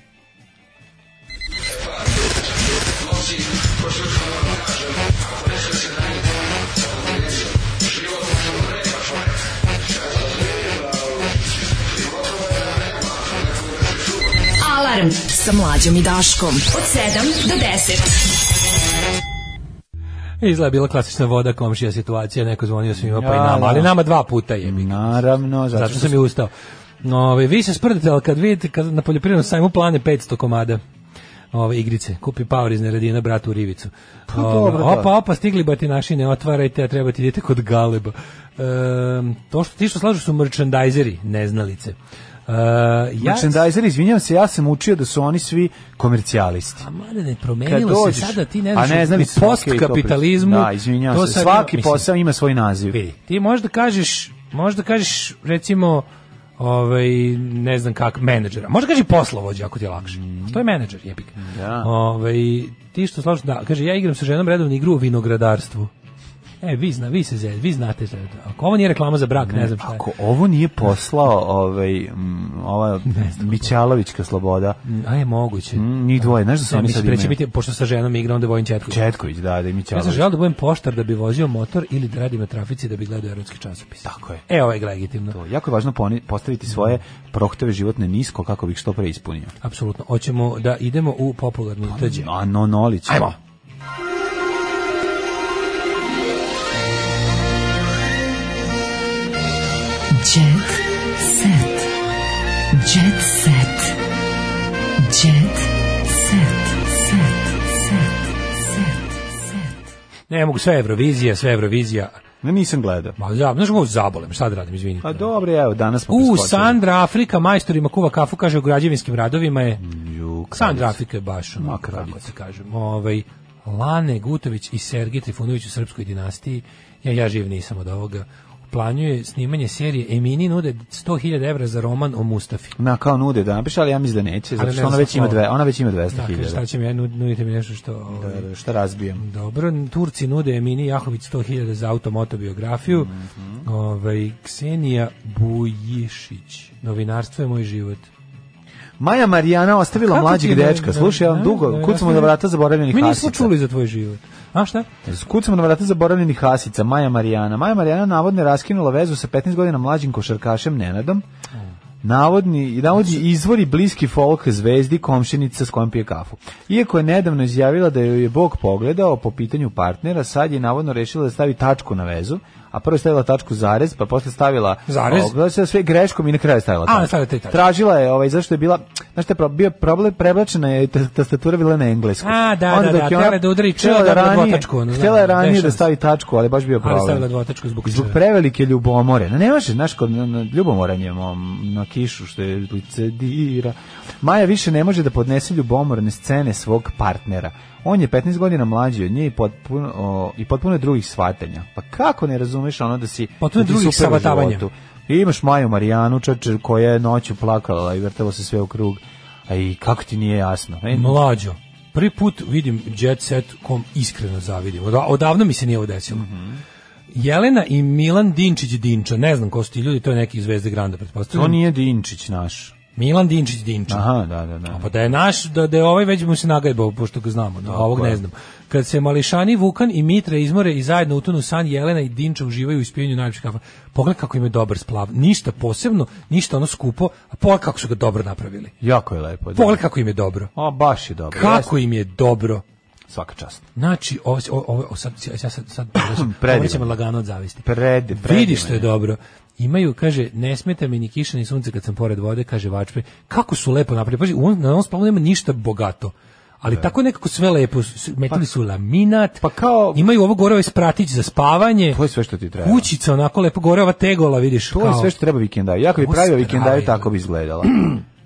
Speaker 5: Alarm sa mlađom i Daškom. Od 7 do 10.
Speaker 6: E, Izgleda je bila klasična voda komšija situacija, neko zvonio svima pa i
Speaker 7: Ja,
Speaker 6: nama,
Speaker 7: da.
Speaker 6: ali nama dva puta je.
Speaker 7: Naravno, zato,
Speaker 6: Zato sam i ustao. Ove, vi se sprdate, ali kad vidite kad na poljoprivrednom sajmu plane 500 komada ove igrice, kupi Power iz Neredina bratu u Rivicu.
Speaker 7: Pa
Speaker 6: Ove,
Speaker 7: dobro, da.
Speaker 6: opa, opa, stigli bati naši, ne otvarajte, a trebate idete kod Galeba. Ehm, to što ti što slažu su merchandizeri, neznalice. E, ja,
Speaker 7: Merchandiser, izvinjam se, ja sam učio da su oni svi komercijalisti.
Speaker 6: A Marine, promenilo
Speaker 7: Kad
Speaker 6: E, se
Speaker 7: dođeš-
Speaker 6: sada, ti ne
Speaker 7: A
Speaker 6: znaš,
Speaker 7: ne znam
Speaker 6: u
Speaker 7: li sam, okej, to
Speaker 6: postkapitalizmu.
Speaker 7: pričam. Da, izvinjam
Speaker 6: to
Speaker 7: se.
Speaker 6: sad-
Speaker 7: Svaki
Speaker 6: mislim,
Speaker 7: posao ima svoj naziv.
Speaker 6: vidi, ti možda kažeš, možda kažeš recimo ovaj ne znam kak menadžera. Možda kaži poslovođa ako ti je lakše. To je menadžer, jebik.
Speaker 7: Mm. Da.
Speaker 6: Ovaj ti što slažeš da kaže ja igram sa ženom redovnu igru u vinogradarstvu. E, vi, zna, vi, se, zez- vi znate, zez- ako ovo nije reklama za brak, ne, znam šta je.
Speaker 7: Ako ovo nije poslao ovaj, mm, ova Mićalovićka sloboda,
Speaker 6: A je moguće.
Speaker 7: mm, njih dvoje, znaš da su
Speaker 6: Ne,
Speaker 7: oni sad
Speaker 6: mislim, pre će
Speaker 7: imaju?
Speaker 6: biti, pošto sa ženom igra, onda Vojin Četković.
Speaker 7: Četković, da, da je
Speaker 6: Ja sam
Speaker 7: Mićalović.
Speaker 6: želeo da budem poštar da bi vozio motor ili da radim na trafici da bi gledao erotski časopis.
Speaker 7: Tako je.
Speaker 6: E, ovo je legitimno.
Speaker 7: To, jako je važno poni- postaviti svoje prohteve životne nisko kako bih što pre ispunio.
Speaker 6: Apsolutno. Hoćemo da idemo u popularnu
Speaker 7: Pa,
Speaker 6: tđe.
Speaker 7: A no, nolić.
Speaker 6: Ajmo.
Speaker 5: Jet set. Jet set. Jet set. Set. Set. Set. Set.
Speaker 6: Ne mogu, sve Eurovizija, sve Eurovizija.
Speaker 7: Ne, nisam gledao.
Speaker 6: Ma ja, znaš kako zabolem, šta da radim, izvini.
Speaker 7: A dobro, evo, danas smo
Speaker 6: U,
Speaker 7: preskočili.
Speaker 6: Sandra Afrika, majstorima kuva kafu, kaže u građevinskim radovima je...
Speaker 7: Ju,
Speaker 6: Sandra Afrika je baš ono,
Speaker 7: Mm, Ma,
Speaker 6: kako
Speaker 7: kraljica.
Speaker 6: se kažem. Ovaj, Lane Gutović i Sergij Trifunović u srpskoj dinastiji, ja, ja živ nisam od ovoga, planjuje snimanje serije Emini nude 100.000 evra za roman o Mustafi.
Speaker 7: Na kao nude da napiše, ali ja mislim da neće, zato
Speaker 6: Ali ne
Speaker 7: što ona
Speaker 6: znam
Speaker 7: već ima
Speaker 6: ovo.
Speaker 7: dve, ona već ima
Speaker 6: Da, kaže, šta
Speaker 7: 200.000.
Speaker 6: će mi, ja, nud- nudite mi nešto što... ovaj,
Speaker 7: Da, da, šta razbijem.
Speaker 6: Dobro, Turci nude Emini Jahović 100.000 za automotobiografiju.
Speaker 7: Mhm.
Speaker 6: Ovaj, Ksenija Bujišić, novinarstvo je moj život.
Speaker 7: Maja Marijana ostavila
Speaker 6: Kako ti
Speaker 7: mlađeg
Speaker 6: je novi-
Speaker 7: dečka. Slušaj, ja vam
Speaker 6: da,
Speaker 7: dugo,
Speaker 6: novinarstvo
Speaker 7: kucamo
Speaker 6: je-
Speaker 7: na vrata zaboravljenih
Speaker 6: Mi
Speaker 7: hasica.
Speaker 6: nismo čuli za tvoj život. A šta?
Speaker 7: Kucamo na vrata zaboravljenih hasica, Maja Marijana. Maja Marijana navodno je raskinula vezu sa 15 godina mlađim košarkašem Nenadom. Navodni, navodni izvori bliski folk zvezdi komšinica s kojom pije kafu. Iako je nedavno izjavila da joj je Bog pogledao po pitanju partnera, sad je navodno rešila da stavi tačku na vezu, a prvo je stavila tačku zarez, pa posle stavila
Speaker 6: Zarez?
Speaker 7: O, znači da sve greškom i na kraju je stavila
Speaker 6: A,
Speaker 7: tačku.
Speaker 6: stavila te tačke.
Speaker 7: Tražila je, ovaj, zašto je bila, znaš šta je pro- bio problem, prebačena je, ta- tastatura bila na englesku.
Speaker 6: A, da, da,
Speaker 7: dok
Speaker 6: da,
Speaker 7: je ona
Speaker 6: htjela je da udari čelo,
Speaker 7: htjela je
Speaker 6: da bi
Speaker 7: ranije-
Speaker 6: dvotačku, ono,
Speaker 7: Htjela
Speaker 6: znam,
Speaker 7: je ranije
Speaker 6: dešava
Speaker 7: da
Speaker 6: se.
Speaker 7: stavi tačku, ali je baš bio
Speaker 6: Ali
Speaker 7: problem.
Speaker 6: stavila dvotačku zbog
Speaker 7: Zbog
Speaker 6: čega?
Speaker 7: prevelike ljubomore. Ne, ne može, znaš, kod na- na- ljubomoran je mom, na kišu što je lice dira. Maja više ne može da podnese ljubomorne scene svog partnera. On je 15 godina mlađi od nje i potpuno, o, i potpuno je drugih shvatanja. Pa kako ne razumeš ono da si...
Speaker 6: Potpuno
Speaker 7: da ti
Speaker 6: drugih
Speaker 7: super u
Speaker 6: savlatavanja.
Speaker 7: životu? I imaš Maju Marijanu, čače, koja je noću plakala i vrtalo se sve u krug. A i kako ti nije jasno? E,
Speaker 6: Mlađo. Prvi put vidim Jet Set kom iskreno zavidim. Oda- odavno mi se nije ovo desilo.
Speaker 7: Mhm.
Speaker 6: Jelena i Milan Dinčić Dinča, ne znam ko su ti ljudi, to je neki iz Zvezde Granda,
Speaker 7: to
Speaker 6: pretpostavljam.
Speaker 7: nije Dinčić naš.
Speaker 6: Milan Dinčić Dinča.
Speaker 7: Aha, Mm. da, da, da.
Speaker 6: A pa da je naš, da, da je ovaj već mu se nagajbao, pošto ga znamo, da, ovog
Speaker 7: je.
Speaker 6: ne znam. Kad se Mališani, Vukan i Mitra izmore i zajedno utonu u san, Jelena i Dinča uživaju u ispijenju najljepših kafa. Pogledaj kako im je dobar splav. Ništa posebno, ništa ono skupo, a pogledaj kako su ga dobro napravili.
Speaker 7: Jako je lepo. Da.
Speaker 6: Pogledaj kako im je dobro.
Speaker 7: A baš je dobro.
Speaker 6: Kako im je dobro.
Speaker 7: Svaka čast.
Speaker 6: Znači, ovo, ovo, ovo sad, ja sad, sad,
Speaker 7: Predivan.
Speaker 6: ovo ćemo lagano od zavisti.
Speaker 7: Pred,
Speaker 6: Vidi što
Speaker 7: predivan
Speaker 6: je dobro. Imaju, kaže, ne smeta mi ni kiša ni sunce kad sam pored vode, kaže Vačpe. Kako su lepo napravili. Pazi, on, na ovom spavnu nema ništa bogato. Ali tako nekako sve lepo. s- Metili su laminat. Pa kao... Imaju ovo gore ovaj spratić za spavanje.
Speaker 7: To je sve što ti treba.
Speaker 6: Kućica onako lepo gore, ova tegola, vidiš.
Speaker 7: To je sve što treba vikendaju. Jako bi
Speaker 6: Ovo
Speaker 7: pravio
Speaker 6: stravi.
Speaker 7: vikendaju, tako bi izgledala.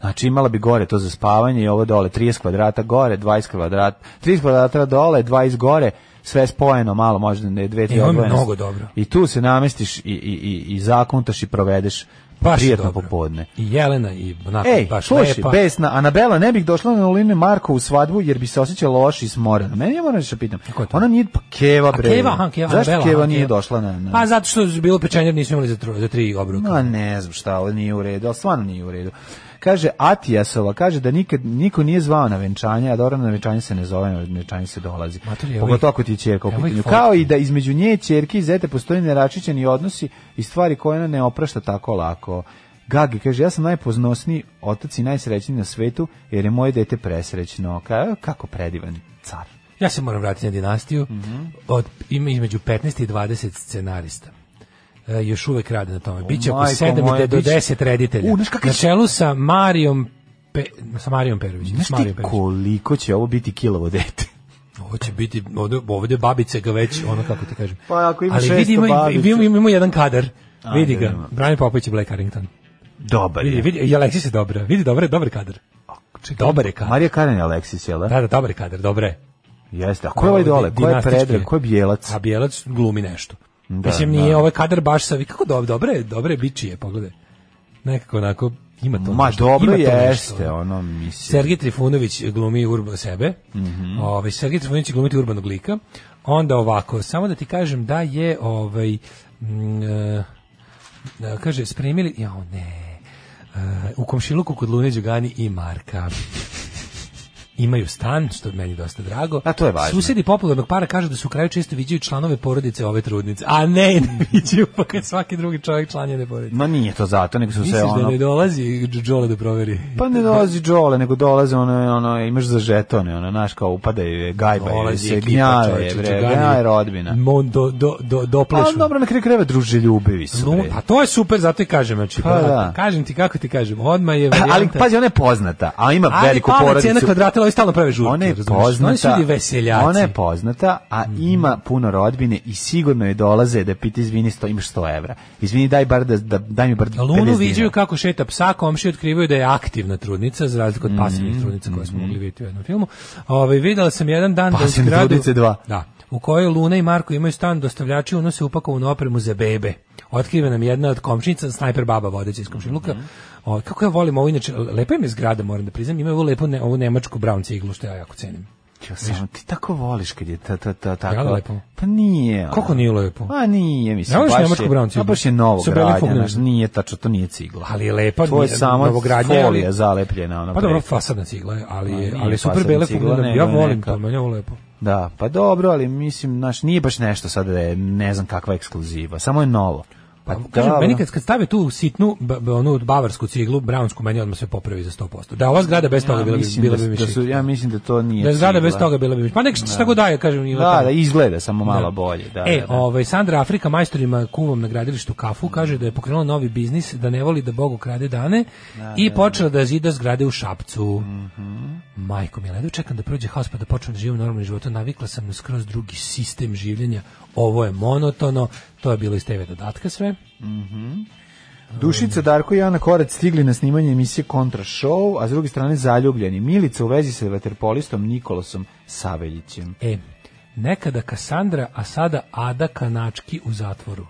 Speaker 7: Znači imala bi gore to za spavanje i ovo dole, 30 kvadrata gore, 20 kvadrata, 30 kvadrata dole, 20 gore, sve spojeno malo, možda ne dve,
Speaker 6: E,
Speaker 7: tri
Speaker 6: ovo je
Speaker 7: odvojene.
Speaker 6: mnogo dobro.
Speaker 7: I tu se namestiš i, i, i, i zakuntaš i provedeš
Speaker 6: Baš je
Speaker 7: prijetno
Speaker 6: dobro.
Speaker 7: popodne.
Speaker 6: I Jelena i onako
Speaker 7: Ej,
Speaker 6: baš
Speaker 7: slušaj,
Speaker 6: lepa.
Speaker 7: Besna, Anabela, ne bih došla na Olinu Marko u svadbu jer bi se osjećala loše i smorena. Meni je moram nešto pitam. Ona nije, pa Keva, bre.
Speaker 6: Keva, aha, Keva,
Speaker 7: Zašto
Speaker 6: Anabela,
Speaker 7: Keva
Speaker 6: aha,
Speaker 7: nije
Speaker 6: Keva.
Speaker 7: došla na... na...
Speaker 6: Pa zato što je bilo pečenje, nisu imali za, tro- za tri obruka.
Speaker 7: Ma ne znam šta, ovo nije u redu, ali stvarno nije u redu. Kaže Atijasova, kaže da nikad niko nije zvao na venčanje, a dobro na venčanje se ne zove, na venčanje se dolazi.
Speaker 6: Mater, evo
Speaker 7: Pogotovo
Speaker 6: ih-
Speaker 7: ako ti je čerka u
Speaker 6: evo ih
Speaker 7: pitanju.
Speaker 6: folklor.
Speaker 7: Kao i da između nje, čerke i zete postoji neračićeni odnosi i stvari koje ona ne oprašta tako lako. Gagi kaže, ja sam najpoznosniji otac i najsrećniji na svetu, jer je moje dete presrećno. Ka- kako predivan car.
Speaker 6: Ja se moram vratiti na dinastiju.
Speaker 7: Mhm.
Speaker 6: Od, ima između 15 i 20 scenarista. E, još uvek rade na tome. Biće oko
Speaker 7: Majko
Speaker 6: 7
Speaker 7: moja,
Speaker 6: i de- do
Speaker 7: biće-
Speaker 6: 10 reditelja.
Speaker 7: U, znaš kakav
Speaker 6: na
Speaker 7: će-
Speaker 6: čelu sa Marijom Pe, sa Marijom Perovićem.
Speaker 7: Znaš
Speaker 6: s Marijom
Speaker 7: ti
Speaker 6: Perovićem.
Speaker 7: koliko će ovo biti kilovo dete?
Speaker 6: Ovo će biti, ovde, ovde babice ga već, ono kako ti kažem.
Speaker 7: Pa ako ima
Speaker 6: Ali
Speaker 7: 600
Speaker 6: vidi, ima,
Speaker 7: babica.
Speaker 6: ima, ima jedan kadar.
Speaker 7: Ajde,
Speaker 6: vidi ga.
Speaker 7: idemo.
Speaker 6: Brian Popović i Blake Harrington.
Speaker 7: Dobar
Speaker 6: Vidi,
Speaker 7: je.
Speaker 6: vidi, i Alexis je dobra. Vidi, dobar je, dobar kadar. Dobar je kadar.
Speaker 7: Marija Karen i Aleksis, jel da?
Speaker 6: Da, da, dobar je kadar, dobre je.
Speaker 7: Jeste, a ko je ovaj dole? Ko je
Speaker 6: Dinastički
Speaker 7: Predrag? Ko je Bijelac?
Speaker 6: A Bijelac glumi nešto.
Speaker 7: Da,
Speaker 6: Mislim, nije
Speaker 7: da.
Speaker 6: ovaj kadar baš sa... Kako dobro, dobro je, dobro je bičije, pogledaj. Nekako onako, ima to
Speaker 7: Ma
Speaker 6: nešto.
Speaker 7: dobro
Speaker 6: ima to
Speaker 7: jeste,
Speaker 6: nešto.
Speaker 7: ono mislim.
Speaker 6: Sergij Trifunović glumi urba sebe.
Speaker 7: Mhm.
Speaker 6: ovaj, Sergij Trifunović glumi urbanog lika. Onda ovako, samo da ti kažem da je ovaj... mm, e, e, kaže, spremili... Jao, ne... E, u komšiluku kod Lune Đugani i Marka imaju stan, što je meni dosta drago.
Speaker 7: A to je važno.
Speaker 6: Susedi popularnog para kažu da su u kraju često viđaju članove porodice ove trudnice. A ne, ne viđaju, pa kad svaki drugi čovjek član njene porodice.
Speaker 7: Ma nije to zato, nego su
Speaker 6: Misliš
Speaker 7: se
Speaker 6: da ne
Speaker 7: ono...
Speaker 6: dolazi Đole da proveri?
Speaker 7: Pa ne dolazi Đole, nego dolaze ono, ono, imaš za žetone, ono, znaš, kao upadaju, gajbaju
Speaker 6: Dolazi
Speaker 7: se,
Speaker 6: ekipa,
Speaker 7: gnjave,
Speaker 6: čoveče,
Speaker 7: bre,
Speaker 6: Đugani.
Speaker 7: gnjave rodbina.
Speaker 6: Mon do, do, do,
Speaker 7: Pa
Speaker 6: doplešu.
Speaker 7: dobro, na kraju kreva druže ljubivi su,
Speaker 6: Lu-
Speaker 7: bre.
Speaker 6: pa to je super, zato i kažem. Znači,
Speaker 7: Pa
Speaker 6: pa,
Speaker 7: da.
Speaker 6: Kažem ti kako ti kažem. Odma je varijanta.
Speaker 7: Ali, pazi, ona je poznata, a ima
Speaker 6: Ali
Speaker 7: veliku
Speaker 6: pala cena
Speaker 7: porodicu.
Speaker 6: kvadrata, ali ovi stalno prave žurke.
Speaker 7: Ona je
Speaker 6: razumeš? Oni su
Speaker 7: poznata.
Speaker 6: ljudi veseljaci. Mhm.
Speaker 7: Ona je poznata, a ima puno rodbine i sigurno je dolaze da pita izvini, sto, imaš 100 evra. Izvini, daj bar da, da daj mi bar 50
Speaker 6: Lunu
Speaker 7: dinara.
Speaker 6: viđaju kako šeta psa, komši otkrivaju da je aktivna trudnica, za razliku
Speaker 7: Mm,
Speaker 6: od pasivnih trudnica koje smo mogli vidjeti u jednom filmu. Ove, videla sam jedan dan da u
Speaker 7: Pasivne
Speaker 6: zgradu-
Speaker 7: trudnice dva.
Speaker 6: Da, u kojoj Luna i Marko imaju stan dostavljači, unose upakovanu opremu za bebe. Otkriva nam jedna od komšinica, snajper baba vodeća iz
Speaker 7: Mm.
Speaker 6: komšiluka. O, kako ja volim ovo, inače, lepa im je zgrada, moram da priznam, imaju ovu lepu ne, ovu nemačku brown ciglu, što ja jako cenim.
Speaker 7: Ja sam, ti tako voliš kad je ta, ta, ta, tako.
Speaker 6: Jel lepo?
Speaker 7: Pa nije. ono.
Speaker 6: Koliko nije lepo?
Speaker 7: Pa nije, mislim,
Speaker 6: Ne voliš
Speaker 7: baš
Speaker 6: nemačku
Speaker 7: je,
Speaker 6: brown ciglu?
Speaker 7: a baš je novo
Speaker 6: Sa belim
Speaker 7: gradnja,
Speaker 6: fugnem.
Speaker 7: znaš, nije tačno, to nije cigla.
Speaker 6: Pa, Ali je lepa,
Speaker 7: to je
Speaker 6: nije-
Speaker 7: samo
Speaker 6: novogradnja,
Speaker 7: folija
Speaker 6: ali-
Speaker 7: zalepljena. Ono
Speaker 6: Pa dobro,
Speaker 7: preko.
Speaker 6: fasadna cigla je, ali,
Speaker 7: Ma
Speaker 6: je,
Speaker 7: nije
Speaker 6: ali je super
Speaker 7: fasadna
Speaker 6: bele
Speaker 7: cigla,
Speaker 6: fugljene.
Speaker 7: nego
Speaker 6: Ja volim
Speaker 7: neka-
Speaker 6: to, meni je ovo lepo.
Speaker 7: Da, pa dobro, ali mislim, znaš, nije baš nešto sad da je, ne znam kakva ekskluziva, samo je novo.
Speaker 6: Pa, kažem,
Speaker 7: dobro.
Speaker 6: meni kad, kad stave tu sitnu, ba, ba- onu bavarsku ciglu, brownsku, meni odmah sve popravi za 100%. Da, ova zgrada bez toga
Speaker 7: ja
Speaker 6: bila bi,
Speaker 7: mislim
Speaker 6: bila
Speaker 7: da,
Speaker 6: bi mi
Speaker 7: da su,
Speaker 6: šik.
Speaker 7: ja mislim da to nije
Speaker 6: Da je zgrada
Speaker 7: cigla.
Speaker 6: bez toga bila bi mi šik. Pa nek šta god daje, kažem. nije
Speaker 7: Da,
Speaker 6: tamo.
Speaker 7: da, izgleda samo malo bolje. Da,
Speaker 6: e,
Speaker 7: da, da.
Speaker 6: ovaj, Sandra Afrika majstorima kuvom na gradilištu kafu kaže da je pokrenula novi biznis, da ne voli da Bogu krade dane i počela da zida zgrade u Šapcu.
Speaker 7: Mhm.
Speaker 6: Majko mi ledu, čekam da prođe haos pa da počnem da živim normalnim životom. Navikla sam na skroz drugi sistem življenja. Ovo je monotono, to je bilo iz TV dodatka sve.
Speaker 7: Dušica, Darko i Ana Korac stigli na snimanje emisije Kontra Show, a s druge strane zaljubljeni. Milica u vezi sa vaterpolistom Nikolosom Saveljićem.
Speaker 6: E, nekada Kasandra, a sada Ada Kanački u zatvoru.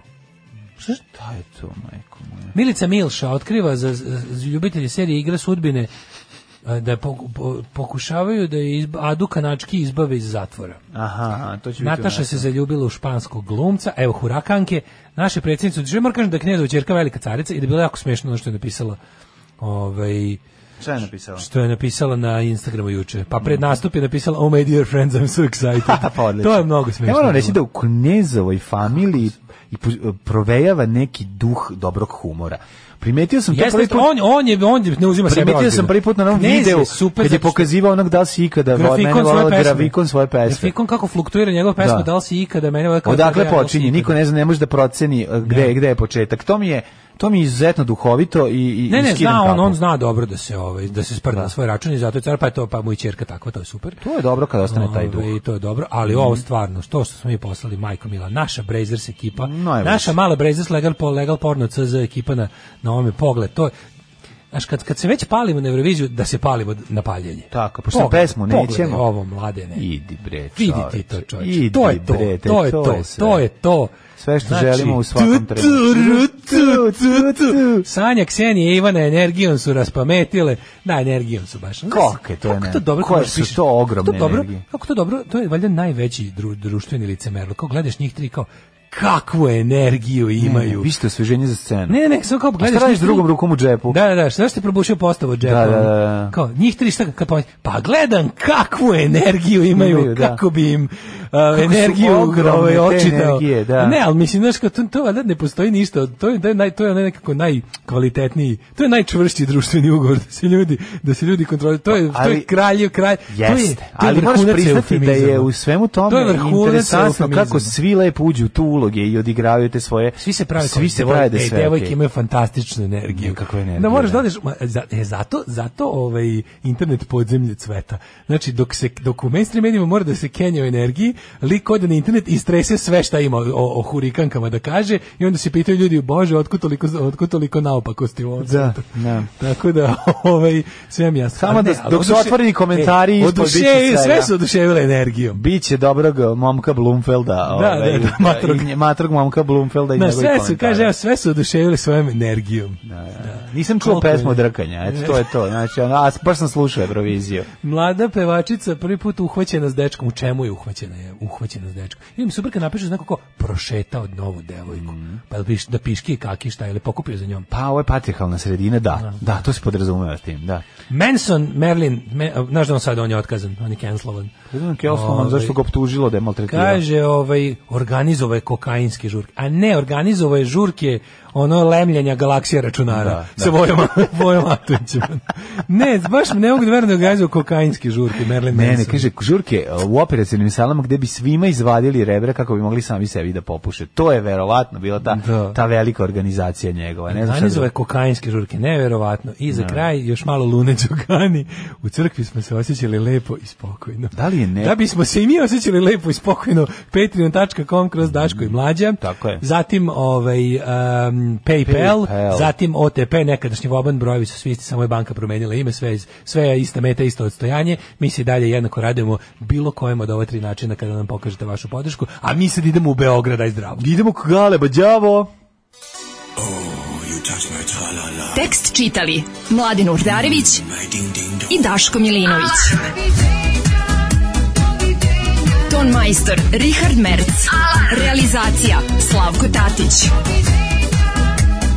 Speaker 7: Šta je to, majko moja?
Speaker 6: Milica Milša otkriva za, za ljubitelje serije Igra sudbine e, da poku- po- pokušavaju da je izba, Adu Kanački izbave iz zatvora.
Speaker 7: Aha, aha, to će biti
Speaker 6: Nataša se zaljubila u španskog glumca, evo hurakanke, naše predsjednice, održuje, moram kažem da je Knezova čerka velika carica i da je bila jako smiješno ono što je napisala ovaj,
Speaker 7: Šta je napisala?
Speaker 6: Što je napisala na Instagramu juče. Pa pred nastup je napisala Oh my dear friends, I'm so excited.
Speaker 7: pa odlično.
Speaker 6: to je mnogo smiješno.
Speaker 7: Ja moram reći
Speaker 6: bilo.
Speaker 7: da u knjezovoj familiji i pu- provejava neki duh dobrog humora. Primetio sam to
Speaker 6: Jeste,
Speaker 7: prvi put.
Speaker 6: on, on, je, on je ne uzima sebe
Speaker 7: Primetio Pa sam
Speaker 6: ozbiljno.
Speaker 7: prvi put na onom
Speaker 6: Knez je
Speaker 7: videu
Speaker 6: super
Speaker 7: kad je
Speaker 6: zato što-
Speaker 7: pokazivao onog da li si ikada vo- mene
Speaker 6: grafikon svoje
Speaker 7: volao
Speaker 6: pesme.
Speaker 7: grafikon svoje pesme.
Speaker 6: Grafikon kako fluktuira njegov pesma,
Speaker 7: Da.
Speaker 6: da. li si ikada mene... volao, kako
Speaker 7: Odakle
Speaker 6: da li si
Speaker 7: počinje,
Speaker 6: ikada.
Speaker 7: niko ne zna, ne može da proceni eh, gde, je- gde je početak. To mi je, to mi je izuzetno duhovito i, i
Speaker 6: Ne,
Speaker 7: i
Speaker 6: ne,
Speaker 7: skidam
Speaker 6: zna on,
Speaker 7: kapu.
Speaker 6: on zna dobro da se ovaj da se sprda na svoj račun i zato je car, pa je to pa mu i ćerka takva, to je super.
Speaker 7: To je dobro kad ostane taj duh.
Speaker 6: Ove, Ono, I to je dobro, ali ovo stvarno, to što smo mi poslali, majko mila, naša Brazers ekipa,
Speaker 7: Najbolje.
Speaker 6: naša mala Brazers legal, po, legal porno CZ ekipa na, na ovome pogled, to je, Znaš, kad, kad se već palimo na Euroviziju, da se palimo na paljenje.
Speaker 7: Tako, pošto pesmu nećemo.
Speaker 6: Pogledaj ovo, mladene.
Speaker 7: Idi bre,
Speaker 6: Vidi
Speaker 7: čoveče.
Speaker 6: ti to, čoveče.
Speaker 7: Idi,
Speaker 6: to je to,
Speaker 7: bre, te,
Speaker 6: to je
Speaker 7: to
Speaker 6: to,
Speaker 7: je sve.
Speaker 6: to je to. Znači,
Speaker 7: Sve što želimo u
Speaker 6: tu,
Speaker 7: svakom trenutku.
Speaker 6: ru, tu, tu, tu. Sanja, Ksenija i Ivana energijom su raspametile. Da, energijom su baš. Znaš,
Speaker 7: Kako je to
Speaker 6: Kako
Speaker 7: ener-
Speaker 6: to dobro,
Speaker 7: koje
Speaker 6: kako
Speaker 7: su
Speaker 6: pišeš?
Speaker 7: to ogromne
Speaker 6: Kako dobro,
Speaker 7: energije?
Speaker 6: Kako to dobro, to je valjda najveći dru, društveni licemerlo. Kako gledaš njih tri kao, kakvu energiju imaju.
Speaker 7: Vi ste osveženje za scenu.
Speaker 6: Ne, ne, ne, samo kao
Speaker 7: A
Speaker 6: gledaš.
Speaker 7: šta radiš
Speaker 6: njih tri-
Speaker 7: drugom rukom u džepu?
Speaker 6: Da, da, da, što ste probušio postavu od džepa?
Speaker 7: Da, da,
Speaker 6: ono?
Speaker 7: da.
Speaker 6: Kao, njih tri šta kad pomislim, pa gledam kakvu energiju imaju,
Speaker 7: Imaju, da.
Speaker 6: kako bi im uh,
Speaker 7: su
Speaker 6: energiju
Speaker 7: ogromne
Speaker 6: ovaj,
Speaker 7: te
Speaker 6: očitao.
Speaker 7: energije, da.
Speaker 6: Ne, ali mislim, znaš, kao, to, to valjda ne postoji ništa, od- to je, to je, naj, to je onaj nekako najkvalitetniji, to je najčvršći društveni ugovor, da se ljudi, da se ljudi kontroliraju, to je, to
Speaker 7: Ali-
Speaker 6: je kralj, kralj, to je,
Speaker 7: Jeste,
Speaker 6: to je
Speaker 7: ali moraš
Speaker 6: vrhunac
Speaker 7: priznati da je
Speaker 6: eufemizama.
Speaker 7: u svemu tome
Speaker 6: To je vrhunac
Speaker 7: interesantno
Speaker 6: eufemizama.
Speaker 7: kako svi lepo uđu u tu uloge i odigravaju te svoje...
Speaker 6: Svi se prave
Speaker 7: svi
Speaker 6: kao
Speaker 7: se
Speaker 6: devoj-
Speaker 7: prave da
Speaker 6: ej,
Speaker 7: sve
Speaker 6: devojke
Speaker 7: okej.
Speaker 6: imaju fantastičnu energiju.
Speaker 7: Kakva energija,
Speaker 6: Da moraš
Speaker 7: da.
Speaker 6: da odeš, ma, za- e, zato, zato ovaj internet podzemlje cveta. Znači, dok, se, dok u mainstream medijima mora da se kenja o energiji, lik ode na internet i strese sve šta ima o, o hurikankama da kaže i onda se pitaju ljudi, bože, otkud toliko, otkud toliko naopakosti u ovom
Speaker 7: Da,
Speaker 6: svetu?"
Speaker 7: da.
Speaker 6: Tako da, ovaj, sve vam jasno.
Speaker 7: Samo
Speaker 6: A ne,
Speaker 7: da-
Speaker 6: ali
Speaker 7: dok su
Speaker 6: oduše-
Speaker 7: otvoreni komentari
Speaker 6: e,
Speaker 7: ispod
Speaker 6: oduše-
Speaker 7: bit će svega.
Speaker 6: sve su oduševile energijom.
Speaker 7: Biće dobrog momka Blumfelda.
Speaker 6: Da,
Speaker 7: ovaj,
Speaker 6: da, da, matrog.
Speaker 7: i nje- matrog momka Blumfelda i
Speaker 6: Na
Speaker 7: njegovih
Speaker 6: sve su,
Speaker 7: komentara.
Speaker 6: kaže, evo, sve su oduševile svojom energijom.
Speaker 7: Nisam čuo
Speaker 6: Koliko je-
Speaker 7: pesmu drkanja, eto, to je to. Znači, ono, a, baš sam slušao Euroviziju.
Speaker 6: Mlada pevačica prvi put uhvaćena s dečkom. U čemu je uhvaćena? Je uhvaćena s dečkom. I mi super kad napišu znako ko prošetao novu devojku.
Speaker 7: Mhm.
Speaker 6: Pa da, piš, da piški i kaki šta ili pokupio za njom.
Speaker 7: Pa, ovo je patrihalna sredina, da. Da, to se podrazumeva s tim, da.
Speaker 6: Manson, Merlin, me, a, znaš da on sad on je otkazan, on je cancelovan.
Speaker 7: Znam, Kelsman,
Speaker 6: Ovaj,
Speaker 7: zašto ga optužilo da je maltretirao?
Speaker 6: Kaže, ovaj, organizovao je kokainske žurke. A ne, organizovao je žurke ono lemljenja galaksije računara
Speaker 7: Da, da.
Speaker 6: sa Vojom, Vojom Atovićem. ne, baš ne mogu da verujem da je organizovao kokainske žurke, Merlin
Speaker 7: Ne, ne,
Speaker 6: Manson.
Speaker 7: kaže, žurke uh, u operacijnim salama gde bi svima izvadili rebra kako bi mogli sami sebi da popuše. To je verovatno bila ta,
Speaker 6: Da.
Speaker 7: ta velika organizacija njegova. Ne znam šta
Speaker 6: Organizova
Speaker 7: drugo.
Speaker 6: je kokainske žurke, neverovatno. I za kraj još malo lune Đugani. U crkvi smo se osjećali lepo i spokojno.
Speaker 7: Da li je ne-
Speaker 6: Da bismo se i mi osjećali lepo i spokojno, patreon.com kroz Daško i Mlađa.
Speaker 7: Tako je.
Speaker 6: Zatim ovaj, um, PayPal,
Speaker 7: PayPal.
Speaker 6: zatim OTP, nekadašnji voban, brojevi su svi isti, samo je banka promenila ime, sve, je iz- sve je ista meta, isto odstojanje. Mi se i dalje jednako radujemo bilo kojem od ova tri načina kada nam pokažete vašu podršku, a mi sad idemo u Beograd, aj zdravo.
Speaker 7: Idemo k Galeba, đavo!
Speaker 5: Tekst čitali Mladin Urdarević i Daško Milinović. Ton majstor Richard Merc. Realizacija Slavko Tatić.